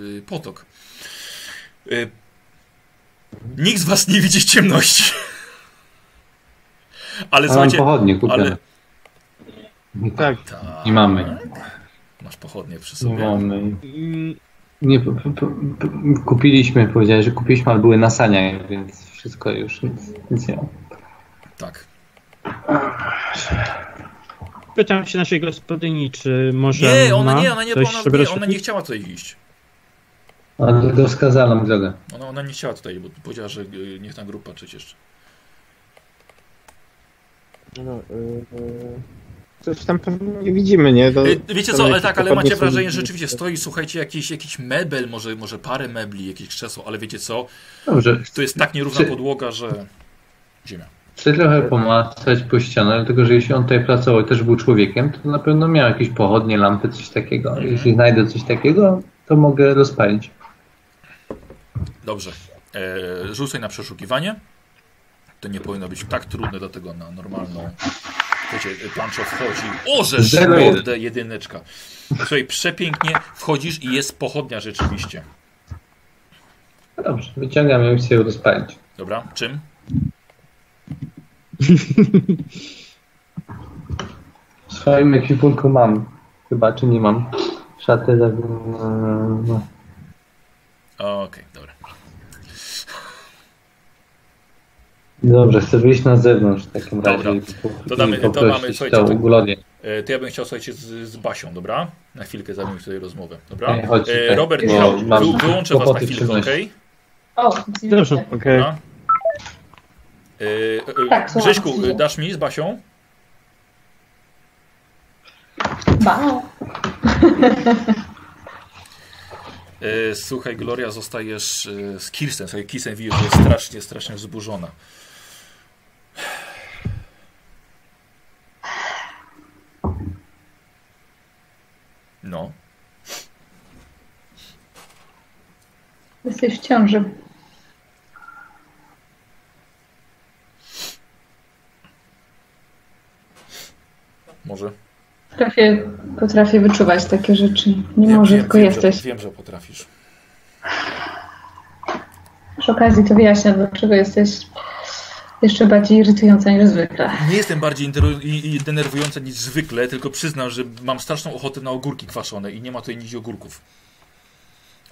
Speaker 1: y, potok. E, Nikt z was nie widzi ciemności. [LAUGHS] Ale
Speaker 5: A mam
Speaker 1: słuchajcie,
Speaker 5: pochodnie kupione.
Speaker 1: ale-
Speaker 4: tak,
Speaker 1: tak,
Speaker 5: Nie mamy.
Speaker 1: Masz pochodnie przy
Speaker 5: Nie
Speaker 1: sobie.
Speaker 5: mamy. Nie, p- p- p- kupiliśmy, powiedziałeś, że kupiliśmy, ale były na saniach, więc wszystko już, nic, nic nie ma.
Speaker 1: Tak.
Speaker 2: Pytam się naszej gospodyni, czy może
Speaker 1: Nie, ona
Speaker 2: ma
Speaker 1: nie, ona nie,
Speaker 2: coś,
Speaker 1: ona, nie,
Speaker 2: żeby
Speaker 1: ona nie
Speaker 2: rozświetlić?
Speaker 1: chciała tutaj iść.
Speaker 5: Ale dlatego wskazała nam drogę.
Speaker 1: Ona, ona nie chciała tutaj, bo powiedziała, że y, niech ta grupa patrzeć jeszcze.
Speaker 4: No, e, e, coś tam pewnie nie widzimy, nie? To-
Speaker 1: Y, Wiecie co,
Speaker 4: tam
Speaker 1: ale
Speaker 4: jakieś
Speaker 1: tak, ale
Speaker 4: popadły
Speaker 1: macie
Speaker 4: są-
Speaker 1: wrażenie, że rzeczywiście stoi, słuchajcie, jakiś, jakiś mebel, może, może parę mebli, jakieś krzesło, ale wiecie co,
Speaker 5: Dobrze,
Speaker 1: to jest tak nierówna
Speaker 5: Czy-
Speaker 1: podłoga, że... Ziemia.
Speaker 5: chcę trochę pomacać po ścianę, dlatego że jeśli on tutaj pracował i też był człowiekiem, to na pewno miał jakieś pochodnie, lampy, coś takiego. Jeśli znajdę coś takiego, to mogę rozpalić.
Speaker 1: Dobrze. E, rzucaj na przeszukiwanie. To nie powinno być tak trudne, dlatego na normalną... Wiecie, Pancho wchodzi. O, żeż
Speaker 5: Zero jeden.
Speaker 1: mordę, jedyneczka. Słuchaj, przepięknie wchodzisz i jest pochodnia rzeczywiście.
Speaker 5: No Dobrze, wyciągam ją i chcę ją rozpalić.
Speaker 1: Dobra, czym?
Speaker 5: W swoim ekwipunku mam, chyba, czy nie mam, szatę za... no.
Speaker 1: Okej, dobra.
Speaker 5: Dobrze, chcę wyjść na zewnątrz w takim
Speaker 1: Dobra.
Speaker 5: razie. i
Speaker 1: To damy- to
Speaker 5: poprosić
Speaker 1: mamy, słuchajcie, to-
Speaker 5: tą glodię.
Speaker 1: E, To ja bym chciał, słuchajcie, z, z Basią, dobra? Na chwilkę zamienić tutaj rozmowę, dobra?
Speaker 5: Ej, chodź
Speaker 1: E,
Speaker 5: tutaj,
Speaker 1: Robert,
Speaker 5: bo
Speaker 1: Michał,
Speaker 5: mam
Speaker 1: wy, wyłączę was na
Speaker 5: kłopoty
Speaker 1: chwilkę,
Speaker 5: przynosi.
Speaker 1: okej?
Speaker 3: O, dzień dobry.
Speaker 2: Dobrze.
Speaker 4: Okej.
Speaker 1: Dobra. E, e,
Speaker 3: Tak, słucham.
Speaker 1: Grześku, e, dasz mi z Basią?
Speaker 3: Ba.
Speaker 1: E, Słuchaj, Gloria, zostajesz e, z Kirsten. Słuchaj, Kirsten widzisz, że jest strasznie, strasznie wzburzona. No,
Speaker 3: Jesteś w ciąży.
Speaker 1: może.
Speaker 3: Potrafię, potrafię wyczuwać takie rzeczy. Nie może, tylko jesteś.
Speaker 1: Że, wiem, że potrafisz.
Speaker 3: Przy okazji to wyjaśnia, dlaczego jesteś jeszcze bardziej irytująca niż zwykle.
Speaker 1: Nie jestem bardziej interu- i- i denerwująca niż zwykle, tylko przyznam, że mam straszną ochotę na ogórki kwaszone i nie ma tutaj nic ogórków.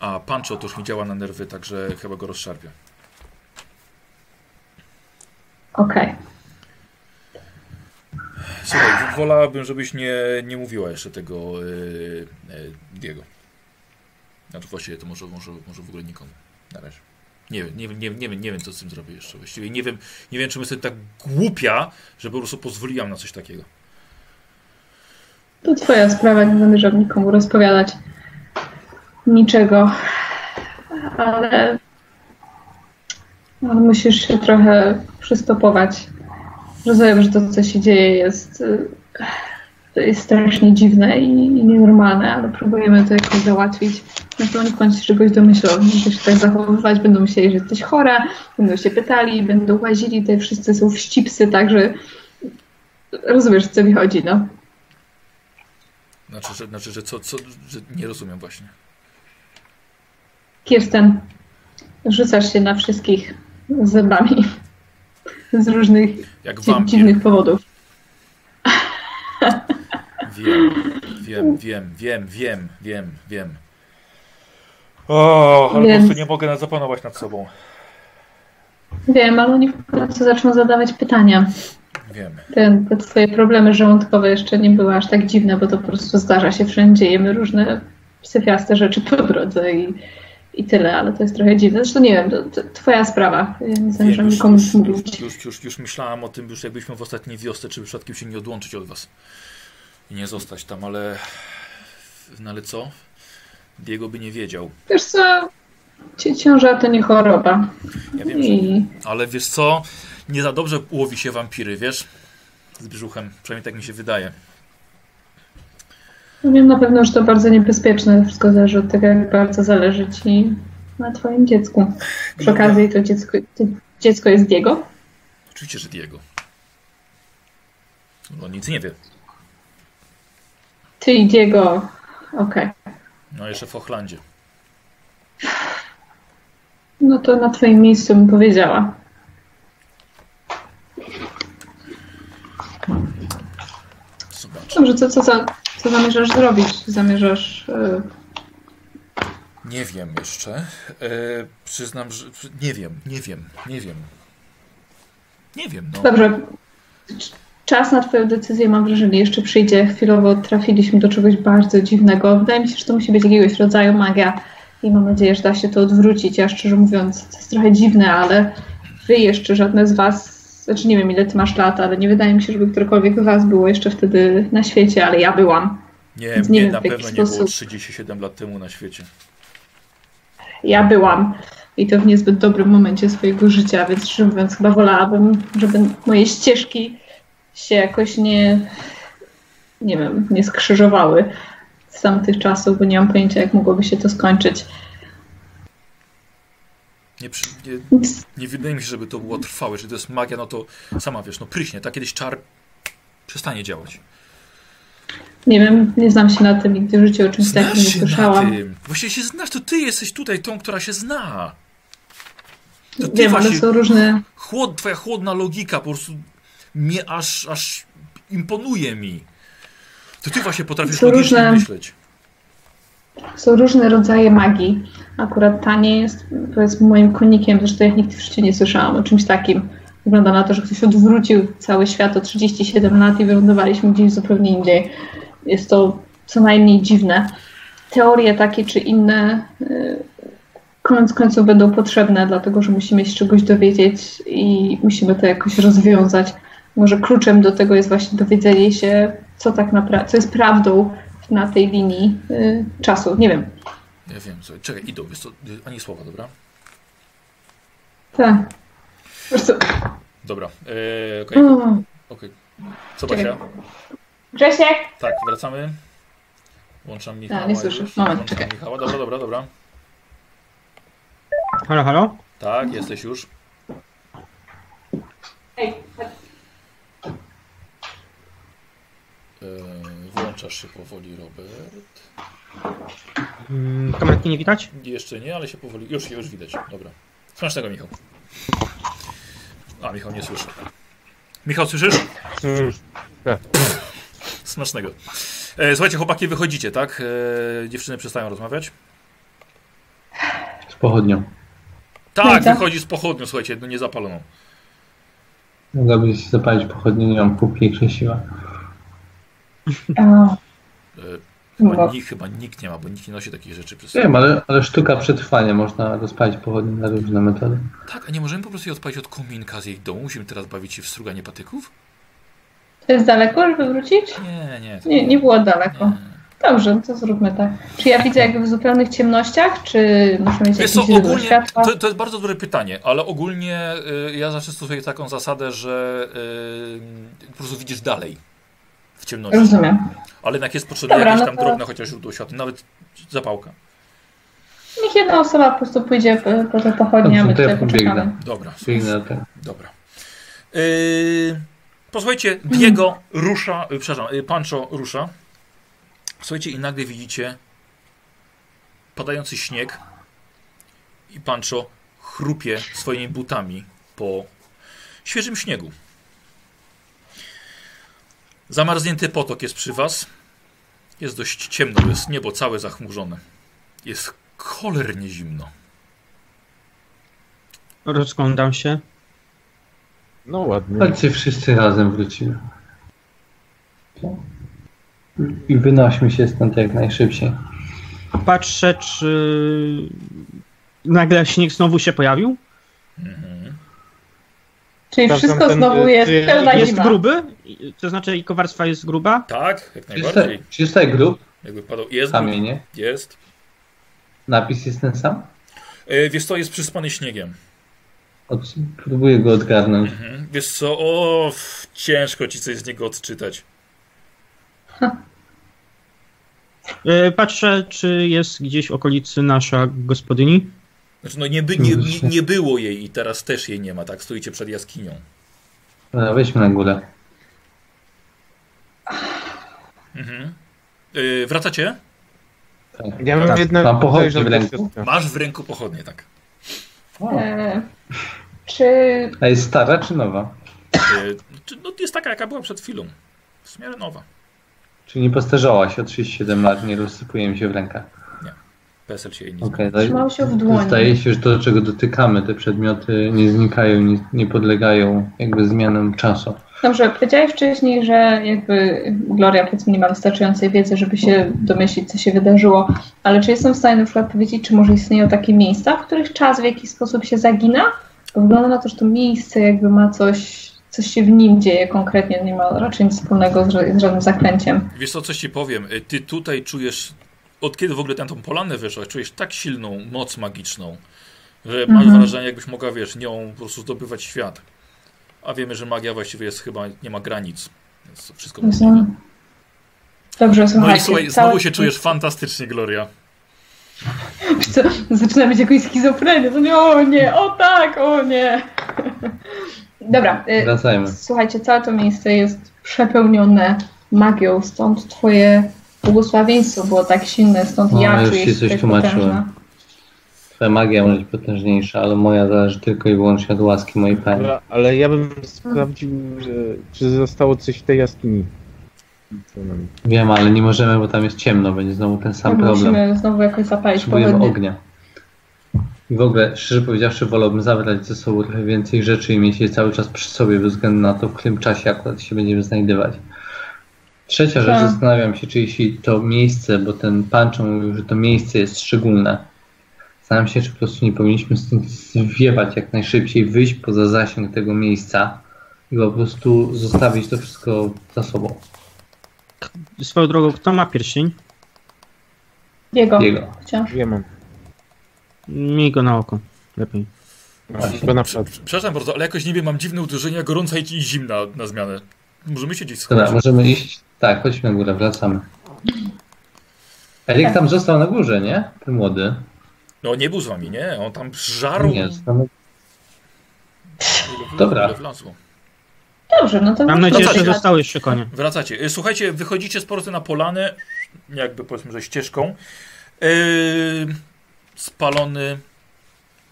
Speaker 1: A pancho to już mi działa na nerwy, także chyba go rozszarpię.
Speaker 3: Okej.
Speaker 1: Słuchaj, w- wolałabym, żebyś nie, nie mówiła jeszcze tego yy, yy, Diego. Znaczy właściwie to może, może, może w ogóle nikomu. Na razie. Nie wiem, nie, wiem- nie, wiem- nie, wiem, nie wiem, co z tym zrobię jeszcze. Właściwie nie wiem, nie wiem, czy jestem tak głupia, że po prostu pozwoliłam na coś takiego.
Speaker 3: To twoja sprawa, nie zamierzam nikomu rozpowiadać niczego. Ale, ale musisz się trochę przystopować. Rozumiem, że to, co się dzieje, jest, y, to jest strasznie dziwne i, i nienormalne, ale próbujemy to jakoś załatwić. Na pewno oni się czegoś domyślą, będą się tak zachowywać, będą myśleli, że jesteś chora, będą się pytali, będą łazili, te wszyscy są wścibsy, także rozumiesz, o co mi chodzi, no.
Speaker 1: Znaczy, że, znaczy, że co, co, że nie rozumiem właśnie.
Speaker 3: Kirsten, rzucasz się na wszystkich zębami z różnych
Speaker 1: Jak
Speaker 3: dzi-
Speaker 1: wampir.
Speaker 3: dziwnych powodów.
Speaker 1: Wiem, wiem, wiem, wiem, wiem, wiem, wiem. O, ale
Speaker 3: Więc-
Speaker 1: po prostu nie mogę na- zapanować nad sobą.
Speaker 3: Wiem, ale oni w końcu zaczną zadawać pytania.
Speaker 1: Wiem.
Speaker 3: Ten, te twoje problemy żołądkowe jeszcze nie były aż tak dziwne, bo to po prostu zdarza się wszędzie. Jemy różne syfiaste rzeczy po drodze i, i tyle, ale to jest trochę dziwne. Zresztą nie wiem, to, to twoja sprawa. Ja nie zamierzam
Speaker 1: Wiem,
Speaker 3: nikomu
Speaker 1: już, już,
Speaker 3: mówić.
Speaker 1: już, już, już myślałam o tym, już jakbyśmy w ostatniej wiosce, czy przypadkiem się nie odłączyć od was. I nie zostać tam, ale... No ale co? Diego by nie wiedział.
Speaker 3: Wiesz co, ci- ciąża to nie choroba.
Speaker 1: Ja wiem, że...
Speaker 3: I
Speaker 1: Ale wiesz co? Nie za dobrze łowi się wampiry, wiesz? Z brzuchem, przynajmniej tak mi się wydaje.
Speaker 3: Wiem na pewno, że to bardzo niebezpieczne. Wszystko zależy od tego, jak bardzo zależy ci na twoim dziecku. Przy okazji to dziecko, to dziecko jest jego.
Speaker 1: Oczywiście, że Diego. No nic nie wie.
Speaker 3: Ty i Diego. Okej.
Speaker 1: No jeszcze w Ochlandzie.
Speaker 3: No to na twoim miejscu bym powiedziała.
Speaker 1: Zobacz.
Speaker 3: Dobrze, co, co, za, co zamierzasz zrobić? Zamierzasz... y,
Speaker 1: Nie wiem jeszcze. E, przyznam, że przy- nie wiem, nie wiem, nie wiem. Nie wiem, no.
Speaker 3: Dobrze. Cz- Czas na twoją decyzję, mam wrażenie, jeszcze przyjdzie. Chwilowo trafiliśmy do czegoś bardzo dziwnego. Wydaje mi się, że to musi być jakiegoś rodzaju magia i mam nadzieję, że da się to odwrócić. Ja szczerze mówiąc, to jest trochę dziwne, ale wy jeszcze, żadne z was, znaczy nie wiem ile ty masz lat, ale nie wydaje mi się, żeby którekolwiek z was było jeszcze wtedy na świecie, ale ja byłam.
Speaker 1: Nie,
Speaker 3: nie
Speaker 1: nie
Speaker 3: wiem,
Speaker 1: na
Speaker 3: w jaki
Speaker 1: pewno nie było
Speaker 3: sposób.
Speaker 1: 37 lat temu na świecie.
Speaker 3: Ja byłam. I to w niezbyt dobrym momencie swojego życia, więc szczerze mówiąc, chyba wolałabym, żeby moje ścieżki się jakoś nie, nie wiem, nie skrzyżowały z tamtych czasów, bo nie mam pojęcia, jak mogłoby się to skończyć.
Speaker 1: Nie, przy, nie,
Speaker 3: Więc
Speaker 1: nie wydaje mi się, żeby to było trwałe. Jeżeli to jest magia, no to sama wiesz, no pryśnie. Tak kiedyś czar przestanie działać.
Speaker 3: Nie wiem, nie znam się na tym, nigdy w życiu o czymś takim
Speaker 1: Znasz
Speaker 3: tak nie
Speaker 1: się na
Speaker 3: słyszałam.
Speaker 1: tym. Właściwie się znasz, to ty jesteś tutaj tą, która się zna. To ty
Speaker 3: Wiem, ale
Speaker 1: właśnie,
Speaker 3: są różne
Speaker 1: chłod, twoja chłodna logika po prostu mnie aż, aż imponuje mi. To ty właśnie potrafisz
Speaker 3: To
Speaker 1: logicznie
Speaker 3: różne-
Speaker 1: myśleć.
Speaker 3: Są różne rodzaje magii. Akurat ta nie jest, powiedzmy, moim konikiem, zresztą ja nigdy w życiu nie słyszałam o czymś takim. Wygląda na to, że ktoś odwrócił cały świat o 37 lat i wylądowaliśmy gdzieś zupełnie indziej. Jest to co najmniej dziwne. Teorie takie czy inne y, koniec końców będą potrzebne, dlatego że musimy się czegoś dowiedzieć i musimy to jakoś rozwiązać. Może kluczem do tego jest właśnie dowiedzenie się, co tak naprawdę, co jest prawdą na tej linii y, czasu. Nie wiem.
Speaker 1: Ja wiem, słuchaj, czekaj, idą, wiesz co, y, ani słowa, dobra?
Speaker 3: Tak. Po prostu.
Speaker 1: Dobra, eee, okej,
Speaker 3: Mm.
Speaker 1: okej. Co Basia?
Speaker 3: Grzesiek!
Speaker 1: Tak, wracamy. Włączam Michała.
Speaker 3: nie słyszę.
Speaker 1: już.
Speaker 3: Moment,
Speaker 1: Włączam
Speaker 3: czekaj.
Speaker 1: Michała, dobra, dobra, dobra.
Speaker 2: Halo, halo?
Speaker 1: Tak, jesteś już.
Speaker 3: Hej.
Speaker 1: Eee, włączasz się powoli, Robert.
Speaker 2: Mm, Kamerki nie widać?
Speaker 1: Jeszcze nie, ale się powoli. Już, już widać. Dobra. Słuchasz tego, Michał. A, Michał nie słyszy. Michał, słyszysz?
Speaker 4: tak.
Speaker 1: Smacznego. E, słuchajcie, chłopaki, wychodzicie, tak? E, dziewczyny przestają rozmawiać.
Speaker 6: Z pochodnią.
Speaker 1: Tak,
Speaker 3: tak.
Speaker 1: wychodzi z pochodnią, słuchajcie, no niezapaloną.
Speaker 6: Mogłaby się zapalić pochodnię, nie mam póki krzesiła.
Speaker 3: O,
Speaker 1: E, chyba,
Speaker 3: No.
Speaker 1: ni, chyba nikt nie ma, bo nikt nie nosi takich rzeczy przez
Speaker 6: Wiem, ale, ale sztuka przetrwania, można rozpalić pochodnię na różne metody.
Speaker 1: Tak, a nie możemy po prostu jej odpalić od kominka z jej domu? Musimy teraz bawić się w struganie patyków?
Speaker 3: To jest daleko, żeby wrócić?
Speaker 1: Nie, nie. to-
Speaker 3: Nie, nie było daleko.
Speaker 1: nie.
Speaker 3: Dobrze, no to zróbmy tak. Czy ja widzę jakby w zupełnych ciemnościach, czy muszę mieć
Speaker 1: Wiesz
Speaker 3: jakieś
Speaker 1: co,
Speaker 3: źródło
Speaker 1: ogólnie,
Speaker 3: światła?
Speaker 1: to, to jest bardzo dobre pytanie, ale ogólnie y, ja zawsze stosuję taką zasadę, że y, po prostu widzisz dalej w ciemności.
Speaker 3: Rozumiem.
Speaker 1: Ale jednak jest potrzebne
Speaker 3: Dobra,
Speaker 1: jakieś
Speaker 3: no
Speaker 1: tam
Speaker 3: to-
Speaker 1: drobne chociaż źródło światła, nawet zapałka.
Speaker 3: Niech jedna osoba po prostu pójdzie po- po te pochodnie, a my
Speaker 5: Dobrze, to ja
Speaker 3: tutaj
Speaker 5: pobiegnę.
Speaker 3: poczekamy.
Speaker 1: Dobra,
Speaker 5: Biegnę tak.
Speaker 1: dobra. Y, posłuchajcie, Diego rusza, y, przepraszam, y, Pancho rusza. Słuchajcie i nagle widzicie padający śnieg i Pancho chrupie swoimi butami po świeżym śniegu. Zamarznięty potok jest przy was. Jest dość ciemno, bo jest niebo całe zachmurzone. Jest cholernie zimno.
Speaker 2: Rozglądam się.
Speaker 4: No ładnie.
Speaker 5: Chodźcie wszyscy razem wrócimy. I wynośmy się stąd jak najszybciej.
Speaker 2: Patrzę, czy nagle śnieg znowu się pojawił.
Speaker 3: Czyli
Speaker 4: Sprawdzam
Speaker 3: wszystko
Speaker 4: ten,
Speaker 3: znowu
Speaker 4: y,
Speaker 3: jest
Speaker 4: czy-
Speaker 3: pełna
Speaker 4: Tak,
Speaker 2: Jest
Speaker 3: zima.
Speaker 2: gruby, i- to znaczy i kowarstwa jest gruba.
Speaker 1: Tak, jak najbardziej.
Speaker 5: Czyste, czyste grup,
Speaker 1: Jakby padał. Jest,
Speaker 5: kamienie.
Speaker 1: jest.
Speaker 5: Napis jest ten sam?
Speaker 1: E, wiesz co, jest przyspany śniegiem.
Speaker 5: Od, próbuję go odgarnąć.
Speaker 1: Mhm. Wiesz co, o, f, ciężko ci coś z niego odczytać.
Speaker 2: Y, Patrzę, czy jest gdzieś w okolicy nasza gospodyni.
Speaker 1: Znaczy, no nie, by, nie, nie, nie było jej i teraz też jej nie ma, tak? Stoicie przed jaskinią.
Speaker 5: Dobra, No, weźmy na górę.
Speaker 1: Mhm. E, wracacie?
Speaker 4: Ja bym
Speaker 5: Tam-
Speaker 4: jednak
Speaker 5: tam pochodzi
Speaker 4: podejrzał
Speaker 5: w ręku.
Speaker 4: siostry.
Speaker 1: Masz w ręku pochodnie, tak.
Speaker 3: E, czy
Speaker 5: A jest stara czy nowa?
Speaker 1: E, czy- no, jest taka, jaka była przed chwilą. W sumie nowa.
Speaker 5: Czy nie postarzała się od 37 lat, nie rozsypuje mi się w rękach.
Speaker 1: PSL się jej nie
Speaker 5: Okej,
Speaker 3: trzymał się w
Speaker 5: to
Speaker 3: dłoni?
Speaker 5: zdaje się, że to, czego dotykamy, te przedmioty nie znikają, nie, nie podlegają jakby zmianom czasu.
Speaker 3: Dobrze, powiedziałeś wcześniej, że jakby Gloria powiedzmy nie ma wystarczającej wiedzy, żeby się domyślić, co się wydarzyło, ale czy jestem w stanie na przykład powiedzieć, czy może istnieją takie miejsca, w których czas w jakiś sposób się zagina? Bo wygląda na to, że to miejsce jakby ma coś, coś się w nim dzieje konkretnie, nie ma raczej nic wspólnego z, ża- z żadnym zaklęciem.
Speaker 1: Wiesz co, coś ci powiem. E, Ty tutaj czujesz, od kiedy w ogóle na tą polanę wyszłaś, czujesz tak silną moc magiczną, że masz
Speaker 3: Mhm.
Speaker 1: wrażenie, jakbyś mogła, wiesz, nią po prostu zdobywać świat. A wiemy, że magia właściwie jest chyba, nie ma granic. Więc wszystko
Speaker 3: Rozumiem. Dobrze, słuchajcie.
Speaker 1: No i słuchaj,
Speaker 3: całe-
Speaker 1: znowu się czujesz fantastycznie, Gloria.
Speaker 3: Co, zaczyna być jakąś schizofrenię. To nie, o nie, o tak, o nie. Dobra, y,
Speaker 5: Wracajmy.
Speaker 3: Słuchajcie, całe to miejsce jest przepełnione magią, stąd twoje błogosławieństwo było tak silne, stąd
Speaker 5: No,
Speaker 3: ja
Speaker 5: już
Speaker 3: czuję
Speaker 5: ci
Speaker 3: się
Speaker 5: coś
Speaker 3: tak
Speaker 5: tłumaczyłem.
Speaker 3: potężna.
Speaker 5: Twoja magia może być potężniejsza, ale moja zależy tylko i wyłącznie od łaski mojej pani.
Speaker 4: Dobra, ale ja bym sprawdził, że, czy zostało coś w tej jaskini.
Speaker 5: Wiem, ale nie możemy, bo tam jest ciemno, będzie znowu ten sam problem.
Speaker 3: Musimy znowu jakoś zapalić
Speaker 5: Potrzebujemy
Speaker 3: pochodnie.
Speaker 5: ognia. I w ogóle, szczerze powiedziawszy, wolałbym zabrać ze sobą trochę więcej rzeczy i mieć je cały czas przy sobie, bez względu na to, w którym czasie akurat się będziemy znajdywać. Trzecia rzecz,
Speaker 3: Tak.
Speaker 5: zastanawiam się, czy jeśli to miejsce, bo ten Pancho mówił, że to miejsce jest szczególne. Zastanawiam się, czy po prostu nie powinniśmy stąd zwiewać jak najszybciej, wyjść poza zasięg tego miejsca i po prostu zostawić to wszystko za sobą.
Speaker 2: Swoją drogą, kto ma pierścień?
Speaker 3: Jego.
Speaker 5: Jego.
Speaker 3: Wciąż.
Speaker 4: Ja mam.
Speaker 2: Miej go na oko. Lepiej.
Speaker 4: Chyba na
Speaker 1: Prze-
Speaker 4: przykład.
Speaker 1: prze- Przepraszam bardzo, ale jakoś niby mam dziwne uderzenia gorąca i i zimna na zmianę. Możemy się gdzieś schować.
Speaker 5: Dobra, możemy iść. Tak, chodźmy na górę, wracamy.
Speaker 3: Tak.
Speaker 5: Erik tam został na górze, nie? Ten młody.
Speaker 1: No nie był z wami, nie? On tam żarł.
Speaker 5: Nie, został na...
Speaker 1: ile- ile
Speaker 5: Dobra.
Speaker 1: wlazło.
Speaker 3: Dobrze, no to
Speaker 2: Mam
Speaker 3: wróćmy
Speaker 2: nadzieję,
Speaker 1: co
Speaker 2: że
Speaker 1: ty-
Speaker 3: teraz.
Speaker 2: zostały jeszcze konie.
Speaker 1: Wracacie. Y, Słuchajcie, wychodzicie z porty na polanę, jakby powiedzmy, że ścieżką. Yy, spalony,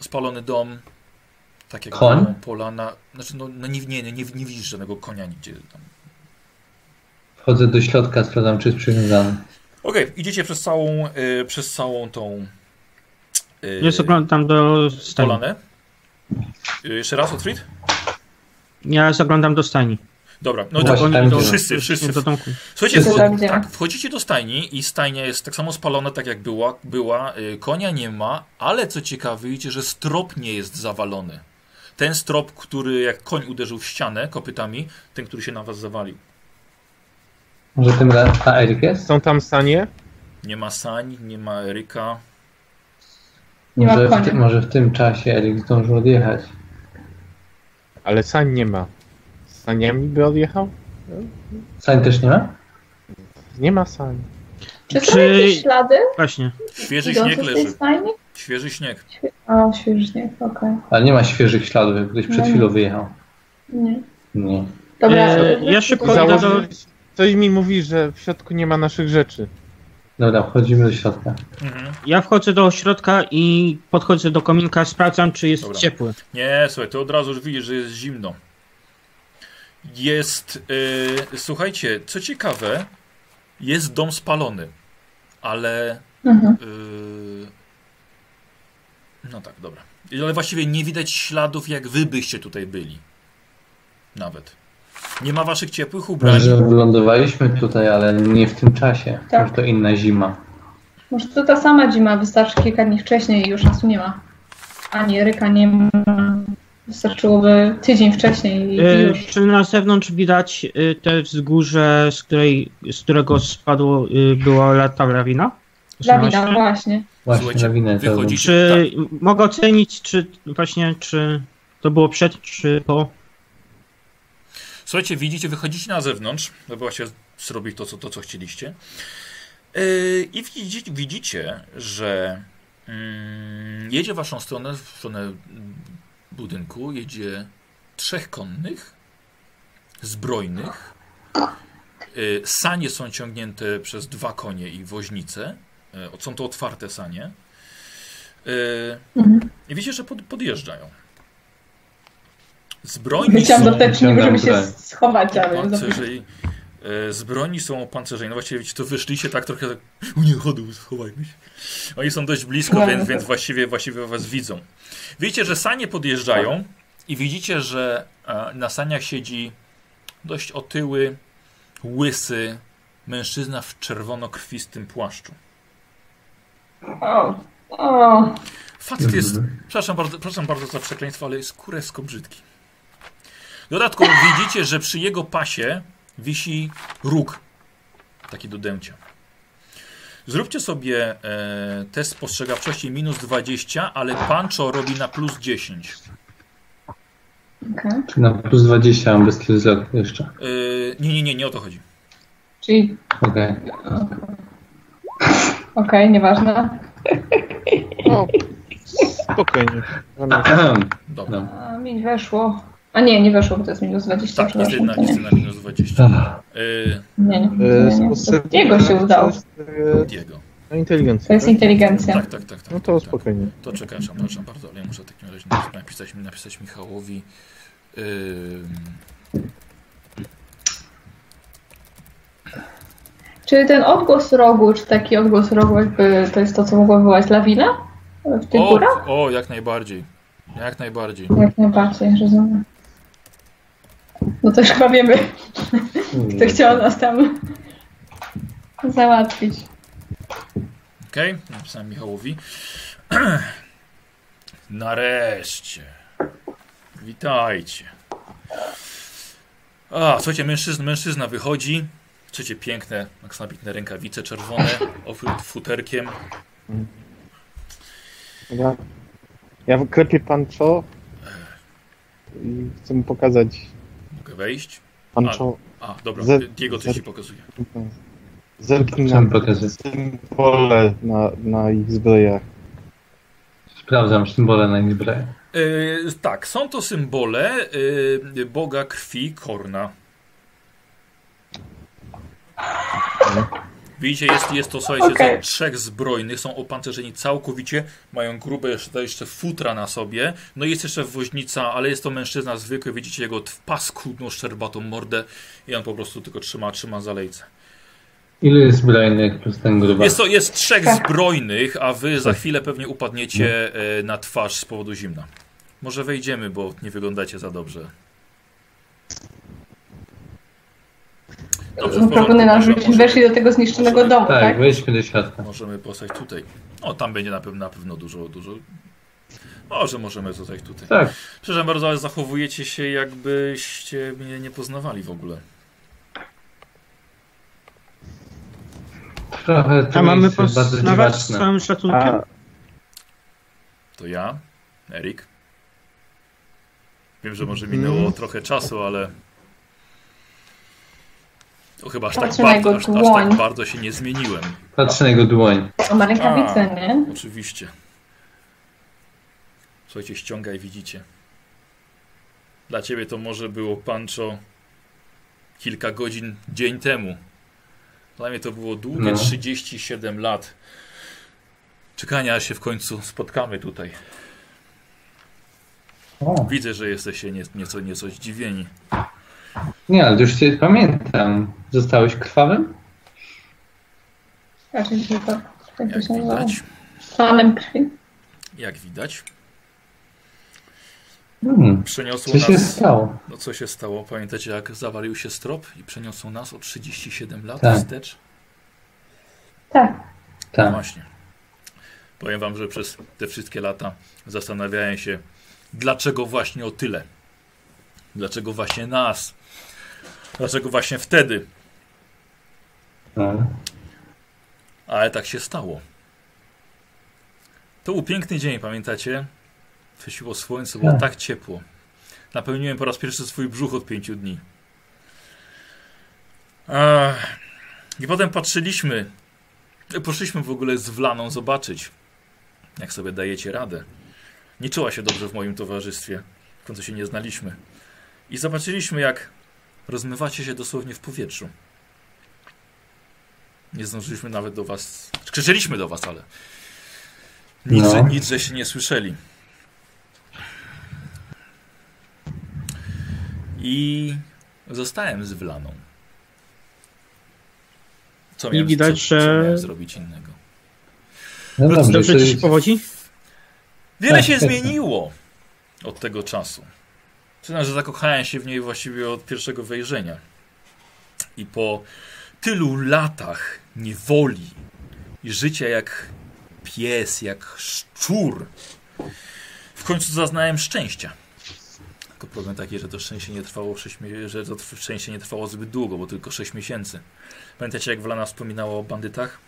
Speaker 1: spalony dom. Tak jak
Speaker 5: Koń?
Speaker 1: było, polana. Znaczy, no, no nie, nie, nie, nie widzisz żadnego konia nigdzie tam.
Speaker 5: Wchodzę do środka, sprawdzam, czy jest przywiązany.
Speaker 1: Okej, idziecie przez całą, y, przez całą tą. y,
Speaker 2: Jest oglądam do stajni.
Speaker 1: polanę. Y, jeszcze raz, Otfrid?
Speaker 2: Ja zaglądam do stajni.
Speaker 1: Dobra, no
Speaker 5: Właśnie,
Speaker 1: to
Speaker 5: tam
Speaker 1: to
Speaker 5: idziemy.
Speaker 1: wszyscy, wszyscy.
Speaker 2: Do domku.
Speaker 1: Słuchajcie,
Speaker 3: Wszyscy
Speaker 1: wcho-
Speaker 3: tam idziemy.
Speaker 1: tak, wchodzicie do stajni i stajnia jest tak samo spalona, tak jak była, była. y, konia nie ma, ale co ciekawe, widzicie, że strop nie jest zawalony. Ten strop, który jak koń uderzył w ścianę kopytami, ten, który się na was zawalił.
Speaker 5: Może tym razem ta Eryk jest?
Speaker 4: Są tam sanie?
Speaker 1: Nie ma Sani, nie ma Eryka.
Speaker 3: Nie ma
Speaker 5: Może w,
Speaker 3: konia.
Speaker 5: ty, może w tym czasie Eryk zdążył odjechać.
Speaker 4: Ale sań nie ma. Z saniami by odjechał?
Speaker 5: Sań też nie ma?
Speaker 4: Nie ma sań.
Speaker 3: Czy są
Speaker 2: Czy-
Speaker 3: jakieś ślady
Speaker 2: Właśnie.
Speaker 1: Świeży śnieg
Speaker 3: idące z tej
Speaker 1: leży.
Speaker 3: stajni?
Speaker 1: Świeży śnieg.
Speaker 3: O, świeżnie, okej.
Speaker 5: Ale nie ma świeżych śladów, jak ktoś przed
Speaker 3: No nie.
Speaker 5: chwilą wyjechał.
Speaker 3: Nie.
Speaker 5: Nie.
Speaker 3: Dobra,
Speaker 2: E, ja
Speaker 4: I
Speaker 2: szybko idę do-
Speaker 4: Założyłeś... Coś mi mówi, że w środku nie ma naszych rzeczy.
Speaker 5: Dobra, wchodzimy do środka.
Speaker 1: Mhm.
Speaker 2: Ja wchodzę do środka i podchodzę do kominka, sprawdzam, czy jest
Speaker 1: Dobra.
Speaker 2: ciepły.
Speaker 1: Nie, słuchaj, ty od razu już widzisz, że jest zimno. Jest, e, słuchajcie, co ciekawe, jest dom spalony, ale
Speaker 3: Mhm.
Speaker 1: Yy, No tak, dobra. Ale właściwie nie widać śladów, jak wy byście tutaj byli. Nawet. Nie ma waszych ciepłych ubrań.
Speaker 5: Że wylądowaliśmy tutaj, ale nie w tym czasie.
Speaker 3: Tak.
Speaker 5: Może to inna zima.
Speaker 3: Może to ta sama zima, wystarczy kilka dni wcześniej i już nas tu nie ma. Ani Ryka nie ma. Wystarczyłoby tydzień wcześniej i
Speaker 2: E,
Speaker 3: już.
Speaker 2: czy na zewnątrz widać e, te wzgórze, z, której, z którego spadło, e, była lata lawina?
Speaker 3: Lawina, właśnie.
Speaker 5: Właśnie
Speaker 1: Słuchajcie,
Speaker 5: lawinę to-
Speaker 1: wychodzi-
Speaker 2: Czy mogę ocenić, czy właśnie, czy to było przed, czy po?
Speaker 1: Słuchajcie, widzicie, wychodzicie na zewnątrz, żeby właśnie zrobić to, co, to, co chcieliście. Yy, I widzicie, widzicie że mm, jedzie w waszą stronę, w stronę mm, budynku, jedzie trzech konnych, zbrojnych. Yy, sanie są ciągnięte przez dwa konie i woźnice. Yy, są to otwarte sanie. Yy,
Speaker 3: Mhm.
Speaker 1: I widzicie, że pod, podjeżdżają. Zbrojni
Speaker 3: Wyciąłam
Speaker 1: są...
Speaker 3: do teczniku, żeby się
Speaker 5: Wyciągam
Speaker 3: schować, ale
Speaker 1: Pancerzej. e, Z broni są opancerzeni. No właściwie wiecie, to wyszliście tak trochę tak. U nie chodu, schowajmy się. Oni są dość blisko,
Speaker 3: Dobra.
Speaker 1: więc, więc właściwie, właściwie was widzą. Wiecie, że sanie podjeżdżają i widzicie, że e, na saniach siedzi dość otyły, łysy mężczyzna w czerwonokrwistym płaszczu.
Speaker 3: O, o,
Speaker 1: Facet jest, przepraszam bardzo, przepraszam bardzo za przekleństwo, ale jest kuresko brzydki. W dodatku [LAUGHS] widzicie, że przy jego pasie wisi róg, taki do dęcia. Zróbcie sobie e, test spostrzegawczości minus 20, ale Pancho robi na plus 10.
Speaker 3: okej.
Speaker 5: Czy na plus 20 mam bez kilku jeszcze.
Speaker 1: E, nie, nie, nie, nie o to chodzi.
Speaker 3: Czyli,
Speaker 5: Okej. [CLEARS THROAT]
Speaker 3: okej, nieważne.
Speaker 4: O, spokojnie. No.
Speaker 1: Dobra.
Speaker 3: A, mi weszło. A nie, nie weszło, bo to jest minus 20.
Speaker 1: Tak, jest
Speaker 3: przepraszam,
Speaker 1: na,
Speaker 3: to nie.
Speaker 1: jest na minus 20.
Speaker 5: Dobra.
Speaker 1: E,
Speaker 3: Nie, nie,
Speaker 4: e,
Speaker 3: nie,
Speaker 4: Yy,
Speaker 3: nie. To Jego się udało.
Speaker 1: Diego.
Speaker 4: Na inteligencję.
Speaker 3: To jest
Speaker 4: tak?
Speaker 3: inteligencja.
Speaker 1: Tak, tak, tak. tak
Speaker 4: No to
Speaker 1: tak.
Speaker 4: spokojnie.
Speaker 1: To czekaj, przepraszam bardzo, ale ja muszę w takim razie napis- napisać, napisać Michałowi. Ym,
Speaker 3: Czy ten odgłos rogu, czy taki odgłos rogu, jakby to jest to, co mogło wywołać lawina? W tych
Speaker 1: o,
Speaker 3: górach?
Speaker 1: o, jak najbardziej. Jak najbardziej.
Speaker 3: Jak najbardziej, rozumiem. No to już chyba wiemy,
Speaker 5: Hmm.
Speaker 1: No.
Speaker 3: kto chciał nas tam załatwić.
Speaker 1: Okej, napisałem Michałowi. [CLEARS THROAT] Nareszcie. Witajcie. A, słuchajcie, mężczyzna, mężczyzna wychodzi. Słuchajcie, piękne, aksamitne rękawice czerwone, [LAUGHS] ofryt futerkiem.
Speaker 4: Ja, ja klepię pancho i chcę mu pokazać
Speaker 1: Mogę wejść?
Speaker 4: pancho.
Speaker 1: A, dobra,
Speaker 4: Ze-
Speaker 1: Diego coś
Speaker 4: ze-
Speaker 1: ci pokazuje.
Speaker 4: Zerknij
Speaker 5: Chciałem
Speaker 4: na
Speaker 5: pokazać.
Speaker 4: symbole na, na ich zbrojach.
Speaker 5: Sprawdzam symbole na ich zbroję.
Speaker 1: E, tak, są to symbole e, Boga krwi Korna. Widzicie, jest, jest to, słuchajcie,
Speaker 3: Okej.
Speaker 1: są trzech zbrojnych, są opancerzeni całkowicie, mają grube jeszcze, jeszcze futra na sobie, no i jest jeszcze woźnica, ale jest to mężczyzna zwykły, widzicie jego t- paskudną, szczerbatą mordę i on po prostu tylko trzyma, trzyma zalejce.
Speaker 5: Ile jest zbrojnych plus ten gruba?
Speaker 1: Jest, to, jest trzech
Speaker 3: Tak.
Speaker 1: zbrojnych, a wy za chwilę pewnie upadniecie e, na twarz z powodu zimna. Może wejdziemy, bo nie wyglądacie za dobrze. Dobrze, w
Speaker 3: No, Proponuję
Speaker 1: porządku,
Speaker 3: nam,
Speaker 1: może-
Speaker 3: żebyśmy
Speaker 1: może-
Speaker 3: weszli do tego zniszczonego domu,
Speaker 5: Tak,
Speaker 3: tak?
Speaker 5: wejdźmy do środka.
Speaker 1: Możemy postać tutaj. O, tam będzie na pewno, na pewno dużo, dużo. Może możemy zostać tutaj.
Speaker 5: Tak,
Speaker 1: Przepraszam bardzo, ale zachowujecie się jakbyście mnie nie poznawali w ogóle.
Speaker 5: Trochę to
Speaker 2: A mamy
Speaker 5: jest
Speaker 2: pos...
Speaker 5: bardzo
Speaker 2: nawet z
Speaker 5: dziwaczne.
Speaker 2: całym szacunkiem?
Speaker 4: A, no
Speaker 1: To ja, Erik. Wiem, że może minęło
Speaker 7: Mhm.
Speaker 1: trochę czasu, ale. To chyba aż tak,
Speaker 7: Patrzę na
Speaker 1: bardzo,
Speaker 7: jego
Speaker 1: aż, aż
Speaker 7: dłoń.
Speaker 1: tak bardzo się nie zmieniłem.
Speaker 5: Patrzę na jego dłoń.
Speaker 7: On ma rękawice,
Speaker 1: A.
Speaker 7: nie?
Speaker 1: Oczywiście. Słuchajcie, ściągaj, widzicie. Dla ciebie to może było pancho kilka godzin, dzień temu. Dla mnie to było długie
Speaker 5: No.
Speaker 1: 37 lat czekania, aż się w końcu spotkamy tutaj.
Speaker 5: O,
Speaker 1: Widzę, że jesteście nie, nieco, nieco zdziwieni.
Speaker 5: nie, ale już cię pamiętam. Zostałeś krwawym?
Speaker 7: Raczej się to tak by
Speaker 1: Jak
Speaker 7: się nazywało.
Speaker 1: widać,
Speaker 7: Slanem krwi.
Speaker 1: jak widać,
Speaker 5: Hmm.
Speaker 1: przeniosło
Speaker 5: Co się
Speaker 1: nas.
Speaker 5: stało?
Speaker 1: No co się stało? Pamiętacie, jak zawalił się strop i przeniosło nas o 37 lat
Speaker 5: Tak.
Speaker 1: wstecz?
Speaker 7: Tak.
Speaker 1: No
Speaker 5: Tak.
Speaker 1: Właśnie. Powiem wam, że przez te wszystkie lata zastanawiałem się, dlaczego właśnie o tyle. Dlaczego właśnie nas? Dlaczego właśnie wtedy?
Speaker 5: No.
Speaker 1: Ale tak się stało. To był piękny dzień, pamiętacie? Świeciło słońce, było
Speaker 5: Tak.
Speaker 1: tak ciepło. Napełniłem po raz pierwszy swój brzuch od pięciu dni. Ach. I potem patrzyliśmy. Poszliśmy w ogóle z Wlaną zobaczyć, jak sobie dajecie radę. Nie czuła się dobrze w moim towarzystwie. W końcu się nie znaliśmy. I zobaczyliśmy, jak rozmywacie się dosłownie w powietrzu. Nie zdążyliśmy nawet do was. Krzyczeliśmy do was, ale. Nic,
Speaker 5: No.
Speaker 1: że, nic że się nie słyszeli. I zostałem z Wlaną. Co
Speaker 2: I
Speaker 1: miałem,
Speaker 2: widać,
Speaker 1: co,
Speaker 2: że-
Speaker 1: co miałem zrobić innego?
Speaker 5: No
Speaker 2: Dobrze, dobrze ci
Speaker 5: czyli-
Speaker 2: się powodzi?
Speaker 1: Wiele
Speaker 5: Tak,
Speaker 1: się
Speaker 5: tak.
Speaker 1: zmieniło od tego czasu. Przyznam, że zakochałem się w niej właściwie od pierwszego wejrzenia. I po tylu latach niewoli i życia jak pies, jak szczur, w końcu zaznałem szczęścia. Tylko problem taki, że to szczęście nie trwało, sześć mie- że to tw- szczęście nie trwało zbyt długo, bo tylko 6 miesięcy. Pamiętacie, jak Wlana wspominała o bandytach?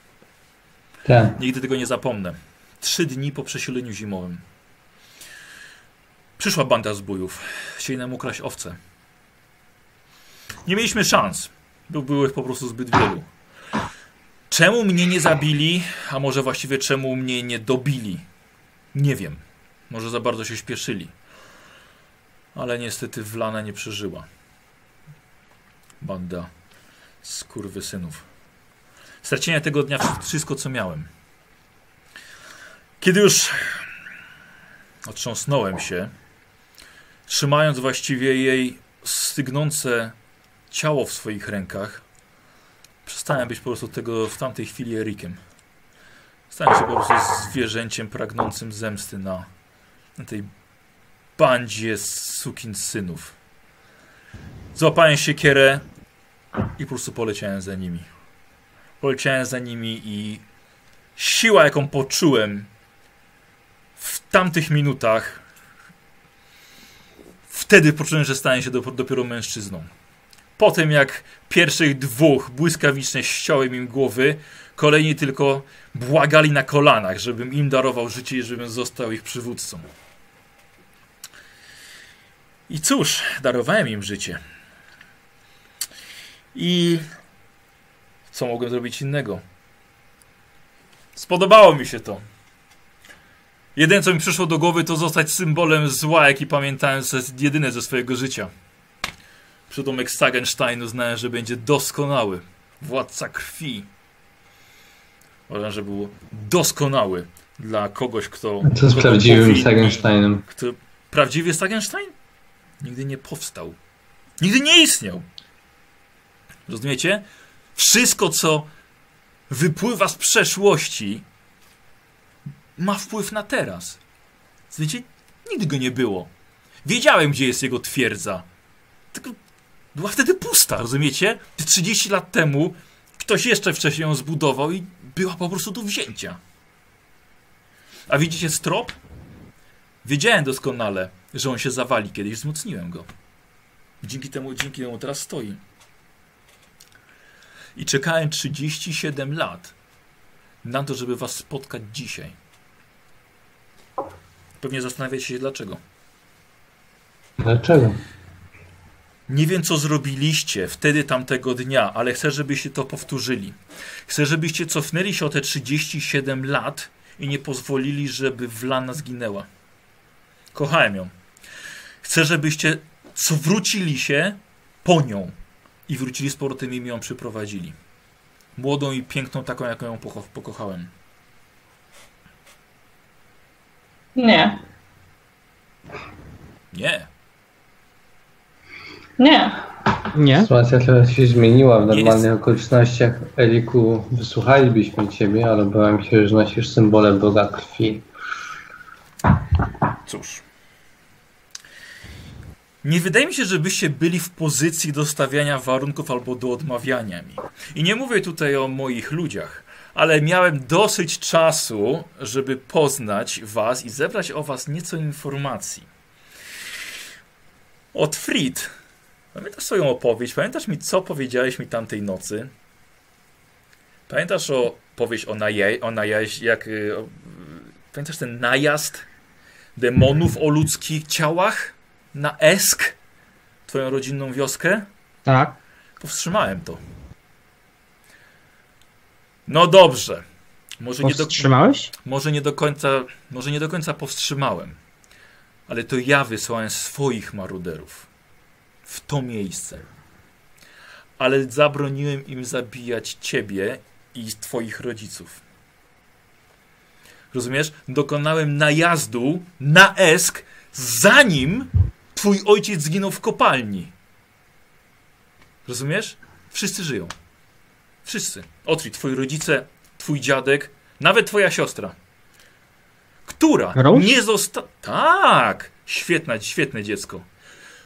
Speaker 5: Tak.
Speaker 1: Nigdy tego nie zapomnę. Trzy dni po przesileniu zimowym. Przyszła banda zbójów. Chcieli nam ukraść owce. Nie mieliśmy szans. bo Było ich po prostu zbyt wielu. Czemu mnie nie zabili, a może właściwie czemu mnie nie dobili? Nie wiem. Może za bardzo się śpieszyli. Ale niestety Wlana nie przeżyła. Banda skurwysynów. Straciłem tego dnia wsz- wszystko, co miałem. Kiedy już otrząsnąłem się, trzymając właściwie jej stygnące ciało w swoich rękach, przestałem być po prostu tego w tamtej chwili Erikiem. Stałem się po prostu zwierzęciem pragnącym zemsty na, na tej bandzie synów. Złapałem siekierę i po prostu poleciałem za nimi. Poleciałem za nimi i siła, jaką poczułem w tamtych minutach, wtedy poczułem, że stałem się dop- dopiero mężczyzną. Po tym, jak pierwszych dwóch błyskawicznie ściąłem im głowy, kolejni tylko błagali na kolanach, żebym im darował życie i żebym został ich przywódcą. I cóż, darowałem im życie. I co mogłem zrobić innego? Spodobało mi się to. Jedyne, co mi przyszło do głowy, to zostać symbolem zła, jaki pamiętałem ze, jedyne ze swojego życia. Przydomek Sagensteinu znałem, że będzie doskonały. Władca krwi. Uważam, że był doskonały dla kogoś, kto...
Speaker 5: Co z
Speaker 1: kto
Speaker 5: prawdziwym
Speaker 1: powinien-
Speaker 5: Sagensteinem?
Speaker 1: kto, prawdziwy Sagenstein? Nigdy nie powstał. Nigdy nie istniał. Rozumiecie? Wszystko, co wypływa z przeszłości, ma wpływ na teraz. Wiecie, nigdy go nie było. Wiedziałem, gdzie jest jego twierdza. Tylko była wtedy pusta, rozumiecie? Te 30 lat temu ktoś jeszcze wcześniej ją zbudował i była po prostu do wzięcia. A widzicie strop? Wiedziałem doskonale, że on się zawali kiedyś, wzmocniłem go. Dzięki temu, dzięki temu teraz stoi. I czekałem 37 lat, na to, żeby was spotkać dzisiaj. Pewnie zastanawiacie się dlaczego.
Speaker 6: Dlaczego?
Speaker 1: Nie wiem, co zrobiliście wtedy tamtego dnia, ale chcę, żebyście to powtórzyli. Chcę, żebyście cofnęli się o te 37 lat i nie pozwolili, żeby Wlana zginęła. Kochałem ją. Chcę, żebyście zwrócili się po nią i wrócili z powrotem i mi ją przyprowadzili. Młodą i piękną, taką, jaką ją pocho- pokochałem.
Speaker 3: Nie.
Speaker 1: Nie,
Speaker 3: Nie.
Speaker 2: Nie?
Speaker 6: Sytuacja teraz się zmieniła w normalnych
Speaker 1: Jest.
Speaker 6: okolicznościach. Eriku, wysłuchalibyśmy ciebie, ale bałem się, że nosisz symbole Boga krwi.
Speaker 1: Cóż. Nie wydaje mi się, żebyście byli w pozycji do stawiania warunków albo do odmawiania mi. I nie mówię tutaj o moich ludziach, ale miałem dosyć czasu, żeby poznać was i zebrać o was nieco informacji. Od Frit. Pamiętasz swoją opowieść? Pamiętasz mi, co powiedziałeś mi tamtej nocy? Pamiętasz o powieść o, naje, o najaź, jak... y, o- Pamiętasz ten najazd? demonów o ludzkich ciałach na Esk, twoją rodzinną wioskę.
Speaker 2: Tak.
Speaker 1: Powstrzymałem to. No dobrze. Może nie, do,
Speaker 2: Powstrzymałeś?
Speaker 1: może nie do końca, może nie do końca powstrzymałem. Ale to ja wysłałem swoich maruderów w to miejsce. Ale zabroniłem im zabijać ciebie i twoich rodziców. Rozumiesz? Dokonałem najazdu na Esk, zanim twój ojciec zginął w kopalni. Rozumiesz? Wszyscy żyją. Wszyscy. Otri, twoi rodzice, twój dziadek, nawet twoja siostra. Która
Speaker 2: Rose?
Speaker 1: nie została. Tak! Świetna, świetne dziecko.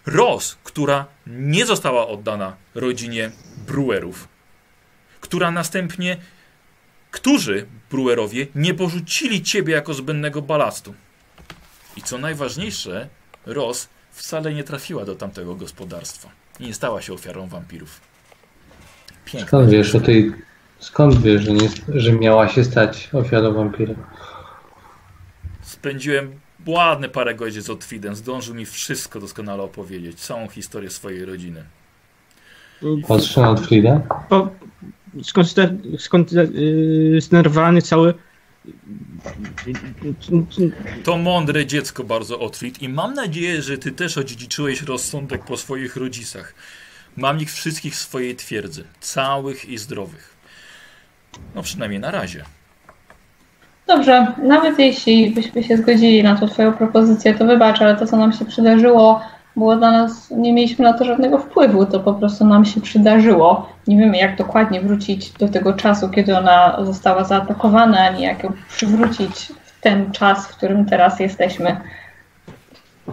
Speaker 1: Ros, która nie została oddana rodzinie Brewerów. Która następnie którzy, Brewerowie, nie porzucili ciebie jako zbędnego balastu. I co najważniejsze, Ross wcale nie trafiła do tamtego gospodarstwa. I nie stała się ofiarą wampirów. Piękne.
Speaker 6: Skąd wiesz o tej... Skąd wiesz, że, nie, że miała się stać ofiarą wampira?
Speaker 1: Spędziłem ładne parę godzin z Otwidem. Zdążył mi wszystko doskonale opowiedzieć. Całą historię swojej rodziny.
Speaker 5: Mm.
Speaker 6: Otrzymał od Frida?
Speaker 2: Po, skonster, skonter, yy, zdenerwowany cały.
Speaker 5: Tak, no
Speaker 1: To mądre dziecko bardzo Otwid i mam nadzieję, że ty też odziedziczyłeś rozsądek po swoich rodzicach. Mam ich wszystkich w swojej twierdzy. Całych i zdrowych. No przynajmniej na razie.
Speaker 3: Dobrze, nawet jeśli byśmy się zgodzili na tą twoją propozycję, to wybacz, ale to, co nam się przydarzyło, było dla nas, nie mieliśmy na to żadnego wpływu, to po prostu nam się przydarzyło. Nie wiemy, jak dokładnie wrócić do tego czasu, kiedy ona została zaatakowana, ani jak ją przywrócić w ten czas, w którym teraz jesteśmy.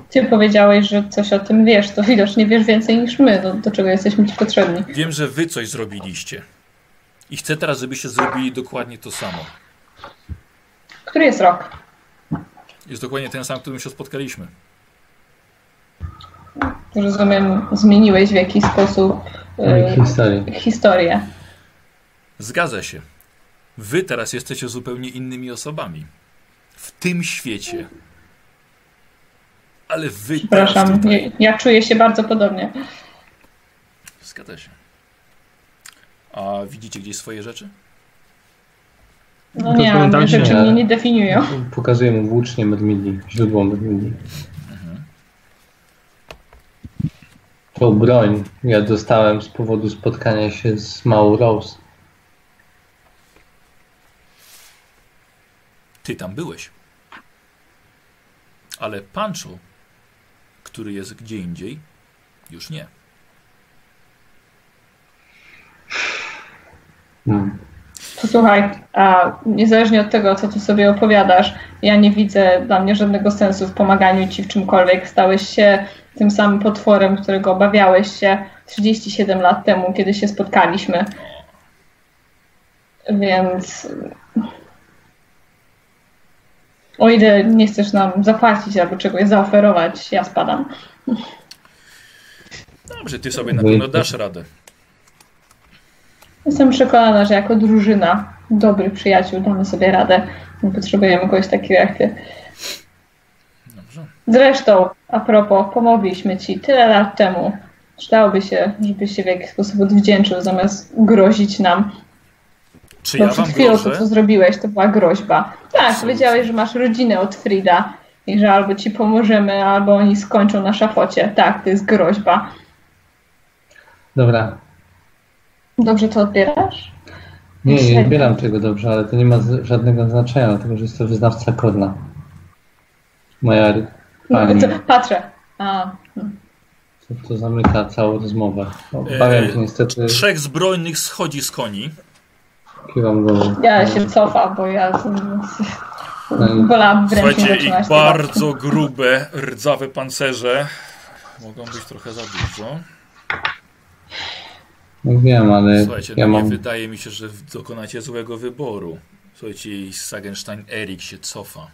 Speaker 3: Ty powiedziałeś, że coś o tym wiesz, to widocznie wiesz więcej niż my, do, do czego jesteśmy ci potrzebni.
Speaker 1: Wiem, że wy coś zrobiliście. I chcę teraz, żebyście zrobili dokładnie to samo.
Speaker 3: Który jest rok?
Speaker 1: Jest dokładnie ten sam, którym się spotkaliśmy.
Speaker 3: Rozumiem, zmieniłeś w jakiś sposób
Speaker 6: Jej
Speaker 3: e,
Speaker 6: historii.
Speaker 3: historię.
Speaker 1: Zgadza się. Wy teraz jesteście zupełnie innymi osobami. W tym świecie. Ale wy teraz
Speaker 3: Przepraszam,
Speaker 1: tutaj.
Speaker 3: ja, ja czuję się bardzo podobnie.
Speaker 1: Zgadza się. A widzicie gdzieś swoje rzeczy?
Speaker 3: No
Speaker 2: To
Speaker 3: nie,
Speaker 2: powiem tak,
Speaker 3: ale
Speaker 2: że
Speaker 3: rzeczy
Speaker 6: nie.
Speaker 3: mnie nie definiują.
Speaker 6: Pokazuje mu włócznie Medmidi, źródło Medmidi. To broń ja dostałem z powodu spotkania się z Małą Rose.
Speaker 1: Ty tam byłeś. Ale Pancho, który jest gdzie indziej, już nie.
Speaker 6: Hmm.
Speaker 3: To słuchaj, a niezależnie od tego, co ty sobie opowiadasz, ja nie widzę dla mnie żadnego sensu w pomaganiu ci w czymkolwiek. Stałeś się tym samym potworem, którego obawiałeś się 37 lat temu, kiedy się spotkaliśmy. Więc. O ile nie chcesz nam zapłacić albo czegoś zaoferować, ja spadam.
Speaker 1: Dobrze, ty sobie na pewno dasz radę.
Speaker 3: Jestem przekonana, że jako drużyna dobrych przyjaciół damy sobie radę. Nie potrzebujemy kogoś takiego jak ty.
Speaker 1: Dobrze.
Speaker 3: Zresztą, a propos, pomogliśmy ci tyle lat temu. Przydałoby się, żebyś się w jakiś sposób odwdzięczył, zamiast grozić nam.
Speaker 1: Czy
Speaker 3: Bo
Speaker 1: ja
Speaker 3: przed
Speaker 1: wam
Speaker 3: chwilą to,
Speaker 1: grożę?
Speaker 3: co zrobiłeś, to była groźba. Tak,
Speaker 1: Absolutnie.
Speaker 3: powiedziałeś, że masz rodzinę od Frida i że albo ci pomożemy, albo oni skończą na szafocie. Tak, to jest groźba.
Speaker 5: Dobra.
Speaker 3: Dobrze to odbierasz?
Speaker 5: Nie, nie
Speaker 3: Średnio.
Speaker 5: odbieram tego dobrze, ale to nie ma z- żadnego znaczenia, dlatego że jest to wyznawca kodla. Moja ry- pani,
Speaker 3: No, To, patrzę. A, hmm.
Speaker 5: to, to zamyka całą rozmowę.
Speaker 1: Eee,
Speaker 5: Obawiam się niestety,
Speaker 1: Trzech zbrojnych schodzi z koni.
Speaker 5: kiwam głową.
Speaker 3: ja się cofam, bo ja
Speaker 5: No,
Speaker 3: wolałam wręcz nie
Speaker 1: Słuchajcie,
Speaker 3: zaczynać.
Speaker 1: ich
Speaker 3: tego.
Speaker 1: bardzo grube, rdzawe pancerze. Mogą być trochę za dużo.
Speaker 5: No wiem, ale
Speaker 1: Słuchajcie,
Speaker 5: ja
Speaker 1: no
Speaker 5: mam...
Speaker 1: nie wydaje mi się, że dokonacie złego wyboru. Słuchajcie, i Sagenstein Erik się cofa.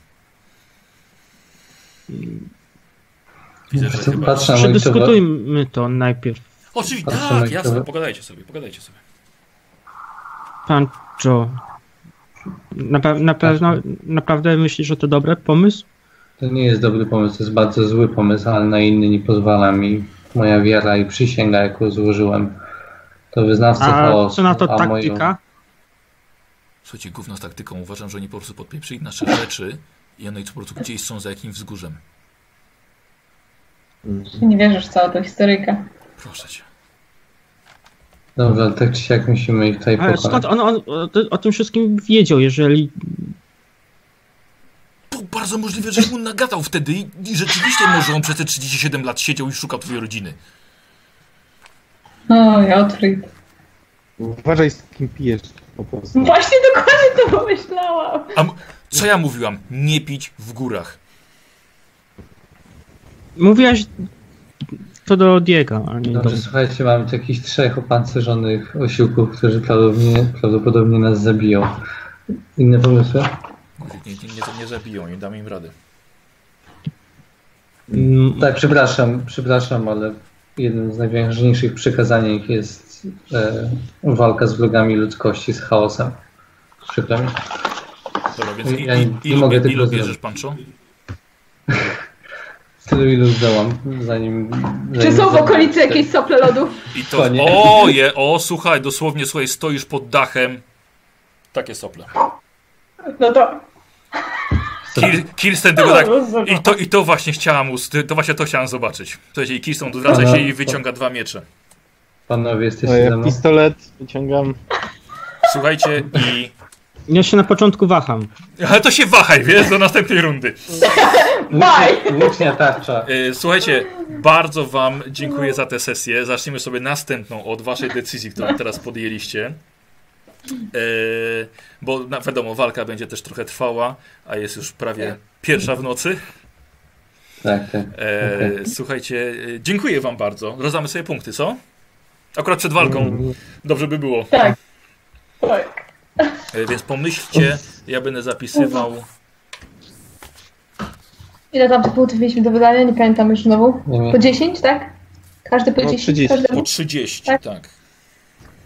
Speaker 1: Widzę, że
Speaker 5: Patrzę-
Speaker 1: chyba...
Speaker 5: patrzę na moich towa-
Speaker 2: Przedyskutujmy to najpierw.
Speaker 1: Oczywiście,
Speaker 5: patrzę
Speaker 1: tak,
Speaker 5: na
Speaker 1: jasne,
Speaker 5: ekran.
Speaker 1: pogadajcie sobie, pogadajcie sobie.
Speaker 2: Pancho. Na, pe- na pewno,
Speaker 5: Tak.
Speaker 2: naprawdę myślisz, że to dobry pomysł?
Speaker 5: To nie jest dobry pomysł, to jest bardzo zły pomysł, ale na inny nie pozwala mi moja wiara i przysięga, jaką złożyłem. To wyznawca
Speaker 2: A
Speaker 5: chaosu,
Speaker 2: co na to
Speaker 5: a moją-
Speaker 2: taktyka?
Speaker 1: Słuchajcie, gówno z taktyką. Uważam, że oni po prostu podpieprzyli nasze rzeczy i one po prostu gdzieś są za jakimś wzgórzem.
Speaker 3: Znaczy, Nie wierzysz w całą tą historyjkę.
Speaker 1: Proszę cię.
Speaker 5: Dobrze, ale tak czy siak musimy ich tutaj
Speaker 2: Ale
Speaker 5: pokonać.
Speaker 2: E, skąd on, on o, ty- o tym wszystkim wiedział, jeżeli...
Speaker 1: To bardzo możliwe, że mu nagadał wtedy i, i rzeczywiście może on przez te 37 lat siedział i szukał twojej rodziny.
Speaker 3: No, O, Jotfried.
Speaker 4: Uważaj z kim pijesz po prostu.
Speaker 3: Właśnie dokładnie to pomyślałam.
Speaker 1: A m- co ja mówiłam? Nie pić w górach.
Speaker 2: Mówiłaś to do Diego, a nie do...
Speaker 5: Dobrze, słuchajcie, mamy tu jakichś trzech opancerzonych osiłków, którzy prawdopodobnie, prawdopodobnie nas zabiją. Inne pomysły?
Speaker 1: Guzik, Nie, nie, nie, nie zabiją, nie damy im rady.
Speaker 2: Mm,
Speaker 5: Tak, przepraszam, przepraszam, ale jednym z najważniejszych przekazań ich jest e, walka z wrogami ludzkości, z chaosem. Przykro mi.
Speaker 1: Dobra, więc
Speaker 5: Ja
Speaker 1: i,
Speaker 5: nie
Speaker 1: i, ilu,
Speaker 5: mogę tego
Speaker 1: ilu
Speaker 5: zrobić.
Speaker 1: bierzesz, Pancho?
Speaker 5: Tylu ilu zdołam, zanim...
Speaker 3: Czy
Speaker 5: zanim Tak,
Speaker 3: są w okolicy jakieś sople lodów?
Speaker 1: I to...
Speaker 5: Konie.
Speaker 1: O, je, o, słuchaj, dosłownie, słuchaj, stoisz pod dachem. Takie sople.
Speaker 3: No to...
Speaker 1: Kir, Kirsten tylko tak...
Speaker 3: Rozumiem.
Speaker 1: I to, I to właśnie chciałam, ust- to właśnie to chciałam zobaczyć. Słuchajcie, i Kirsten odwraca się i wyciąga dwa miecze.
Speaker 5: Panowie, jesteście
Speaker 4: No,
Speaker 5: ze
Speaker 4: ja
Speaker 5: mną?
Speaker 4: pistolet wyciągam.
Speaker 1: Słuchajcie i...
Speaker 2: Ja się na początku waham.
Speaker 1: Ale to się wahaj, wiesz, do następnej rundy.
Speaker 5: Łucznia, łucznia tarcza.
Speaker 1: E, Słuchajcie, bardzo wam dziękuję za tę sesję. Zaczniemy sobie następną od waszej decyzji, którą teraz podjęliście. E, Bo na, wiadomo, walka będzie też trochę trwała, a jest już prawie pierwsza w nocy.
Speaker 5: Tak, tak.
Speaker 1: E,
Speaker 5: Okej.
Speaker 1: Słuchajcie, e, dziękuję wam bardzo. Rozdamy sobie punkty, co? Akurat przed walką. Dobrze by było.
Speaker 3: Tak. Tak.
Speaker 1: E, Więc pomyślcie, ja będę zapisywał.
Speaker 3: Ile tam punktów mieliśmy do wydania? Nie pamiętam już znowu.
Speaker 5: Nie wiem.
Speaker 3: Po 10, tak? Każdy po
Speaker 4: No,
Speaker 3: 10?
Speaker 4: 30.
Speaker 1: Po
Speaker 3: każdemu?
Speaker 1: 30,
Speaker 3: Tak.
Speaker 1: tak.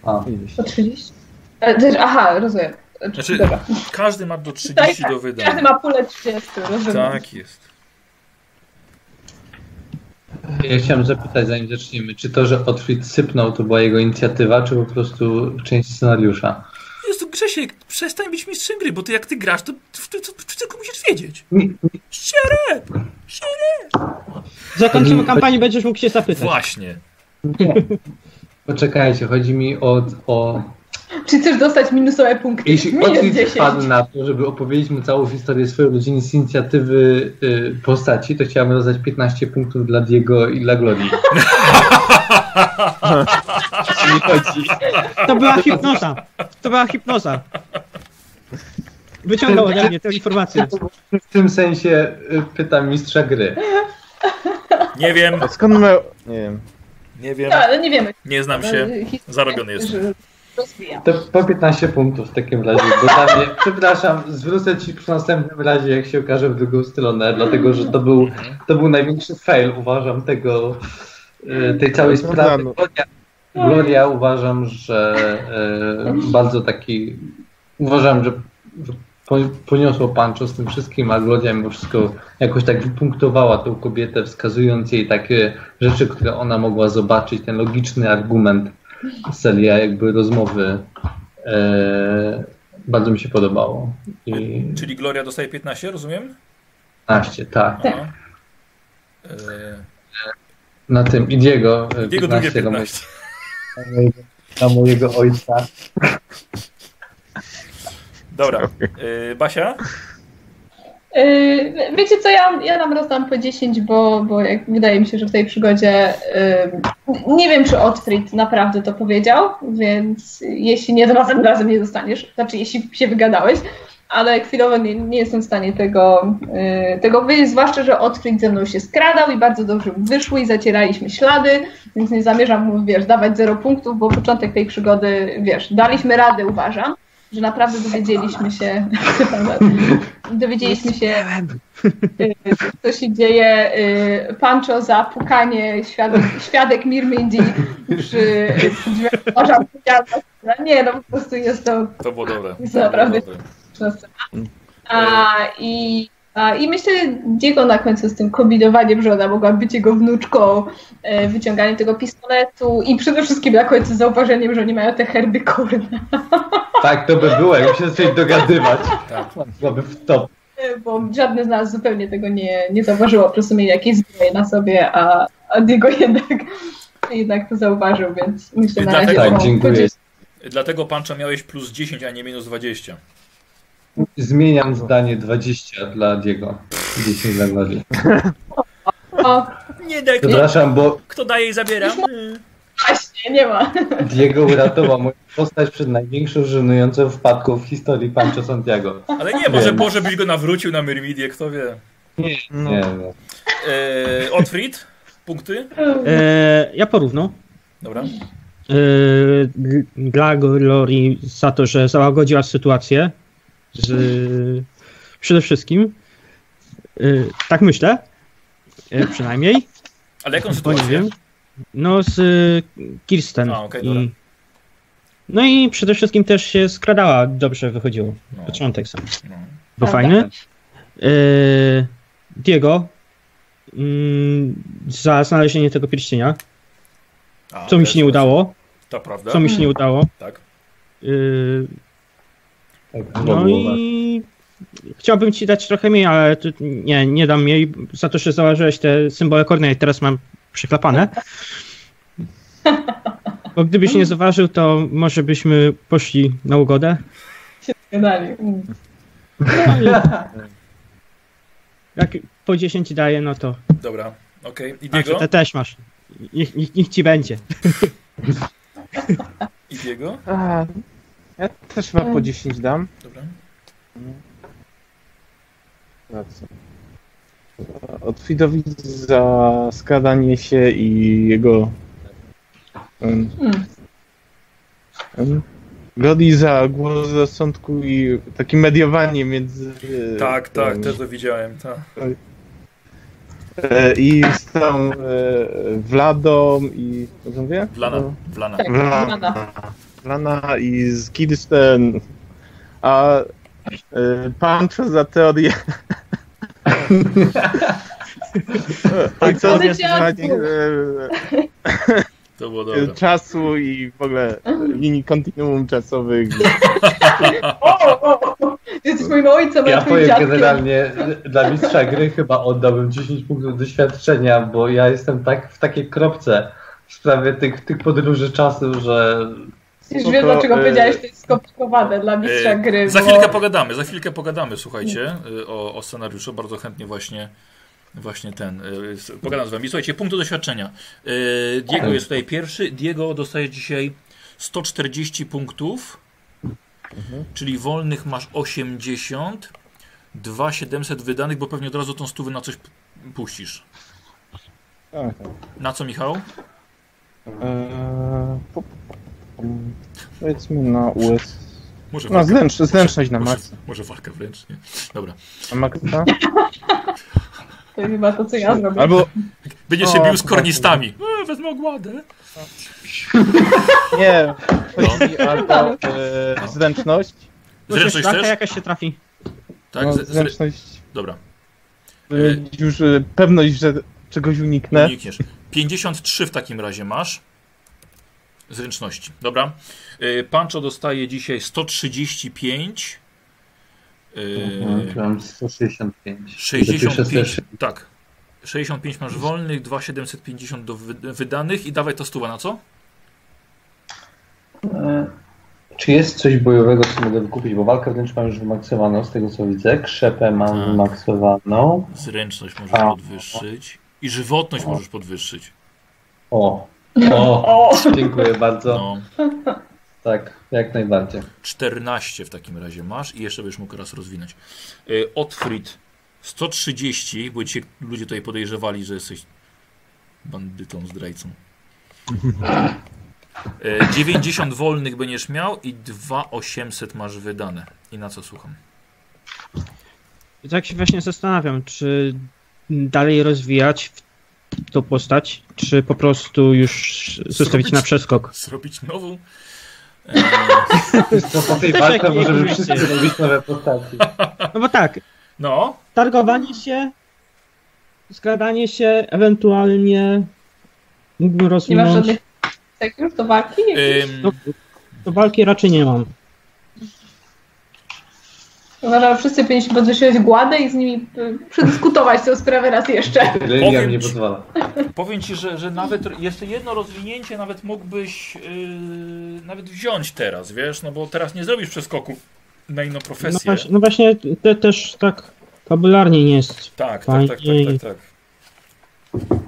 Speaker 5: A,
Speaker 3: Po 30? E, też- Aha, rozumiem.
Speaker 1: Znaczy,
Speaker 3: Dobra.
Speaker 1: każdy ma do 30
Speaker 3: Tak,
Speaker 1: do
Speaker 3: Każdy
Speaker 1: wydania.
Speaker 3: ma pulę 30, rozumiem.
Speaker 1: Tak jest.
Speaker 5: ja chciałem zapytać, zanim zaczniemy, czy to, że Otwit sypnął, to była jego inicjatywa, czy po prostu część scenariusza?
Speaker 1: Jest to Grzesiek, przestań być mistrzem gry, bo ty jak ty grasz, to, to, to, to tylko musisz wiedzieć.
Speaker 2: Zakończymy kampanię, będziesz mógł się zapytać.
Speaker 1: Właśnie.
Speaker 5: Poczekajcie, chodzi mi o... o...
Speaker 3: Czy chcesz dostać minusowe punkty?
Speaker 5: Jeśli
Speaker 3: Minus
Speaker 5: Otwit
Speaker 3: 10.
Speaker 5: wpadł na to, żeby opowiedzieć mu całą historię swojej rodziny z inicjatywy y, postaci, to chciałem rozdać 15 punktów dla Diego i dla Glodii.
Speaker 4: Nie chodzi.
Speaker 2: To była hipnoza. To była hipnoza. Wyciągał ode mnie tę informację.
Speaker 5: W tym sensie y, pytam mistrza gry.
Speaker 1: Nie wiem,
Speaker 4: A skąd ma... Nie wiem.
Speaker 1: nie wiem,
Speaker 3: No, ale nie wiemy.
Speaker 1: nie znam się. Zarobiony
Speaker 3: jest.
Speaker 1: jestem.
Speaker 3: Rozwijam.
Speaker 5: To po 15 punktów w takim razie, bo dla mnie, przepraszam, zwrócę ci przy następnym razie, jak się okaże w drugą stronę, dlatego że to był, to był największy fail, uważam, tego, e, tej całej
Speaker 4: No,
Speaker 5: sprawy.
Speaker 4: no.
Speaker 5: Glodia, Gloria uważam, że e, bardzo taki. Uważam, że że po- poniosło Pancho z tym wszystkim, a Gloria mimo wszystko jakoś tak wypunktowała tą kobietę, wskazując jej takie rzeczy, które ona mogła zobaczyć, ten logiczny argument seria jakby rozmowy. E, bardzo mi się podobało. I
Speaker 1: Czyli Gloria dostaje 15, rozumiem?
Speaker 5: 15, tak.
Speaker 1: Aha. E,
Speaker 5: Na tym i Diego. e,
Speaker 1: jego drugie
Speaker 5: 15 do mojego-
Speaker 1: 15.
Speaker 5: na mojego, na mojego ojca.
Speaker 1: Dobra. E, Basia?
Speaker 3: Yy, Wiecie co, ja, ja nam rozdam po 10, bo, bo jak wydaje mi się, że w tej przygodzie yy, nie wiem, czy Otfrid naprawdę to powiedział, więc jeśli nie, to razem razem nie dostaniesz. Znaczy, jeśli się wygadałeś, ale chwilowo nie, nie jestem w stanie tego, yy, tego wyjść, zwłaszcza, że Otfrid ze mną się skradał i bardzo dobrze mu wyszło i zacieraliśmy ślady, więc nie zamierzam mu, wiesz, dawać zero punktów, bo początek tej przygody, wiesz, daliśmy radę, uważam, że naprawdę dowiedzieliśmy się [LAUGHS] dowiedzieliśmy się, y, co się dzieje. y, Pancho za pukanie świadek, świadek Mirmindi przy przy drzwiach morza. Nie, no po prostu jest to
Speaker 1: To było dobre.
Speaker 3: Jest naprawdę.
Speaker 1: To było dobre.
Speaker 3: a, i, a, I myślę, Diego na końcu z tym kombinowaniem, że ona mogła być jego wnuczką, e, wyciąganiem tego pistoletu i przede wszystkim na końcu zauważeniem, że oni mają te herby kurna,
Speaker 5: Tak, to by było, jakby się zaczęli dogadywać.
Speaker 1: Tak.
Speaker 5: Byłoby w top.
Speaker 3: e, bo żadne z nas zupełnie tego nie, nie zauważyło, po prostu mieli jakieś zbroje na sobie, a, a Diego jednak, jednak to zauważył, więc myślę na razie...
Speaker 1: Dlatego-
Speaker 3: o,
Speaker 5: Tak, dziękuję.
Speaker 1: Dlatego pancza miałeś plus 10, a nie minus 20.
Speaker 5: Zmieniam zdanie 20 dla Diego. 10 dla Glorii.
Speaker 3: O,
Speaker 1: Nie daj, kto,
Speaker 5: Przepraszam, bo
Speaker 1: kto daje i zabiera.
Speaker 3: właśnie, nie ma.
Speaker 5: Diego uratował moją postać przed największą żenującą wpadką w historii Pancho Santiago.
Speaker 1: Ale nie, może
Speaker 5: Wiem.
Speaker 1: Boże byś go nawrócił na Myrmidię, kto wie.
Speaker 4: No.
Speaker 5: Nie, no.
Speaker 1: E, Otfrid? Punkty?
Speaker 2: E, ja porównam.
Speaker 1: Dobra.
Speaker 2: E, gl- dla Glorii za to, że załagodziła sytuację z, przede wszystkim. E, tak myślę. E, przynajmniej.
Speaker 1: Ale jaką
Speaker 2: Bo nie
Speaker 1: sytuację?
Speaker 2: wiem. No z y, Kirsten.
Speaker 1: A, okej,
Speaker 2: I-
Speaker 1: dobra.
Speaker 2: No i przede wszystkim też się skradała, dobrze wychodziło.
Speaker 1: No,
Speaker 2: Początek sam.
Speaker 1: no.
Speaker 2: Bo
Speaker 3: Tak,
Speaker 2: fajny. Y, Diego mm, za znalezienie tego pierścienia,
Speaker 1: A,
Speaker 2: co mi
Speaker 1: też-
Speaker 2: się nie udało,
Speaker 1: To prawda?
Speaker 2: co mi się nie udało.
Speaker 1: Tak.
Speaker 2: Y,
Speaker 5: Tak,
Speaker 2: No
Speaker 5: było.
Speaker 2: i chciałbym ci dać trochę mniej, ale tu nie, nie dam mniej za to, że założyłeś te symbole kornea i teraz mam przyklapane. Bo gdybyś nie zauważył, to może byśmy poszli na ugodę.
Speaker 3: Gadali. Mm.
Speaker 2: Jak po 10 daję, no to
Speaker 1: Dobra. Okej. Idiego?
Speaker 2: te też masz. Niech, niech, niech ci będzie.
Speaker 1: Idiego?
Speaker 4: A, ja też chyba po 10 dam.
Speaker 1: Dobra.
Speaker 4: Za co? Od Fidowi za skradanie się i jego. Um,
Speaker 3: Mm.
Speaker 4: um, Godi za głos rozsądku i takie mediowanie między.
Speaker 3: Y,
Speaker 4: e,
Speaker 1: Tak, tak,
Speaker 4: em,
Speaker 1: też to widziałem. Tak.
Speaker 4: e, I z tą e, Vladą i. Co to mówię? No.
Speaker 1: Wlana. Wlana.
Speaker 3: Tak, Lana.
Speaker 4: Lana. Lana i z Kirsten. A y, Pancho za
Speaker 3: [LAUGHS]
Speaker 4: teorię. Ojca Tak,
Speaker 3: Ale cię
Speaker 4: zatrzymanie
Speaker 1: To było
Speaker 4: e,
Speaker 3: Y,
Speaker 1: dobre.
Speaker 4: czasu i w ogóle linii kontinuum czasowych.
Speaker 3: O, o, o. Jesteś moim ojcem, a
Speaker 5: Ja
Speaker 3: twoim
Speaker 5: powiem
Speaker 3: dziadkiem.
Speaker 5: generalnie, dla mistrza gry chyba oddałbym 10 punktów doświadczenia, bo ja jestem tak w takiej kropce w sprawie tych, tych podróży czasu, że
Speaker 3: Już
Speaker 4: No
Speaker 3: wiem,
Speaker 4: to,
Speaker 3: dlaczego
Speaker 4: e,
Speaker 3: powiedziałeś, to jest skomplikowane dla mistrza
Speaker 1: E,
Speaker 3: gry.
Speaker 1: Za
Speaker 3: bo-
Speaker 1: chwilkę pogadamy, za chwilkę pogadamy, słuchajcie, y, o, o scenariuszu. Bardzo chętnie właśnie, właśnie ten. y, s- Pogadam z wami. Słuchajcie, punkty doświadczenia. Y, Diego jest tutaj pierwszy. Diego dostaje dzisiaj 140 punktów,
Speaker 3: Mhm.
Speaker 1: czyli wolnych masz 80, 2700 wydanych, bo pewnie od razu tą stówę na coś p- puścisz.
Speaker 4: Tak.
Speaker 1: Na co, Michał?
Speaker 4: E, po- mm, Powiedzmy na US.
Speaker 1: Może
Speaker 4: No
Speaker 1: walkę,
Speaker 4: zręcz, zręczność na
Speaker 1: może,
Speaker 4: maksa.
Speaker 1: może walkę wręcz, nie? Dobra.
Speaker 4: Na maksa.
Speaker 3: To chyba to, co ja zrobię.
Speaker 4: Albo
Speaker 1: Będziesz się bił z kornistami. E, wezmę ogładę.
Speaker 4: Nie, chodzi mi albo e, zręczność.
Speaker 2: Chociaż
Speaker 1: Zręczność
Speaker 2: szlaka
Speaker 1: też?
Speaker 2: jakaś się trafi.
Speaker 1: Tak,
Speaker 4: no,
Speaker 1: z, z,
Speaker 4: zręczność.
Speaker 1: dobra.
Speaker 4: e, Już e, pewność, że czegoś uniknę.
Speaker 1: Unikniesz. 53 w takim razie masz. Zręczności. Dobra. Y, Pancho dostaje dzisiaj 135. Y,
Speaker 4: Mhm.
Speaker 5: Mam 165.
Speaker 1: 65. Tak. 65 masz wolnych, 2750 do wy- wydanych i dawaj to stuwa na co?
Speaker 5: E, Czy jest coś bojowego, co mogę wykupić? Bo walkę wręcz mam już wymaksowaną, z tego co widzę. Krzepę mam
Speaker 1: Tak.
Speaker 5: wymaksowaną.
Speaker 4: No.
Speaker 1: Zręczność możesz
Speaker 5: A.
Speaker 4: Tak.
Speaker 1: podwyższyć i żywotność możesz podwyższyć.
Speaker 5: O. o! Dziękuję bardzo.
Speaker 1: No,
Speaker 5: Tak, jak najbardziej.
Speaker 1: 14 w takim razie masz i jeszcze będziesz mógł raz rozwinąć. Y, Otfrid 130, bo cię ludzie tutaj podejrzewali, że jesteś bandytą, zdrajcą. Y, 90 wolnych będziesz miał i 2800 masz wydane. I na co słucham?
Speaker 2: I tak się właśnie zastanawiam, czy dalej rozwijać tą postać, czy po prostu już zostawić na przeskok.
Speaker 1: Zrobić nową? E,
Speaker 5: To po tej
Speaker 2: Czekaj,
Speaker 5: walce możemy
Speaker 2: mówicie.
Speaker 5: wszyscy robić nowe postaci.
Speaker 2: No bo tak,
Speaker 1: No,
Speaker 2: targowanie się, zgadanie się, ewentualnie mógłbym
Speaker 3: Nie masz
Speaker 2: rozwinąć.
Speaker 3: żadnych tak już do walki? Jakiejś?
Speaker 1: ym,
Speaker 2: No, do walki raczej nie mam. No
Speaker 3: Uważam, że wszyscy powinniśmy podwyższyć gładę i z nimi y, przedyskutować tę sprawę raz jeszcze.
Speaker 5: Religia
Speaker 1: Powiem
Speaker 5: mnie
Speaker 1: ci-
Speaker 5: pozwala.
Speaker 1: powiem ci, że, że nawet jeszcze jedno rozwinięcie nawet mógłbyś yy, nawet wziąć teraz, wiesz, no bo teraz nie zrobisz przeskoku na inną
Speaker 2: No
Speaker 1: profesję.
Speaker 2: właśnie, no właśnie te też tak fabularnie nie jest.
Speaker 1: Tak, tak,
Speaker 2: Fajnie.
Speaker 1: tak, tak, tak, tak.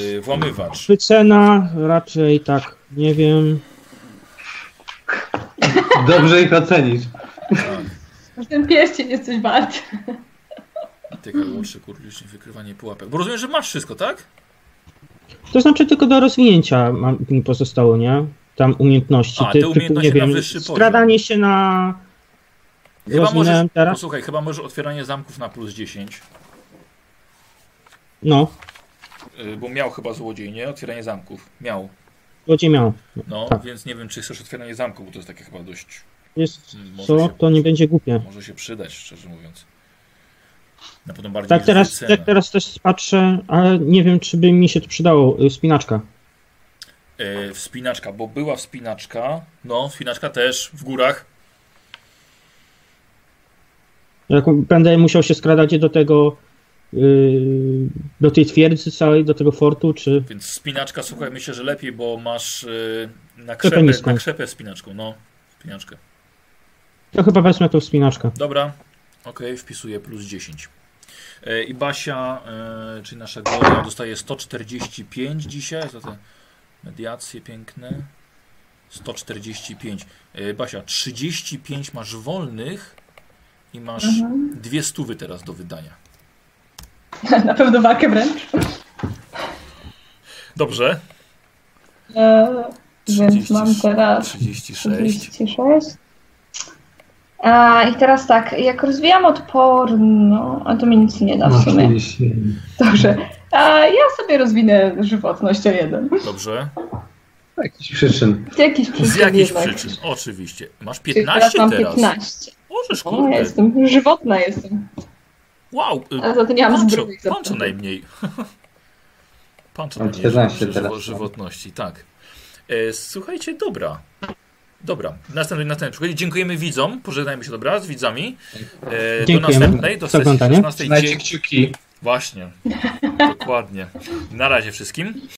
Speaker 1: Yy, włamywacz.
Speaker 2: Wycena raczej tak, nie wiem.
Speaker 5: Dobrze ich ocenisz.
Speaker 3: Ten pierścień jest coś wart.
Speaker 1: Tyka łączy kurczę, wykrywanie pułapek. Bo rozumiem, że masz wszystko, tak?
Speaker 2: To znaczy tylko do rozwinięcia mam, mi pozostało, nie? Tam umiejętności.
Speaker 1: A, te umiejętności
Speaker 2: nie
Speaker 1: na
Speaker 2: wiem,
Speaker 1: wyższy poziom.
Speaker 2: skradanie się na...
Speaker 1: Chyba możesz,
Speaker 2: Rozwinąłem teraz?
Speaker 1: posłuchaj, chyba możesz otwieranie zamków na plus 10,
Speaker 2: No,
Speaker 1: yy, bo miał chyba złodziej, nie? Otwieranie zamków. Miał.
Speaker 2: gdzie miał.
Speaker 1: No,
Speaker 2: Tak.
Speaker 1: więc nie wiem, czy chcesz otwieranie zamku, bo to jest takie chyba dość...
Speaker 2: Jest
Speaker 1: Mm, Może
Speaker 2: co,
Speaker 1: się-
Speaker 2: to nie będzie głupie.
Speaker 1: Może się przydać, szczerze mówiąc. Na pewno bardziej
Speaker 2: Tak
Speaker 1: niż
Speaker 2: teraz,
Speaker 1: wycena.
Speaker 2: tak teraz też patrzę, ale nie wiem, czy by mi się to przydało. y, Spinaczka.
Speaker 1: E, Wspinaczka, bo była wspinaczka. No, wspinaczka też w górach.
Speaker 2: Jak będę musiał się skradać do tego, y, do tej twierdzy całej, do tego fortu, czy...
Speaker 1: Więc spinaczka, słuchaj, myślę, że lepiej, bo masz yy, na, krzepę,
Speaker 2: niską.
Speaker 1: na krzepę spinaczką. No, spinaczkę.
Speaker 2: To chyba wezmę tą spinaczkę.
Speaker 1: Dobra, okej, wpisuję plus 10. E, I Basia, e, czyli nasza Gloria, dostaje 145 dzisiaj za te mediacje piękne. 145. E, Basia, 35 masz wolnych i masz
Speaker 3: Mhm.
Speaker 1: dwie stówy teraz do wydania.
Speaker 3: Na pewno walkę wręcz.
Speaker 1: Dobrze.
Speaker 3: E, więc mam teraz
Speaker 1: 36.
Speaker 3: 36. A, I teraz tak, jak rozwijam odporno, a to mi nic nie da w
Speaker 1: No,
Speaker 5: Masz
Speaker 3: sumie.
Speaker 5: 30.
Speaker 3: Dobrze. A ja sobie rozwinę żywotność o jeden.
Speaker 1: Dobrze.
Speaker 5: Jakichś przyczyn.
Speaker 3: Z jakichś przyczyn.
Speaker 1: Z jakichś
Speaker 3: jednak.
Speaker 1: przyczyn. Oczywiście. Masz
Speaker 3: Czyli Teraz
Speaker 1: 15
Speaker 3: mam
Speaker 1: teraz.
Speaker 3: 15.
Speaker 1: Możesz,
Speaker 3: O, ja
Speaker 1: kurde.
Speaker 3: jestem, żywotna jestem.
Speaker 1: Wow. y,
Speaker 3: A za to nie mam
Speaker 1: Pancho,
Speaker 3: zdrowych
Speaker 1: pancho
Speaker 3: zapasów.
Speaker 1: najmniej. [LAUGHS] Pancho
Speaker 5: Mam
Speaker 1: najmniej
Speaker 5: 14
Speaker 1: żywo-
Speaker 5: teraz.
Speaker 1: żywotności, tak. E, słuchajcie, dobra. Dobra, następny, następny przykład. Dziękujemy widzom, pożegnajmy się dobra z widzami. E, do
Speaker 2: Dziękujemy
Speaker 1: następnej, do
Speaker 2: za
Speaker 1: sesji
Speaker 2: oglądanie.
Speaker 1: 16.
Speaker 5: kciuki.
Speaker 1: Właśnie, dokładnie. Na razie wszystkim.